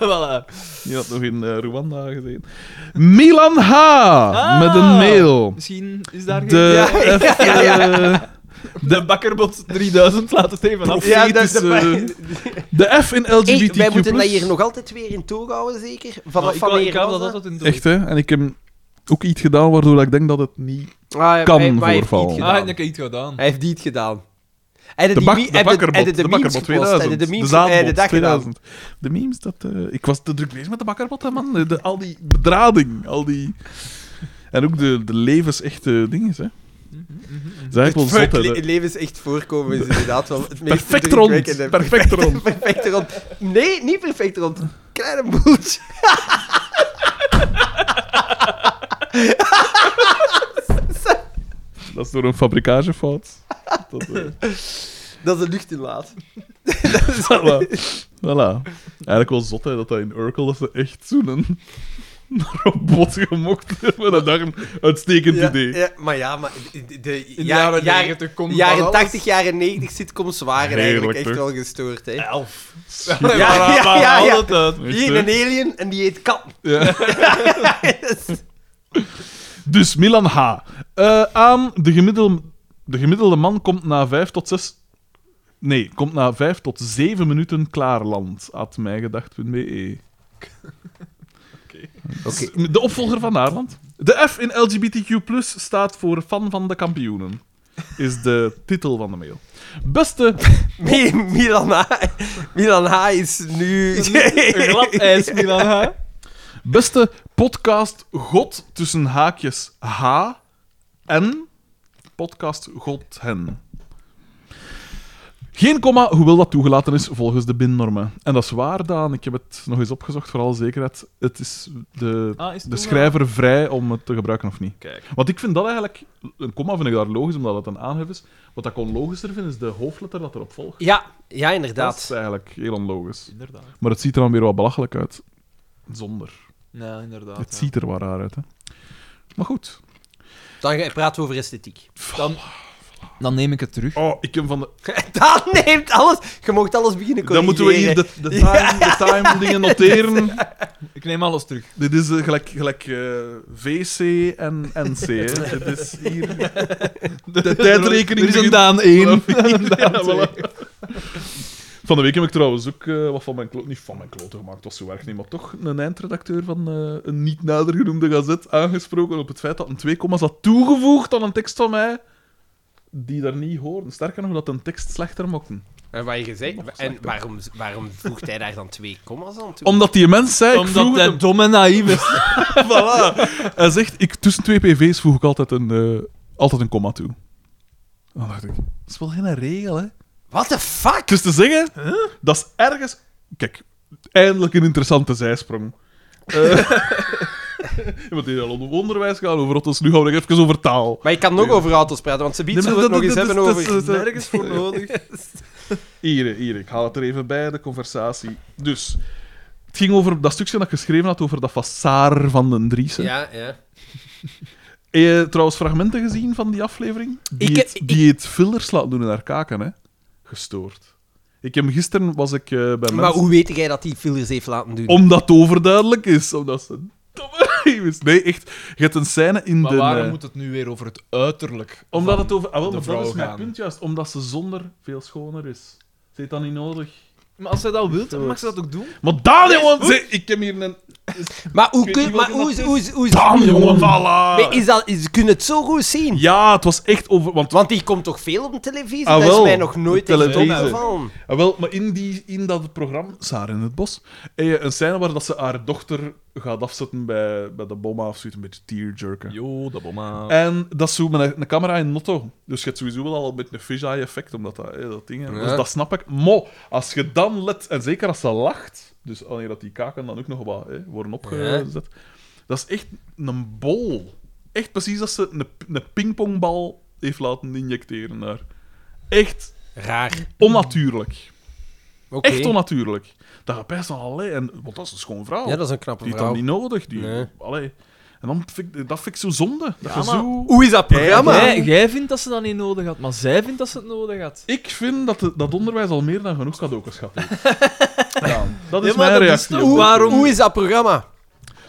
voilà.
Die had nog in eh, Rwanda gezeten. Milan H. Met een mail.
Misschien is daar geen...
De,
Ah. Ja, ja,
F- eh,
ja,
De bakkerbot 3000 laat het even af.
Ja, dat- dat-
profetische- de F in LGBTQ+.
Hey, wij moeten dat hier nog altijd weer in toog houden, zeker? Vanaf
Nou, ik
wanneer
kan
was
dat
dat?
altijd in de...
Echt, hè? En ik heb ook iets gedaan waardoor dat ik denk dat het niet...
Ah,
Kan
maar hij heeft
voorvallen.
niet
Ah,
gedaan.
ik heb iets gedaan.
Hij heeft die het gedaan. Hij had
De,
die
bak,
mie-
de
hij had-
bakkerbot,
hij had
de,
de memes
bakkerbot
gepost, hij had
2000.
de
De,
memes- hij had de
zaadbot
dag gedaan.
2000. De memes, dat... eh, ik was te druk bezig met de bakkerbot, hè, man. De, al die bedrading, al die... En ook de, de levensechte dingen, hè. Zij
Het
ons
voor
zot,
het
hè.
le-
de-
leven is echt voorkomen, is inderdaad wel het meest
Perfect rond,
indrukwekkende.
perfect rond.
Perfect rond. Nee, niet perfect rond. Kleine boeltje.
Dat is door een fabrikagefout. Dat, eh,
Dat is een luchtinlaat.
voilà. voilà. Eigenlijk wel zot hè, dat dat in Urkel dat ze echt zo'n robot gemokt hebben. Dat dacht ik, uitstekend
Ja,
idee.
ja, maar ja, maar de, de, de
In de
ja-
jaren
jaren-
90 komt van
jaren
alles.
80, jaren 90 sitcoms waren
Heerlijk,
eigenlijk echt
toch?
wel gestoord. Hè.
Elf.
Ja,
Maar-
ja,
maar
ja, ja.
altijd.
Echt,
Hier
hè?
een alien en die heet kat.
Dus Milan H. Eh, aan de gemiddelde, de gemiddelde man komt na vijf tot zes... Nee, komt na vijf tot zeven minuten klaarland. At mijgedacht.be. E. De opvolger van Aarland. De F in LGBTQ staat voor fan van de kampioenen. Is de titel van de mail. Beste
Mi- Milan H. Milan H. is nu...
Een glad ijs, Milan. hè?
Beste podcast God tussen haakjes H en podcast God hen. Geen komma, hoewel dat toegelaten is volgens de BIN-normen. En dat is waar, Daan. Ik heb het nog eens opgezocht, vooral zekerheid. Het is de,
Ah, is het
de
toegelaten?
schrijver vrij om het te gebruiken of niet.
Kijk.
Want ik vind dat eigenlijk... Een komma vind ik daar logisch, omdat het een aanhef is. Wat ik onlogischer vind, is de hoofdletter dat erop volgt.
Ja, ja,
Dat is
inderdaad.
eigenlijk heel onlogisch.
Inderdaad.
Maar het ziet er dan weer wat belachelijk uit. Zonder.
Ja, inderdaad.
Het
ja.
ziet er wel raar uit, hè. Maar goed. eh,
Dan praten we over esthetiek.
Dan, dan neem ik het terug.
Oh, ik heb van de...
Dat neemt alles. Je mocht alles beginnen corrigeren.
Dan moeten we hier de, de time, de time dingen noteren.
Ik neem alles terug.
Dit is eh, gelijk, gelijk eh, VC en NC, hè. Dit is hier... De tijdrekening
Er is een
begint-
Daan 1.
Ja, voilà. Van de week heb ik trouwens ook eh, wat van mijn kloot... Niet van mijn kloten gemaakt, het was zo erg niet, maar toch een eindredacteur van eh, een niet nader genoemde gazet aangesproken op het feit dat een 2, had toegevoegd aan een tekst van mij die daar niet hoorden. Sterker nog, dat een tekst slechter mochten.
En, Eh, wat je gezegd, en waarom, waarom voegt hij daar dan twee commas aan toe?
Omdat die mens zei... ik vroeg
Omdat
het
hij dom en naïef is.
Voilà. Hij zegt, ik, tussen twee PV's voeg ik altijd een, eh, altijd een comma toe. Dan dacht ik, dat is wel geen regel, hè.
What the fuck?
Dus te zeggen, dat is ergens... Kijk, eindelijk een interessante zijsprong. Eh want die al onder onderwijs gaan over rottels. Nu gaan we nog even over taal.
Maar ik kan nog over auto's praten, want ze biedt
Nee,
zullen
maar
we het nog
dat-
eens
dat-
hebben
dat-
over...
dat- dat-
nergens voor nodig.
Hier, hier, ik haal het er even bij, de conversatie. Dus, het ging over dat stukje dat ik geschreven had over dat fassaar van den Driessen.
Ja, ja.
Heb je trouwens fragmenten gezien van die aflevering? Die,
Ik-
het,
ik-
die het fillers laat doen in haar kaken, hè? Gestoord. Ik heb gisteren was ik eh, bij
Maar
mensen...
hoe weet jij dat die fillers heeft laten doen?
Omdat het overduidelijk is. Omdat ze... domme is. Nee, echt. Je hebt een scène in
Maar
de...
waarom
eh,
moet het nu weer over het uiterlijk?
Omdat
van-
het over... Ah, wel,
de
maar dat
vrouw
is mijn
gaan?
punt juist. Omdat ze zonder veel schoner is. Ze heeft dat niet nodig.
Maar als zij dat wilt, dan mag ze dat ook doen.
Maar Daan, jongen! ze- Ik heb hier een...
Maar hoe
weet
kun
niet
maar
wat
hoe,
dat
is- hoe, is- hoe, is-
Daan, jongen.
Voilà!
Nee, is dat, is, kun je het zo goed zien?
Ja, het was echt over... Want
Want die komt toch veel op de televisie?
Ah,
dat
wel,
is mij nog nooit
de
echt
televisie.
opgevallen.
Ah, wel, maar in, die, in dat programma, Saar in het Bos, heb je een scène waar dat ze haar dochter gaat afzetten bij, bij de bomma of zoiets, een beetje tearjerken.
Jo, dat bomma.
En dat is zo met een, een camera in een auto. Dus je hebt sowieso wel al een beetje een fisheye effect, omdat dat, hè, dat ding... hè.
Ja.
Dus dat snap ik. Maar als je dan let, en zeker als ze lacht, dus wanneer dat die kaken dan ook nog wat hè, worden opgezet, dat is echt een bol. Echt precies als ze een, een pingpongbal heeft laten injecteren daar. Echt
Raar.
onnatuurlijk.
Oké.
Echt onnatuurlijk. Dat gaat best wel alleen. En, want dat is een schoon vrouw.
Ja, dat is een knappe
die heeft
vrouw.
dat niet nodig. Die,
Nee.
allee. En dan vind ik, dat vind ik zo zonde. Dat je zo...
Hoe is dat programma?
Jij, jij vindt dat ze dat niet nodig had, maar zij vindt dat ze het nodig had.
Ik vind dat de- dat onderwijs al meer dan genoeg cadeautjes gaat doen. ja, dat is
maar
mijn
dat is
reactie.
toch-
op
hoe,
dat
waarom-
programma.
hoe is dat programma?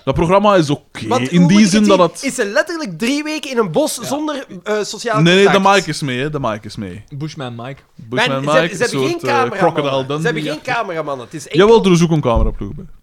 Dat programma is oké.
Want hoe
Eh, In
moet
die
ik
zin
het
dat
zien?
het...
Is ze letterlijk drie weken in een bos zonder eh sociale
Nee, nee, de
contact?
mic is mee. Hè. De mic is mee.
Bushman Mike.
Men-
Bushman
ze,
Mike,
ze
een
hebben geen
soort eh, Crocodile
cameramannen.
Dundee.
Ze hebben geen cameramannen. Het is één
Jawel, er is ook een cameraploeg bij.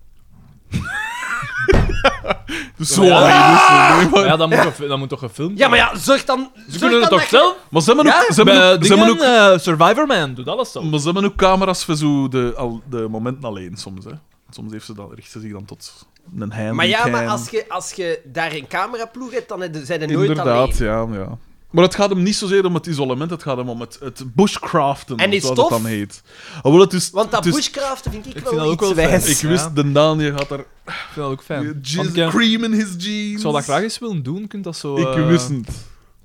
dus zo
Ja.
alleen is het, nee, maar-
Ja, dat moet, gefi- dat moet toch gefilmd
Ja, maar ja, zorg dan...
Ze kunnen het toch zelf?
Maar ze hebben ook,
Ja,
ze hebben
Bij
ook, ze hebben
dingen,
ook
eh, Survivor Man doet alles zelf.
Maar ze hebben ook camera's voor zo de, al, de momenten alleen soms. Hè. Soms heeft ze dan, richt ze zich dan tot een hein.
Maar ja,
een
maar
hein.
als je, als je daar een cameraploeg hebt, dan heb je- zijn er nooit alleen.
Inderdaad, ja, ja. Maar het gaat hem niet zozeer om het isolement, het gaat hem om het, het bushcraften,
En
of
is
wat
tof?
het dan heet. Alhoewel, het is,
Want dat
het is-
bushcraften vind ik, wel
vind dat ook
iets
wel fijn.
wijs.
Ik wist,
Ja.
de Daniel gaat er
Ik vind dat ook fijn. Want
jeans,
ik, eh,
cream in his jeans.
ik zou dat graag eens willen doen, kunt dat zo...
Ik
eh,
wist het.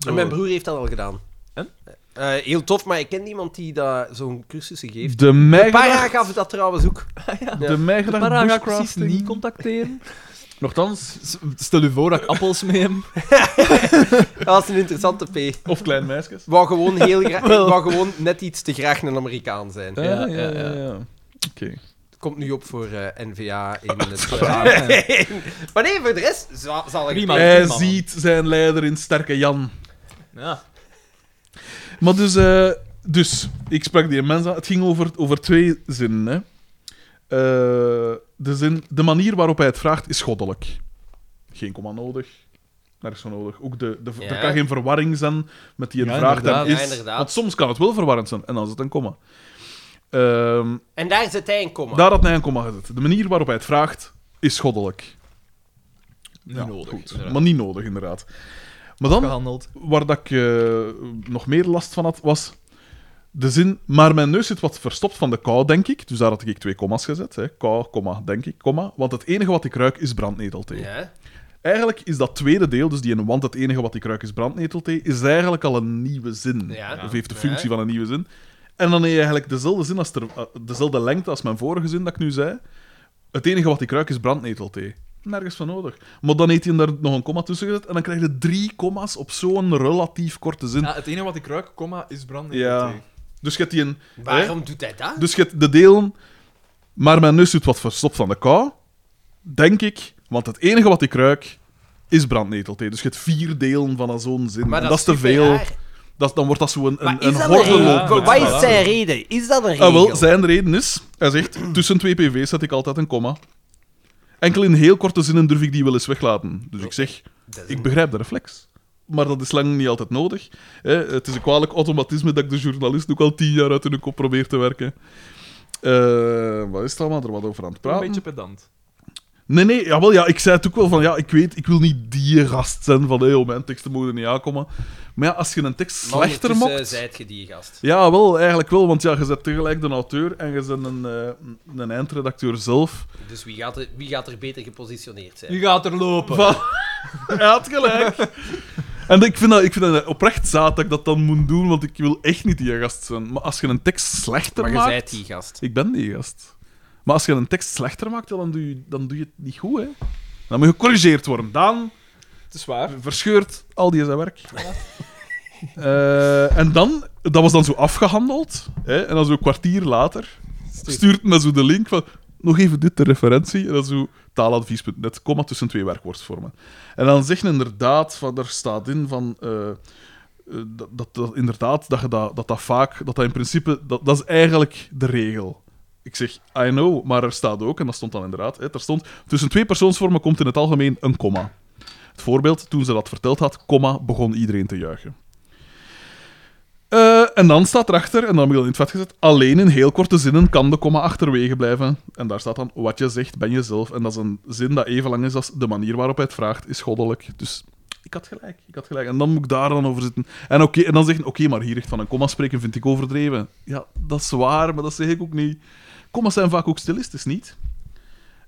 En mijn broer heeft dat al gedaan.
En?
Eh, heel tof, maar ik ken niemand die dat zo'n cursussen geeft.
De
Para
mijgedacht...
gaf dat trouwens ook.
De mijgedacht
Para ga ik precies
bushcrafting.
niet contacteren.
Nochtans,
S- Stel u voor dat ik appels mee hem.
Dat was een interessante P.
of klein meisjes.
Wou gewoon, heel graag, wou gewoon net iets te graag een Amerikaan zijn.
Ja, ja, ja. ja. Oké.
Komt nu op voor eh NVA in het.
Uiteraard.
maar nee, voor de rest zal, zal ik.
Prima.
Hij
man.
ziet zijn leider in sterke Jan.
Ja.
Maar dus, eh, dus ik sprak die mens aan. Het ging over, over twee zinnen. Hè. Eh, de, zin, de manier waarop hij het vraagt is goddelijk. Geen komma nodig. Nergens voor nodig. Ook de, de,
Ja.
Er kan geen verwarring zijn met die het
Ja,
vraagt en
inderdaad.
is.
Ja, inderdaad.
Want soms kan het wel verwarrend zijn. En dan is het een komma. Ehm,
En daar zit hij in komma.
daar had hij een komma gezet. De manier waarop hij het vraagt is goddelijk.
Niet
Ja,
nodig.
goed.
inderdaad.
Maar niet nodig, inderdaad. Maar dan
Gehandeld.
waar dat ik eh, nog meer last van had, was de zin... Maar mijn neus zit wat verstopt van de kou, denk ik. Dus daar had ik twee komma's gezet. Hè. Kou, komma, denk ik, komma. Want het enige wat ik ruik is brandnetelthee.
Ja.
Eigenlijk is dat tweede deel, dus die in want het enige wat ik ruik is brandnetelthee, is eigenlijk al een nieuwe zin.
Ja.
Of heeft de
Ja.
functie van een nieuwe zin. En dan heb je eigenlijk dezelfde, zin als ter- eh, dezelfde lengte als mijn vorige zin dat ik nu zei. Het enige wat ik ruik is brandnetelthee. Nergens van nodig. Maar dan heeft hij daar nog een komma tussen gezet en dan krijg je drie komma's op zo'n relatief korte zin.
het enige wat ik ruik, comma, is brand.
Ja. Dus je hebt die een...
Waarom doet hij dat?
Dus je hebt de delen. Maar mijn neus doet wat verstopt van de kou. Denk ik. Want het enige wat ik ruik is brandnetelthee. Dus je hebt vier delen van een zo'n zin.
Maar
en dat is te veel.
superraar.
Dat, is- dan wordt dat zo'n een,
Maar
een, een
is dat een
hordeloop.
reden?
Ja,
Wa-
ja.
Wat is zijn reden? Is dat een reden?
Ah, wel, zijn reden is... Hij zegt, tussen twee pv's zet ik altijd een komma. Enkel in heel korte zinnen durf ik die wel eens weglaten. Dus ik zeg, ik begrijp de reflex. Maar dat is lang niet altijd nodig. Hè, het is een kwalijk automatisme dat ik de journalist ook al tien jaar uit hun kop probeer te werken. Eh, wat is het allemaal? Er wat over aan het
Een
praten.
beetje pedant.
Nee, nee, jawel, ja, ik zei het ook wel van, ja, ik weet, ik wil niet die gast zijn van, hé, hey, oh, mijn teksten mogen er niet aankomen. Maar ja, als je een tekst slechter
Ondertussen
mocht...
zijt je die gast.
Ja, wel, eigenlijk wel, want ja, je bent tegelijk de auteur en je bent een, eh, een eindredacteur zelf.
Dus wie gaat, er, wie gaat er beter gepositioneerd zijn?
Nu gaat er lopen.
Van... Hij had gelijk. En ik vind, dat, ik vind dat oprecht zaad dat ik dat dan moet doen, want ik wil echt niet die gast zijn. Maar als je een tekst slechter
maar je
maakt...
zijt die gast.
Ik ben die gast. Maar als je een tekst slechter maakt, ja, dan doe je, dan doe je het niet goed, hè. Dan moet je gecorrigeerd worden. Daan
Het is waar.
verscheurt al die zijn werk. Eh, en dan, dat was dan zo afgehandeld. Hè, en dan zo een kwartier later stuurt me zo de link van... Nog even dit, de referentie. En dan zo taaladvies.net, komma tussen twee werkwoordvormen. En dan zeggen inderdaad, van, er staat in van... eh, eh, dat, dat, dat inderdaad, dat, je dat, dat dat vaak, dat dat in principe, dat, dat is eigenlijk de regel. Ik zeg, I know, maar er staat ook, en dat stond dan inderdaad, hè, er stond, tussen twee persoonsvormen komt in het algemeen een komma. Het voorbeeld, toen ze dat verteld had, komma, begon iedereen te juichen. Eh, en dan staat erachter, en dan heb ik dat in het vet gezet, alleen in heel korte zinnen kan de komma achterwege blijven. En daar staat dan, wat je zegt, ben je zelf. En dat is een zin dat even lang is als de manier waarop hij het vraagt, is goddelijk. Dus ik had gelijk, ik had gelijk. En dan moet ik daar dan over zitten. En, oké, en dan zeggen, oké, maar hier echt van een komma spreken vind ik overdreven. Ja, dat is waar, maar dat zeg ik ook niet. Komma's zijn vaak ook stilistisch, niet?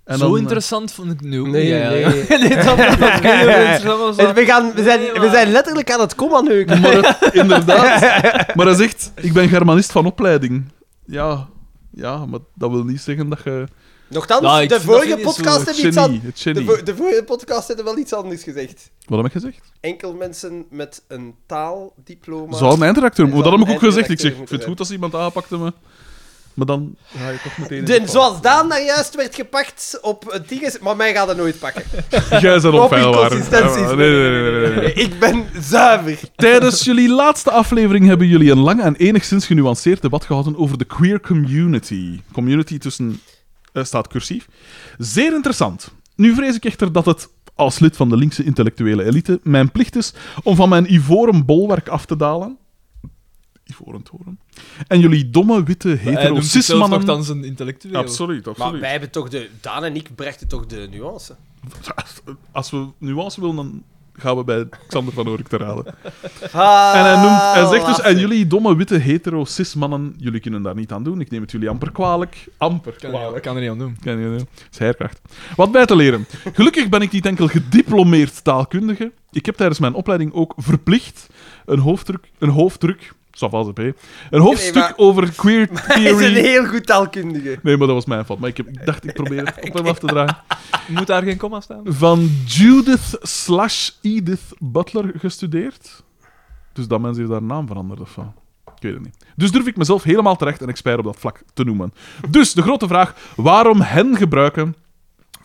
En
Zo
dan, eh,
interessant vond ik nu ook
Nee,
niet,
nee.
eigenlijk. nee. dat, dat, dat, dat, dat,
We, gaan, we, zijn, we zijn letterlijk aan het komma neuken.
Maar het- inderdaad. Maar hij zegt, ik ben germanist van opleiding. Ja, ja, maar dat wil niet zeggen dat je...
Nochtans,
Nou,
Ja, ik
de
vind dat
vorige
niet zo
podcast
het
hebben iets aan...
genie, het
De,
genie.
vo- de vorige podcast hebben wel iets anders gezegd.
Wat heb ik gezegd?
Enkel mensen met een taaldiploma...
Zou een eindredacteur...
Zou
Maar dat heb ik
een
ook gezegd. Ik zeg,
eindredacteur
ik vind het goed
moeten
als iemand aanpakte me. Maar dan ga je toch meteen... in de
De,
fout.
zoals Daan daar juist werd gepakt op het ding is... Maar mij gaat dat nooit pakken.
Jij bent
Op
onfeilbaar.
inconsistenties.
Ja, nee, nee, nee, nee, nee, nee.
Ik ben zuiver.
Tijdens jullie laatste aflevering hebben jullie een lang en enigszins genuanceerd debat gehouden over de queer community. Community tussen eh, staat cursief. Zeer interessant. Nu vrees ik echter dat het, als lid van de linkse intellectuele elite, mijn plicht is om van mijn ivoren bolwerk af te dalen. Ivoren toren. En jullie domme, witte, hetero
nog
cis-mannen...
dan zijn intellectueel.
Absoluut,
Maar
absoluut.
wij hebben toch de... Daan en ik brachten toch de nuance.
Als we nuance willen, dan gaan we bij Xander van Oorik te raden. En
Ah,
hij, noemt, hij zegt dus, en
lastig.
jullie domme witte hetero cis mannen, jullie kunnen daar niet aan doen. Ik neem het jullie amper kwalijk. Amper
Ik kan, er- ik
kwalijk.
kan er niet aan doen.
Kan je- Dat is herkracht. Wat bij te leren. Gelukkig ben ik niet enkel gediplomeerd taalkundige. Ik heb tijdens mijn opleiding ook verplicht een hoofddruk, een hoofddruk, Savas een hoofdstuk
maar-
over queer
Hij is een
theory.
heel goed taalkundige.
Nee, maar dat was mijn fout. Maar ik, heb, ik dacht, ik probeer het op hem af te dragen.
Moet daar geen komma staan?
Van Judith slash Edith Butler gestudeerd. Dus dat mensen heeft daar naam veranderd of zo. Ik weet het niet. Dus durf ik mezelf helemaal terecht een expert op dat vlak te noemen. Dus de grote vraag, waarom hen gebruiken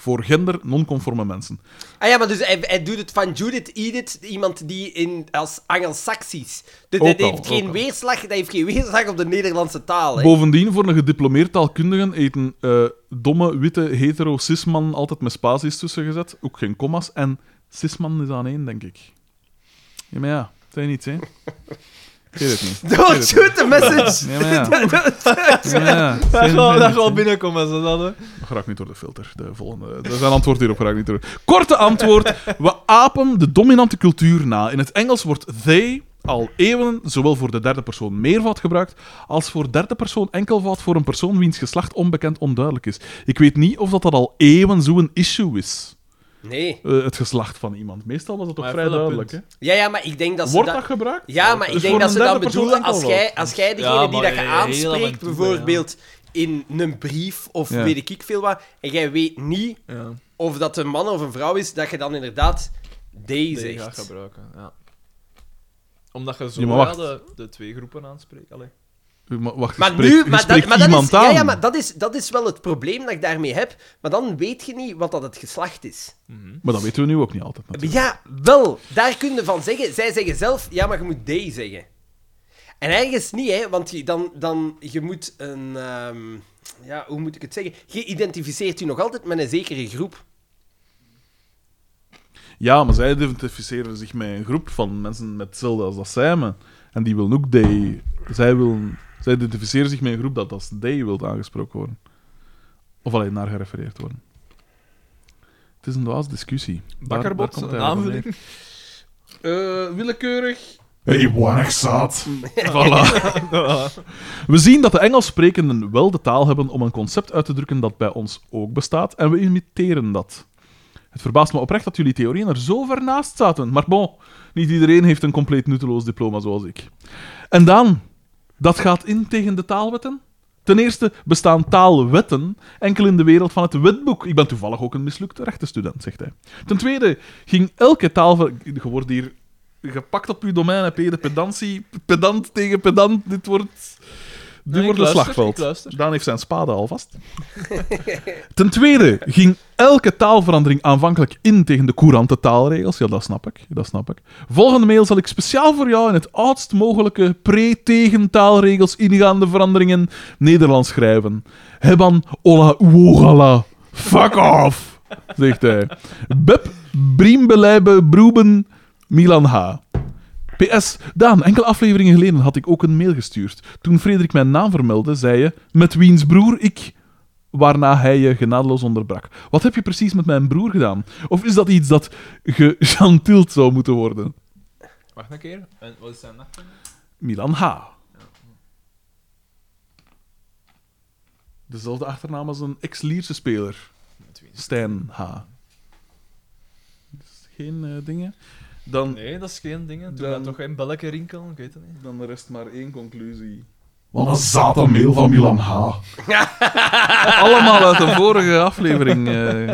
voor gender nonconforme mensen?
Ah ja, maar dus hij, hij doet het van Judith Edith, iemand die in, als Angelsaksisch. Dus
Ook
dat
al,
heeft, geen
ook al.
weerslag, dat heeft geen weerslag op de Nederlandse taal. Hè.
Bovendien, voor een gediplomeerd taalkundige eten eh, domme, witte, hetero cisman altijd met spaties tussen gezet. Ook geen commas. En cisman is aan één, denk ik. Ja, maar ja, dat is niets, hè. Ik weet het niet. Ik weet
Don't
het
shoot the message!
niet. Ja, maar ja. Ja,
Daar gaan, daar gaan we
binnen.
binnenkomen, als dat hè.
Geraakt niet door de filter. De volgende. Er zijn antwoord hierop geraakt niet door. Korte antwoord. We apen de dominante cultuur na. In het Engels wordt they al eeuwen zowel voor de derde persoon meervoud gebruikt als voor derde persoon enkelvoud voor een persoon wiens geslacht onbekend onduidelijk is. Ik weet niet of dat, dat al eeuwen zo'n issue is.
Nee.
Eh, het geslacht van iemand. Meestal was dat toch
Maar
vrij
wel een
duidelijk. Hè?
punt.
Ja, ja, maar ik denk dat ze
Wordt
Dus dat...
dat gebruikt?
Ja, maar ik
Dus
denk
voor
dat
een
ze dan
derde persoon
bedoelen, als
enkelvoud.
jij, als jij degene
Ja,
die
maar
dat je
heel lang
aanspreekt,
toe, ja.
bijvoorbeeld in een brief of
Ja.
weet ik veel wat, en jij weet niet
Ja.
of dat een man of een vrouw is, dat je dan inderdaad they
Die gaat
zegt.
gebruiken, ja. Omdat je zo
Ja, maar wacht.
ja, de, de twee groepen aanspreekt. Allee.
Maar wacht, je
Maar
spreekt-
nu,
je
maar dat,
spreekt
maar dat is,
iemand
ja,
aan.
ja, maar dat is, dat is wel het probleem dat ik daarmee heb. Maar dan weet je niet wat dat het geslacht is.
Maar dat weten we nu ook niet altijd. natuurlijk.
Ja, wel. Daar kun je van zeggen. Zij zeggen zelf, ja, maar je moet they zeggen. En ergens niet, hè, want je, dan, dan, je moet een... ehm, ja, hoe moet ik het zeggen? Je identificeert je nog altijd met een zekere groep.
Ja, maar zij identificeren zich met een groep van mensen met hetzelfde als dat zij me. En die willen ook they. Zij, willen, zij identificeren zich met een groep dat als they wilt aangesproken worden. Of alleen naar gerefereerd worden. is een dwaas discussie. Daar-
Bakkerbot,
daar komt
een
hij van
aanvulling.
neer. Eh, willekeurig.
Hey, waar zaad.
Voilà. we zien dat de Engelssprekenden wel de taal hebben om een concept uit te drukken dat bij ons ook bestaat, en we imiteren dat. Het verbaast me oprecht dat jullie theorieën er zo ver naast zaten. Maar bon, niet iedereen heeft een compleet nutteloos diploma zoals ik. En dan, dat gaat in tegen de taalwetten? Ten eerste bestaan taalwetten enkel in de wereld van het wetboek. Ik ben toevallig ook een mislukt rechtenstudent, zegt hij. Ten tweede ging elke taal... Je wordt hier gepakt op uw domein, heb je de pedantie. Pedant tegen pedant, dit wordt... Dit
Nee, ik
wordt een
luister,
slagveld.
ik luister.
Daan heeft zijn spade alvast. Ten tweede ging elke taalverandering aanvankelijk in tegen de courante taalregels. Ja, dat snap ik. Dat snap ik. Volgende mail zal ik speciaal voor jou in het oudst mogelijke pre-tegen taalregels ingaande veranderingen Nederlands schrijven. Heban ola uogala. Fuck off, zegt hij. Beb, Briembeleibe, Broeben, Milan H. PS, Daan, enkele afleveringen geleden had ik ook een mail gestuurd. Toen Frederik mijn naam vermeldde, zei je, met wiens broer ik... Waarna hij je genadeloos onderbrak. Wat heb je precies met mijn broer gedaan? Of is dat iets dat gechantild zou moeten worden?
Wacht een keer. En wat is zijn nacht?
Milan H. Dezelfde achternaam als een ex-Lierse speler. Stijn H. Dus geen eh, dingen. Dan,
Nee, dat is geen ding. Doe
Dan-
dan toch geen belletje rinkelen, ik weet het niet.
dan rest maar één conclusie.
Wat een zatenmeel van Milan H.
Allemaal uit de vorige aflevering. eh.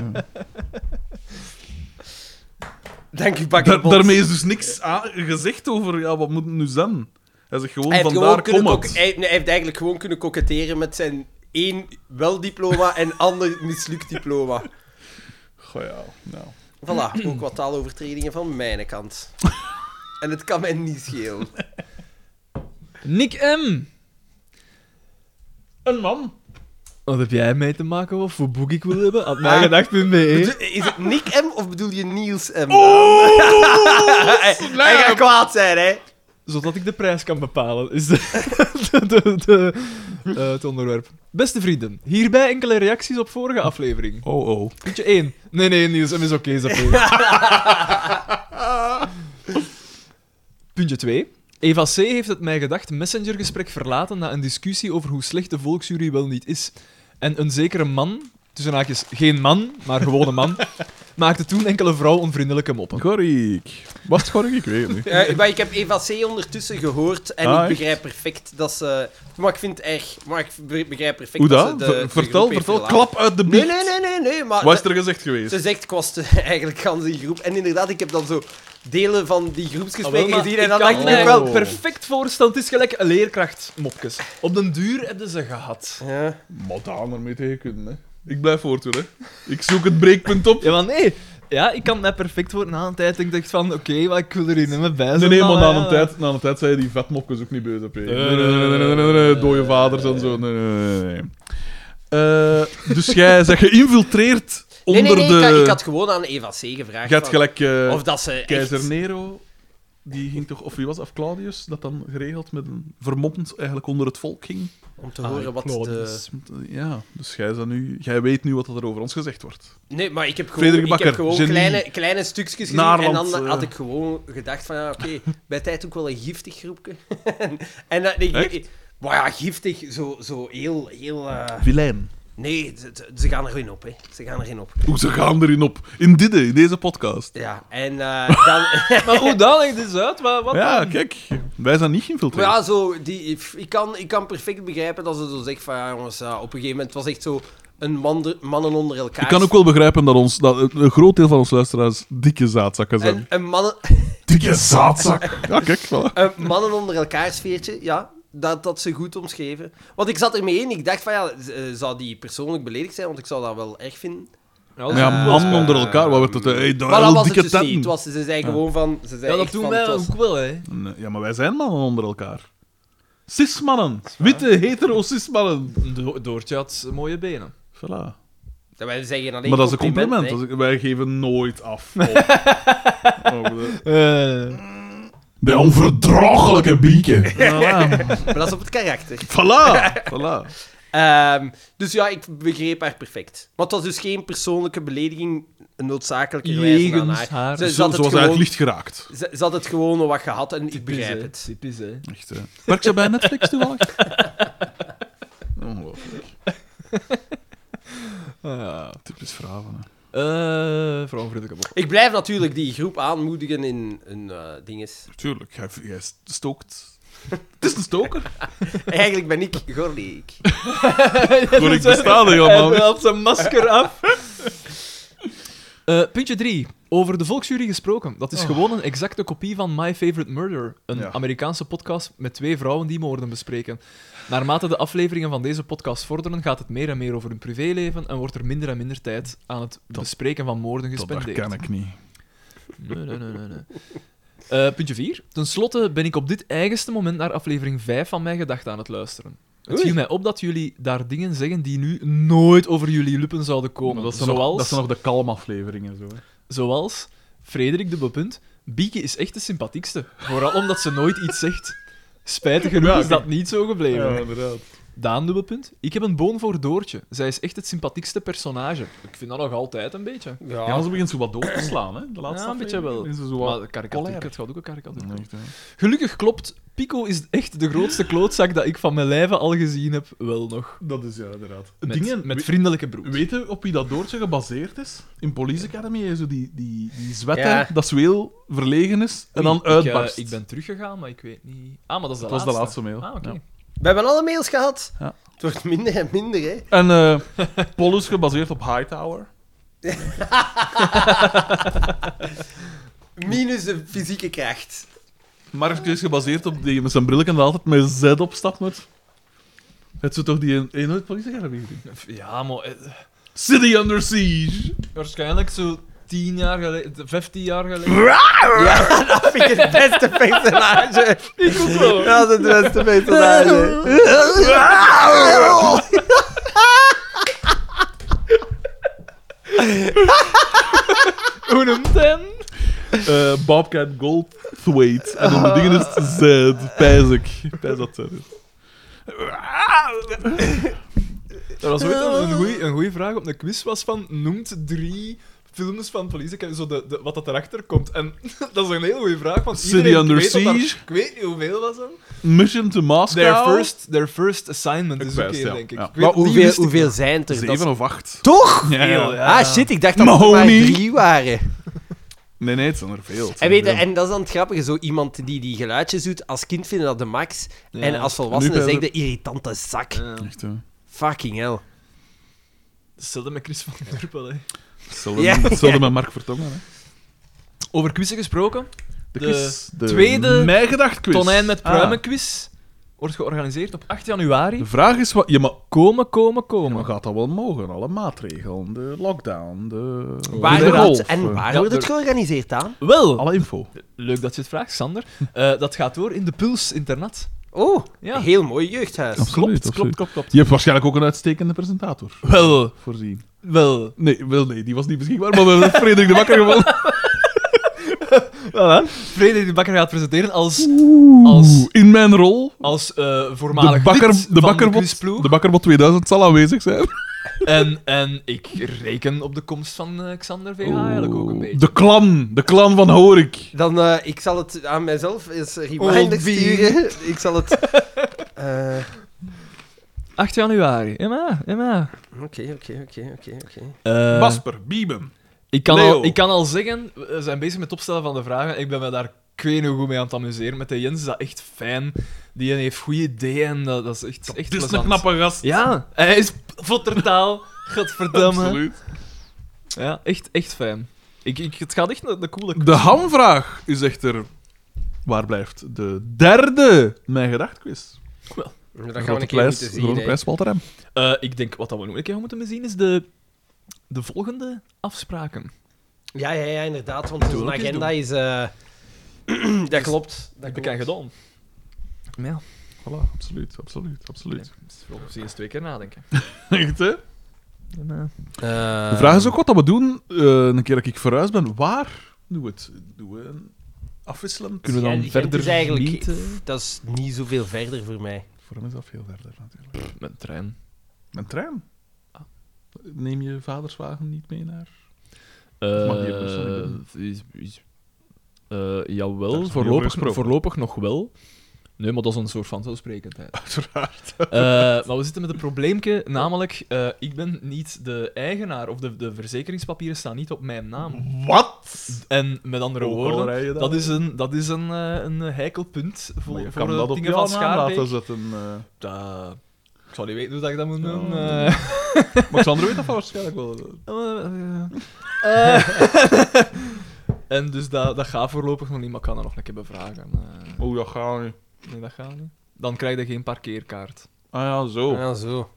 Dank u,
Daar-
Bakkerbot.
daarmee is dus niks aan- gezegd over ja, wat moet het nu zijn. Hij zegt gewoon
Hij heeft, gewoon
vandaar
kunnen
kom
kok-
het.
hij, nee, hij heeft eigenlijk gewoon kunnen koketteren met zijn één weldiploma en ander mislukt diploma.
Goh, ja, nou.
Voilà, ook wat taalovertredingen van mijn kant. En het kan mij niet schelen.
Nick M.
Een man.
Wat heb jij mee te maken of voor boek ik wil hebben? Had mij gedacht met mee.
Bedo- Is het Nick M of bedoel je Niels M?
Oh!
hij, hij gaat kwaad zijn, hè?
Zodat ik de prijs kan bepalen, is de, de, de, de- eh, het onderwerp. Beste vrienden, hierbij enkele reacties op vorige aflevering.
Oh, oh.
Puntje 1. Nee, nee, Niels, hem is oké, is oké. Puntje 2. Eva C. heeft het mij gedacht messengergesprek verlaten na een discussie over hoe slecht de volksjury wel niet is. En een zekere man, tussen haakjes geen man, maar gewone man, maakte toen enkele vrouw onvriendelijke moppen.
Gorik. Was het Gorik? Ik weet het niet.
Eh, maar ik heb Eva C. ondertussen gehoord en
Ah,
ik
echt?
begrijp perfect dat ze... Maar ik vind het erg. Maar ik be- begrijp perfect
Hoe
dat ze
dat?
de,
Ver-
de
vertel,
groep heeft
vertel.
verlaten.
Klap uit de
Nee,
biet.
nee, nee, nee, nee. Maar
Wat is
de-
er gezegd geweest?
ze zegt, ik was de- eigenlijk gans die groep. En inderdaad, ik heb dan zo delen van die groepsgesprekken gezien en dan dacht Ah, ik
me
ook wel... perfect.
perfect voorstellen. Het is gelijk een leerkracht, mopjes. Op den duur hebben ze gehad.
Ja.
Maar Daan ermee tegen kunnen, hè. Ik blijf voortdoen, hè. Ik zoek het breekpunt op.
Ja, maar nee. Ja, ik kan net perfect worden. Na een tijd denk ik dacht van, oké, maar ik wil er hier niet meer bij zijn.
Nee, nee, maar
dan,
na
ja.
een tijd, na een tijd zei je die vetmopjes ook niet beu op. Nee, nee,
Eh,
nee, nee, nee, nee, nee, dode vaders en zo. Nee, nee, nee, nee. Eh, dus jij zegt geïnfiltreerd
Nee,
onder
nee, nee, ik had-
de...
ik, had gewoon aan Eva C. gevraagd.
Je had
van-
gelijk... eh,
of dat ze
Keizer
echt...
Nero, die ging toch, of wie was, het, of Claudius, dat dan geregeld met een vermomd eigenlijk onder het volk ging.
Om te horen wat eh, de...
Ja, dus jij, is dan nu, jij weet nu wat er over ons gezegd wordt.
Nee, maar ik heb gewoon,
Frederik
ik heb
Bakker,
gewoon
genie.
kleine, kleine stukjes gezien.
Naarland,
en dan
eh.
had ik gewoon gedacht van, ja, oké, bij tijd ook wel een giftig groepje. en en dat... nee,
Echt?
ik- maar ja, giftig, zo, zo heel... heel eh,
Vilijn.
Nee, ze- ze- ze gaan erin op, hè. Ze gaan erin op.
Hoe ze gaan erin op. In dit, in deze podcast.
Ja, en eh, dan...
Maar hoe dan? Leg dit eens uit. Wat, wat
Ja,
dan?
kijk, wij zijn niet
Maar
geïnfiltreerd.
ja, zo, die, ik, kan, ik kan perfect begrijpen dat ze zo zegt van ja, jongens, ja, op een gegeven moment was echt zo een man, mannen onder elkaar.
Ik kan ook wel begrijpen dat, ons, dat een groot deel van ons luisteraars dikke zaadzakken zijn.
een, een, mannen,
Dikke zaadzak.
Ja, kijk, voilà.
een mannen onder elkaar sfeertje, ja. Dat, dat ze goed omschreven. Want ik zat ermee in, ik dacht van ja, z- eh, zou die persoonlijk beledigd zijn? Want ik zou dat wel erg vinden.
dat
ja,
Eh,
man onder elkaar, wat werd het? Hey,
Maar dat
daar,
was het
dikke
dus
tetten.
niet. Het was, ze zei gewoon van... Ze zei
Ja, dat
echt
doen
van,
wij
het was-
ook wel, hè.
Nee, Ja, maar wij zijn mannen onder elkaar. Cis-mannen. Witte, hetero cis-mannen.
Do Doortje had mooie benen.
Voilà.
dat wij zeggen alleen
Maar dat is een compliment.
hè.
Dat is- wij geven nooit af. op- over de-
Eh,
De onverdraaglijke bieken.
Voilà.
Maar dat is op het karakter.
Voilà. Voilà.
Ehm, dus ja, ik begreep haar perfect. Maar het was dus geen persoonlijke belediging noodzakelijkerwijs aan
Jegens
haar.
haar.
Ze, ze
Zo,
had
ze
het
was eigenlijk
gewoon,
licht geraakt.
ze, ze had het gewoon wat gehad en ik begrijp
eh,
hè.
het.
Typisch, hè.
Echt, hè. Werkt ze bij Netflix toevallig? Ongelooflijk.
Ah.
Typisch vrouwen, hè.
Eh, vrouwenvriendelijke bocht.
Ik blijf natuurlijk die groep aanmoedigen in een eh dinges.
Tuurlijk, jij, jij stookt... Het is een stoker.
Eigenlijk ben ik Gordy.
Kon ik bestaan, hè,
Hij
man.
haalt zijn masker af. Eh, puntje 3. Over de volksjury gesproken. Dat is gewoon een exacte kopie van My Favorite Murder. Een
Ja.
Amerikaanse podcast met twee vrouwen die moorden bespreken. Naarmate de afleveringen van deze podcast vorderen, gaat het meer en meer over hun privéleven en wordt er minder en minder tijd aan het bespreken van moorden
Dat
gespendeerd.
herken ik niet.
Nee, nee, nee, nee. nee. Eh, puntje 4. Ten slotte ben ik op dit eigenste moment naar aflevering 5 van mijn gedachten aan het luisteren. Het
Oei.
viel mij op dat jullie daar dingen zeggen die nu nooit over jullie lippen zouden komen.
Dat zijn, nog,
zoals,
dat zijn nog de kalmafleveringen. Zo, hè.
zoals, Frederik de bepunt, Bieke is echt de sympathiekste. Vooral omdat ze nooit iets zegt. Spijtig genoeg
Ja,
is dat niet zo gebleven.
inderdaad.
Daan dubbel punt. Ik heb een boon voor Doortje. Zij is echt het sympathiekste personage. Ik vind dat nog altijd een beetje.
Ja, maar ze begint zo wat door te slaan, hè? De laatste
Ja, een beetje
aflevering.
wel.
Is ze zo
Maar
wat...
de karikatuur,
colère.
het gaat ook een karikatuur.
Nee, echt, hè.
Gelukkig klopt, Pico is echt de grootste klootzak dat ik van mijn lijve al gezien heb, wel nog.
Dat is ja, inderdaad.
Met,
Dingen,
met
met
vriendelijke broek.
Weet je op wie dat Doortje gebaseerd is? In Police Academy, zo die, die, die zwetter,
Ja.
dat ze heel verlegen is en dan
ik,
uitbarst.
eh, Ik, ben teruggegaan, maar ik weet niet... Ah, maar dat is de
Dat was
laatste.
de laatste mail.
Ah, oké.
Ja.
We hebben alle mails gehad.
Ja.
Het wordt minder en minder, hè.
En eh Paul is gebaseerd op Hightower.
Minus de fysieke kracht.
Mark is gebaseerd op die met zijn bril en altijd met Z op stap moet. Het zou toch die een, een nooit Police Academy gezien?
Ja, maar eh,
City Under Siege!
waarschijnlijk zo 10 jaar geleden, 15 jaar geleden.
Dat vind ik het beste personage.
ik ook wel.
Dat is het beste personage.
Unum ten.
Eh, Bobcat Goldthwait. En om de dingen is het Z. Pijs ik. Pijs dat Z is.
Dat was ooit al een goeie, een goeie vraag op een quiz was van, noemt drie films van Police Academy, zo de, de, wat dat erachter komt. En dat is een hele goede vraag, want
City
iedereen
Under
weet dat daar-
Siege.
Ik weet niet hoeveel was hem.
Mission to Moscow.
Their first, their first assignment
Ik
is
wijs,
ook één,
ja.
denk ik.
Ja.
Ik weet niet wie is die-
zijn er? Dat is-
Zeven of acht.
Toch?
Ja, ja.
Ah, shit, ik dacht dat er maar
Mahoney.
drie waren.
Nee, nee, het zijn er veel. Het
En,
zijn
weet je,
er veel.
en dat is dan het grappige. Zo iemand die die geluidjes doet, als kind vinden dat de max.
Ja.
En als
Nu
volwassene
ben je-
zegt de irritante zak.
Ja.
Echt, hè.
Fucking hell.
Hetzelfde met Chris van Durpel, hè.
Hetzelfde,
Ja,
hetzelfde
ja.
met Mark Vertongen, hè.
Over quizzen gesproken.
De,
De
quiz, de
tweede
Mijgedacht quiz.
Tonijn met
Ah.
pruimenquiz wordt georganiseerd op 8 januari.
De vraag is wat... Ja, maar...
Komen, komen, komen.
Maar gaat dat wel mogen? Alle maatregelen, de lockdown, de...
Waar
de
wordt
golf,
het, en
eh,
waar
Ja,
wordt het
er-
georganiseerd aan?
Wel,
Alle info.
leuk dat je het vraagt, Sander. Eh, dat gaat door in de Puls Internat.
Oh,
Ja.
heel mooi jeugdhuis.
Absoluut,
klopt, klopt,
absoluut.
klopt, klopt.
Je hebt waarschijnlijk ook een uitstekende presentator
Wel,
voorzien.
wel.
Nee, wel nee, die was niet beschikbaar, maar we hebben Frederik de Bakker gevonden.
Voilà. Frederik de Bakker gaat presenteren als, als,
Oeh, In mijn rol,
als eh, voormalig
de, bakker,
lid
de,
van de
bakkerbot,
quizploeg.
de bakkerbot 2000 zal aanwezig zijn.
En, en ik reken op de komst van eh, Xander VH eigenlijk ook een beetje.
De clan, de clan van Horik.
Dan, eh, ik zal het aan mijzelf eens reminder
Oh, bier.
sturen. Ik zal het... Eh,
8 januari. Ja, maar, ja, maar.
Oké, oké, oké, oké, oké.
Eh,
Basper, Bieben.
ik, kan
Leo.
al, ik kan al zeggen, we zijn bezig met het opstellen van de vragen. Ik ben me daar kwee goed mee aan het amuseren. Met de Jens is dat echt fijn. Die heeft goede ideeën. Dat, dat is echt, echt
Dit is een
plezant.
knappe gast.
Ja, hij is vottertaal. Godverdamme.
absoluut.
Ja, echt, echt fijn. Ik, ik, het gaat echt naar de coole
De hamvraag is echter... Waar blijft de derde Mijn Gedacht quiz?
Dat gaan we
Grote
een keer
prijs,
moeten zien.
grote
hè.
prijs Walter M.
Eh, ik denk, wat dat we nog een keer moeten zien, is de, de volgende afspraken.
Ja, ja, ja, inderdaad, want
Doe
onze
ook eens
agenda is... eh, dat klopt. Dat
Dat heb ik aan
klopt.
gedaan. Maar Ja,
Voilà, absoluut, absoluut, absoluut.
misschien eens twee keer nadenken.
Echt, hè?
Eh,
De vraag is ook wat dat we doen, eh, een keer dat ik verhuisd ben, waar doen we het? Doen we een afwisselend?
Kunnen we dan
Gent
verder
is dus eigenlijk-
niet, eh,
Dat is niet zoveel verder voor mij.
Voor hem is dat veel verder, natuurlijk.
Met trein.
Een trein.
Ah.
Neem je vaderswagen niet mee naar... mag die
Eh
hier persoonlijk
is, is, eh, jawel,
niet over
voorlopig,
gesproken.
voorlopig nog wel. Nee, maar dat is een soort vanzelfsprekendheid.
Uiteraard.
Eh, maar we zitten met een probleempje, namelijk eh, ik ben niet de eigenaar of de, de verzekeringspapieren staan niet op mijn naam.
Wat?
En met andere
Ook al
woorden,
rij je daar.
dat is een, dat is een, eh, een heikel punt
Maar
voor,
je
voor
kan
de
dat op
dingen
jouw
van
naam
Schaarbeek.
laten zetten. eh.
Dat- Ik zou niet weten hoe dat ik dat moet doen.
Ja.
eh.
Maar Xander weet dat van waarschijnlijk wel.
Eh, eh. en dus dat, dat gaat voorlopig nog niet, maar ik kan dat nog een keer bevragen. Eh,
Oh, dat gaat niet.
nee, dat gaat niet. Dan krijg je geen parkeerkaart.
Ah ja, zo.
Oh.
Ja, zo.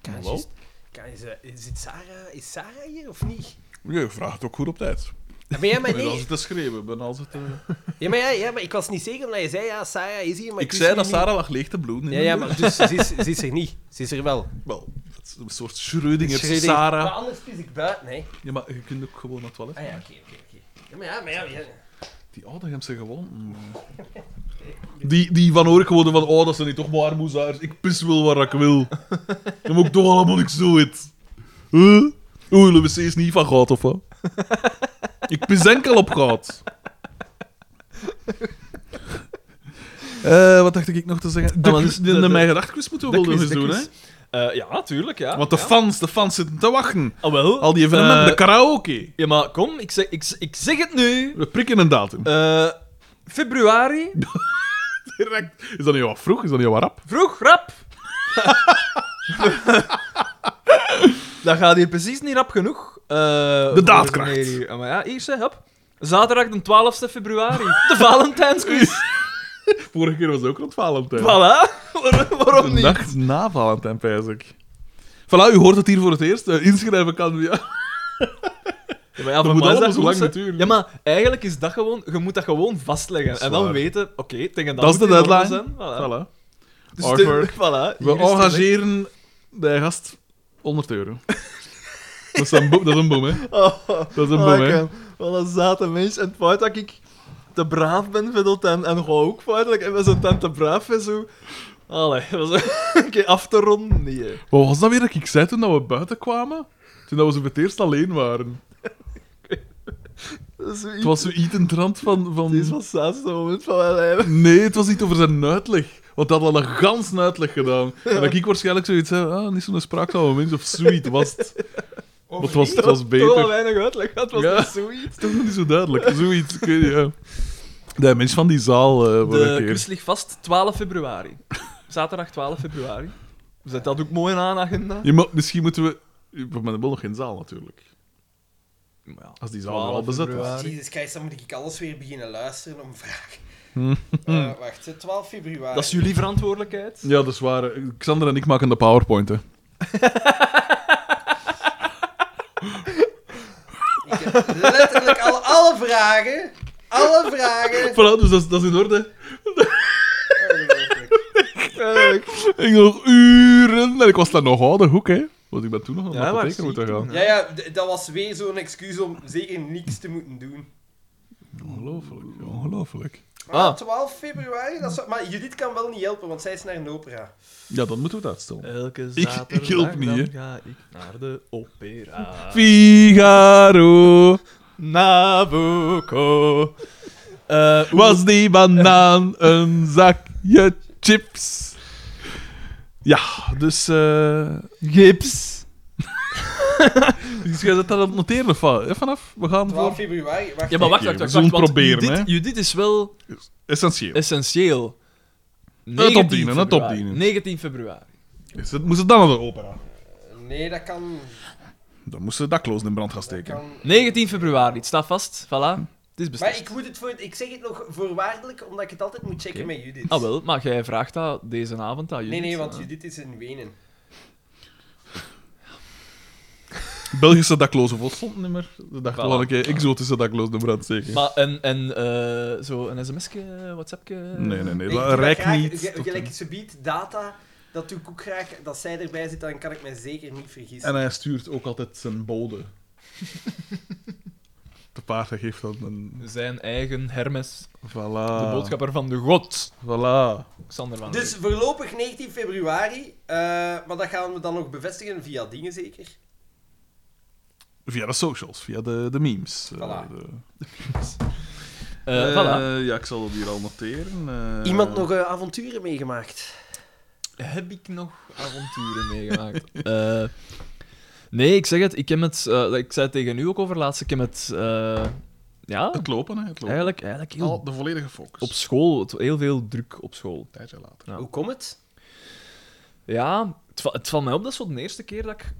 Kan
Maar
je
wel.
juist- kan je ze- is, het Sarah, is Sarah hier of niet?
Je vraagt ook goed op tijd.
Ah, Maar ja, maar
Ik ben
nee.
altijd te schreeuwen. ben altijd, eh,
Ja, maar, ja, ja, maar ik was niet zeker omdat je zei, ja, Sarah is hier, maar
Ik
wist
zei
nu
dat
niet.
Sarah lag leeg te bloeden.
Ja,
in de
ja,
deur.
maar dus ze is, ze is er niet. Ze is er wel.
Wel, dat is een soort Schrödinger
Schrödinger. Maar
Sarah.
anders is ik buiten, hè.
Ja, maar je kunt ook gewoon naar het toilet.
Ah ja, oké, oké, oké. Ja, maar ja, maar ja, ja.
Die Oudegemse gewoon... mm. Die, die van Orik gewoon van, oh, dat zijn niet toch maar armoezaars. Ik pis wel waar ik wil. Dan moet ik toch allemaal niks doen. Huh? Oeh, de wc is niet van goud, of wat? Ik pis enkel op goud. Eh, wat dacht ik nog te zeggen? De,
maar
quiz-
dus
de,
de-
mijn gedachtquiz moeten we
de
wel nog
quiz,
eens
de
doen, hè?
quiz. Eh, ja, tuurlijk, ja.
Want de
ja.
fans, de fans zitten te wachten.
Ah, wel.
Al die evenementen,
Eh,
de karaoke.
Ja, maar kom, ik zeg, ik, ik zeg het nu.
We prikken een datum.
Eh, februari,
Direct. Is dat niet wat vroeg? Is dat niet wat rap?
vroeg, rap. dat gaat hier precies niet rap genoeg. Eh, voor
daadkracht.
meneer hier. Ah, Maar ja, eerst, hè, hop. Zaterdag de 12e februari. De Valentijnsquiz.
Vorige keer was het ook rond Valentijn.
Voilà, Waar- waarom
Een
niet?
dag na Valentijn, pijs ik. Voilà, u hoort het hier voor het eerst. Eh, inschrijven kan via...
Ja, maar ja,
moet
voor mij is
allemaal
dat
zo lang
goed, hè.
duren.
Ja, maar eigenlijk is dat gewoon, je moet dat gewoon vastleggen.
is
en dan
waar.
weten, oké, tegen dat
Dat is
moet
de
het in orde
deadline.
Zijn. Voilà.
Voilà.
Dus
Awkward.
de, voilà,
We
hier is het direct.
engageren de gast 100 euro. dat, is een boom, dat is een boom, hè.
Oh,
Dat is een boom,
oh,
hè.
ik, wat een zate mens. En het feit dat ik te braaf ben, vind ik en, en gewoon ook feitelijk. En we zijn dan te braaf en zo. Allee, we zijn een keer af te ronden. Nee, hè.
Wat was dat weer dat ik zei toen dat we buiten kwamen? Toen dat we zo voor het eerst alleen waren.
Dat is zoiets.
Het was zo iets in het rand van... van...
Dit was het saaiste moment van mijn leven.
Nee, het was niet over zijn uitleg. Want dat had al een gans uitleg gedaan. En dat ik waarschijnlijk zoiets zei, ah, niet zo'n spraakzame mens of sweet was het. Maar het was, het was
Toch wel
beter.
weinig uitleg, dat was
Ja.
niet zoiets.
Het is nog niet zo duidelijk. Zoiets, ik weet niet, ja. De mens van die zaal eh voor
De
een keer.
quiz ligt vast 12 februari. Zaterdag 12 februari. Zet dat ook mooi in aan agenda.
Ja, maar misschien moeten we... We hebben wel nog geen zaal, natuurlijk.
Ja.
Als die zaal al
12
bezet was.
februari.
Jezus Christus, dan moet ik alles weer beginnen luisteren om vragen. Eh, wacht, hè, 12 februari.
Hm. Dat is jullie verantwoordelijkheid.
Ja, dat is waar. Xander en ik maken de powerpoint, hè.
Ik heb letterlijk alle, alle vragen. Alle vragen.
Voilà, dus dat is, dat is in orde.
Ongelooflijk.
Ik nog uren. En ik was daar nog ouder hoek, hè. Want ik ben toen nog aan de
Ja, maar
apotheker moeten
zie-
gaan.
Ja, ja, d- dat was weer zo'n excuus om zeker niks te moeten doen.
Ongelooflijk, ongelooflijk.
Maar
Ah.
12 februari, dat zou- maar Judith kan wel niet helpen, want zij is naar een opera.
Ja, dan moeten we het uitstellen.
Elke
ik
zaterdag
hielp niet,
dan
hè.
ga ik naar de opera.
Figaro
Nabucco. Eh, hoe-
was die banaan een zakje chips. Ja, dus... eh
Gips.
dus jij zet dat aan het noteren of wat? Hè, vanaf? We gaan
12
voor...
februari, wacht.
Ja, maar wacht,
Oké,
wacht,
we zullen
wacht. wacht, want
proberen,
Judith-
hè.
Judith is wel
Essentieel.
essentieel.
Het
19
opdienen, het
februari.
opdienen.
19 februari.
Is het, moest het dan naar de opera?
Nee, dat kan.
Dan moest ze daklozen in brand gaan
Dat
steken.
kan.
19 februari, het staat vast. Voilà. Het is
Maar
beslist.
ik, moet het voor, ik zeg het nog voorwaardelijk, omdat ik het altijd moet checken
Oké.
met Judith.
Ah wel, maar jij vraagt dat deze avond aan Judith.
Nee, nee, want
Ah.
Judith is in Wenen.
Belgische daklozen volstondnummer. De dag
Voilà.
wel een keer exotische daklozen in brand steken.
Ah. Maar en, en eh, zo een sms'je, whatsappje?
Nee, nee, nee.
Ik doe
dat
dat
Rijk
graag,
niet.
ge-
tot
Gelijk
een-
ze biedt data, dat doe ik ook graag. Dat zij erbij zit, dan kan ik mij zeker niet vergissen.
En hij stuurt ook altijd zijn bode. De paard, hij geeft dan een...
Zijn eigen Hermes,
Voilà. Ah.
de boodschapper van de god.
Voilà.
Xander van
Dus voorlopig 19 februari, eh, maar dat gaan we dan nog bevestigen via dingen zeker.
Via de socials, via de, de memes. Eh,
Voilà.
de-
Eh,
Eh,
voilà.
Ja, ik zal dat hier al noteren. eh.
Iemand nog eh, avonturen meegemaakt?
Heb ik nog avonturen meegemaakt? Eh, nee, ik zeg het. Ik heb het... eh, ik zei het tegen u ook over laatst. Ik heb het... eh, ja,
Het lopen, hè. Het lopen.
eigenlijk, eigenlijk heel...
Al de volledige focus.
Op school. het- Heel veel druk op school.
Een tijdje later.
Ja.
Hoe komt het?
Ja, het, va- het valt mij op. Dat is wel de eerste keer dat ik...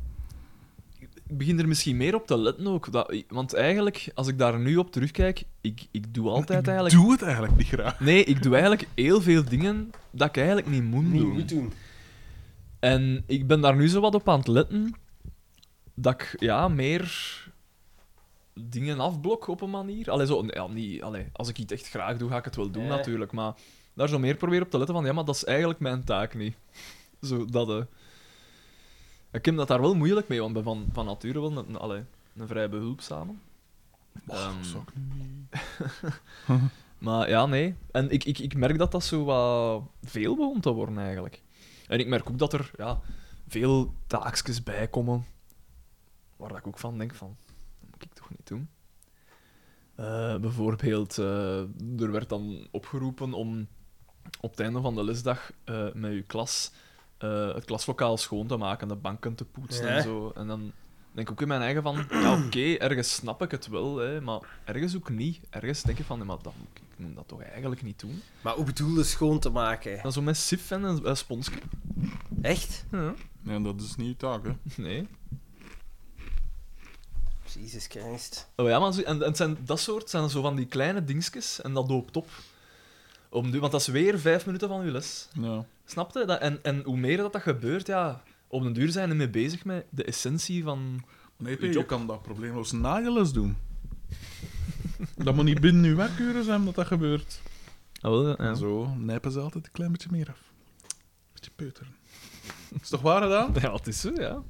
Ik begin er misschien meer op te letten ook. Dat, want eigenlijk, als ik daar nu op terugkijk, ik, ik doe altijd eigenlijk...
Doe het eigenlijk niet graag.
Nee, ik doe eigenlijk heel veel dingen dat ik eigenlijk niet moet
Niet
doen.
goed doen.
En ik ben daar nu zo wat op aan het letten dat ik ja, meer dingen afblok op een manier. Allee, zo, ja, niet, allee, als ik iets echt graag doe, ga ik het wel doen
Ja.
natuurlijk. Maar daar zo meer proberen op te letten van ja, maar dat is eigenlijk mijn taak niet. Zo dat. eh. Ik heb dat daar wel moeilijk mee, want ik ben van, van nature wel een, allee, een vrij behulpzame. Ehm,
dat zou ik
maar ja, nee. En ik, ik, ik merk dat dat zo wat veel begon te worden eigenlijk. En ik merk ook dat er ja, veel taakjes bij komen. Waar dat ik ook van denk van, dat moet ik toch niet doen. Eh, bijvoorbeeld, eh, er werd dan opgeroepen om op het einde van de lesdag eh, met je klas eh, het klaslokaal schoon te maken, de banken te poetsen
Ja.
en zo. En dan denk ik ook in mijn eigen van, ja oké, ergens snap ik het wel, hè, maar ergens ook niet. Ergens denk ik van, nee, maar dat, moet ik ik moet dat toch eigenlijk niet doen.
Maar hoe bedoel je schoon te maken?
Dan zo met sif en een, eh, een sponsje.
Echt?
Ja,
Nee, dat is niet je taak, hè.
nee.
Jesus Christ.
Oh ja, maar zo- en, en het zijn, dat soort zijn zo van die kleine dingetjes en dat loopt op. Om, nu- want dat is weer vijf minuten van uw les.
Ja.
Snap je? Dat, en, en hoe meer dat, dat gebeurt, ja, op den duur zijn we mee bezig met de essentie van...
Nee, P,
Je
je
job.
kan dat probleemloos na je les doen. dat moet niet binnen uw werkuren zijn dat dat gebeurt.
Ah,
En Zo nijpen ze altijd een klein beetje meer af. Beetje peuteren. Is toch waar, gedaan?
Ja, het is zo, ja.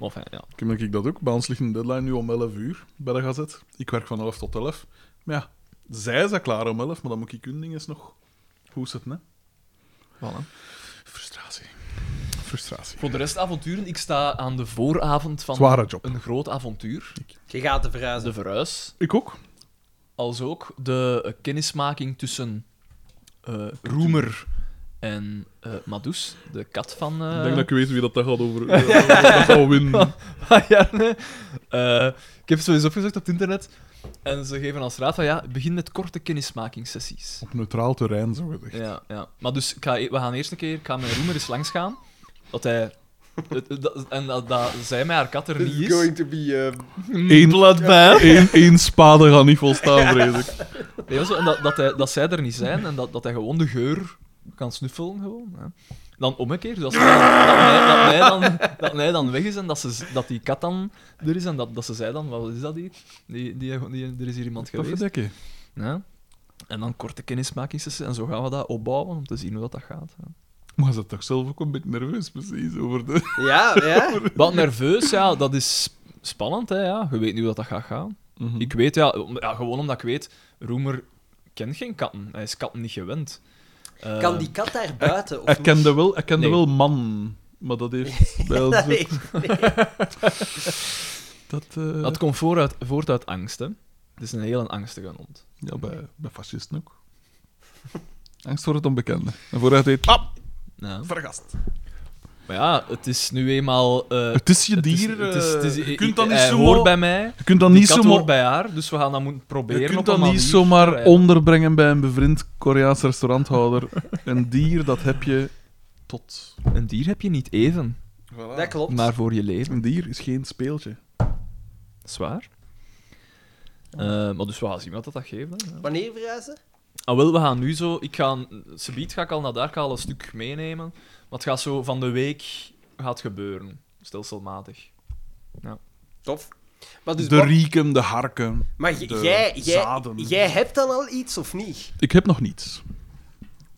Maar fijn, ja.
Ik merk ik dat ook. Bij ons ligt een deadline nu om 11 uur bij de gazet. Ik werk van 11 tot 11. Maar ja, zij is dat klaar om 11, maar dan moet ik hun dinges nog... Hoe is het, hè? Frustratie. Frustratie.
Voor de rest avonturen, ik sta aan de vooravond van
Zware job.
een groot avontuur.
Je gaat te verhuizen.
De verhuis,
Ik ook.
als ook de eh, kennismaking tussen eh, Roemer en eh Madous, de kat van... eh,
Ik denk dat ik weet wie dat dat gaat over. eh, dat zou winnen.
Ah, ja, nee. Eh, ik heb het zo eens opgezocht op het internet. En ze geven als raad van ja, begin met korte kennismakingssessies.
Op neutraal terrein, zo gezegd.
Ja, ja. Maar dus ik ga, e- we gaan eerst een keer, ik ga met Roemer eens langs gaan. Dat hij. het- het- dat- en dat, dat zij met haar kat er niet is.
to be... eh,
Eén, één, één spade gaat niet volstaan, vrees ik.
Nee, also, en dat, dat, hij, dat zij er niet zijn en dat, dat hij gewoon de geur kan snuffelen. Gewoon, hè. Dan omgekeerd, dus als- dat, mij, dat, mij dan, dat mij dan weg is en dat, ze, z- dat die kat dan er is en dat, dat ze zei dan, wat is dat hier? Die, die, die, er is hier iemand
Dat
geweest.
verdekken.
Ja. En dan korte kennismakingssessies en zo gaan we dat opbouwen om te zien hoe dat, dat gaat. ja.
Maar ze is toch zelf ook een beetje nerveus, precies, over de...
Ja, ja.
Wat nerveus, ja, dat is spannend, hè, ja. Je weet niet hoe dat, dat gaat gaan. Ik weet, ja, om- ja, gewoon omdat ik weet, Roemer kent geen katten. Hij is katten niet gewend. Eh,
Kan die kat daar buiten? Of
Hij kende wel, hij kende
Nee.
wel man, maar dat heeft bij ons...
niet?
ook-
Nee.
Dat, eh,
Dat komt voort uit, voort uit angst, hè. Het is een heel angstige hond.
Ja, bij, bij fascisten ook. Angst voor het onbekende. En vooruit heet... Ah,
Ja.
vergast.
Maar ja, het is nu eenmaal... eh,
Het is je
het is-
dier.
het is-
eh,
het is-
je
ik-
kunt dat niet
hij
zomaar...
hoort bij mij.
Je kunt dat
Die
niet
kat
zomaar...
hoort bij haar, dus we gaan dat moeten proberen
Je kunt
op
dat
een
niet
manier.
zomaar
Ja.
onderbrengen bij een bevriend Koreaans restauranthouder. een dier, dat heb je tot.
Een dier heb je niet even,
Dat klopt.
maar voor je leven.
Een dier is geen speeltje.
Zwaar. maar dus we gaan zien wat dat, dat geeft. hè. Ja.
Wanneer verhuizen?
Ah, wel, we gaan nu zo... Ik ga... Subiet ga ik al naar daar, ik ga al een stuk meenemen. Maar het gaat zo van de week gaat gebeuren. Stelselmatig.
Tof. Maar, dus
de
wat-
rieken, de harken.
maar j-
de
jij, jij,
zaden.
jij hebt dan al iets of niet?
Ik heb nog niets.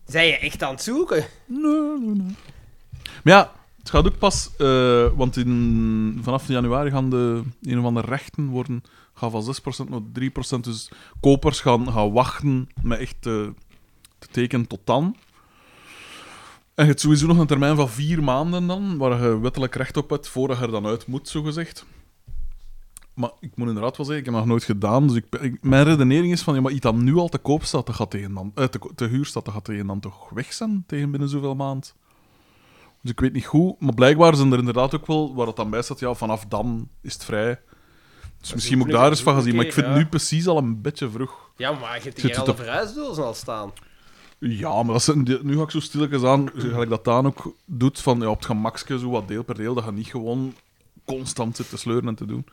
Zijn je echt aan het zoeken?
Nee, nee, nee. Maar ja, Het gaat ook pas, eh, want in, vanaf januari gaan de een of andere rechten worden gaan van 6% naar 3%. Dus kopers gaan, gaan wachten met echt eh, te tekenen tot dan. En je hebt sowieso nog een termijn van vier maanden dan, waar je wettelijk recht op hebt, voordat je er dan uit moet, zogezegd. Maar ik moet inderdaad wel zeggen, ik heb dat nog nooit gedaan. Dus ik, ik- mijn redenering is van, ja, maar iets dat nu al te koop staat, dat gaat tegen dan, eh, te, ko- te huur staat, dat gaat tegen dan toch weg zijn, tegen binnen zoveel maand. Dus ik weet niet hoe, maar blijkbaar zijn er inderdaad ook wel, waar dat dan bij staat, ja, vanaf dan is het vrij. Dus misschien moet ik daar eens van gaan zien, maar ik vind het nu precies al een beetje vroeg.
Ja, maar je hebt
Zit
hier
het
alle
op-
verhuisdozen al staan.
Ja, maar dat zijn, die- nu ga ik zo stilletjes aan, gelijk dat Daan ook doet, van ja, op het gemakske, zo wat deel per deel, dat je niet gewoon constant zit te sleuren en te doen.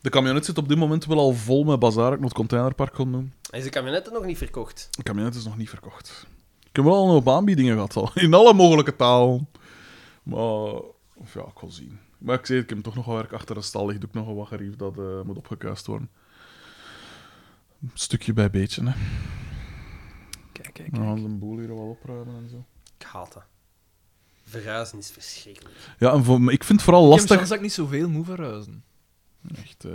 De camionet zit op dit moment wel al vol met bazaar, ik moet het containerpark gaan doen.
Is de kabinetten nog niet verkocht?
De camionet is nog niet verkocht. Ik heb wel al een hoop aanbiedingen gehad, al, in alle mogelijke taal. Maar, of ja, ik wil zien. Maar ik zei, ik heb toch nog wel werk achter de stal, ligt ook nog een waggerief dat eh, moet opgekuist worden. Stukje bij beetje, hè.
Kijk, kijk.
Dan gaan ze een boel hier wel opruimen en zo.
Ik haat dat. Verhuizen is verschrikkelijk.
Ja, en voor, me- ik vind het vooral lastig...
Ik niet zoveel moet verhuizen.
Echt, eh,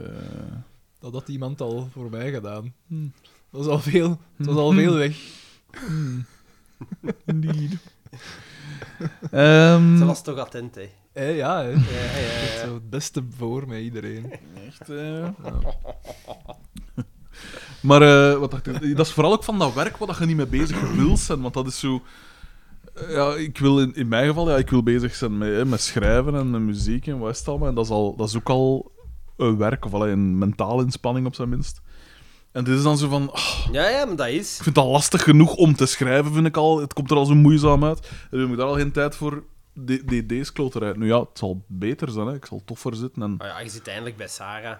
Dat had iemand al voor mij gedaan. Hm. Dat was al veel, het was al veel weg.
Indeed. Ehm.
Ze was toch attent, hè?
Hé, Eh, ja, hè.
Ja, ja, ja, ja.
Zo het beste voor met iedereen.
Echt, eh. Maar eh, wat dacht ik? dat is vooral ook van dat werk waar dat je niet mee bezig wil zijn. Want dat is zo. eh, Ja, ik wil in, in mijn geval, ja, ik wil bezig zijn met, hè, met schrijven en met muziek en wat is het allemaal. En dat is, al, dat is ook al een werk, of allee, een mentale inspanning op zijn minst. En dit is dan zo van, oh,
Ja, ja, maar dat is.
Ik vind dat lastig genoeg om te schrijven, vind ik al. Het komt er al zo moeizaam uit. En dan heb ik daar al geen tijd voor. De- de- Deze kloterij. Nu ja, het zal beter zijn. Hè. Ik zal toffer zitten. En...
Oh ja, je zit eindelijk bij Sarah.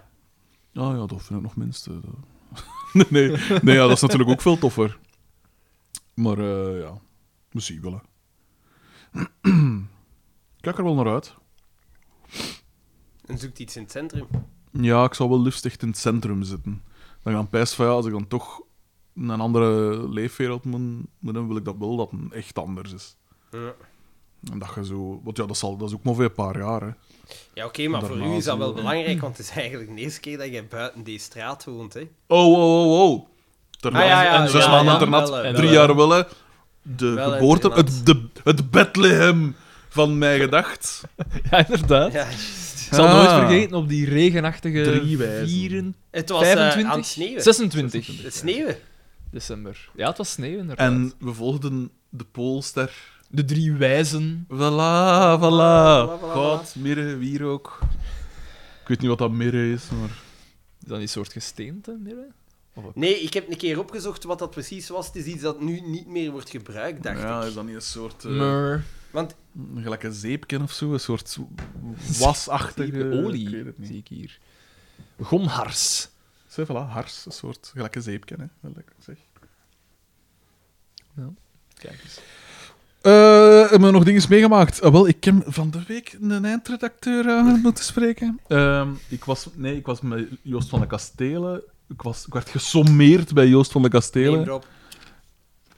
Ah ja, dat vind ik nog minste. nee, nee. nee ja, dat is natuurlijk ook veel toffer. Maar eh, ja, we zien wel. hè. Kijk er wel naar uit.
En zoekt iets in het centrum.
Ja, ik zou wel liefst echt in het centrum zitten. Dan gaan pijs van ja, als ik dan toch naar een andere leefwereld moet, moet dan wil ik dat wel dat het echt anders is.
Ja,
En dat je zo... Want ja, dat, zal, dat is ook maar voor een paar jaar, hè.
ja oké, maar voor
Normaal
u is dat wel
zien we-
belangrijk, want het is eigenlijk de eerste keer dat je buiten die straat woont, hè?
Oh, oh, oh, oh. Ternat.
Ah, ja, ja,
en zes
ja,
maanden
ja,
internat.
wel, hè,
drie
wel,
jaar wel, hè. De
Wel, eh, hè,
geboorte...
internat.
Het, de, het Bethlehem van mij gedacht.
Ja, inderdaad.
Ja, juist.
Ik zal
Ah.
nooit vergeten op die regenachtige
Drie wijzen.
4,
Het was eh,
25,
aan het sneeuwen.
26
Het sneeuwen.
december. Ja, het was sneeuw inderdaad.
En we volgden de Poolster.
de drie wijzen.
Voilà, voilà.
Voilà, voilà, voilà.
God, mirre, wier ook. Ik weet niet wat dat mirre is, maar...
Is dat die soort gesteente? Mirre?
Nee, ik heb een keer opgezocht wat dat precies was. Het is iets dat nu niet meer wordt gebruikt, dacht
ja,
ik.
is dat niet een soort... eh,
Mur.
Want
gelijk een zeepken of zo? Een soort wasachtige...
olie,
Ik weet het niet.
zie ik hier. Gomhars.
Zo, voilà, hars, een soort gelijke zeepken, hè. Wel lekker, zeg.
Kijk eens.
Eh, hebben we nog dingen meegemaakt? Ah, wel, ik heb van de week een eindredacteur aan moeten spreken. Ehm, ik was, nee, ik was met Joost van de Kastelen. Ik, was, ik werd gesommeerd bij Joost van de
neem
Kastelen.
erop.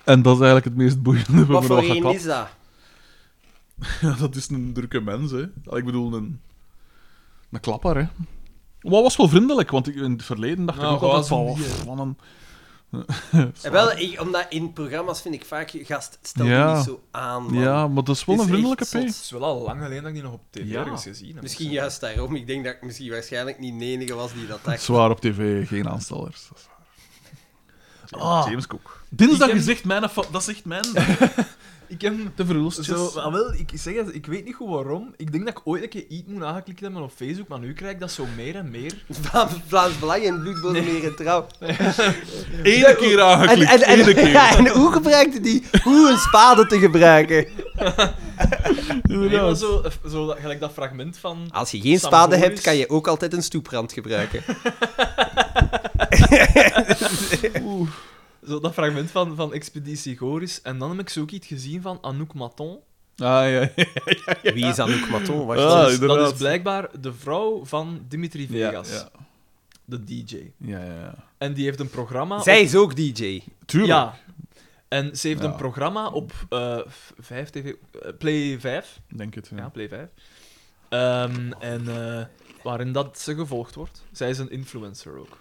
en dat is eigenlijk het meest
Wat
boeiende we al
voor een
gehad.
is dat?
Ja, dat is een drukke mens, hè. Ah, Ik bedoel, een, een klapper, hè. Maar was wel vriendelijk, want ik, in het verleden dacht
Nou,
ik ook altijd van...
gewoon
"Oh,
zo'n bier."
Van een...
Eh, Wel, ik, omdat in programma's vind ik vaak, gast, stel
Ja.
je niet zo aan. man.
Ja, maar dat is wel
Het is
een vriendelijke
echt
P.
zot.
Het is wel al lang geleden dat ik die nog op tv
Ja.
ergens gezien heb.
Misschien juist daarom. Ik denk dat ik misschien waarschijnlijk niet de enige was die dat dacht.
Zwaar op tv, geen aanstellers. Dat is waar.
Ah.
James Cook. Dinsdag
Ik heb-
is echt mijn... fa- Dat is echt mijn...
Ik heb...
De
Zo,
verhulstjes.
ah, wel, ik zeg het, ik weet niet goed waarom. Ik denk dat ik ooit een keer iets moet aangeklikt hebben op Facebook, maar nu krijg ik dat zo meer en meer.
Vla- Vlaams Belang en Bloedbode meer en trouw.
Eén keer
En,
aangeklikt.
en, en,
Eén keer.
ja, en hoe gebruikte die? Hoe een spade te gebruiken?
Nee, maar zo, eh, zo dat, gelijk dat fragment van...
Als je geen
Samboris.
spade hebt, kan je ook altijd een stoeprand gebruiken.
Zo dat fragment van, van Expeditie Goris. En dan heb ik zo ook iets gezien van Anouk Maton.
Ah, ja. ja.
Wie is Anouk Maton? Wacht,
Ah,
dat
dat,
is-
is, dat
inderdaad.
is blijkbaar de vrouw van Dimitri Vegas,
Ja,
de DJ.
ja. ja, ja.
En die heeft een programma.
Zij is ook DJ.
Tuurlijk.
Ja. En ze heeft
Ja.
een programma op eh, v- 5 TV, eh, Play 5.
Denk het, ja.
Ja, Play 5. Ehm, en eh, waarin dat ze gevolgd wordt. Zij is een influencer ook.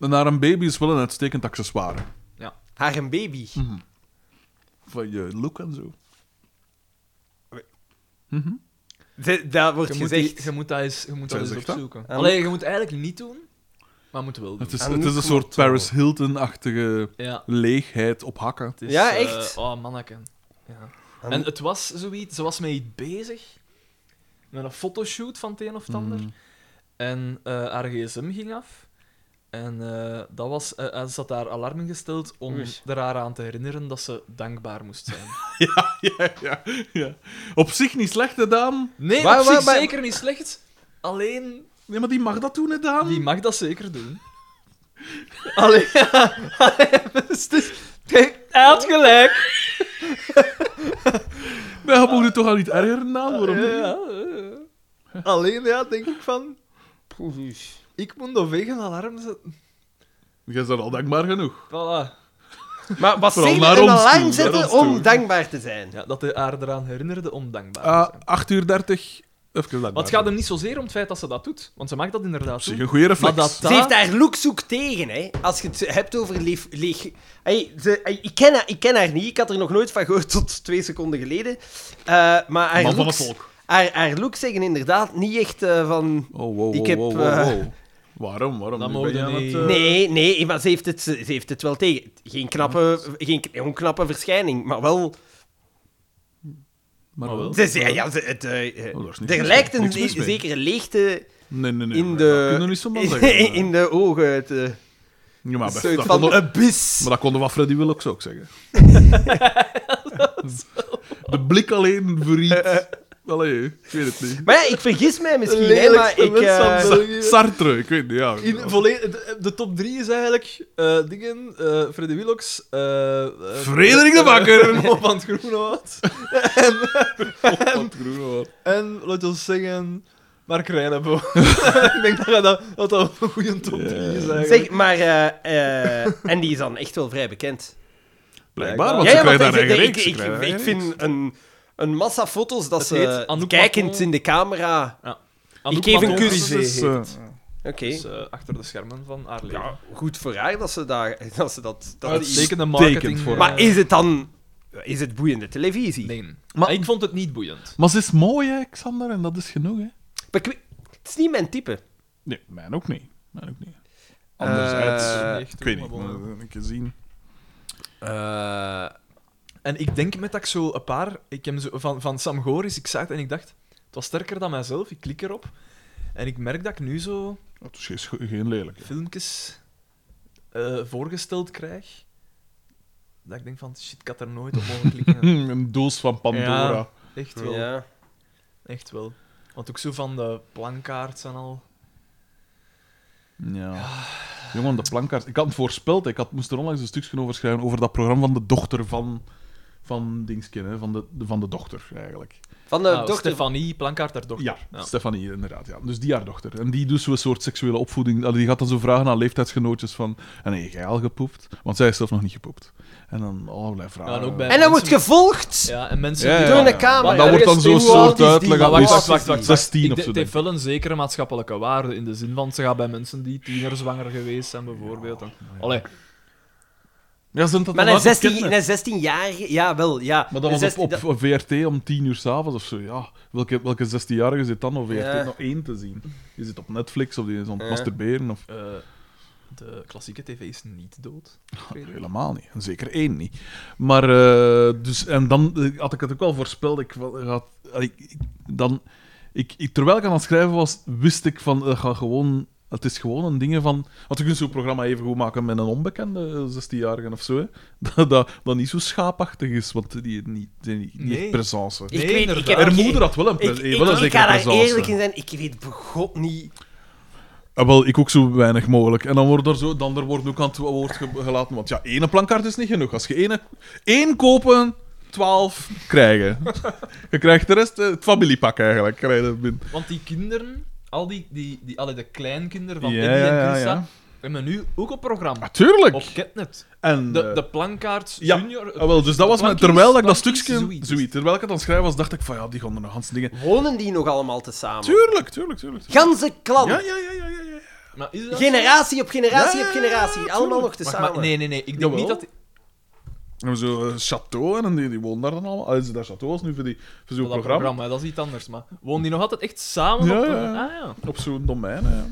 En naar een baby is wel een uitstekend accessoire.
Haar een baby.
Hm. Van je look en zo.
D- dat wordt
Je moet,
gezegd.
die- je moet dat eens, je moet
Zij
dat eens
zegt dat.
opzoeken.
En-
Allee, je moet eigenlijk niet doen, maar moet wel doen.
Het is,
En
het is een
look
soort
moet wel.
Paris Hilton-achtige
Ja,
leegheid op hakken.
het is,
Ja,
eh,
echt?
oh, manneken. Ja.
En-
En het was zoiets, ze was met iets bezig. Met een fotoshoot van het een of het ander. En eh, haar gsm ging af. En eh, dat was, eh, eh, ze had haar alarm ingesteld om
Oei.
er haar aan te herinneren dat ze dankbaar moest zijn.
Ja, ja, ja. Op zich niet slecht, hè, Daan?
Nee,
Waar-
op
waar-
zich
waar-
zeker niet slecht. Alleen,
Nee, maar die mag dat doen, hè, Daan?
die mag dat zeker doen. Alleen, dus- het is... Kijk, Hij had gelijk.
Nee, je moet het toch al niet erger Daan? Waarom
Ah, Ja,
niet?
ja, ja. Alleen, ja, denk ik van... Ik moet nog weg een alarm zetten.
Jij bent al dankbaar genoeg.
Voilà.
Maar wat
Vooral
zeg je?
naar
Een
ons toe,
alarm
naar
zetten
ons
om
toe.
dankbaar te zijn.
Ja, dat hij haar eraan herinnerde om dankbaar te
Ah,
zijn.
8 uur 30. Even dankbaar.
Maar het gaat hem niet zozeer om het feit dat ze dat doet. Want ze maakt dat inderdaad
Op zich
toe.
een goede
Maar
reflex.
dat
Ze heeft
dat-
haar lookzoek tegen, hè. Als je het hebt over leeg... leeg... Hey, ze- hey, ik, ken haar, ik ken haar niet, ik had er nog nooit van gehoord tot twee seconden geleden. Eh, maar haar
Man van het
looks,
volk.
haar, haar looks zeggen inderdaad niet echt eh, van...
Oh, wow,
Ik
wow,
heb,
wow, wow,
eh,
wow. Waarom? Waarom?
Dat
Nu
mogen
ben je aan
niet.
het, eh,
Nee, nee, maar ze heeft het, ze heeft het wel tegen. Geen knappe, geen onknappe verschijning, maar wel...
Maar
Maar wel.
wel.
Ze, ze- ja, ze- het, eh, eh,
Oh, daar is niks
er
mis
lijkt
mee.
een
Niks mis
ze-
mee.
zekere leegte
Nee, nee, nee.
in
maar Dat
de...
kunnen we niet zomaar
in,
zeggen.
de ogen. Te,
Ja, maar,
een
dat,
soort
dat kon
van
nog-
abyss.
maar dat konden we van Freddy Willocks ook zeggen. de blik alleen verriet. Allee, ik weet het niet.
Maar ja, ik vergis mij misschien, hè,
Lelijkste
maar ik...
mens van
eh,
de-
Sa- Sartre, ik weet niet. Ja.
In, volle- de, de top 3 is eigenlijk eh, dingen, eh Freddy Willocks, eh, eh,
Frederik de Bakker.
eh, Van het Groenhout
Wat groen, hoor.
en, laten we zeggen, Mark Reinebo. ik denk dat je dat, dat dat een goede top 3 is eigenlijk.
Zeg, maar... eh, eh, en die is dan echt wel vrij bekend.
Blijkbaar, want
Ja,
ze
ja, want
krijgen daar
ik-
eigen
ik,
reeks.
ik,
Ze krijgen
ik,
daar eigen reeks.
vind een, een massa foto's dat
Het
ze
heet Anouk
kijkend
Maton.
in de camera...
Anouk
geef een
Maton
kus.
is
Dus,
dus,
eh,
Oké.
dus, eh, achter de schermen van haar leven.
Ja, goed voor haar dat ze, daar, dat, ze dat, dat... die-
Uitstekende marketing.
Uitstekend voor
eh,
Maar is het dan... Is het boeiende televisie?
Nee. Maar ik vond het niet boeiend.
Maar ze is mooi, hè, Xander, en dat is genoeg, hè?
Maar ik weet- het is niet mijn type.
Nee, mijn ook niet. Mijn ook niet.
Eh,
Anderzijds,
echt,
ik weet niet,
maar bon.
maar een keer zien.
En ik denk met dat ik zo een paar... Ik heb zo, van, van Sam Goris, ik zag het en ik dacht... Het was sterker dan mijzelf, ik klik erop. En ik merk dat ik nu zo
Het is geen, scho- geen lelijk.
filmpjes eh, voorgesteld krijg. Dat ik denk van, shit, ik had er nooit op mogen klikken.
Hm, een doos van Pandora.
Ja. Echt wel,
ja.
echt wel. Want ook zo van de plankaarts en al.
Ja. Jongen, de plankaart. Ik had het voorspeld. hè. Ik had, moest er onlangs een stukje over schrijven over dat programma van de dochter van... Van Dingskin, hè. Van, de, van de dochter, eigenlijk.
Van de
Ah,
dochter van...
Stefanie, plankaart haar dochter.
Ja,
Ja.
Stefanie, inderdaad. Ja. Dus die haar dochter. En die doet zo'n soort seksuele opvoeding. Allee, Die gaat dan zo vragen aan leeftijdsgenootjes van... En nee, jij al gepoept? Want zij is zelf nog niet gepoept. En dan allerlei vragen.
en ook bij
En dan wordt
mensen-
gevolgd!
Ja, en mensen...
Ja,
die
ja,
Door
dan-
een camera.
Maar dat wordt dan zo'n
Ergens hoe oud
soort
is die?
uitleg.
Maar
aan-
wacht,
is
wacht, wacht, wacht.
16
Ik
of
denk-
zo.
Het
denk
heeft
ik.
wel een zekere maatschappelijke waarde in de zin van ze gaat bij mensen die tiener zwanger geweest zijn, bijvoorbeeld. Allee,
Ja, ze hebben dat
Maar
dan
een
laten
16,
kennen.
een 16-jarige... Ja, wel, ja.
Maar dat
Een
was
16
op, op VRT om 10 uur s'avonds of zo. Ja, welke, welke 16-jarige zit dan op VRT
Ja.
nog één te zien? Die zit op Netflix of die is aan het
Ja.
masturberen? Of...
eh, de klassieke tv is niet dood.
Ah, Helemaal niet. En zeker één niet. Maar, eh, dus, en dan eh, had ik het ook al voorspeld. Ik, wel- had, had ik, ik- dan, ik, ik- terwijl ik aan het schrijven was, wist ik van, eh, ga gewoon, het is gewoon een ding van... Want je kunt zo'n programma even goed maken met een onbekende eh, 16-jarige of zo, hè. Dat, dat, dat niet zo schaapachtig is, want die niet, die niet, niet
Nee.
echt présence.
Ik
Nee,
weet, ik
inderdaad.
heb...
Haar
ik-
moeder had wel een,
Ik,
pre-
ik,
wel een
ik
zekere
ga daar
présence.
eerlijk in zijn, ik weet begot niet...
Ah, wel, ik ook zo weinig mogelijk. En dan wordt er zo, dan er wordt ook aan het woord ge- gelaten. Want ja, ene plankaart is niet genoeg. Als je ene, één kopen, twaalf krijgen. je krijgt de rest, eh, het familiepak eigenlijk. Krijg je dat binnen.
Want die kinderen, al die, die, die alle de kleinkinderen van
Ja,
Eddie
ja,
en
ja,
Christa,
ja.
We hebben nu ook een programma.
Natuurlijk.
Op Ketnet.
En,
De,
eh,
de plankaart
ja.
junior.
ah, wel, dus dat was mijn,
plankies-
terwijl ik dat
plankies,
stukje...
zoiets.
Zoiets. Terwijl ik het aan het schrijven was, dacht ik van, ja, die gaan er nog hans dingen...
Wonen die nog allemaal te samen?
Tuurlijk, tuurlijk, tuurlijk.
Ganse klan.
Ja, ja, ja, ja, ja. ja.
Maar is dat
Generatie op generatie
Ja,
op
ja,
generatie.
ja,
allemaal nog
tuurlijk.
te
Wacht,
samen.
maar nee, nee, nee. Ik denk
Jawel.
niet dat...
En we zo eh, chateau en die, die wonen daar dan allemaal. Ah, is dat chateau is nu voor, die, voor zo'n
Dat
programma.
programma, dat is iets anders. Maar woont die nog altijd echt samen
Ja,
op...
ja,
de-
ja.
Ah, ja.
Op zo'n domein, hè, ja.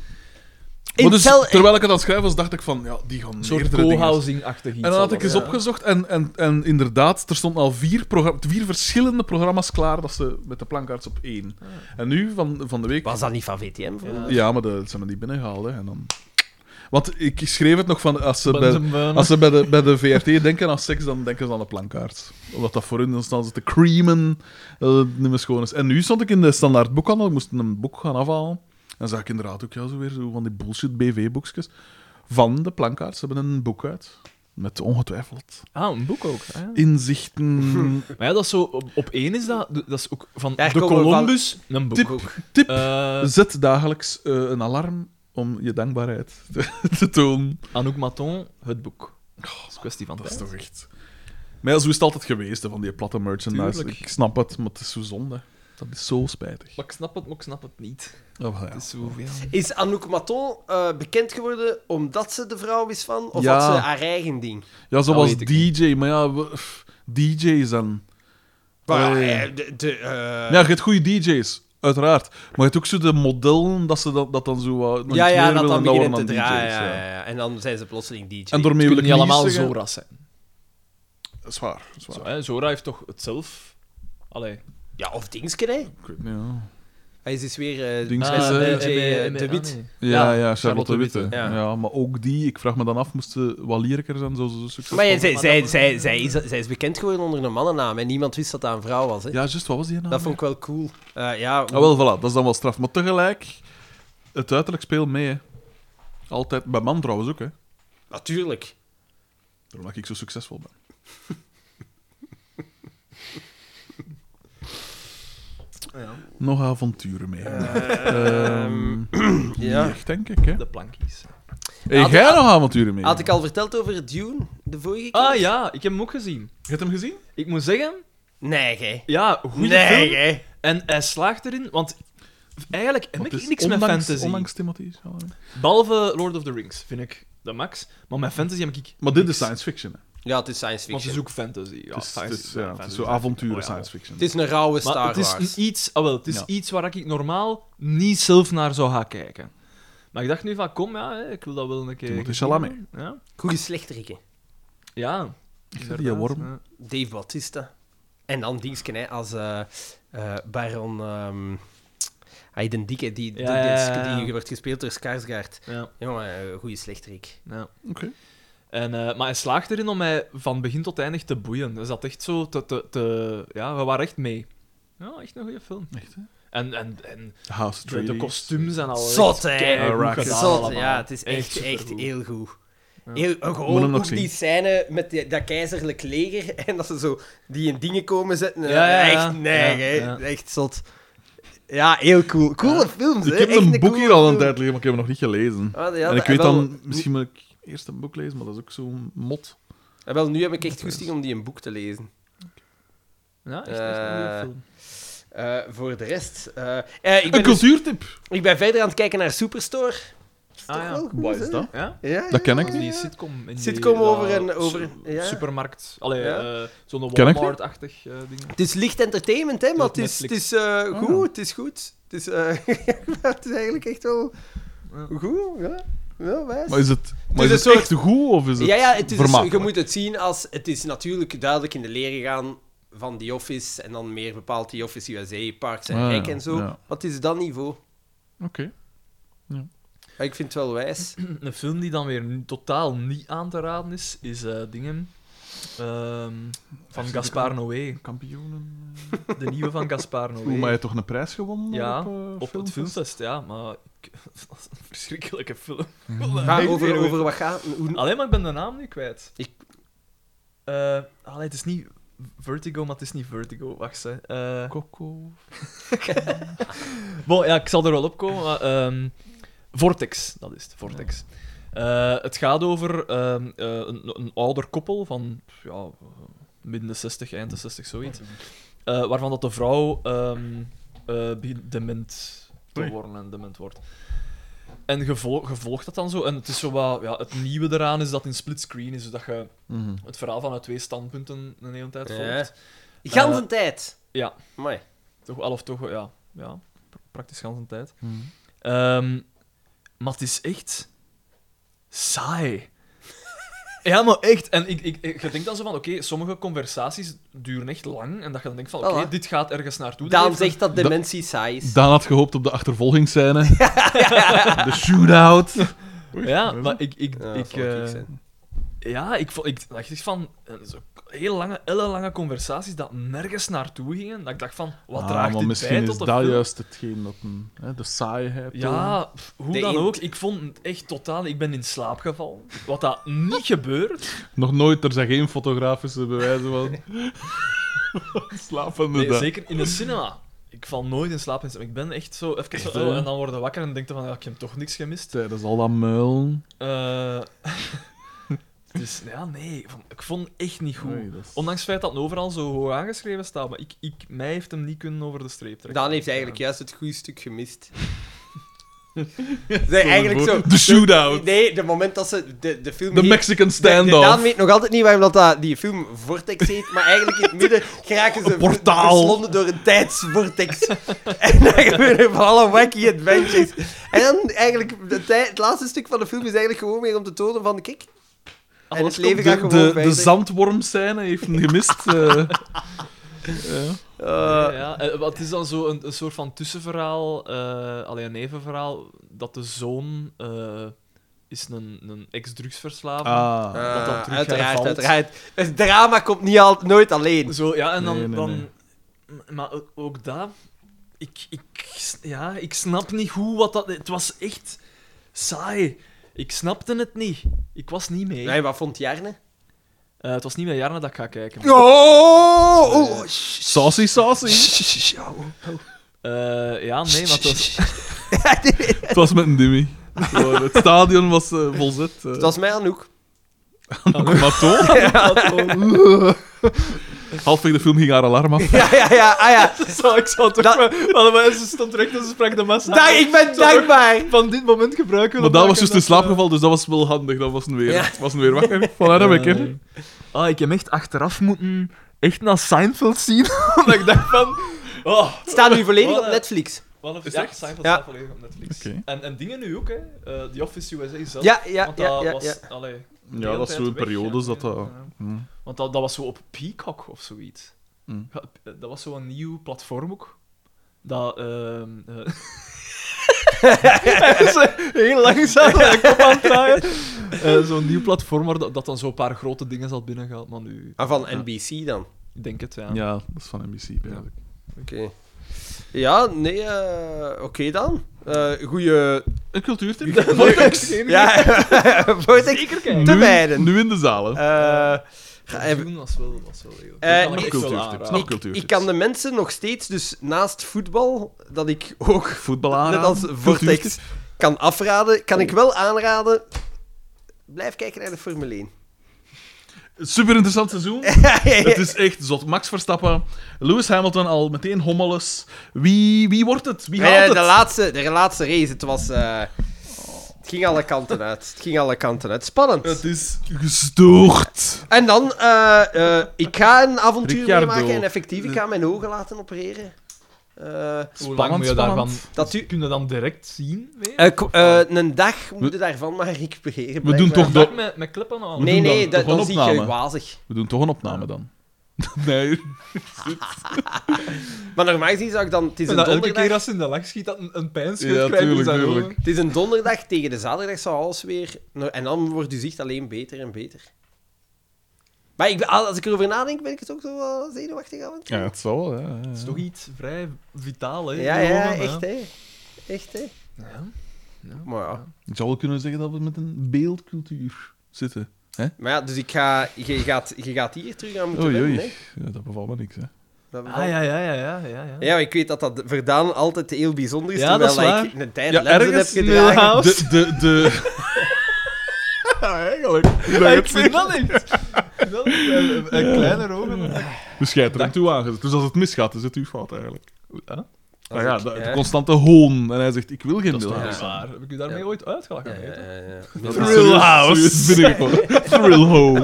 In
Maar dus,
cel-
terwijl ik het aan het schrijven was, dacht ik van, ja, die gaan
Een soort
meerdere dingen...
co-housing-achtig iets.
En dan
zal
had
dat
ik eens
zijn.
opgezocht en, en, en inderdaad, er stonden al vier, programma- vier verschillende programma's klaar dat ze met de plankaarts op één. En nu, van, van de week...
Was dat niet van VTM? vroeger?
Ja, maar dat zijn we niet binnengehaald. Hè. En dan... Want ik schreef het nog van, als ze, bij,
Benzen, ben.
als ze bij, de, bij de VRT denken aan seks, dan denken ze aan de plankaart. Omdat dat voor hun, dan staan ze te creamen, dat het niet meer schoon is. En nu stond ik in de standaard boekhandel, ik moest een boek gaan afhalen. En zag ik inderdaad ook ja, zo weer zo van die bullshit BV-boekjes. Van de plankaart, ze hebben een boek uit. Met ongetwijfeld
Ah, een boek ook. Ah, ja.
inzichten,
Maar ja, dat is zo... Op, op één is dat... Dat is ook van
Daar
de
komen we van-
Columbus... Een boek.
Tip.
ook.
tip.
Eh,
Zet dagelijks eh, een alarm om je dankbaarheid te, te tonen.
Anouk Maton, het boek. Dat is kwestie van
Oh, Dat is
tijd.
toch echt... Maar ja, zo is het altijd geweest, hè, van die platte merchandise.
Tuurlijk.
Ik snap het, maar het is zo zonde. Dat is zo spijtig.
Maar ik snap het, maar ik snap het niet.
Oh, ja.
Het is zoveel.
Is Anouk Maton eh, bekend geworden omdat ze de vrouw is van? Of
Ja.
had ze haar eigen ding?
ja,
Dat
zoals
weet ik niet.
DJ, maar ja... we- pff, DJ's en...
Maar,
Allee.
eh, de, de, eh,
Ja, je hebt goede DJ's, uiteraard. Maar je hebt ook zo de modellen dat ze dat, dat dan zo... wat- nog
ja,
iets
ja,
meer
dat
willen
dan
en
beginnen te
worden dan
draaien.
DJ's,
ja,
ja.
ja, ja. En dan zijn ze plotseling DJ.
En daarmee
Het
wil
kunnen
ik
niet allemaal
zeggen-
Zora's zijn.
Zwaar, zwaar.
Zo, hè, Zora heeft toch het zelf... Allee.
Ja, of Dingske, hè?
Ik weet niet, ja.
Hij is dus weer eh
Dingske,
eh,
eh,
DJ,
eh,
eh,
eh, eh,
De
ah,
Wit.
nee.
Ja, ja, Charlotte
Charlotte
de Witte.
Witte,
ja.
Ja. maar ook die, ik vraag me dan af, moesten Walierker zijn, zo, zo succesvol?
Maar ja, zij,
maar
zij,
dat-
zij, zij, is, zij is bekend geworden onder een mannennaam en niemand wist dat dat een vrouw was. Hè?
Ja, juist, wat was die naam?
Dat vond ik wel cool. Eh, ja,
Ah, wel, voilà, dat is dan wel straf. Maar tegelijk, het uiterlijk speelt mee, hè. Altijd, bij man trouwens ook, hè.
natuurlijk.
Daarom dat ik zo succesvol ben.
Ah,
Nog avonturen mee.
Eh,
Ehm,
ja.
niet echt, denk ik, hè.
De plankies.
Hey,
Had-
jij
had-
nog avonturen mee?
Had ik al verteld over Dune de vorige keer?
Ah ja, ik heb hem ook gezien.
Je hebt hem gezien?
Ik moet zeggen,
Nee, gij.
ja, goede
Nee,
film.
gij.
En hij slaagt erin, want eigenlijk heb
Want het
ik
is
niks met
ondanks-
fantasy.
Ondanks Timothy. ja.
Behalve Lord of the Rings, vind ik de max. Maar met fantasy heb ik
Maar dit is science fiction, hè.
Ja, het is science
Want het is
fiction.
ook fantasy. Ja,
Het is,
science-
het is, ja, het
fantasy
is zo
science-
avonturen
oh ja.
science fiction.
Het is een rauwe Star
Maar het is
Wars.
een iets, ah, wel, het is
Ja.
iets waar ik normaal niet zelf naar zou gaan kijken. Maar ik dacht nu van, kom, ja, hè, ik wil dat wel een keer...
Timothée Chalamet.
Ja,
Goede slechterikken.
ja.
die
inderdaad,
worm.
ja.
Dave Bautista. En dan Dingske hè, als eh, eh, Baron... ehm, Hij den dikke, die, die,
Ja, ja,
die-
ja, ja.
die wordt gespeeld door Skarsgård.
Ja,
Jongen, eh, goede slechterik.
ja.
Oké.
En, eh, maar hij slaagt erin om mij van begin tot eindig te boeien. Dus dat echt zo te... te, te ja, we waren echt mee. Ja, echt een goede film.
Echt, hè?
En, en, en
House
de, de
Atreides.
kostuums en al.
Zot, hè?
Arrakis.
Gedaan,
gedaan
Zot,
allemaal.
ja, het is echt, echt
supergoed.
heel goed. Heel, eh,
Moet hem
gewoon
nog
ook die
zien.
scène met die- dat keizerlijk leger en dat ze zo die in dingen komen zetten. eh,
Ja, ja, ja.
Echt neig,
Ja,
hè.
ja.
Echt zot. Ja, heel cool. Coole films, hè.
Ik heb
Echt
een boek
coole
hier al een
film.
tijd liggen, maar ik heb hem nog niet gelezen.
Ah, ja,
en ik
eh,
weet
wel,
dan, misschien moet ik eerst een boek lezen, maar dat is ook zo'n mot.
eh, Wel, nu heb ik echt goesting om die een boek te lezen.
Ja, echt, nou, echt een goede
Eh,
film.
Eh, voor de rest... eh, eh, ik, ben
Een
dus-
cultuurtip!
ik ben verder aan het kijken naar Superstore.
Ah, ja.
Wel goed,
Wat is
hè?
dat?
Ja?
Ja, ja,
Dat ken ik
ja,
Dat is die
ja.
sitcom. In
Sitcom
die,
over
dat
een- over-
su-
ja.
Supermarkt. Allee,
Ja.
eh, zo'n
Ken ik die?
Walmart-achtig eh, ding.
Het is licht entertainment, hè, maar
Door
het is, het
Netflix.
is eh,
Ah.
goed, het is goed. Het is, eh, het is eigenlijk echt wel
Ja.
goed, ja. Wel wijs.
Maar is het,
is
maar is
een
het
soort-
echt goed of is het
ja, ja, het is, dus-
vermakelijk?
je moet het zien als... Het is natuurlijk duidelijk in de leer gegaan van The Office en dan meer bepaald The Office USA, Parks en
Ah, ja,
Rec en zo.
ja.
Wat is dat niveau?
Oké.
Ja, ik vind het wel wijs.
Een film die dan weer n- totaal niet aan te raden is, is eh, dingen ehm, van
Even
Gaspar Noé.
Kampioenen.
De nieuwe van Gaspar
Hoe, maar je
Noé.
hebt toch een prijs gewonnen
Ja,
op, eh,
Op het
filmfest?
filmfest, ja, maar ik- dat is een verschrikkelijke film.
Maar over, over wat gaat... Hoe,
Alleen maar ik ben de naam nu kwijt.
Ik-
Eh, allee, het is niet Vertigo, maar het is niet Vertigo. Wacht, hè. Eh,
Coco.
Bon, ja, ik zal er wel op komen. Maar, ehm, Vortex, dat is het. Vortex. Eh, het gaat over ehm, eh, een, een ouder koppel van ja, midden de 60, eind de 60, zoiets. Eh, waarvan dat de vrouw ehm, eh, begint dement te
Oei.
worden en dement wordt. En gevolg, gevolgd dat dan zo. En het, is zo wat, ja, het nieuwe eraan is dat het in splitscreen is, zodat je het verhaal vanuit twee standpunten een hele tijd
Ja.
volgt.
Gans een tijd.
ja.
Mooi.
Toch wel of toch, ja. ja pr- praktisch de hele tijd.
Mhm.
Ehm, maar het is echt saai. Ja, maar echt. En ik, ik, ik- je denkt dan zo van, oké, sommige conversaties duren echt lang. En dat je dan denkt van, oké,
Voilà.
dit gaat ergens naartoe. Dat
Daan
heeft een-
zegt dat dementie saai is.
Daan had gehoopt op de achtervolgingsscène. De shootout.
Ja, maar ik... ik,
Ja, dat
ik
zal wel
eh,
kiek zijn.
ja, ik, vo- ik dacht echt van... eh, Zo heel lange, ellenlange conversaties dat nergens naartoe gingen. Dat ik dacht van, wat
Ah,
draagt
maar
dit
misschien
bij
is
tot de
dat
film?
juist hetgeen dat een, hè, de saaiheid. eh,
Ja, pff, hoe
De
dan
in-
ook. Ik vond het echt totaal... Ik ben in slaap gevallen. Wat dat niet gebeurt.
eh, Nog nooit, er zijn geen fotografische bewijzen van. Slapende
Nee,
dag.
zeker in een cinema. Ik val nooit in slaap. in cinema. Ik ben echt zo even zo...
hè?
oh, en dan word je wakker en denk je van... Ja, ik heb toch niks gemist.
Tijdens al dat muil.
Eh, dus ja, nee. van- Ik vond het echt niet goed.
Oei, dat is-
Ondanks het feit dat het overal zo hoog aangeschreven staat. Maar ik, ik, mij heeft hem niet kunnen over de streep trekken.
Daan heeft eigenlijk juist het goede stuk gemist. Zij eigenlijk zo...
De shootout.
Nee, de moment dat ze de, de film...
De
hier-
Mexican
De- de- Daan
standoff.
weet nog altijd niet waarom dat, dat die film Vortex heet, maar eigenlijk in het midden geraken ze
portaal.
verslonden door een tijdsvortex. en dan gebeuren van alle wacky adventures. En dan eigenlijk, de tij- het laatste stuk van de film is eigenlijk gewoon weer om te tonen van, kijk, en het leven gaat
De,
gewoon
de, de
verder.
zandwormscène heeft hem gemist. eh. Ja.
Ja, ja. Eh, wat is dan zo een, een soort van tussenverhaal, eh alleen een nevenverhaal, dat de zoon eh, is een, een ex-drugsverslaafde.
Ah.
eh,
dat dan terug
uiteraard,
hervalt.
uiteraard. Het drama komt niet al, nooit alleen.
Zo, ja, en dan...
Nee, nee,
dan
nee.
M- Maar ook- ook dat... Ik, ik, s- ja, ik snap niet hoe wat dat... Het was echt saai. Ik snapte het niet. Ik was niet mee.
Nee, wat vond Jarne?
Eh, het was niet mijn jaren dat ik ga kijken.
Oh! oh,
Saucy, saucy.
Eh, ja, nee, maar het was...
het was met een dimmy. Gewoon, Het stadion was eh, volzet. eh.
Het was mij Anouk.
Maar toch? Halfweg de film ging haar alarm af.
Ja, ja, ja. Ah, ja.
Zo, ik zou toch...
Dat-
maar- maar Ze stond recht en ze sprak de massa.
Dank, Nou, ik ben dankbaar.
van dit moment gebruiken.
Maar dat was dus in slaap gevallen, dus dat was wel handig. Dat was een weer,
Ja.
was een weer wakker. Voilà, dat ben ik
Eh,
er.
Ah, ik heb echt achteraf moeten echt naar Seinfeld zien. Omdat ik dacht van... Oh,
Het staat nu volledig op
Voilà.
Netflix.
wat
Is
ja,
echt?
Seinfeld
Ja.
staat volledig op Netflix.
Oké.
En, en dingen nu ook, hè. Eh The Office USA zelf.
Ja, ja,
Want dat
ja, ja.
was...
ja.
Allee, de
Ja,
hele
dat is
tijd
zo'n
weg,
periodes
ja.
dat dat...
Ja.
Hm.
Want dat, dat was zo op Peacock of zoiets.
Mm.
Ja, eh, Dat was zo'n nieuw platform ook. Dat... ehm eh, Hij is heel langzaam de kop aan het draaien. Eh, zo'n nieuw platform waar dat, dat dan zo'n paar grote dingen zat binnengehaald. Maar nu...
Ah, van NBC dan.
Ik denk het, ja.
Ja, dat is van NBC. eigenlijk.
Oké. Ja, nee, eh, oké dan. Eh goeie...
Een cultuurtip.
Ja, Vortex
kijken.
te
Nu-
beiden.
Nu in de zalen.
Eh, ga
Ja,
even-
Doen was wel, was wel heel...
Eh,
Dat kan
ik-
echt
cultuur,
wel
het is
aanraden.
nog
ik,
cultuurtips.
ik kan de mensen nog steeds, dus naast voetbal, dat ik ook,
Voetbal
net
aanraden.
als Vortex,
Cultuurtip.
kan afraden, kan ik wel aanraden... Blijf kijken naar de Formule 1.
Super interessant seizoen. Het is echt zot. Max Verstappen, Lewis Hamilton al meteen hommeles. Wie, wie wordt het? Wie
Eh,
haalt
de,
het?
laatste, de laatste race, het was... eh, het ging alle kanten uit. Het ging alle kanten uit. Spannend.
Het is gestoord.
En dan, eh, eh, ik ga een avontuur
Ricciardo.
meemaken en effectief, ik ga mijn ogen laten opereren. Eh,
Hoe lang moet je daarvan...
Dat u-
Kun je dan direct zien? weer?
eh, k- eh, een dag moet je daarvan maar recupereren.
We doen
blijkbaar.
toch
Dat
dat.
ik met, met klippen aan.
Nee,
doen
nee,
dan
dat,
toch
dan
een
zie ik je
opname?
wazig.
We doen toch een opname dan. Nee.
Maar normaal gezien zou ik dan... Het is, een
En dat elke
donderdag,
keer als ze in de lach schiet, dat een, een pijnscheut
Ja,
krijgt.
tuurlijk,
dus dan
tuurlijk.
gewoon-
het is een donderdag, tegen de zaterdag zou alles weer... nou, En dan wordt je zicht alleen beter en beter. Maar ik, ben- als ik erover nadenk, ben ik het ook zo wel zenuwachtig aan het
Ja, het zal wel. Ja, ja.
Dat is toch iets vrij vitaal, hè?
Ja,
die
ja,
longen,
echt, hè. Echt, hè.
Ja.
Maar ja.
Ik zou wel kunnen zeggen dat we met een beeldcultuur zitten.
Maar ja, dus ik ga, je, gaat, je gaat hier terug aan moeten
Oei,
wennen,
oei.
hè.
Ja, dat bevalt me niks. Hè.
Dat we
Ah,
dan-
ja, ja, ja, ja, ja. ja.
Ja, maar ik weet dat dat voor Daan altijd heel bijzonder is,
Ja, eh,
terwijl
dat is
ik een tijd
Ja,
lenzen heb
ergens-
gedragen.
Ja.
De, de, de,
ja, eigenlijk. ik vind dat niet. Dat niet. Een, een kleiner ogen. dan-
Dus jij hebt er toe aangezet. Dus als het misgaat, is het uw fout eigenlijk. Nou ja,
ik-
de, de
ja.
constante hoon. En hij zegt, ik wil geen
Dat is
milhouse.
waar. Heb ik u daarmee
Ja.
ooit uitgelachen?
Ja, ja, ja, Dus ja.
Dat is serieus- serieus binnengekomen. Thrill home.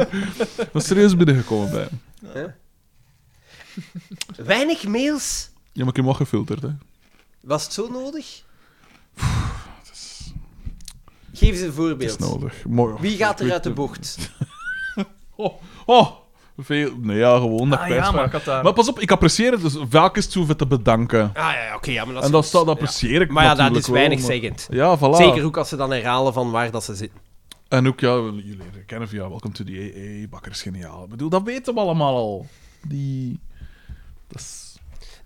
Dat is serieus binnengekomen bij hem.
Weinig mails.
Ja, maar ik heb hem al gefilterd, hè.
Was het zo nodig? Geef eens een
Dat is
voorbeeld.
nodig. Mooi.
Wie gaat er uit de bocht?
Oh, oh. Veel... Nee, ja, gewoon. Dat
Ah,
pijs
ja,
van.
maar ik had daar...
Maar pas op, ik apprecieer het. Dus vaak is het zo te bedanken.
Ah ja, ja, oké, ja, maar dat is
en dat,
goed.
staat, dat apprecieer ik
Maar ja, dat
natuurlijk
is weinig
wel, maar-
zeggend.
Ja, voilà.
Zeker ook als ze dan herhalen van waar dat ze zitten.
En ook, ja, jullie kennen via Welcome to the AA, Bakker is geniaal. Ik bedoel, dat weten we allemaal al. Die... Dat is...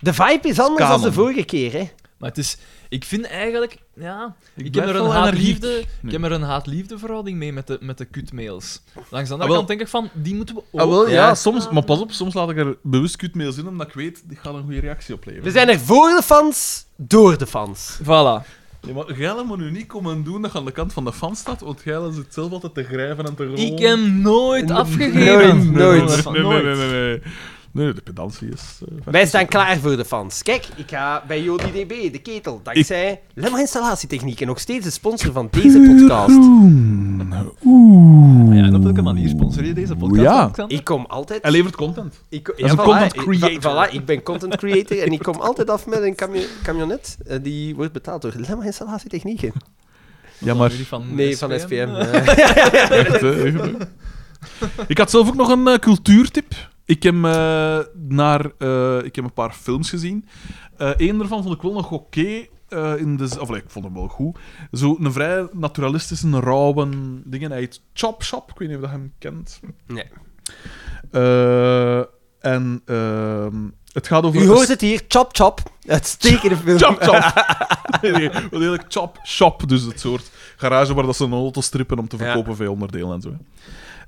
De vibe is anders dan
Kanon.
de vorige keer, hè?
Maar het is... Ik vind eigenlijk... Ja, ik, heb
blijf
er een
wel
haat-liefde...
energiek.
Ik heb er een haat-liefde verhouding mee met de, met de kutmails. Langs de andere
Ah, wel.
kant denk ik van, die moeten we ook...
Ah, wel, ja,
ja.
soms, maar pas op, soms laat ik er bewust kutmails in, omdat ik weet, die gaat een goede reactie opleveren.
We zijn er voor de fans, door de fans.
Voilà.
Ja, maar Gijlen moet nu niet komen doen dat je aan de kant van de fan staat, want Gijlen zit zelf altijd te grijven en te rollen.
Ik heb nooit
Nee,
afgegeven.
nooit, nooit.
Nee, nee, nee, nee. nee. Nee, de pedantie is... eh, ver-
Wij staan klaar voor de fans. Kijk, ik ga bij JodiDB, de ketel, dankzij Lemma Installatietechnieken, nog steeds de sponsor van deze podcast.
Ja, en op welke manier sponsor je deze podcast?
Ja.
Alexander?
Ik kom altijd...
Hij levert content.
Ik,
is een content creator.
Ik, voilà, ik ben content creator en ik kom altijd af met een camio- camionet. eh, die wordt betaald door Lemma Installatietechnieken.
Ja, maar...
Die van
Nee, van SPM. eh.
Echt, hè? Echt, hè? Ik had zelf ook nog een eh, cultuurtip. Ik heb, eh, naar, eh, ik heb een paar films gezien. Eén daarvan vond ik wel nog oké. eh, in de z- of nee, ik vond hem wel goed. Zo een vrij naturalistische, rauwe dingen. Hij heet Chop Shop. Ik weet niet of je hem kent.
Nee.
Eh, en ehm, het gaat over...
U hoort het hier, chop chop. Uitstekende film.
Chop Chop. nee, nee, wel eerlijk, Chop Shop. Dus het soort garage waar dat ze een auto strippen om te
Ja.
verkopen veel onderdelen en zo. hè.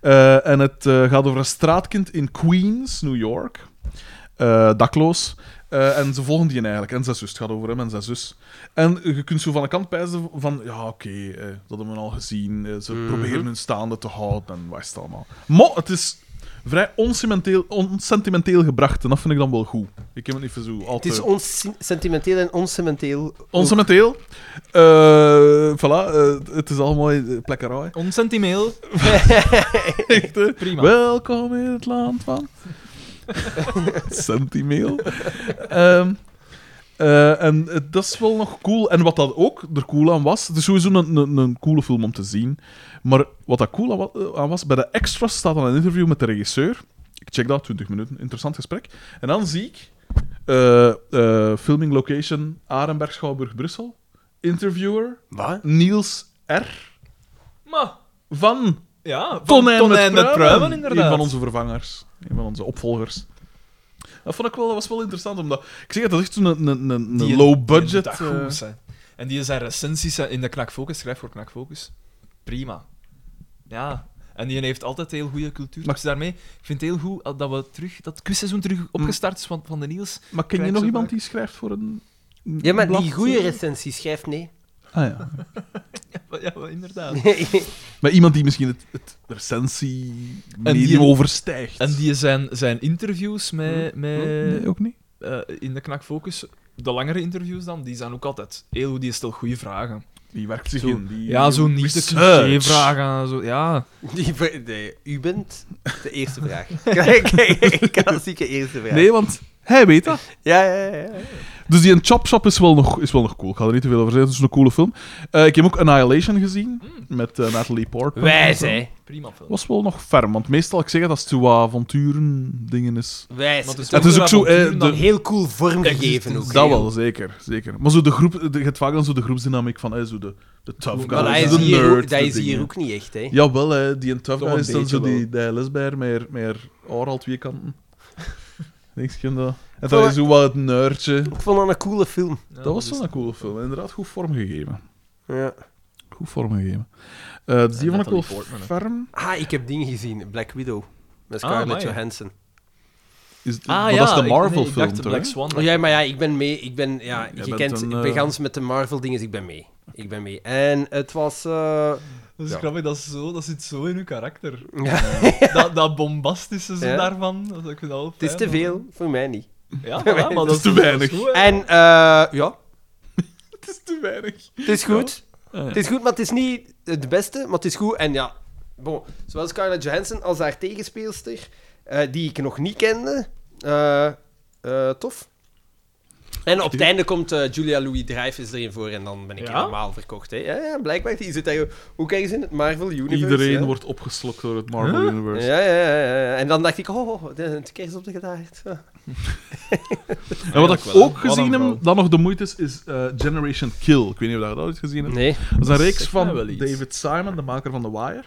Eh, en het eh, gaat over een straatkind in Queens, New York. Eh, dakloos. Eh, en ze volgen die eigenlijk. En zijn zus. Het gaat over hem en zijn zus. En je kunt zo van de kant pijzen van... Ja, oké, eh, dat hebben we al gezien. Eh,
Mhm.
ze proberen hun staande te houden en wat is het allemaal. Maar het is vrij onsentimenteel, onsentimenteel gebracht. En dat vind ik dan wel goed. Ik heb het niet voor zo altijd...
Het is onsentimenteel en oncementeel.
Onsementeel. eh voilà, eh, het is allemaal eh, plekkerij.
Ons sentimail.
Echt, hè?
Prima.
Welkom in het land van... Sentimeel. Ehm, eh, en eh, dat is wel nog cool. En wat dat ook er cool aan was... Het is sowieso een, een, een coole film om te zien. Maar wat dat cool aan wa- eh, aan was... Bij de extras staat dan een interview met de regisseur. Ik check dat, 20 minuten. Interessant gesprek. En dan zie ik... eh, eh, filming location Arenberg, Schouwburg, Brussel. Interviewer
Wat?
Niels R.
Maar,
van
ja. van
Tonijn,
Tonijn
met, Pruimen,
inderdaad.
Een van onze vervangers. Een van onze opvolgers. Dat vond ik wel, dat was wel interessant, omdat... Ik zeg het, dat is echt zo'n een, een, een,
Die-
een low budget...
die
eh,
moet goed zijn. En die zijn recensies zijn in de Knakfocus, schrijf voor Knakfocus. Prima. Ja. En die heeft altijd heel goede cultuur.
Maar-
Dus daarmee, ik vind het heel goed eh, dat we terug, dat het quizseizoen terug opgestart is van, van de Niels.
maar ken je
Krijg
nog
ze
iemand
vaak.
die schrijft voor een... een
Ja, maar die
blad?
goede recensie schrijft nee.
Ah, ja.
Ja, ja, inderdaad.
Maar iemand die misschien het, het recensie
die-
medium overstijgt.
En die zijn, zijn interviews met, met
Hm? Nee, ook niet.
eh, in de Knakfocus, de langere interviews dan, die zijn ook altijd heel goed. Die stelt goede vragen.
Die werkt zich
Zo-
in. Die
Ja, zo niet de
research.
cliché-vragen. en Zo, ja.
Die ver- nee, u bent de eerste vraag. Kijk, kijk, klassieke eerste vraag.
Nee, want hij weet dat.
Ja, ja, ja, ja.
Dus die in Chop Shop is wel, nog, is wel nog cool. Ik ga er niet te veel over zeggen. Het is een coole film. Eh, ik heb ook Annihilation gezien met eh, Natalie Portman.
Wijs, hè.
Prima film.
was wel nog ferm, want meestal, ik zeg het, als het zo avonturen dingen is...
Wijs.
Maar het is
Het is ook zo... eh,
avonturen
de,
Een heel cool vormgegeven ook.
dat
hè.
wel, zeker, zeker. Maar zo de groep... de- Je hebt vaak dan zo de groepsdynamiek van, eh, zo de, de tough
Maar dat
guy,
is
de
hier, ook-
nerd,
dat
de
is hier
dingen.
ook niet echt, hè.
Jawel, hè, die in tough
Toch
guy
een
is dan
beetje
zo die,
wel.
die lesbeer met meer haar al twee kanten. Niks je dat.
Voilà.
En dat is zo wat het nerdje.
Ik vond dat een coole film.
Ja,
Dat was
is-
wel een coole film. Inderdaad, goed vormgegeven.
Ja.
Goed vormgegeven. Eh dus die vond ik wel
Natalie Portman, hè.
ferm.
Ah, ik heb dingen gezien. Black Widow. Met
Ah,
Scarlett
amai.
Johansson.
Is, het-
Ah,
maar
ja,
dat is de
ik- nee,
Marvel
ik
film,
dacht
toch?
Black
hè?
Swan.
Oh, ja, maar ja, ik ben mee. Ik ben, ja,
Jij
je
bent
kent,
een,
dus ik
eh,
ben gans met de Marvel-dingen, ik ben mee. Ik ben mee. En het was eh,
Dat is
Ja.
grappig, dat, is zo, dat zit zo in uw karakter.
Ja.
dat, dat bombastische zo
Ja.
daarvan, dat ik vind dat wel
Het is
fijn,
te
maar-
veel, voor mij niet.
Ja, voilà, maar dat is
te
dat is
weinig.
goed, hè.
En, eh, ja,
Het is te weinig.
het is goed.
Ah, ja.
Het is goed, maar het is niet het beste, maar het is goed. En ja, bon, zowel Scarlett Johansson als haar tegenspeelster, eh, die ik nog niet kende, eh, eh, tof. En op het einde komt eh, Julia Louis-Dreyfus erin voor en dan ben ik
Ja?
helemaal verkocht. Hè. Ja, ja, blijkbaar, die zit daar ook ergens in het Marvel Universe.
Iedereen
ja.
wordt opgeslokt door het Marvel Universe.
Ja, ja, ja, ja. En dan dacht ik, oh, de de kerst op de gedaard. Ah.
En wat
Eigenlijk
ik
wel,
ook
hè. Wat
gezien
een
heb,
vrouw.
dat nog de moeite is, is eh, Generation Kill. Ik weet niet of je dat ooit gezien hebt.
Nee.
Dat is een
Dat
reeks
zegt
van
mij wel iets. Hmm.
David Simon, de maker van The Wire.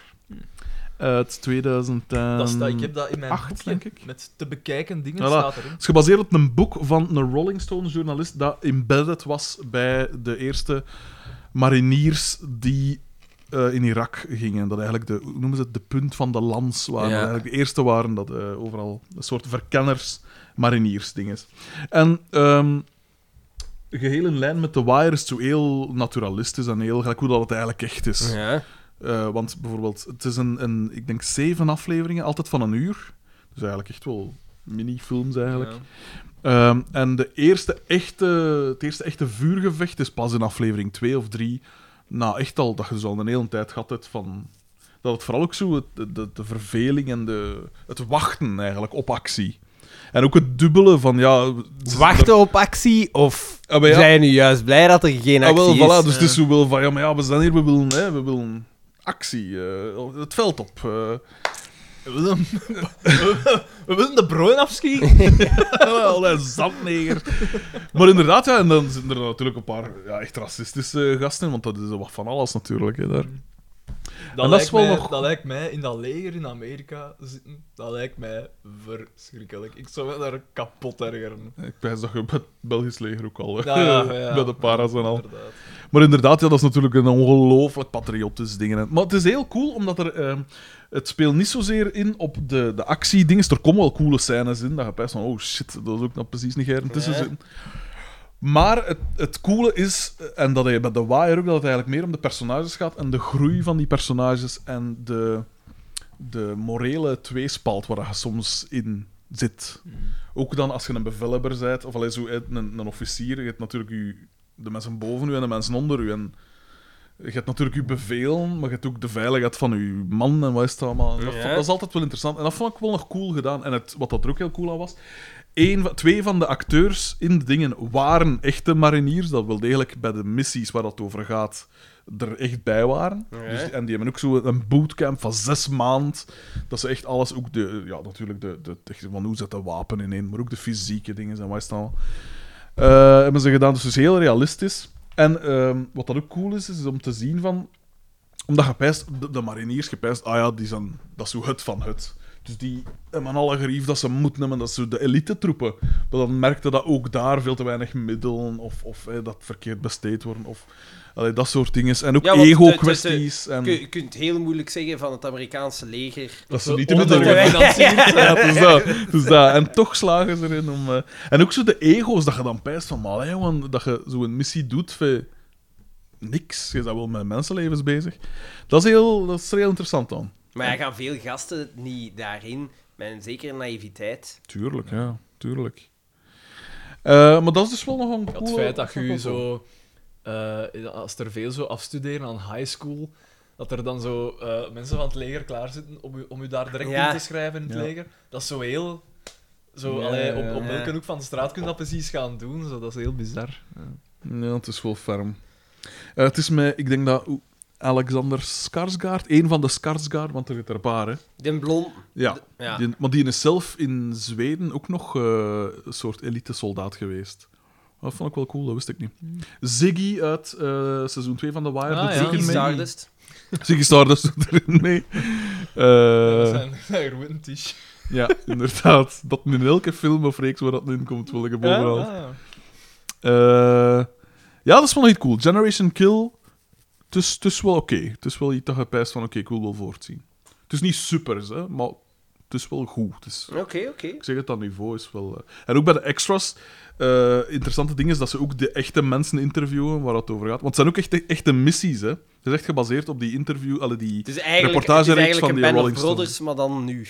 Uit 2000.
Dat staat- ik heb dat in mijn
acht,
boekje,
denk ik.
met te bekijken dingen
Voilà.
staat erin.
Het is gebaseerd op een boek van een Rolling Stones journalist dat embedded was bij de eerste mariniers die eh, in Irak gingen. Dat eigenlijk de, hoe noemen ze het, de punt van de lans waren.
Ja.
Dat eigenlijk de eerste waren dat eh, overal een soort verkenners mariniers ding is. En ehm geheel in lijn met The Wire is het zo heel naturalistisch en heel gelijk hoe dat het eigenlijk echt is.
Ja.
Eh, want bijvoorbeeld, het is een, een, ik denk, zeven afleveringen, altijd van een uur. Dus eigenlijk echt wel minifilms eigenlijk. Ehm, en de eerste echte, het eerste echte vuurgevecht is pas in aflevering 2 of 3. Nou, echt al dat je zo al een hele tijd gehad hebt van... Dat het vooral ook zo het- de, de, de verveling en de, het wachten eigenlijk op actie. En ook het dubbele van, ja... ze-
Wachten op actie of
Ah, maar ja.
zijn nu juist blij dat er geen
Ah,
actie
wel,
is?
voilà, dus het is zo wel van, ja, maar ja, we zijn hier, we willen, hè, we willen actie, eh, het veld op. eh.
We willen, we willen de brood afschieten.
Wel, een zandneger. Maar inderdaad, ja, en dan zitten er natuurlijk een paar ja, echt racistische gasten, want dat is wat van alles natuurlijk. Hè, daar.
Dat,
dat
lijkt
is wel
mij,
nog-
dat lijkt mij in dat leger in Amerika zitten, dat lijkt mij verschrikkelijk. Ik zou me daar kapot ergeren.
Ik wijs dat je bij het Belgisch leger ook al,
Ja, ja, ja.
bij de paras en al.
Inderdaad.
Maar inderdaad, ja, dat is natuurlijk een ongelooflijk patriotisch ding. hè. Maar het is heel cool, omdat er, ehm, het speelt niet zozeer in op de, de actiedingen. Er komen wel coole scènes in, dat je best van, oh shit, dat is ook nog precies niet gern tussen zitten. Maar het, het coole is, en dat je bij The Wire ook, dat het eigenlijk meer om de personages gaat en de groei van die personages en de, de morele tweespalt waar je soms in zit. Ook dan als je een bevelhebber bent, of allee, zo, hè, een, een officier, je hebt natuurlijk u, de mensen boven u en de mensen onder u. En je hebt natuurlijk uw bevel, maar je hebt ook de veiligheid van uw man en wat is het allemaal. En Dat,
Ja.
vond- dat is altijd wel interessant. En dat vond ik wel nog cool gedaan. En het, wat dat er ook heel cool aan was, één van- twee van de acteurs in de dingen waren echte mariniers, dat wel degelijk bij de missies waar dat over gaat, er echt bij waren.
Ja.
Dus, en die hebben ook zo een bootcamp van zes maanden dat ze echt alles, ook de, ja, natuurlijk de, de techniek van hoe zet de wapen ineen, maar ook de fysieke dingen en wat is het allemaal. Eh, hebben ze gedaan, dus het is heel realistisch. En ehm, wat dat ook cool is, is om te zien van, omdat gepijst, de, de mariniers gepijst, ah ja, die zijn, dat is zo het van het. Dus die hebben alle gerief dat ze moeten hebben, dat is zo de elite troepen. Maar dan merkte dat ook daar veel te weinig middelen, of, of eh, dat verkeerd besteed worden, of allee, dat soort dingen. En ook
Ja, want de- de- de-
ego-kwesties. en-
Je, je kunt heel moeilijk zeggen van het Amerikaanse leger.
Dat ze
Zo
niet te
onder-
middelen
gefinancierd
ja, het is dat. Het is dat. En toch slagen ze erin om... eh, En ook zo de ego's, dat je dan pijst van... Maar hè, man, dat je zo'n missie doet voor niks. Je bent wel met mensenlevens bezig. Dat is, heel, dat is er heel interessant aan.
Maar ja, gaan veel gasten niet daarin met een zekere naïviteit.
Tuurlijk, ja. Tuurlijk. Eh, maar dat is dus wel nog een
Ja,
coole...
het feit dat je zo... eh, als er veel zo afstuderen aan high school, dat er dan zo eh, mensen van het leger klaarzitten om u, om u daar direct
Ja.
in te schrijven in het
Ja.
leger, dat is zo heel... Zo,
Ja,
allee,
ja,
op, op
ja.
welke hoek van de straat kun je dat precies gaan doen? Zo, dat is heel bizar.
Ja, het is wel ferm. Eh, het is met... Ik denk dat... oeh, Alexander Skarsgård, één van de Skarsgård, want er zit er een paar, hè.
Den Blond.
Ja.
Ja.
Die, maar die is zelf in Zweden ook nog eh, een soort elite-soldaat geweest. Dat vond ik wel cool, dat wist ik niet. Ziggy uit eh, seizoen 2 van The Wire
Ah,
doet
ja.
er ook in
Ziggy
mee.
Stardust.
Ziggy Stardust doet erin mee. Eh,
Dat zijn, dat zijn gewoon tisch.
ja, inderdaad. Dat in elke film of reeks waar dat in komt, wil ik bovenal.
Ah, Ja,
Eh, ja, dat is wel niet cool. Generation Kill, het is, het is wel oké. Het is wel iets dat je pijst van, oké, ik wil wel voortzien. Het is niet supers, hè, maar het is wel goed. Het is,
Oké, oké.
ik zeg het, dat niveau is wel... eh. En ook bij de extras, eh, interessante ding is dat ze ook de echte mensen interviewen waar het over gaat. Want het zijn ook echte, echte missies, hè. Het is echt gebaseerd op die interview, alle die
Het is eigenlijk, het is
reportagereeks
eigenlijk
van
een
die
Band
Rolling
of
Stones.
Brothers, maar dan nu.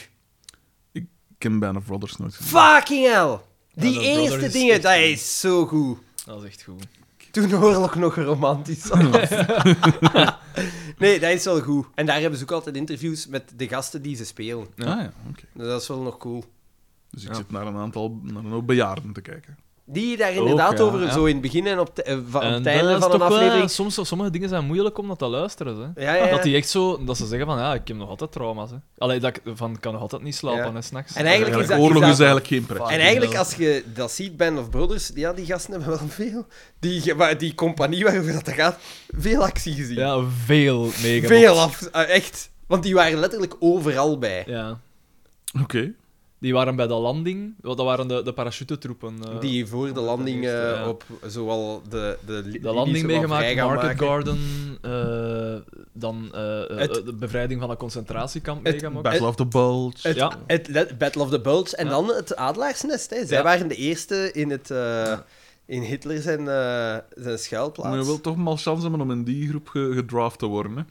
Ik heb Band of Brothers nooit gezien.
Fucking hell! Die
dat
eerste
Brothers is
dingen,
echt
dat
goed.
is zo goed.
Dat is echt goed.
Toen oorlog nog romantisch was. nee, dat is wel goed. En daar hebben ze ook altijd interviews met de gasten die ze spelen.
Ah ja, oké.
Dus dat is wel nog cool.
Dus ik zit naar een aantal naar een hoop bejaarden te kijken.
Die daar inderdaad
ja,
over,
ja.
zo in het begin en op te- eh, van- op
En
het
dat
einde
is
van een
toch wel-
aflevering.
soms, sommige dingen zijn moeilijk om dat te luisteren. Hè.
Ja, ja, ja.
Dat die echt zo, dat ze zeggen van ja, ik heb nog altijd trauma's. Hè. Allee, dat ik van kan nog altijd niet slapen,
Ja.
hè, s'nachts.
En eigenlijk is dat-
oorlog
is dat-
is eigenlijk geen pret.
En eigenlijk, als je dat ziet, Band of Brothers, ja, die gasten hebben wel veel. Die, ge- waar- die compagnie waarover dat gaat, veel actie gezien.
Ja, veel meegemaakt.
veel af, eh, echt. Want die waren letterlijk overal bij.
Ja.
Oké.
Die waren bij de landing, wel, dat waren de, de parachutetroepen. eh,
Die voor de landing eh,
Ja.
op zowel de, de, li-
de
linies waar
landing meegemaakt,
vrij gaan
Market
maken.
Garden, eh, dan eh, eh,
Het-
de bevrijding van een concentratiekamp
Het
meegemaakt.
Battle of the Bulge.
Het,
Ja.
het le- Battle of the Bulge en
Ja.
dan het Adelaarsnest. Hè. Zij
Ja.
waren de eerste in, het, eh, in Hitler zijn, eh, zijn
Maar je
schuilplaats.
wil toch mal chance hebben om in die groep ge- gedraft te worden. Hè?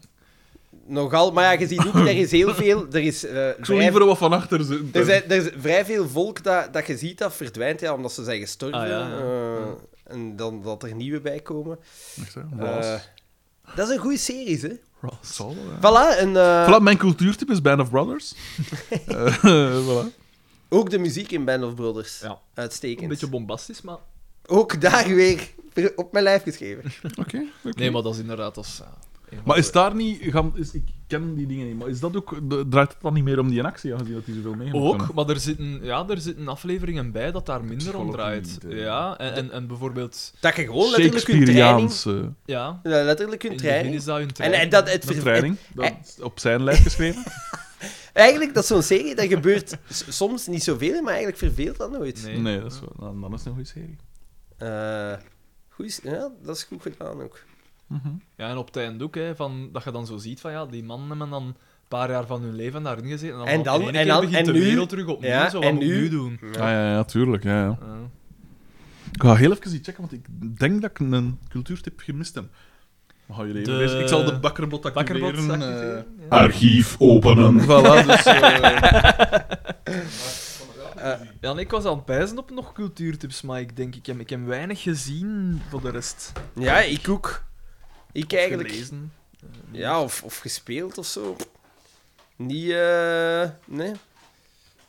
Nogal, maar ja, je ziet ook, er is heel veel... Er is, eh,
Ik zou
vrij-
liever wat van achter zitten.
Er, zijn, er is vrij veel volk dat, dat je ziet dat verdwijnt, ja, omdat ze zijn gestorven.
Ah, ja, ja.
eh, en dan dat er nieuwe bij komen.
Echt, hè?
Eh,
Ross.
dat is een goede serie, hè?
Ross. Zal wel, hè.
Voilà, en eh,
Voilà, mijn cultuurtip is Band of Brothers. Eh, voilà.
ook de muziek in Band of Brothers.
Ja.
Uitstekend.
Een beetje bombastisch, maar...
Ook daar weer per- op mijn lijf geschreven.
Oké. oké.
Nee, maar dat is inderdaad... Dat is,
eh,
ja, een
Maar
van
is
de-
daar niet... gaan- is, ik ken die dingen niet, maar is dat ook... de- draait het dan niet meer om die in actie, aangezien dat die zoveel meegemaakt
Ook,
hebben?
maar er zitten, ja, er zitten afleveringen bij dat daar minder om
Psychologie,
draait.
de-
Ja, en, en, en bijvoorbeeld...
Dat je gewoon letterlijk hun training...
Shakespeareaans eh,
Ja,
Ja, letterlijk hun
in het begin
training.
is dat hun
En,
training.
en dat het, ver-
training.
eh,
Dat is op zijn lijst geschreven.
het- Eigenlijk, dat is zo'n serie, dat gebeurt s- soms niet zoveel, maar eigenlijk verveelt dat nooit.
Nee.
Nee, dat is wel... Dan, dan is het een goede serie.
Eh, goed, ja, dat is goed gedaan ook.
Ja, en op het einde ook, hè, van, dat je dan zo ziet van ja, die mannen hebben dan een paar jaar van hun leven daarin gezeten. En dan,
En dan-
in één
en
keer
dan-
begint
en
de
nu-
wereld terug opnieuw.
ja,
zo, wat
en
moet ik
nu-
nu doen?
Ja, Ah, ja, ja, tuurlijk. Ja, ja.
Ja.
Ik ga heel even iets checken, want ik denk dat ik een cultuurtip gemist heb. Maar Gaan jullie even
De-
lezen? dus Ik zal de bakkerbot activeren.
Bakkerbot, zag je
eh.
het, hè? Ja.
Archief openen.
Voilà, dus... eh,
Ja, nee, ik was aan het bijzen op nog cultuurtips, maar ik denk, ik heb, ik heb weinig gezien voor de rest.
Ja, ik ook. Ik eigenlijk...
Gelezen.
Ja, of, of gespeeld of zo. dus. Niet, eh, nee.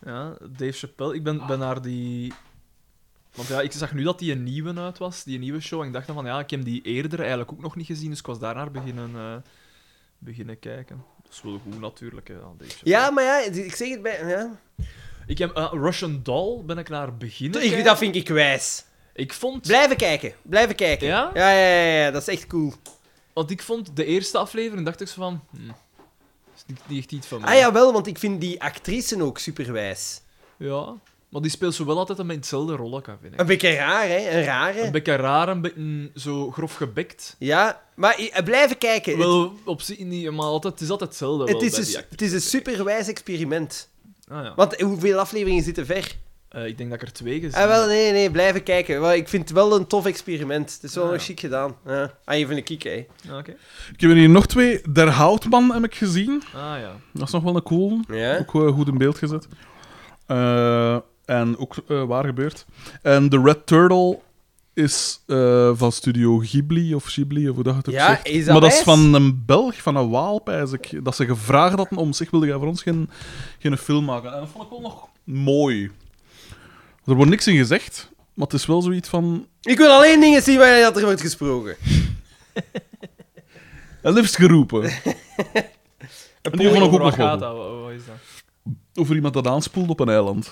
Ja, Dave Chappelle. Ik ben, ben naar die... Want ja, ik zag nu dat die een nieuwe uit was, die nieuwe show. En ik dacht dan van, ja, ik heb die eerder eigenlijk ook nog niet gezien. Dus ik was daarnaar beginnen, eh, beginnen kijken. Dat is wel goed natuurlijk, hè, aan Dave Chappelle.
Ja, maar ja, ik zeg het bij. Ja.
Ik heb eh, Russian Doll, ben ik naar beginnen
Ik,
kijken.
dat vind ik wijs.
Ik vond...
Blijven kijken, blijven kijken.
Ja?
Ja, ja, ja, ja, dat is echt cool.
Want ik vond de eerste aflevering, dacht ik zo van... Hm, is niet, niet echt iets van mij.
Ah ja, wel, want ik vind die actrice ook superwijs.
Ja, Maar die speelt zo wel altijd een beetje hetzelfde rolletje, vind ik.
Een beetje raar, hè? Een
Een
rare.
beetje raar, een beetje hm, zo grof gebekt.
Ja, maar i- eh, blijven kijken. Het,
Wel, op zich niet, maar altijd, het is altijd hetzelfde
het,
wel
is dus-
bij die
een,
acteur.
het is een superwijs experiment.
Ah, ja.
Want hoeveel afleveringen zitten ver?
Eh, ik denk dat ik er twee gezien
Ah, wel,
heb.
nee, nee, blijven kijken. Wel, ik vind het wel een tof experiment. Het is wel
Ja.
nog chic gedaan. Ja. Ah, even een kiek, hè?
Ah, oké.
ik heb er hier nog twee. Der Houtman heb ik gezien.
Ah, ja.
Dat is nog wel een cool.
Ja.
Ook eh, goed in beeld gezet. Eh, en ook eh, waar gebeurd. En The Red Turtle is eh, van studio Ghibli of Ghibli, of hoe dat je het ook
Ja,
zegt.
is dat
maar dat is
wijs?
van een Belg, van een Waalp eigenlijk. Dat ze gevraagd hadden om zich wilde jij voor ons geen, geen film maken. En dat vond ik wel nog mooi. Er wordt niks in gezegd, maar het is wel zoiets van...
Ik wil alleen dingen zien waar dat er wordt gesproken.
En liefst geroepen. en die vond ik ook
Over
nog
wat
wel
gaat
goed.
dat? Wat- wat is dat?
Over iemand dat aanspoelt op een eiland.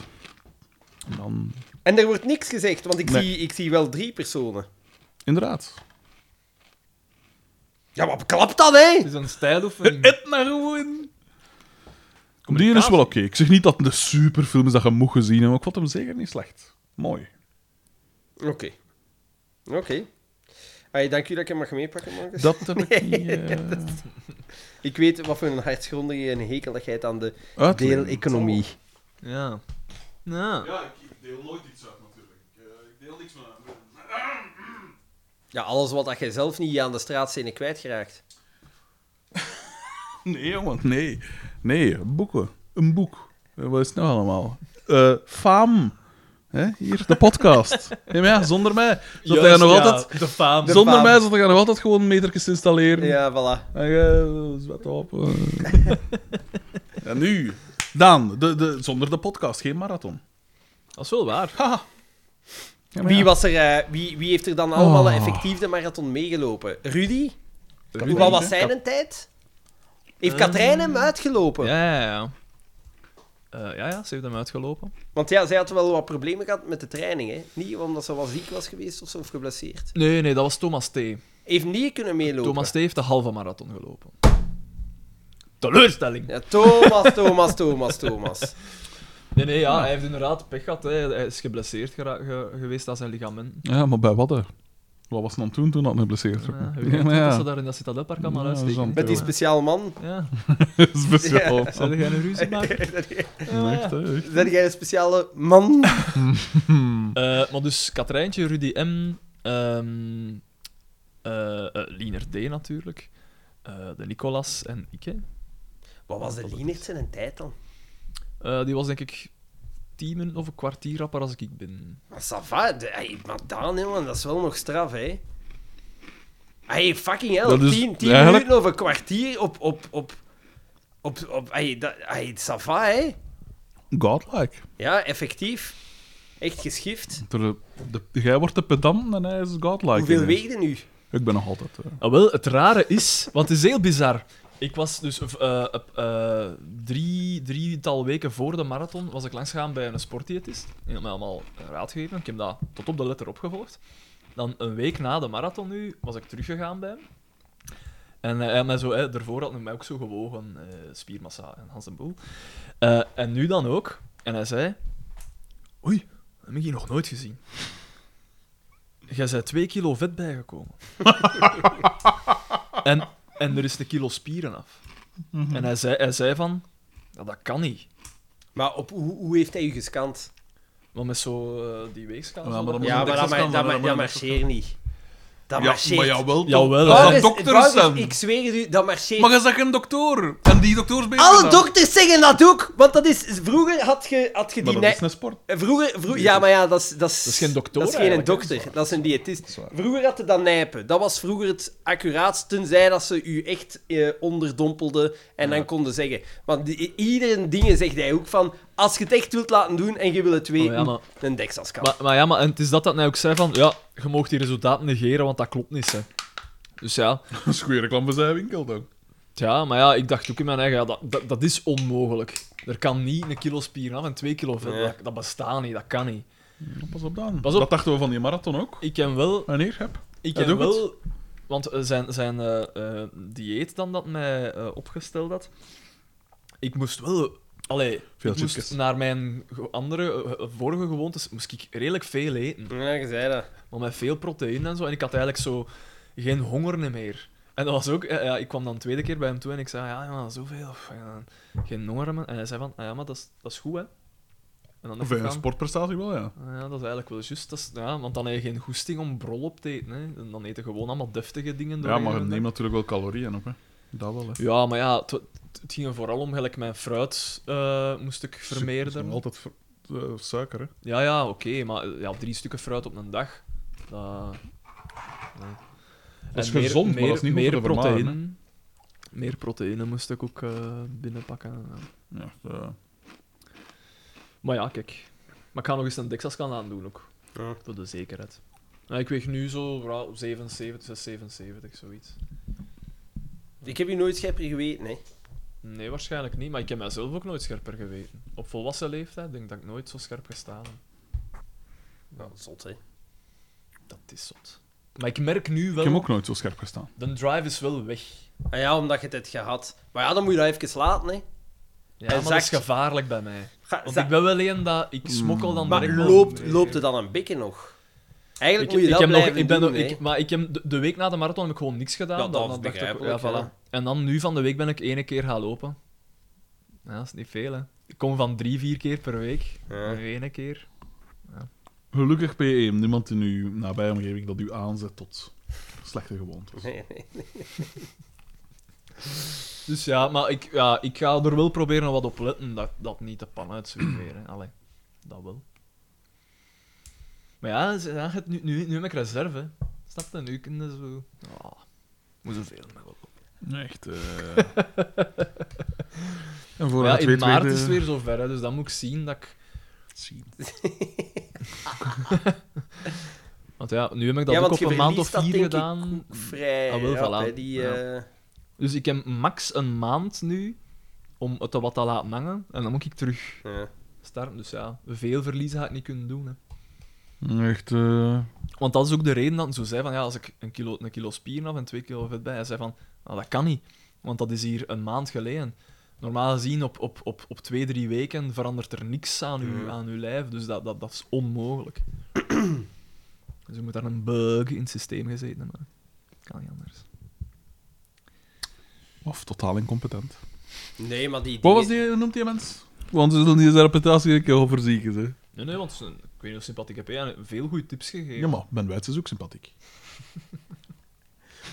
En dan...
En er wordt niks gezegd, want ik,
Nee.
zie, ik zie wel drie personen.
Inderdaad.
Ja, maar klap dat, hè?
Het is een stijloefening.
Etna gewoon. Die is wel oké. Ik zeg niet dat het een superfilm is dat je moet gezien hebben, maar ik vond hem zeker niet slecht. Mooi.
Oké. Oké. Allee, dank u dat ik hem mag meepakken, Marcus.
Dat heb ik niet... eh,
Ik weet wat voor een hartsgrondige en hekel dat jij hebt aan de
uitleggen.
deeleconomie.
Ja. Ja.
Ja, ik, ik deel nooit iets uit natuurlijk. Ik, eh, ik deel niks met anderen.
Ja, alles wat dat jij zelf niet aan de straatscène kwijtgeraakt.
Nee, jongen, nee. Nee, boeken. Een boek. Eh, Wat is het nou allemaal? Eh faam. Hè? Hier, de podcast. Nee, maar ja, zonder mij. Zat
Juist,
jij nog
ja,
altijd...
De faam.
Zonder
faam.
mij zat jij nog altijd gewoon metertjes te installeren.
Ja, voilà.
En jij, eh, zwet op. eh. en nu? Dan, de, de, zonder de podcast, geen marathon.
Dat is wel waar.
Haha. Ja, maar
Wie,
ja.
was er, eh, wie, wie heeft er dan allemaal
Oh.
effectief de marathon meegelopen? Rudy?
Ruud
Wat
Henk,
was
hè?
zijn tijd? Heeft Katrijn hem
Ehm.
uitgelopen?
Ja, ja, ja. Eh, ja, ja, ze heeft hem uitgelopen.
Want ja, zij had wel wat problemen gehad met de training, hè? Niet omdat ze wel ziek was geweest of zo, of geblesseerd.
Nee, nee, dat was Thomas T.
Heeft niet kunnen meelopen.
Thomas T heeft de halve marathon gelopen. Teleurstelling!
Ja, Thomas, Thomas, Thomas, Thomas.
Nee, nee, ja, hij heeft inderdaad pech gehad. Hè. Hij is geblesseerd gera- ge- geweest aan zijn ligamenten.
Ja, maar bij wat? hè? Wat was het dan toen, toen dat me blesseerd
Ja,
werd?
hij Eh, weet
Ja, maar
niet dat
ja.
ze daar in dat citadelpark allemaal
Ja, dat is
uitsteken.
dan-
Met die
Ja.
speciaal man.
Ja,
Dat is best wel...
zijn jij een ruzie maken? Ja,
Echt,
ja.
hè, echt.
Ben jij een speciale man?
Eh, maar dus Katrijntje, Rudy M, ehm eh, eh, Liener D natuurlijk, eh, de Nicolas en ik. hè.
Wat was de Lienert zijn tijd dan?
Eh, die was denk ik tien minuten of een kwartier rapper als ik ben.
Maar ça va, de- hey, maar Daan, jongen, dat is wel nog straf, hè? Hey, fucking hell,
Dat is
tien, tien
eigenlijk-
minuten of een kwartier op... op, op, op, op hey, dat, hey, ça va, hè?
Godlike.
Ja, effectief. Echt geschift.
Ter- de- jij wordt de pedant en hij is godlike.
Hoeveel
ineens.
weegde nu?
Ik ben nog altijd... eh,
Ah, wel, het rare is, want het is heel bizar. Ik was dus eh, op, eh, drie, drietal weken voor de marathon was ik langsgegaan bij een sportdiëtist. Die had mij allemaal raad gegeven. Ik heb dat tot op de letter opgevolgd. Dan een week na de marathon nu was ik teruggegaan bij hem. En eh, hij had mij zo, eh, daarvoor had hij mij ook zo gewogen, eh, spiermassa en Hans en Boel. Eh, en nu dan ook. En hij zei: Oei, dat heb ik hier nog nooit gezien. Jij bent twee kilo vet bijgekomen. En, en er is een kilo spieren af.
Mhm.
En hij zei, hij zei van, ja, dat kan niet.
Maar op, hoe, hoe heeft hij u gescand?
Want met zo eh, die weegschaal...
Ja,
zo,
maar dan
dat-
moet
Ja,
een
maar dat,
Texas
ma-
kan,
dat,
maar
ma- dat
dat moet een
marcheert niet. Dat
Ja,
marcheert.
maar jawel, toch?
Jawel,
dat
Boris,
zijn dokters
Boris,
zijn.
dus- ik zweer het u, dat marcheert.
Maar je zegt een dokter. En die dokters ben je
Alle
dan.
dokters zeggen dat ook, want dat is... Vroeger had je, had je
Maar
die...
dat
ne-
is een sport.
Eh, Vroeger, vroeger, ja, maar ja, dat is... Dat is,
Dat is geen dokter
Dat is geen
eigenlijk, hè.
dokter,
Dat
dat is een diëtist. Vroeger had je dat nijpen. Dat was vroeger het accuraatst, tenzij dat ze u echt eh, onderdompelden en dan konden zeggen. Want die, iedere ding zegt hij ook van, als je het echt wilt laten doen en je wil het weten,
Oh, ja, maar-
een deksaskamp.
Maar, maar ja, maar en het is dat dat hij ook zei van, ja, je mag die resultaten negeren, want dat klopt niet, hè. Dus ja,
Dat is goede reclame voor zijn winkel, dan.
ja, maar ja, ik dacht ook in mijn eigen, ja, dat, dat, dat is onmogelijk. Er kan niet een kilo spieren af en twee kilo vet,
Nee.
dat, dat bestaat niet, dat kan niet.
Pas op dan.
Pas op.
Dat dachten we van die marathon ook.
Ik ken wel
En hier, heb.
Ik
Hij
ken
doet het.
wel, want eh, zijn, zijn eh, eh, dieet dan dat mij eh, opgesteld had, ik moest wel, allee,
Veel
ik moest
chipjes.
naar mijn ge- andere eh, eh, vorige gewoontes moest ik redelijk veel eten,
Ja, je zei dat.
maar met veel proteïne en zo, en ik had eigenlijk zo geen honger niet meer. En dat was ook, eh, ja, ik kwam dan de tweede keer bij hem toe en ik zei, ja, ja zoveel, of, ja, geen honger meer. En hij zei van, ah, ja, maar dat is, dat is goed, hè. En dan
Of
dacht
een
ik aan-
sportprestatie wel, ja.
ja, dat is eigenlijk wel juist. Dat is- ja, want dan heb je geen goesting om brol op te eten. Hè. En Dan eten gewoon allemaal deftige dingen door.
Ja, maar je neemt natuurlijk wel calorieën op, hè. Dat wel, hè.
Ja, maar ja, het, het ging er vooral om, gelijk mijn fruit eh, moest ik
Dat is
vermeerderen.
altijd ver- eh, suiker, hè.
Ja, ja, oké, maar eh, ja, drie stukken fruit op een dag. Dat, nee.
Dat is
En meer-
gezond, maar
meer,
dat is niet goed
meer
voor de vermagen,
proteïne. Meer proteïne moest ik ook eh, binnenpakken. ja.
Ja, eh. dat-
Maar ja, kijk. Maar ik ga nog eens een Dexascan aandoen ook. Voor de zekerheid. Nou, ik weeg nu zo ra- 77, 6, 77, zoiets.
Ik heb u nooit schepper geweten, hè.
Nee, waarschijnlijk niet. Maar ik heb mijzelf ook nooit scherper geweten. Op volwassen leeftijd denk ik dat ik nooit zo scherp gestaan heb.
Nou, zot, hè.
Dat is zot. Maar ik merk nu
Ik
wel...
heb ook nooit zo scherp gestaan.
De drive is wel weg.
Ah ja, omdat je het hebt gehad. Maar ja, dan moet je dat even laten, hè.
Ja,
Hij
maar dat is
zakt.
gevaarlijk bij mij.
Ga-
Want
za-
ik ben wel een dat... Ik smokkel dan
Maar
direct wel-
loopt, loopt het dan een beetje nog?
Ik,
Eigenlijk
ik,
moet je dat
heb nog,
blijven
ik ben
doen,
nog-
hè.
ik, maar ik heb de, de week na de marathon heb ik gewoon niks gedaan.
Ja, dat
dan,
is
dan dacht ik, ja,
begrijpelijk,
voilà.
ja.
En dan nu van de week ben ik één keer gaan lopen. Ja, dat is niet veel, hè. Ik kom van drie, vier keer per week.
Ja.
Nu één keer.
Gelukkig P1, niemand in uw nabije omgeving dat u aanzet tot slechte gewoontes.
Nee, nee.
Dus ja, maar ik, ja, ik ga er wel proberen wat op letten dat, dat niet de pan uitzoekt weer. Hè. Allee, dat wel. Maar ja, ze- ja, het nu, nu, nu heb ik reserve. hè. Snap je? Nu kunnen ze zo... Ah, moet zoveel maar wel op.
Echt. eh. en voor
Maar
het
ja, in
weet
maart
weer,
is het
eh,
weer zover, hè, dus dan moet ik zien dat ik...
zien.
Want ja, nu heb ik dat
ja,
ook
want
op
je
een maand of
verliest dat,
vier
denk ik,
gedaan.
ook vrij
Ah, wel,
rap,
voilà.
hè, die,
Ja.
eh,
Dus ik heb max een maand nu om het wat te laten hangen. En dan moet ik terug
ja.
starten. Dus ja, veel verliezen ga ik niet kunnen doen. Hè.
Echt. eh,
Want dat is ook de reden dat hij zo zei van ja, als ik een kilo, een kilo spieren af en twee kilo vet bij, hij zei van nou, dat kan niet, want dat is hier een maand geleden. Normaal gezien, op, op, op, op twee, drie weken verandert er niks aan uw,
Mm.
aan uw lijf, dus dat, dat, dat is onmogelijk. dus je moet daar een bug in het systeem gezeten hebben. Kan niet anders.
Of totaal incompetent.
Nee, maar die...
Wat was die, hoe noemt die mens? Want ze zullen die zijn reputatie een keer overzieken. Ze.
Nee, nee, want eh, ik weet niet of sympathieke P heeft veel goede tips gegeven.
Ja, maar Ben Wijts is ook sympathiek.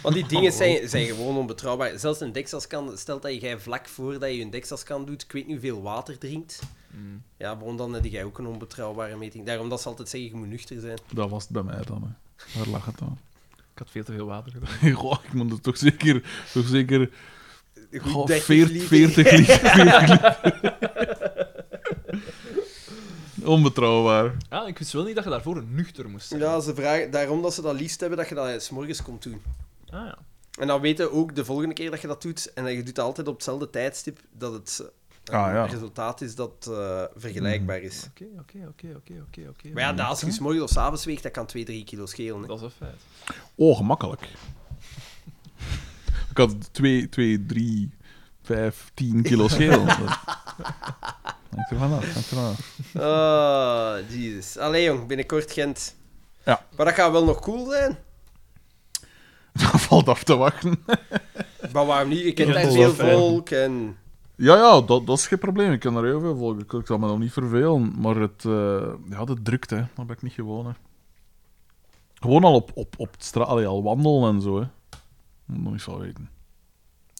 Want die
Oh.
dingen zijn, zijn gewoon onbetrouwbaar. Zelfs een deksaskan, stelt dat jij vlak voordat je een deksaskan doet, ik weet niet hoeveel water drinkt.
Mm.
Ja, waarom dan heb jij ook een onbetrouwbare meting? Daarom dat ze altijd zeggen, je moet nuchter zijn.
Dat was het bij mij dan. Hè. Daar lag het aan.
Ik had veel te veel water gedaan.
Goh, ik moet er toch zeker, toch zeker
Goed
goh,
30
Oh, veert-
liter.
40 liter. 40 liter. Onbetrouwbaar.
Ja, Ah, ik wist wel niet dat je daarvoor nuchter moest zijn.
Ja, ze vragen, daarom dat ze dat liefst hebben, dat je dat 's morgens komt doen.
Ah, ja.
En dan weten ook de volgende keer dat je dat doet, en dat je doet dat altijd op hetzelfde tijdstip, dat het eh,
Ah, ja.
resultaat is dat eh, vergelijkbaar is.
Oké, oké, oké, oké, oké, oké.
Maar ja, dat als je 's morgens of 's avonds weegt, dat kan 2-3 kilo schelen. hè.
Dat is een feit.
Oh, gemakkelijk. Ik had 2, 2, 3, 5, 10 kilo schedel. Dat- Hangt er vanaf, hangt er vanaf.
Oh, jezus. Allee, jong, binnenkort Gent.
Ja.
Maar dat gaat wel nog cool zijn.
Dat valt af te wachten.
Maar waarom niet? Je kent
Ja,
daar
dat
veel
is wel fijn.
volk en...
Ja, ja, dat, dat is geen probleem. Ik kan er heel veel volgen. Ik- Ik zal me nog niet vervelen. Maar het, eh, ja, de drukte, hè. daar ben ik niet gewoon. Hè. Gewoon al op, op, op straat, al wandelen en zo. Hè. Moet nog niet van weten.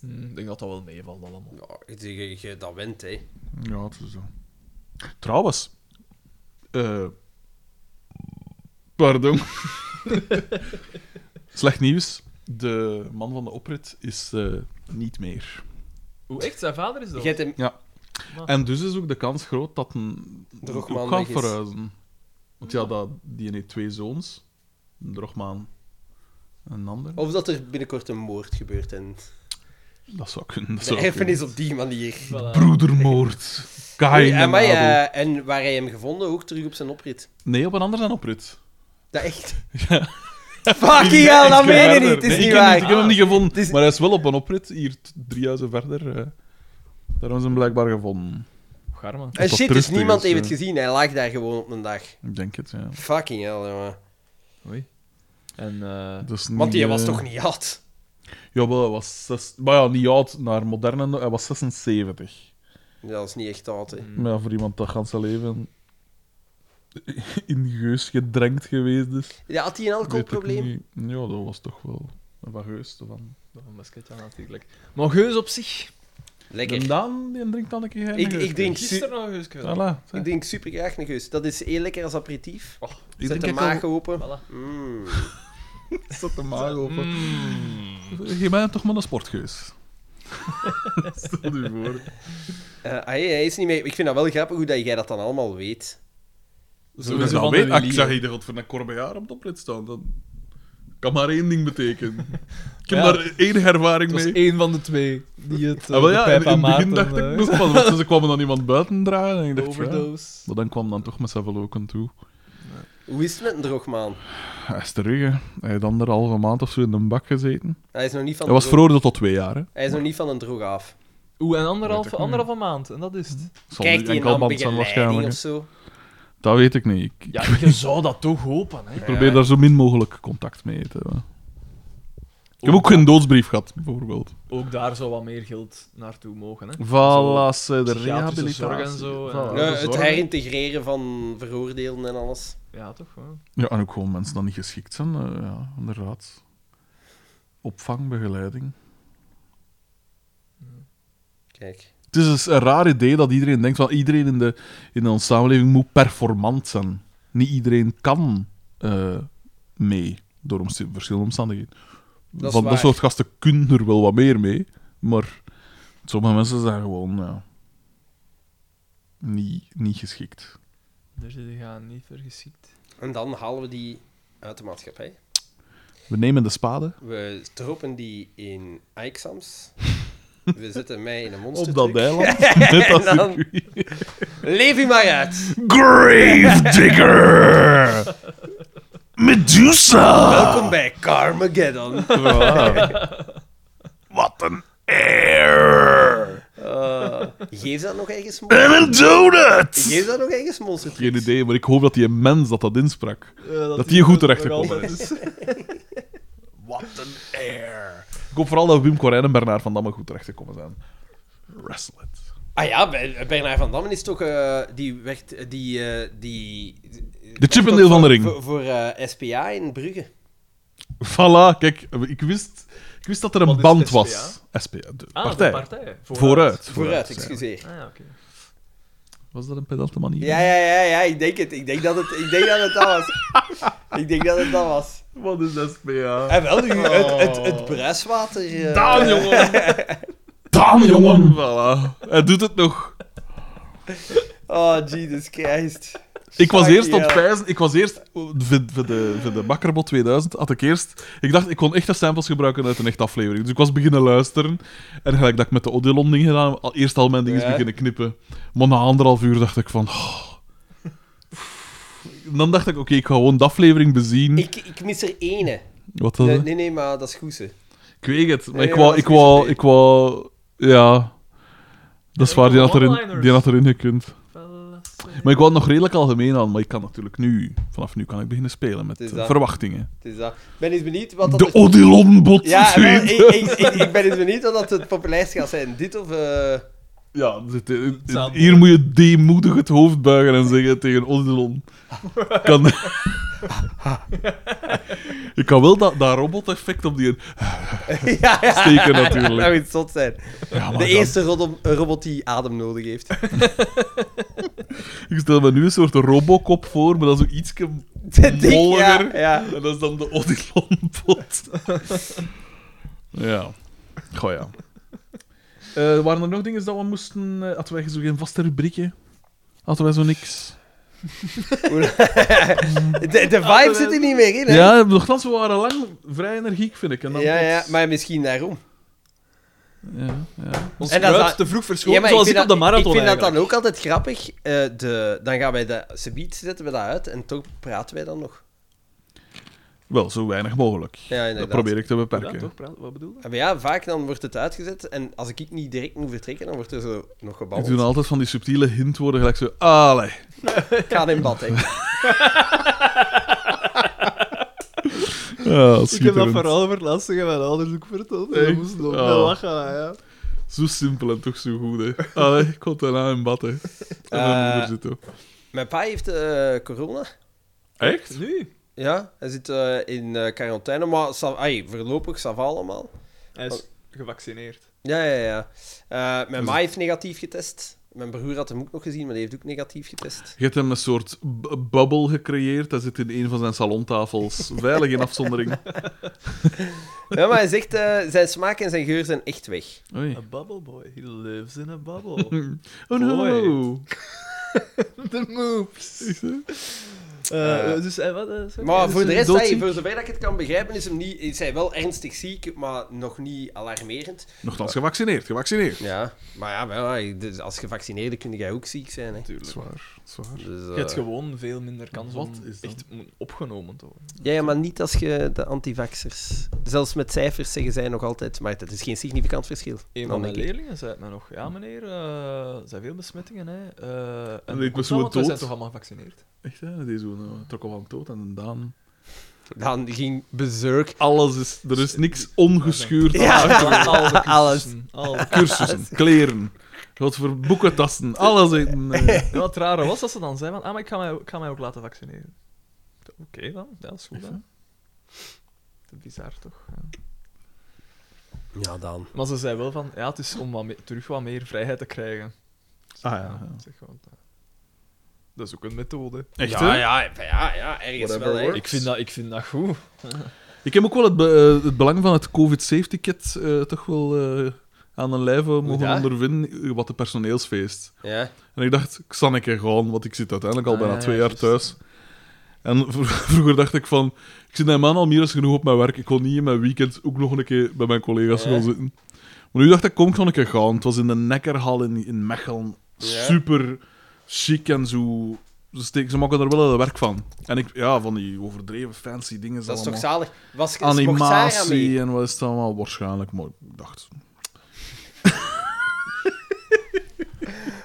Hm, ik denk dat dat wel meevalt allemaal.
Ja, je, je- je- dat went, hè.
Ja, het is zo. Trouwens. eh, pardon. Slecht nieuws. De man van de oprit is eh, niet meer.
Hoe echt? Zijn vader is
Je
dat?
hebt hem...
En dus is ook de kans groot dat een
Drogman
ook
weg
gaat
is.
verhuizen. Want ja, dat, die heeft twee zoons. Een drogmaan en een ander.
Of dat er binnenkort een moord gebeurt en...
Dat zou kunnen. Dat
De
zou kunnen.
erfenis op die manier.
Voilà.
Broedermoord. Kain
Oei,
en
amai,
Abel.
eh, en waar hij hem gevonden, ook terug op zijn oprit.
Nee, op een ander zijn oprit.
Dat echt...
Ja.
Fucking hell, dat meen je niet. Het is
Nee, ik
niet
heb
waar.
Ik heb hem niet gevonden.
is-
Maar hij is wel op een oprit, hier t- drie huizen verder. eh. Daar hebben ze hem blijkbaar gevonden.
Garma.
En
dat
shit, dus
rustig
niemand
is,
heeft
ja.
het gezien. Hij lag daar gewoon op een dag.
Ik denk het, ja.
Fucking hell, jongen.
Oei. En eh,
Dus
Want die
niet,
was
eh,
toch niet oud?
Jawel, hij was... Zes... Maar ja, niet oud, naar moderne... Hij was 76.
Dat is niet echt oud, hè.
Maar ja, voor iemand dat gans zijn leven in de geus gedrenkt geweest is...
Ja, had hij een
weet ik
alcoholprobleem?
niet. Ja, dat was toch wel een van geus. Van...
nog een basketje natuurlijk. Maar geus op zich.
Lekker.
En dan, die drinkt dan een keer...
Ik- ik drink-
Gisteren nog een geus gedaan.
Voilà,
Ik denk super graag een geus. Dat is heel lekker als aperitief.
Ik
Zet
drink
de
echt
maag open.
Voilà.
Mm.
al- Zet de maag open.
Mm.
Geef mij toch maar een sportgeus. Stel u voor.
Eh, ah, hey, hij is niet meer... Ik vind dat wel grappig hoe dat jij dat dan allemaal weet.
Sowieso van de
Ah, ik
Lille.
zag hier de voor een Corbejaar op de oprit staan. Dat kan maar één ding betekenen. Ik heb
Ja.
daar enige ervaring
Het was
mee.
één van de twee die het eh,
Ah, wel
de
ja, in,
pijp aan
in het begin
Maarten,
dacht ik
eh,
nog van, want ze kwamen dan iemand buiten dragen en ik dacht, ja.
overdose.
Maar dan kwam dan toch met Saveloken toe.
Hoe is het met een drogmaan?
Hij is terug, hè. Hij heeft anderhalve maand of zo in een bak gezeten.
Hij is nog niet van,
Hij
een
was
droog...
veroordeeld tot twee jaar, hè.
hij is nog niet van een droog af.
Oeh, en anderhalf, anderhalve maand. En dat is het.
Zal nu
Kijk, die
enkel
een
band zijn
begeleiding
waarschijnlijk.
of
hè.
zo.
Dat weet ik niet. Ik,
Ja, je zou dat toch hopen, hè.
ik probeer daar zo min mogelijk contact mee te hebben. Ik heb ook geen doodsbrief gehad, bijvoorbeeld.
Ook daar zou wat meer geld naartoe mogen. Hè?
Voilà, ze, de
psychiatrische
rehabilitatie.
zorg en zo,
Voilà,
ja.
de
Ja,
Nou, het
zorg.
herintegreren van veroordeelden en alles.
Ja, toch? Hè?
Ja, en ook gewoon mensen die niet geschikt zijn. eh, ja, inderdaad. Opvangbegeleiding.
Kijk.
Het is dus een raar idee dat iedereen denkt van iedereen in, de, in onze samenleving moet performant zijn. Niet iedereen kan eh, mee door omst- verschillende omstandigheden.
Dat is
van
waar.
dat soort gasten kunnen er wel wat meer mee, maar sommige mensen zijn gewoon ja, niet, niet geschikt.
Dus die gaan niet vergeschikt.
En dan halen we die uit de maatschappij.
We nemen de spade
We stropen die in Aixams. We zetten mij in een monster.
op dat eiland.
en dan... Leef u maar uit.
Gravedigger! Medusa!
Welkom bij Carmageddon.
Wat een eer!
Geef dat nog ergens monster.
En een donut!
Geef dat nog ergens monster.
Geen idee, maar ik hoop dat die mens dat dat insprak.
Eh, dat,
die die goed terecht nog gekomen altijd
is.
Wat een eer! Ik hoop vooral dat Wim Corijn en Bernard van Damme goed terecht gekomen zijn. Wrestle it.
Ah ja, Ber- Bernard van Dammen is toch... eh, die werkt... eh, die, eh, die...
De Chippendale van de ring.
Voor, voor eh, SPA in Brugge.
Voilà, kijk, ik wist, ik wist dat er een
Wat is
band
SPA?
was. SP, de
Ah,
partij.
de partij.
Vooruit.
Vooruit,
ja.
excuseer.
Ah, ja, oké.
Was dat een pedante manier?
Ja, ja, ja, ja, ik denk het. Ik denk dat het, ik denk dat, het dat was. Ik denk dat het dat was.
Wat is SPA?
En wel, u, het, het, het bruiswater... eh,
Daan, jongen!
Daan, jongen.
voilà. Hij doet het nog.
Oh, Jesus Christ.
Ik was
Fuck
eerst op
yeah.
pijzen. Ik was eerst oh, voor voor de, voor de Bakkerbot 2000 had ik eerst. Ik dacht ik kon echte samples gebruiken uit een echte aflevering. Dus ik was beginnen luisteren en gelijk dat ik met de Odilon ding gedaan, al, eerst al mijn dingen
Ja.
beginnen knippen. Maar na anderhalf uur dacht ik van. oh. En Dan dacht ik, oké, ik ga gewoon de aflevering bezien.
Ik, ik mis er ene.
Wat was
Nee,
het?
nee, nee, maar dat is goed. ze.
Ik weet het, maar
Nee,
ik
maar
wou,
dat is
ik
niet
wou,
oké.
ik wou, ja. Dat is
Ja,
waar, die
enkel
had, erin,
one-liners.
die had erin gekund.
Verlassen.
Maar ik wou het nog redelijk algemeen aan, maar ik kan natuurlijk nu, vanaf nu kan ik beginnen spelen met
Het is
eh,
dat.
verwachtingen.
Het is dat. Ik ben eens benieuwd wat dat...
De Odilon-bot.
ja, wel, ik,
tweede.
ik, ik, ik ben eens benieuwd wat dat het populairst gaat zijn. Dit of... eh,
Ja, dit- dit-
zou
hier moet je deemoedig het hoofd buigen en zeggen tegen Odilon. Kan... ik kan wel dat, dat robot-effect op die
ja, ja.
steken
Dat zou
natuurlijk.
iets zot zijn.
Ja, maar
De
dan-
eerste rodom- robot die adem nodig heeft.
ik stel me nu een soort robocop voor, maar dat is iets
Te dik, ja,
molliger.
ja.
En dat is dan de Odilon-bot. ja. Goh ja. Eh, waren er nog dingen dat we moesten... eh, hadden wij zo geen vaste rubriekje? Hadden wij zo niks?
De, de vibe zit er niet meer in, hè?
Ja, nogthans, we waren lang vrij energiek, vind ik. En dan
ja, ja,
plots-
maar misschien daarom.
Ja, ja.
Ons
En dat is dat-
kruid te vroeg
Ja,
verschoten,
maar
zoals
ik
ik
vind
op de
dat- Ik
marathon
vind dat
eigenlijk.
dan ook altijd grappig. Eh, de, dan gaan wij de subiet zetten we dat uit en toch praten wij dan nog.
Wel, zo weinig mogelijk.
Ja,
dat
inderdaad.
probeer ik te
Ja,
beperken.
toch? Praat- Wat bedoel je?
Ah, Maar ja, vaak dan wordt het uitgezet en als ik niet direct moet vertrekken, dan wordt er zo nog
ik
gebabbeld.
doe altijd van die subtiele hintwoorden, gelijk zo... Allee.
Ik ga in bad, hè.
Ja,
Ik heb dat
schitterend.
verhaal over het laatst tegen mijn ouders ook verteld.
Echt?
We moesten ook wel
Ah.
lachen, ja.
Zo simpel en toch zo goed, hè. Allee, ik kon daarna in bad, hè. En dan
Eh.
moeder zit ook.
Mijn pa heeft eh, corona.
Echt?
Nu?
Ja, hij zit eh, in eh, quarantaine, maar sa- ai, voorlopig sava allemaal.
Hij is gevaccineerd.
Ja, ja, ja. Eh,
Dus
mijn ma heeft negatief getest. Mijn broer had hem ook nog gezien, maar die heeft ook negatief getest.
Je hebt hem een soort b- bubbel gecreëerd. Hij zit in een van zijn salontafels. Veilig in afzondering.
Ja, maar hij zegt, eh, zijn smaak en zijn geur zijn echt weg.
Oei.
A bubble boy. He lives in a bubble.
Oh no.
Mooi. The moves. Eh, dus, eh, wat, eh, sorry,
Maar
dus
voor de rest,
doodziek?
hey, voor zover dat ik het kan begrijpen, is, hem niet, is hij wel ernstig ziek, maar nog niet alarmerend.
Nogthans gevaccineerd, gevaccineerd.
Ja, maar ja, wel, hey, dus als gevaccineerde kun jij ook ziek zijn. Hè.
Zwaar, zwaar.
Dus, eh,
Je hebt gewoon veel minder kans
Wat
om
is dat?
echt mo- opgenomen te worden.
ja, ja, maar niet als je de antivaxers. Zelfs met cijfers zeggen zij nog altijd, maar dat is geen significant verschil.
Een
Dan
van mijn
denk ik.
leerlingen zei het mij nog. Ja, meneer, eh, er zijn veel besmettingen, hè. Eh,
Ik
en
was
komt
zo
dat, want wij
dood.
zijn toch allemaal gevaccineerd?
eh, Echt, hè? Die zo'n uh, trok al aan dood en een Daan.
Dan ging bezurk.
Alles is... Er is niks ongeschuurd aan
Al- al de
alles.
cursussen, al de-
Cursussen, kleren, wat voor boekentassen, alles. eten, eh.
Ja, het rare was dat ze dan zei van, ah, maar ik ga mij, ik ga mij ook laten vaccineren. Oké dan, ja, dat is goed dan. Bizar toch? Ja.
Ja, dan.
Maar ze zei wel van, ja, het is om wat me- terug wat meer vrijheid te krijgen.
Ah ja, ja.
Zeg gewoon, eh, dat is ook een methode.
Echt,
ja,
hè?
ja, ja, ja, ja, ergens
Whatever
wel, hè.
works.
Ik vind dat, ik vind dat goed.
Ik heb ook wel het, be- eh, het belang van het COVID-safety-kit toch wel eh, aan een lijve mogen
ja?
ondervinden, eh, wat de personeelsfeest.
Ja.
En ik dacht, ik zal een keer gaan, want ik zit uiteindelijk al
Ah,
bijna
ja,
twee
ja,
jaar
juist.
thuis. En vro- vroeger dacht ik van, ik zit mijn man al meer dan genoeg op mijn werk, ik kon niet in mijn weekend ook nog een keer bij mijn collega's
Ja.
gaan zitten. Maar nu dacht ik, kom, ik ga een keer gaan. Het was in de Nekkerhal in, in Mechelen.
Ja.
Super chic en zo. Ze, steken, ze maken er wel werk van. En ik, ja, van die overdreven fancy dingen.
Dat is toch
allemaal
zalig? Was mocht Sarah mee?
animatie en wat is het allemaal waarschijnlijk, maar ik dacht...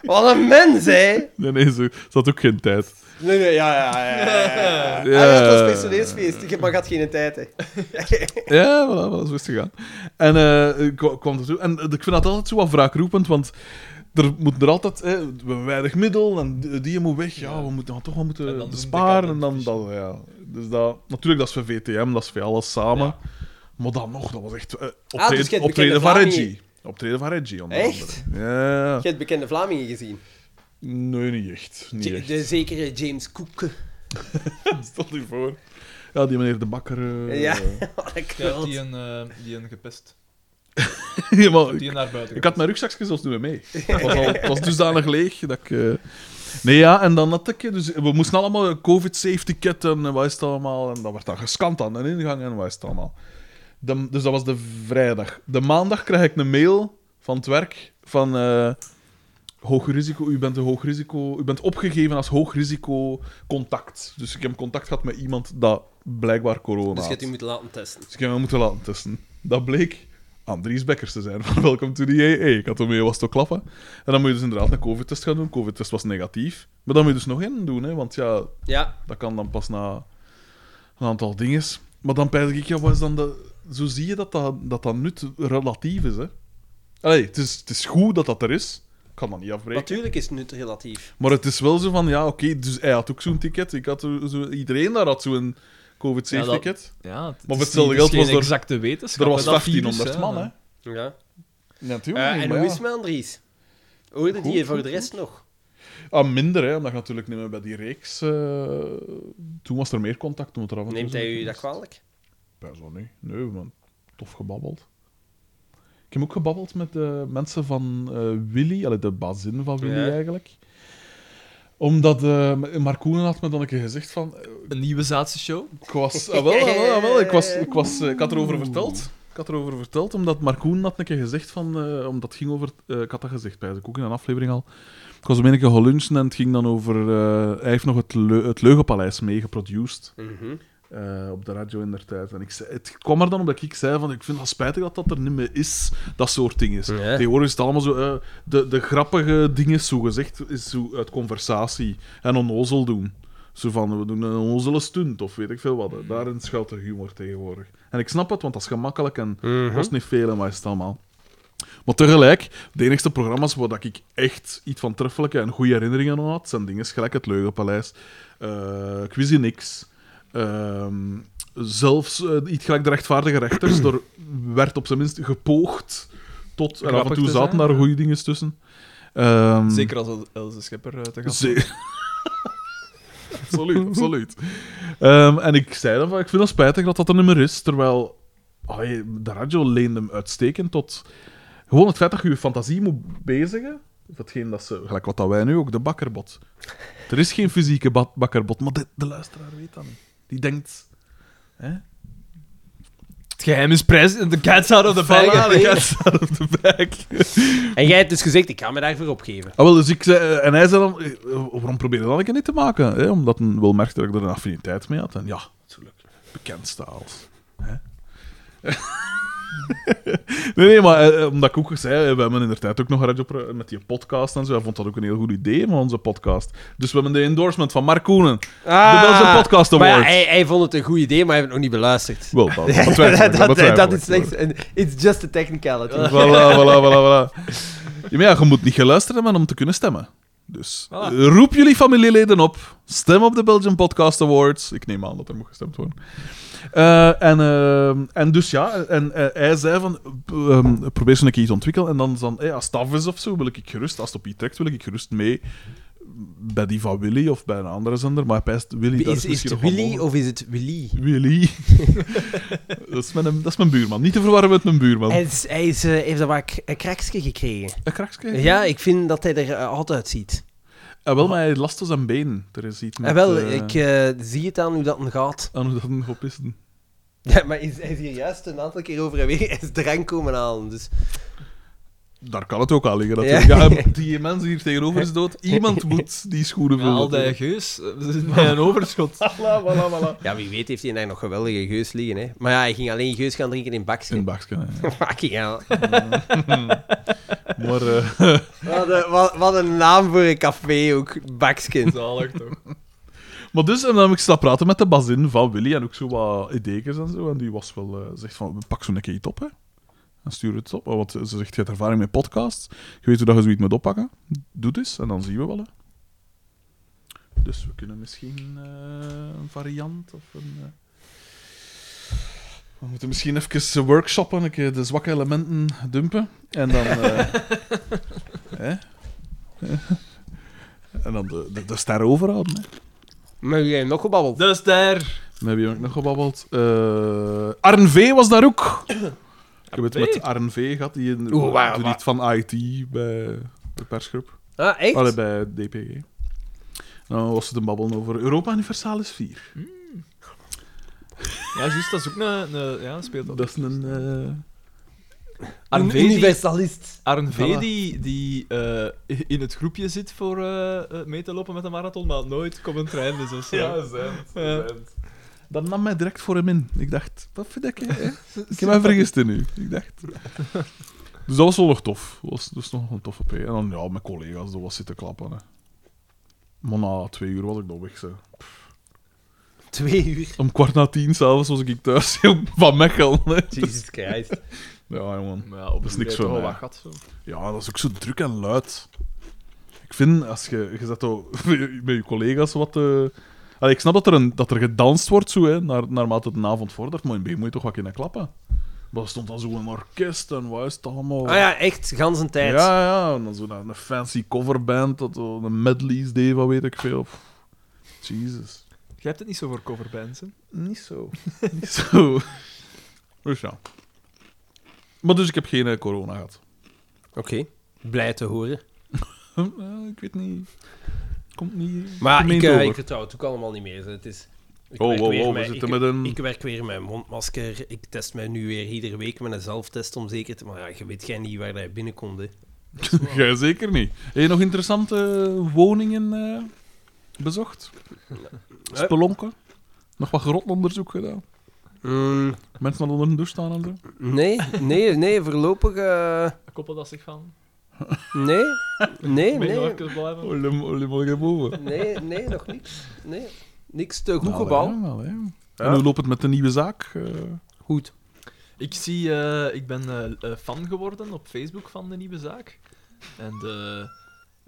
Wat een mens, hè?
Nee, nee, ze ze had ook geen tijd.
Nee, nee, ja, ja, ja. ja, ja.
Ja.
Ah, ja, het was personeelsfeest. Ik heb maar had geen tijd, hè.
Ja, voilà, voilà, zo is het gegaan. En eh, ik kwa- kwam ertoe. En eh, ik vind dat altijd zo wat wraakroepend, want er moet er altijd... eh, we hebben weinig middel, en die- die moet weg. Ja, we moeten dan toch wel
En dan
moeten
doen
besparen. En dan,
decadent
dat, ja. Dus dat... Natuurlijk, dat is voor VTM, dat is voor alles samen. Maar dan nog, dat was echt... eh,
jij hebt
optreden,
bekende
optreden van
Vlamingen.
Reggie. Optreden van Reggie, onder
Echt?
andere. Ja.
Je hebt bekende Vlamingen gezien.
Nee, niet echt. Niet
Ja-
echt.
De zekere James Cook.
Stel je voor. Ja, die meneer de bakker... eh,
Ja.
eh.
Wat een
Ja,
knult.
die een, eh, die een gepest.
Ja, maar
Die
ik,
een naar buiten.
ik had mijn rugzakje zelfs niet meer mee. Het was, al, het was dusdanig leeg dat ik... eh, Nee, ja, en dan had ik... eh, Dus we moesten allemaal een covid-safety-kit en eh, wat is het allemaal. En dat werd dan gescand aan de ingang en wat is het allemaal. De- dus dat was de vrijdag. De maandag kreeg ik een mail van het werk van... eh, Hoog risico, u bent een hoog risico. U bent opgegeven als hoog risico contact. Dus ik heb contact gehad met iemand dat blijkbaar
Dus
corona
je hebt
had.
die moeten laten testen.
Dus ik heb hem moeten laten testen. Dat bleek Andries Bekkers te zijn van Welcome to the AA. Ik had hem mee was toch klappen. En dan moet je dus inderdaad een covid-test gaan doen. Covid-test was negatief. Maar dan moet je dus nog één doen, hè, want ja,
Ja.
dat kan dan pas na een aantal dingen. Maar dan pijs ik, ja, wat is dan de... Zo zie je dat dat, dat, dat nut relatief is, hè. Allee, het is, het is goed dat dat er is. Ik kan dat niet afbreken.
Natuurlijk is het nut relatief.
Maar het is wel zo van, ja, oké, dus hij had ook zo'n ticket. Ik had zo- zo, iedereen daar had zo'n
Ja, dat-
covid-safe-ticket.
Ja, het
voor
is
hetzelfde
niet- het is
geld was
geen
er-
exacte wetenschap.
er was
hè, dat virus,
1500 man, hè.
Ja.
Natuurlijk.
Eh, en hoe is het met Andries? Hoorde die
Goed,
je voor
goed,
de rest nog?
Ah, minder, hè, omdat je natuurlijk niet meer bij die reeks... eh, Toen was er meer contact, toen het er af en toe
Neemt hij
zo-
u dat kwalijk?
Best wel niet. Nee, man. Tof gebabbeld. Ik heb ook gebabbeld met de mensen van eh, Willy, allee, de bazin van Willy
Ja.
eigenlijk. Omdat eh Marcoenen had me dan een keer gezegd van... eh,
Een nieuwe zaadse show.
Ik was... Ah, wel, ah, wel, ah, wel. Ik, was, ik, was, eh, ik had erover verteld. Ik had erover verteld, omdat Marcoen had een keer gezegd van... eh, omdat het ging over... eh, ik had dat gezegd bij de ook in een aflevering al. Ik was om een keer gaan lunchen en het ging dan over... eh, hij heeft nog het, Leu- het Leugenpaleis meegeproduced
Mhm.
eh, op de radio in der tijd. En ik zei, het kwam er dan omdat ik zei van, ik vind het spijtig dat dat er niet meer is, dat soort dingen.
Ja.
Tegenwoordig is het allemaal zo, eh, de, de grappige dingen, zo gezegd, is zo uit conversatie en onnozel doen. Zo van, we doen een onnozele stunt of weet ik veel wat. Daarin schuilt de humor tegenwoordig. En ik snap het, want dat is gemakkelijk en kost niet veel en wat is het allemaal. Maar tegelijk, de enigste programma's waar dat ik echt iets van treffelijke en goede herinneringen aan had, zijn dingen gelijk het Leugenpaleis, eh Quiz in X. Ehm, zelfs eh, iets gelijk de rechtvaardige rechters, er werd op zijn minst gepoogd tot... En af en
Grappig
toe
te
zaten
zijn,
daar
ja.
goede dingen tussen. Ehm,
Zeker als El- Elze Schepper eh, te gast was.
Ze- absoluut, absoluut. Ehm, en ik zei dan van, ik vind het spijtig dat dat een nummer is, terwijl allee, de radio leende hem uitstekend tot... Gewoon het feit dat je je fantasie moet bezigen, of hetgeen dat ze... Gelijk wat dat wij nu ook, de bakkerbot. Er is geen fysieke ba- bakkerbot, maar de, de luisteraar weet dat niet. Die denkt... Hè?
Het geheim is prijs. The cat's out of the bag.
Voilà,
hè.
de cat's-
Yes, out of the bag.
En jij hebt dus gezegd, ik ga me daarvoor opgeven.
Ah, wel, dus ik zei, en hij zei dan, eh, waarom probeer je dat een keer niet te maken? Hè? Omdat hij wel merkte dat ik er een affiniteit mee had. En ja, natuurlijk, bekend staals. Hè? Nee, nee, maar eh, eh, omdat ik ook zei, eh, we hebben inderdaad ook nog een radio met die podcast en zo. Hij vond dat ook een heel goed idee van onze podcast. Dus we hebben de endorsement van Mark Koenen.
Ah,
De Belgische Podcast
maar ja,
Award.
hij, hij vond het een goed idee, maar hij heeft het nog niet beluisterd.
Wel, dat, dat, twijfel ik, dat
dat,
twijfel
dat
ik.
is slechts een... It's just a technicality.
Voilà, voilà, voilà, voilà. Ja, maar ja, je moet niet geluisterd hebben om te kunnen stemmen. Dus eh, roep jullie familieleden op. Stem op de Belgian Podcast Awards. Ik neem aan dat er moet gestemd worden. Eh, en, eh, en dus ja, en eh, hij zei van, p- ehm, probeer zo een keer iets te ontwikkelen. En dan, dan hey, als het af is of zo, wil ik gerust, als het op je trekt, wil ik gerust mee bij die van Willy of bij een andere zender. Maar hij pijst, Willy, daar
Is, is
misschien
het
nog wel
Willy
mogelijk.
of is het Willy?
Willy. dat, is mijn, dat is mijn buurman. Niet te verwarren met mijn buurman.
Hij, is, hij is, eh, heeft daar maar een kraksje gekregen.
Een kraksje?
Ja, ik vind dat hij er eh, hot uitziet.
Ah, wel, maar hij heeft last van zijn been. Er is iets met...
En Ah, wel,
eh,
ik eh, zie het aan hoe dat hem gaat.
Aan hoe dat hem gaat pissen.
Ja, maar hij is, hij is hier juist een aantal keer over en weer hij is drank komen halen. Dus.
Daar kan het ook aan liggen,
Ja.
natuurlijk. Ja. die mens hier tegenover is dood. Iemand moet die schoenen vullen.
al die geus. eh, We zitten bij een overschot.
Voilà, voilà, voilà.
Ja, wie weet heeft hij daar nog geweldige geus liggen. Hè? Maar ja, hij ging alleen geus gaan drinken in bakjes.
In baksken, hè.
Fucking hell.
Maar eh,
Wat een, wat, wat een naam voor een café ook. Bakskin.
Zalig toch?
Maar dus, en dan heb ik staan praten met de bazin van Willy en ook zo wat ideekes en zo. En die was wel, eh, zegt van, pak zo'n keer iets op, hè. En stuur het op. Want ze zegt, je hebt ervaring met podcasts. Je weet hoe dat je zoiets moet oppakken. Doe dus, en dan zien we wel, hè. Dus we kunnen misschien eh, een variant of een... eh, We moeten misschien even eh, workshoppen, een keer de zwakke elementen dumpen. En dan... eh, hè? En dan de, de, de ster overhouden, hè.
Maar jij hebt nog gebabbeld.
Dat is Dus daar.
Dan heb je ook nog gebabbeld. Eh Arn V was daar ook. Ik heb het met Arn V gehad, die een
Oeh, waar-
die
waar-
niet van IT bij de persgroep.
Ah, echt?
Allee, bij DPG. Dan Nou, was het een babbelen over Europa Universalis 4.
Ja, juist, dat is ook een... een ja, speelt dat.
Dat is een... eh,
Arn V die-
universalist.
Arn V
Voilà.
die, die eh, in het groepje zit voor eh, eh, mee te lopen met de marathon, maar nooit komt een trein, dus dat is zo.
zend,
Ja.
Dat nam mij direct voor hem in. Ik dacht, wat vind ik? hè? Ik heb mij vergist in u. Ik dacht. Dus dat was wel nog tof. Dat was, dat was nog een toffe P. En dan, ja, mijn collega's, dat was zitten klappen. Hè. Maar na twee uur was ik nog weg. Zeg.
Twee uur.
Om kwart na tien s'avonds was ik thuis van Mechelen. hè.
Jesus Christ.
Ja, jongen.
Maar ja, op
Dat is
een
niks
tijd
voor
wel
mij.
wat gat, zo.
Ja, dat is ook zo druk en luid. Ik vind, als je... Je zat al met je collega's wat... eh, Allee, ik snap dat er, een, dat er gedanst wordt, zo, hè, naar, naarmate de avond vordert. Maar in het begin moet je toch wat kunnen klappen. Maar er stond dan zo'n orkest en wat is het allemaal...
Ah ja, echt. Gans een tijd.
Ja, ja, en dan zo'n een fancy coverband, dat zo een medleys deed, wat weet ik veel. Pff, Jesus.
Jij hebt het niet zo voor coverbands, hè?
Niet zo. Niet zo. Dus ja. Maar dus ik heb geen eh, corona gehad.
Oké. Blij te horen.
Hm, ja, ik weet niet. Komt niet.
Maar
gemeen
ik, eh,
over.
ik vertrouw het ook allemaal niet meer. Het is, ik
Oh,
werk
wow,
weer
wow, we
met-
zitten
ik,
met een-
Ik werk weer met een mondmasker. Ik test mij nu weer iedere week met een zelftest om zeker te... Maar ja, je weet jij niet waar dat binnenkomt, hè.
Jij zeker niet. Heb je nog interessante woningen eh, bezocht? Spelonken? Nog wat grotonderzoek gedaan?
Mm,
Mensen hadden onder een douche staan en zo?
nee, nee, nee, voorlopig... eh,
Koppel dat zich van.
nee, nee,
Mee
nee.
door kunnen blijven.
Olle, olle, olle, boven.
Nee, nee, nog niks. Nee, niks te goed
Nou,
gebouw.
ja, nou, ja. En hoe loopt het met de nieuwe zaak? Eh,
Goed.
Ik zie, eh, ik ben eh, eh, fan geworden op Facebook van de nieuwe zaak. En de.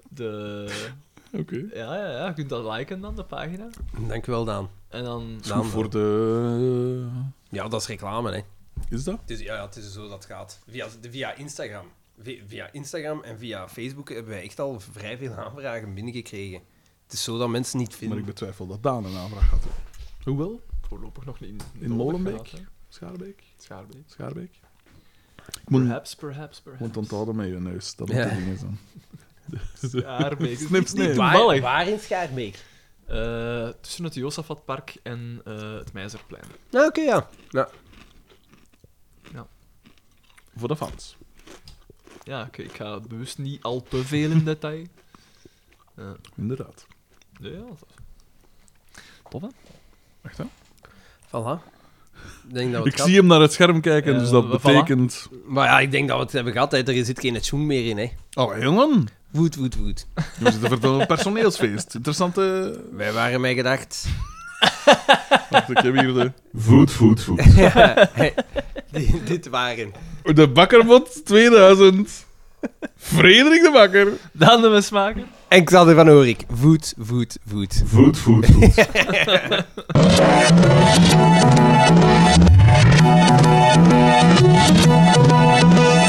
de
Oké.
ja, ja, ja, je kunt dat liken dan, de pagina.
Dank u wel, Daan.
En dan.
Is goed voor de... eh,
Ja, dat is reclame, hè.
Is dat?
Het is, ja, ja, het is zo dat het gaat. Via, via Instagram. Vi- Via Instagram en via Facebook hebben wij echt al vrij veel aanvragen binnengekregen. Het is zo dat mensen niet
Maar
vinden.
ik betwijfel dat Daan een aanvraag had. Hoewel?
Voorlopig nog niet.
In Molenbeek? Schaarbeek?
Schaarbeek.
Schaarbeek? Ik moet,
Perhaps, perhaps,
ik
perhaps.
moet onthouden met je neus. Dat
Ja.
moet de dingen zijn.
Schaarbeek.
Snip, snip.
Niet toevallig.
waar in Schaarbeek?
Eh, tussen het Josafatpark en eh, het Meizerplein.
Nou, oké, ja.
Voor de fans.
Ja, oké, ik ga bewust niet al te veel in detail. Eh,
Inderdaad.
ja, ja, tof. Tof, hè?
Echt, hè?
Voilà. Ik denk dat we het
Ik
gehad-
zie hem naar het scherm kijken,
Ja,
dus dat
voilà.
betekent...
Maar ja, ik denk dat we het hebben gehad. Hè. Er zit geen tjoen meer in, hè.
Oh, jongen.
Woed, woed, woed.
We zitten voor het personeelsfeest. Interessante...
Wij waren mij gedacht.
Wacht, ik heb hier de...
Voet, voet, voet.
Die- dit waren.
De Bakkerbot 2000. Frederik de Bakker.
Dan de smaken.
En Xander van Oorik. Voet, voet, voet.
Voet, voet, voet.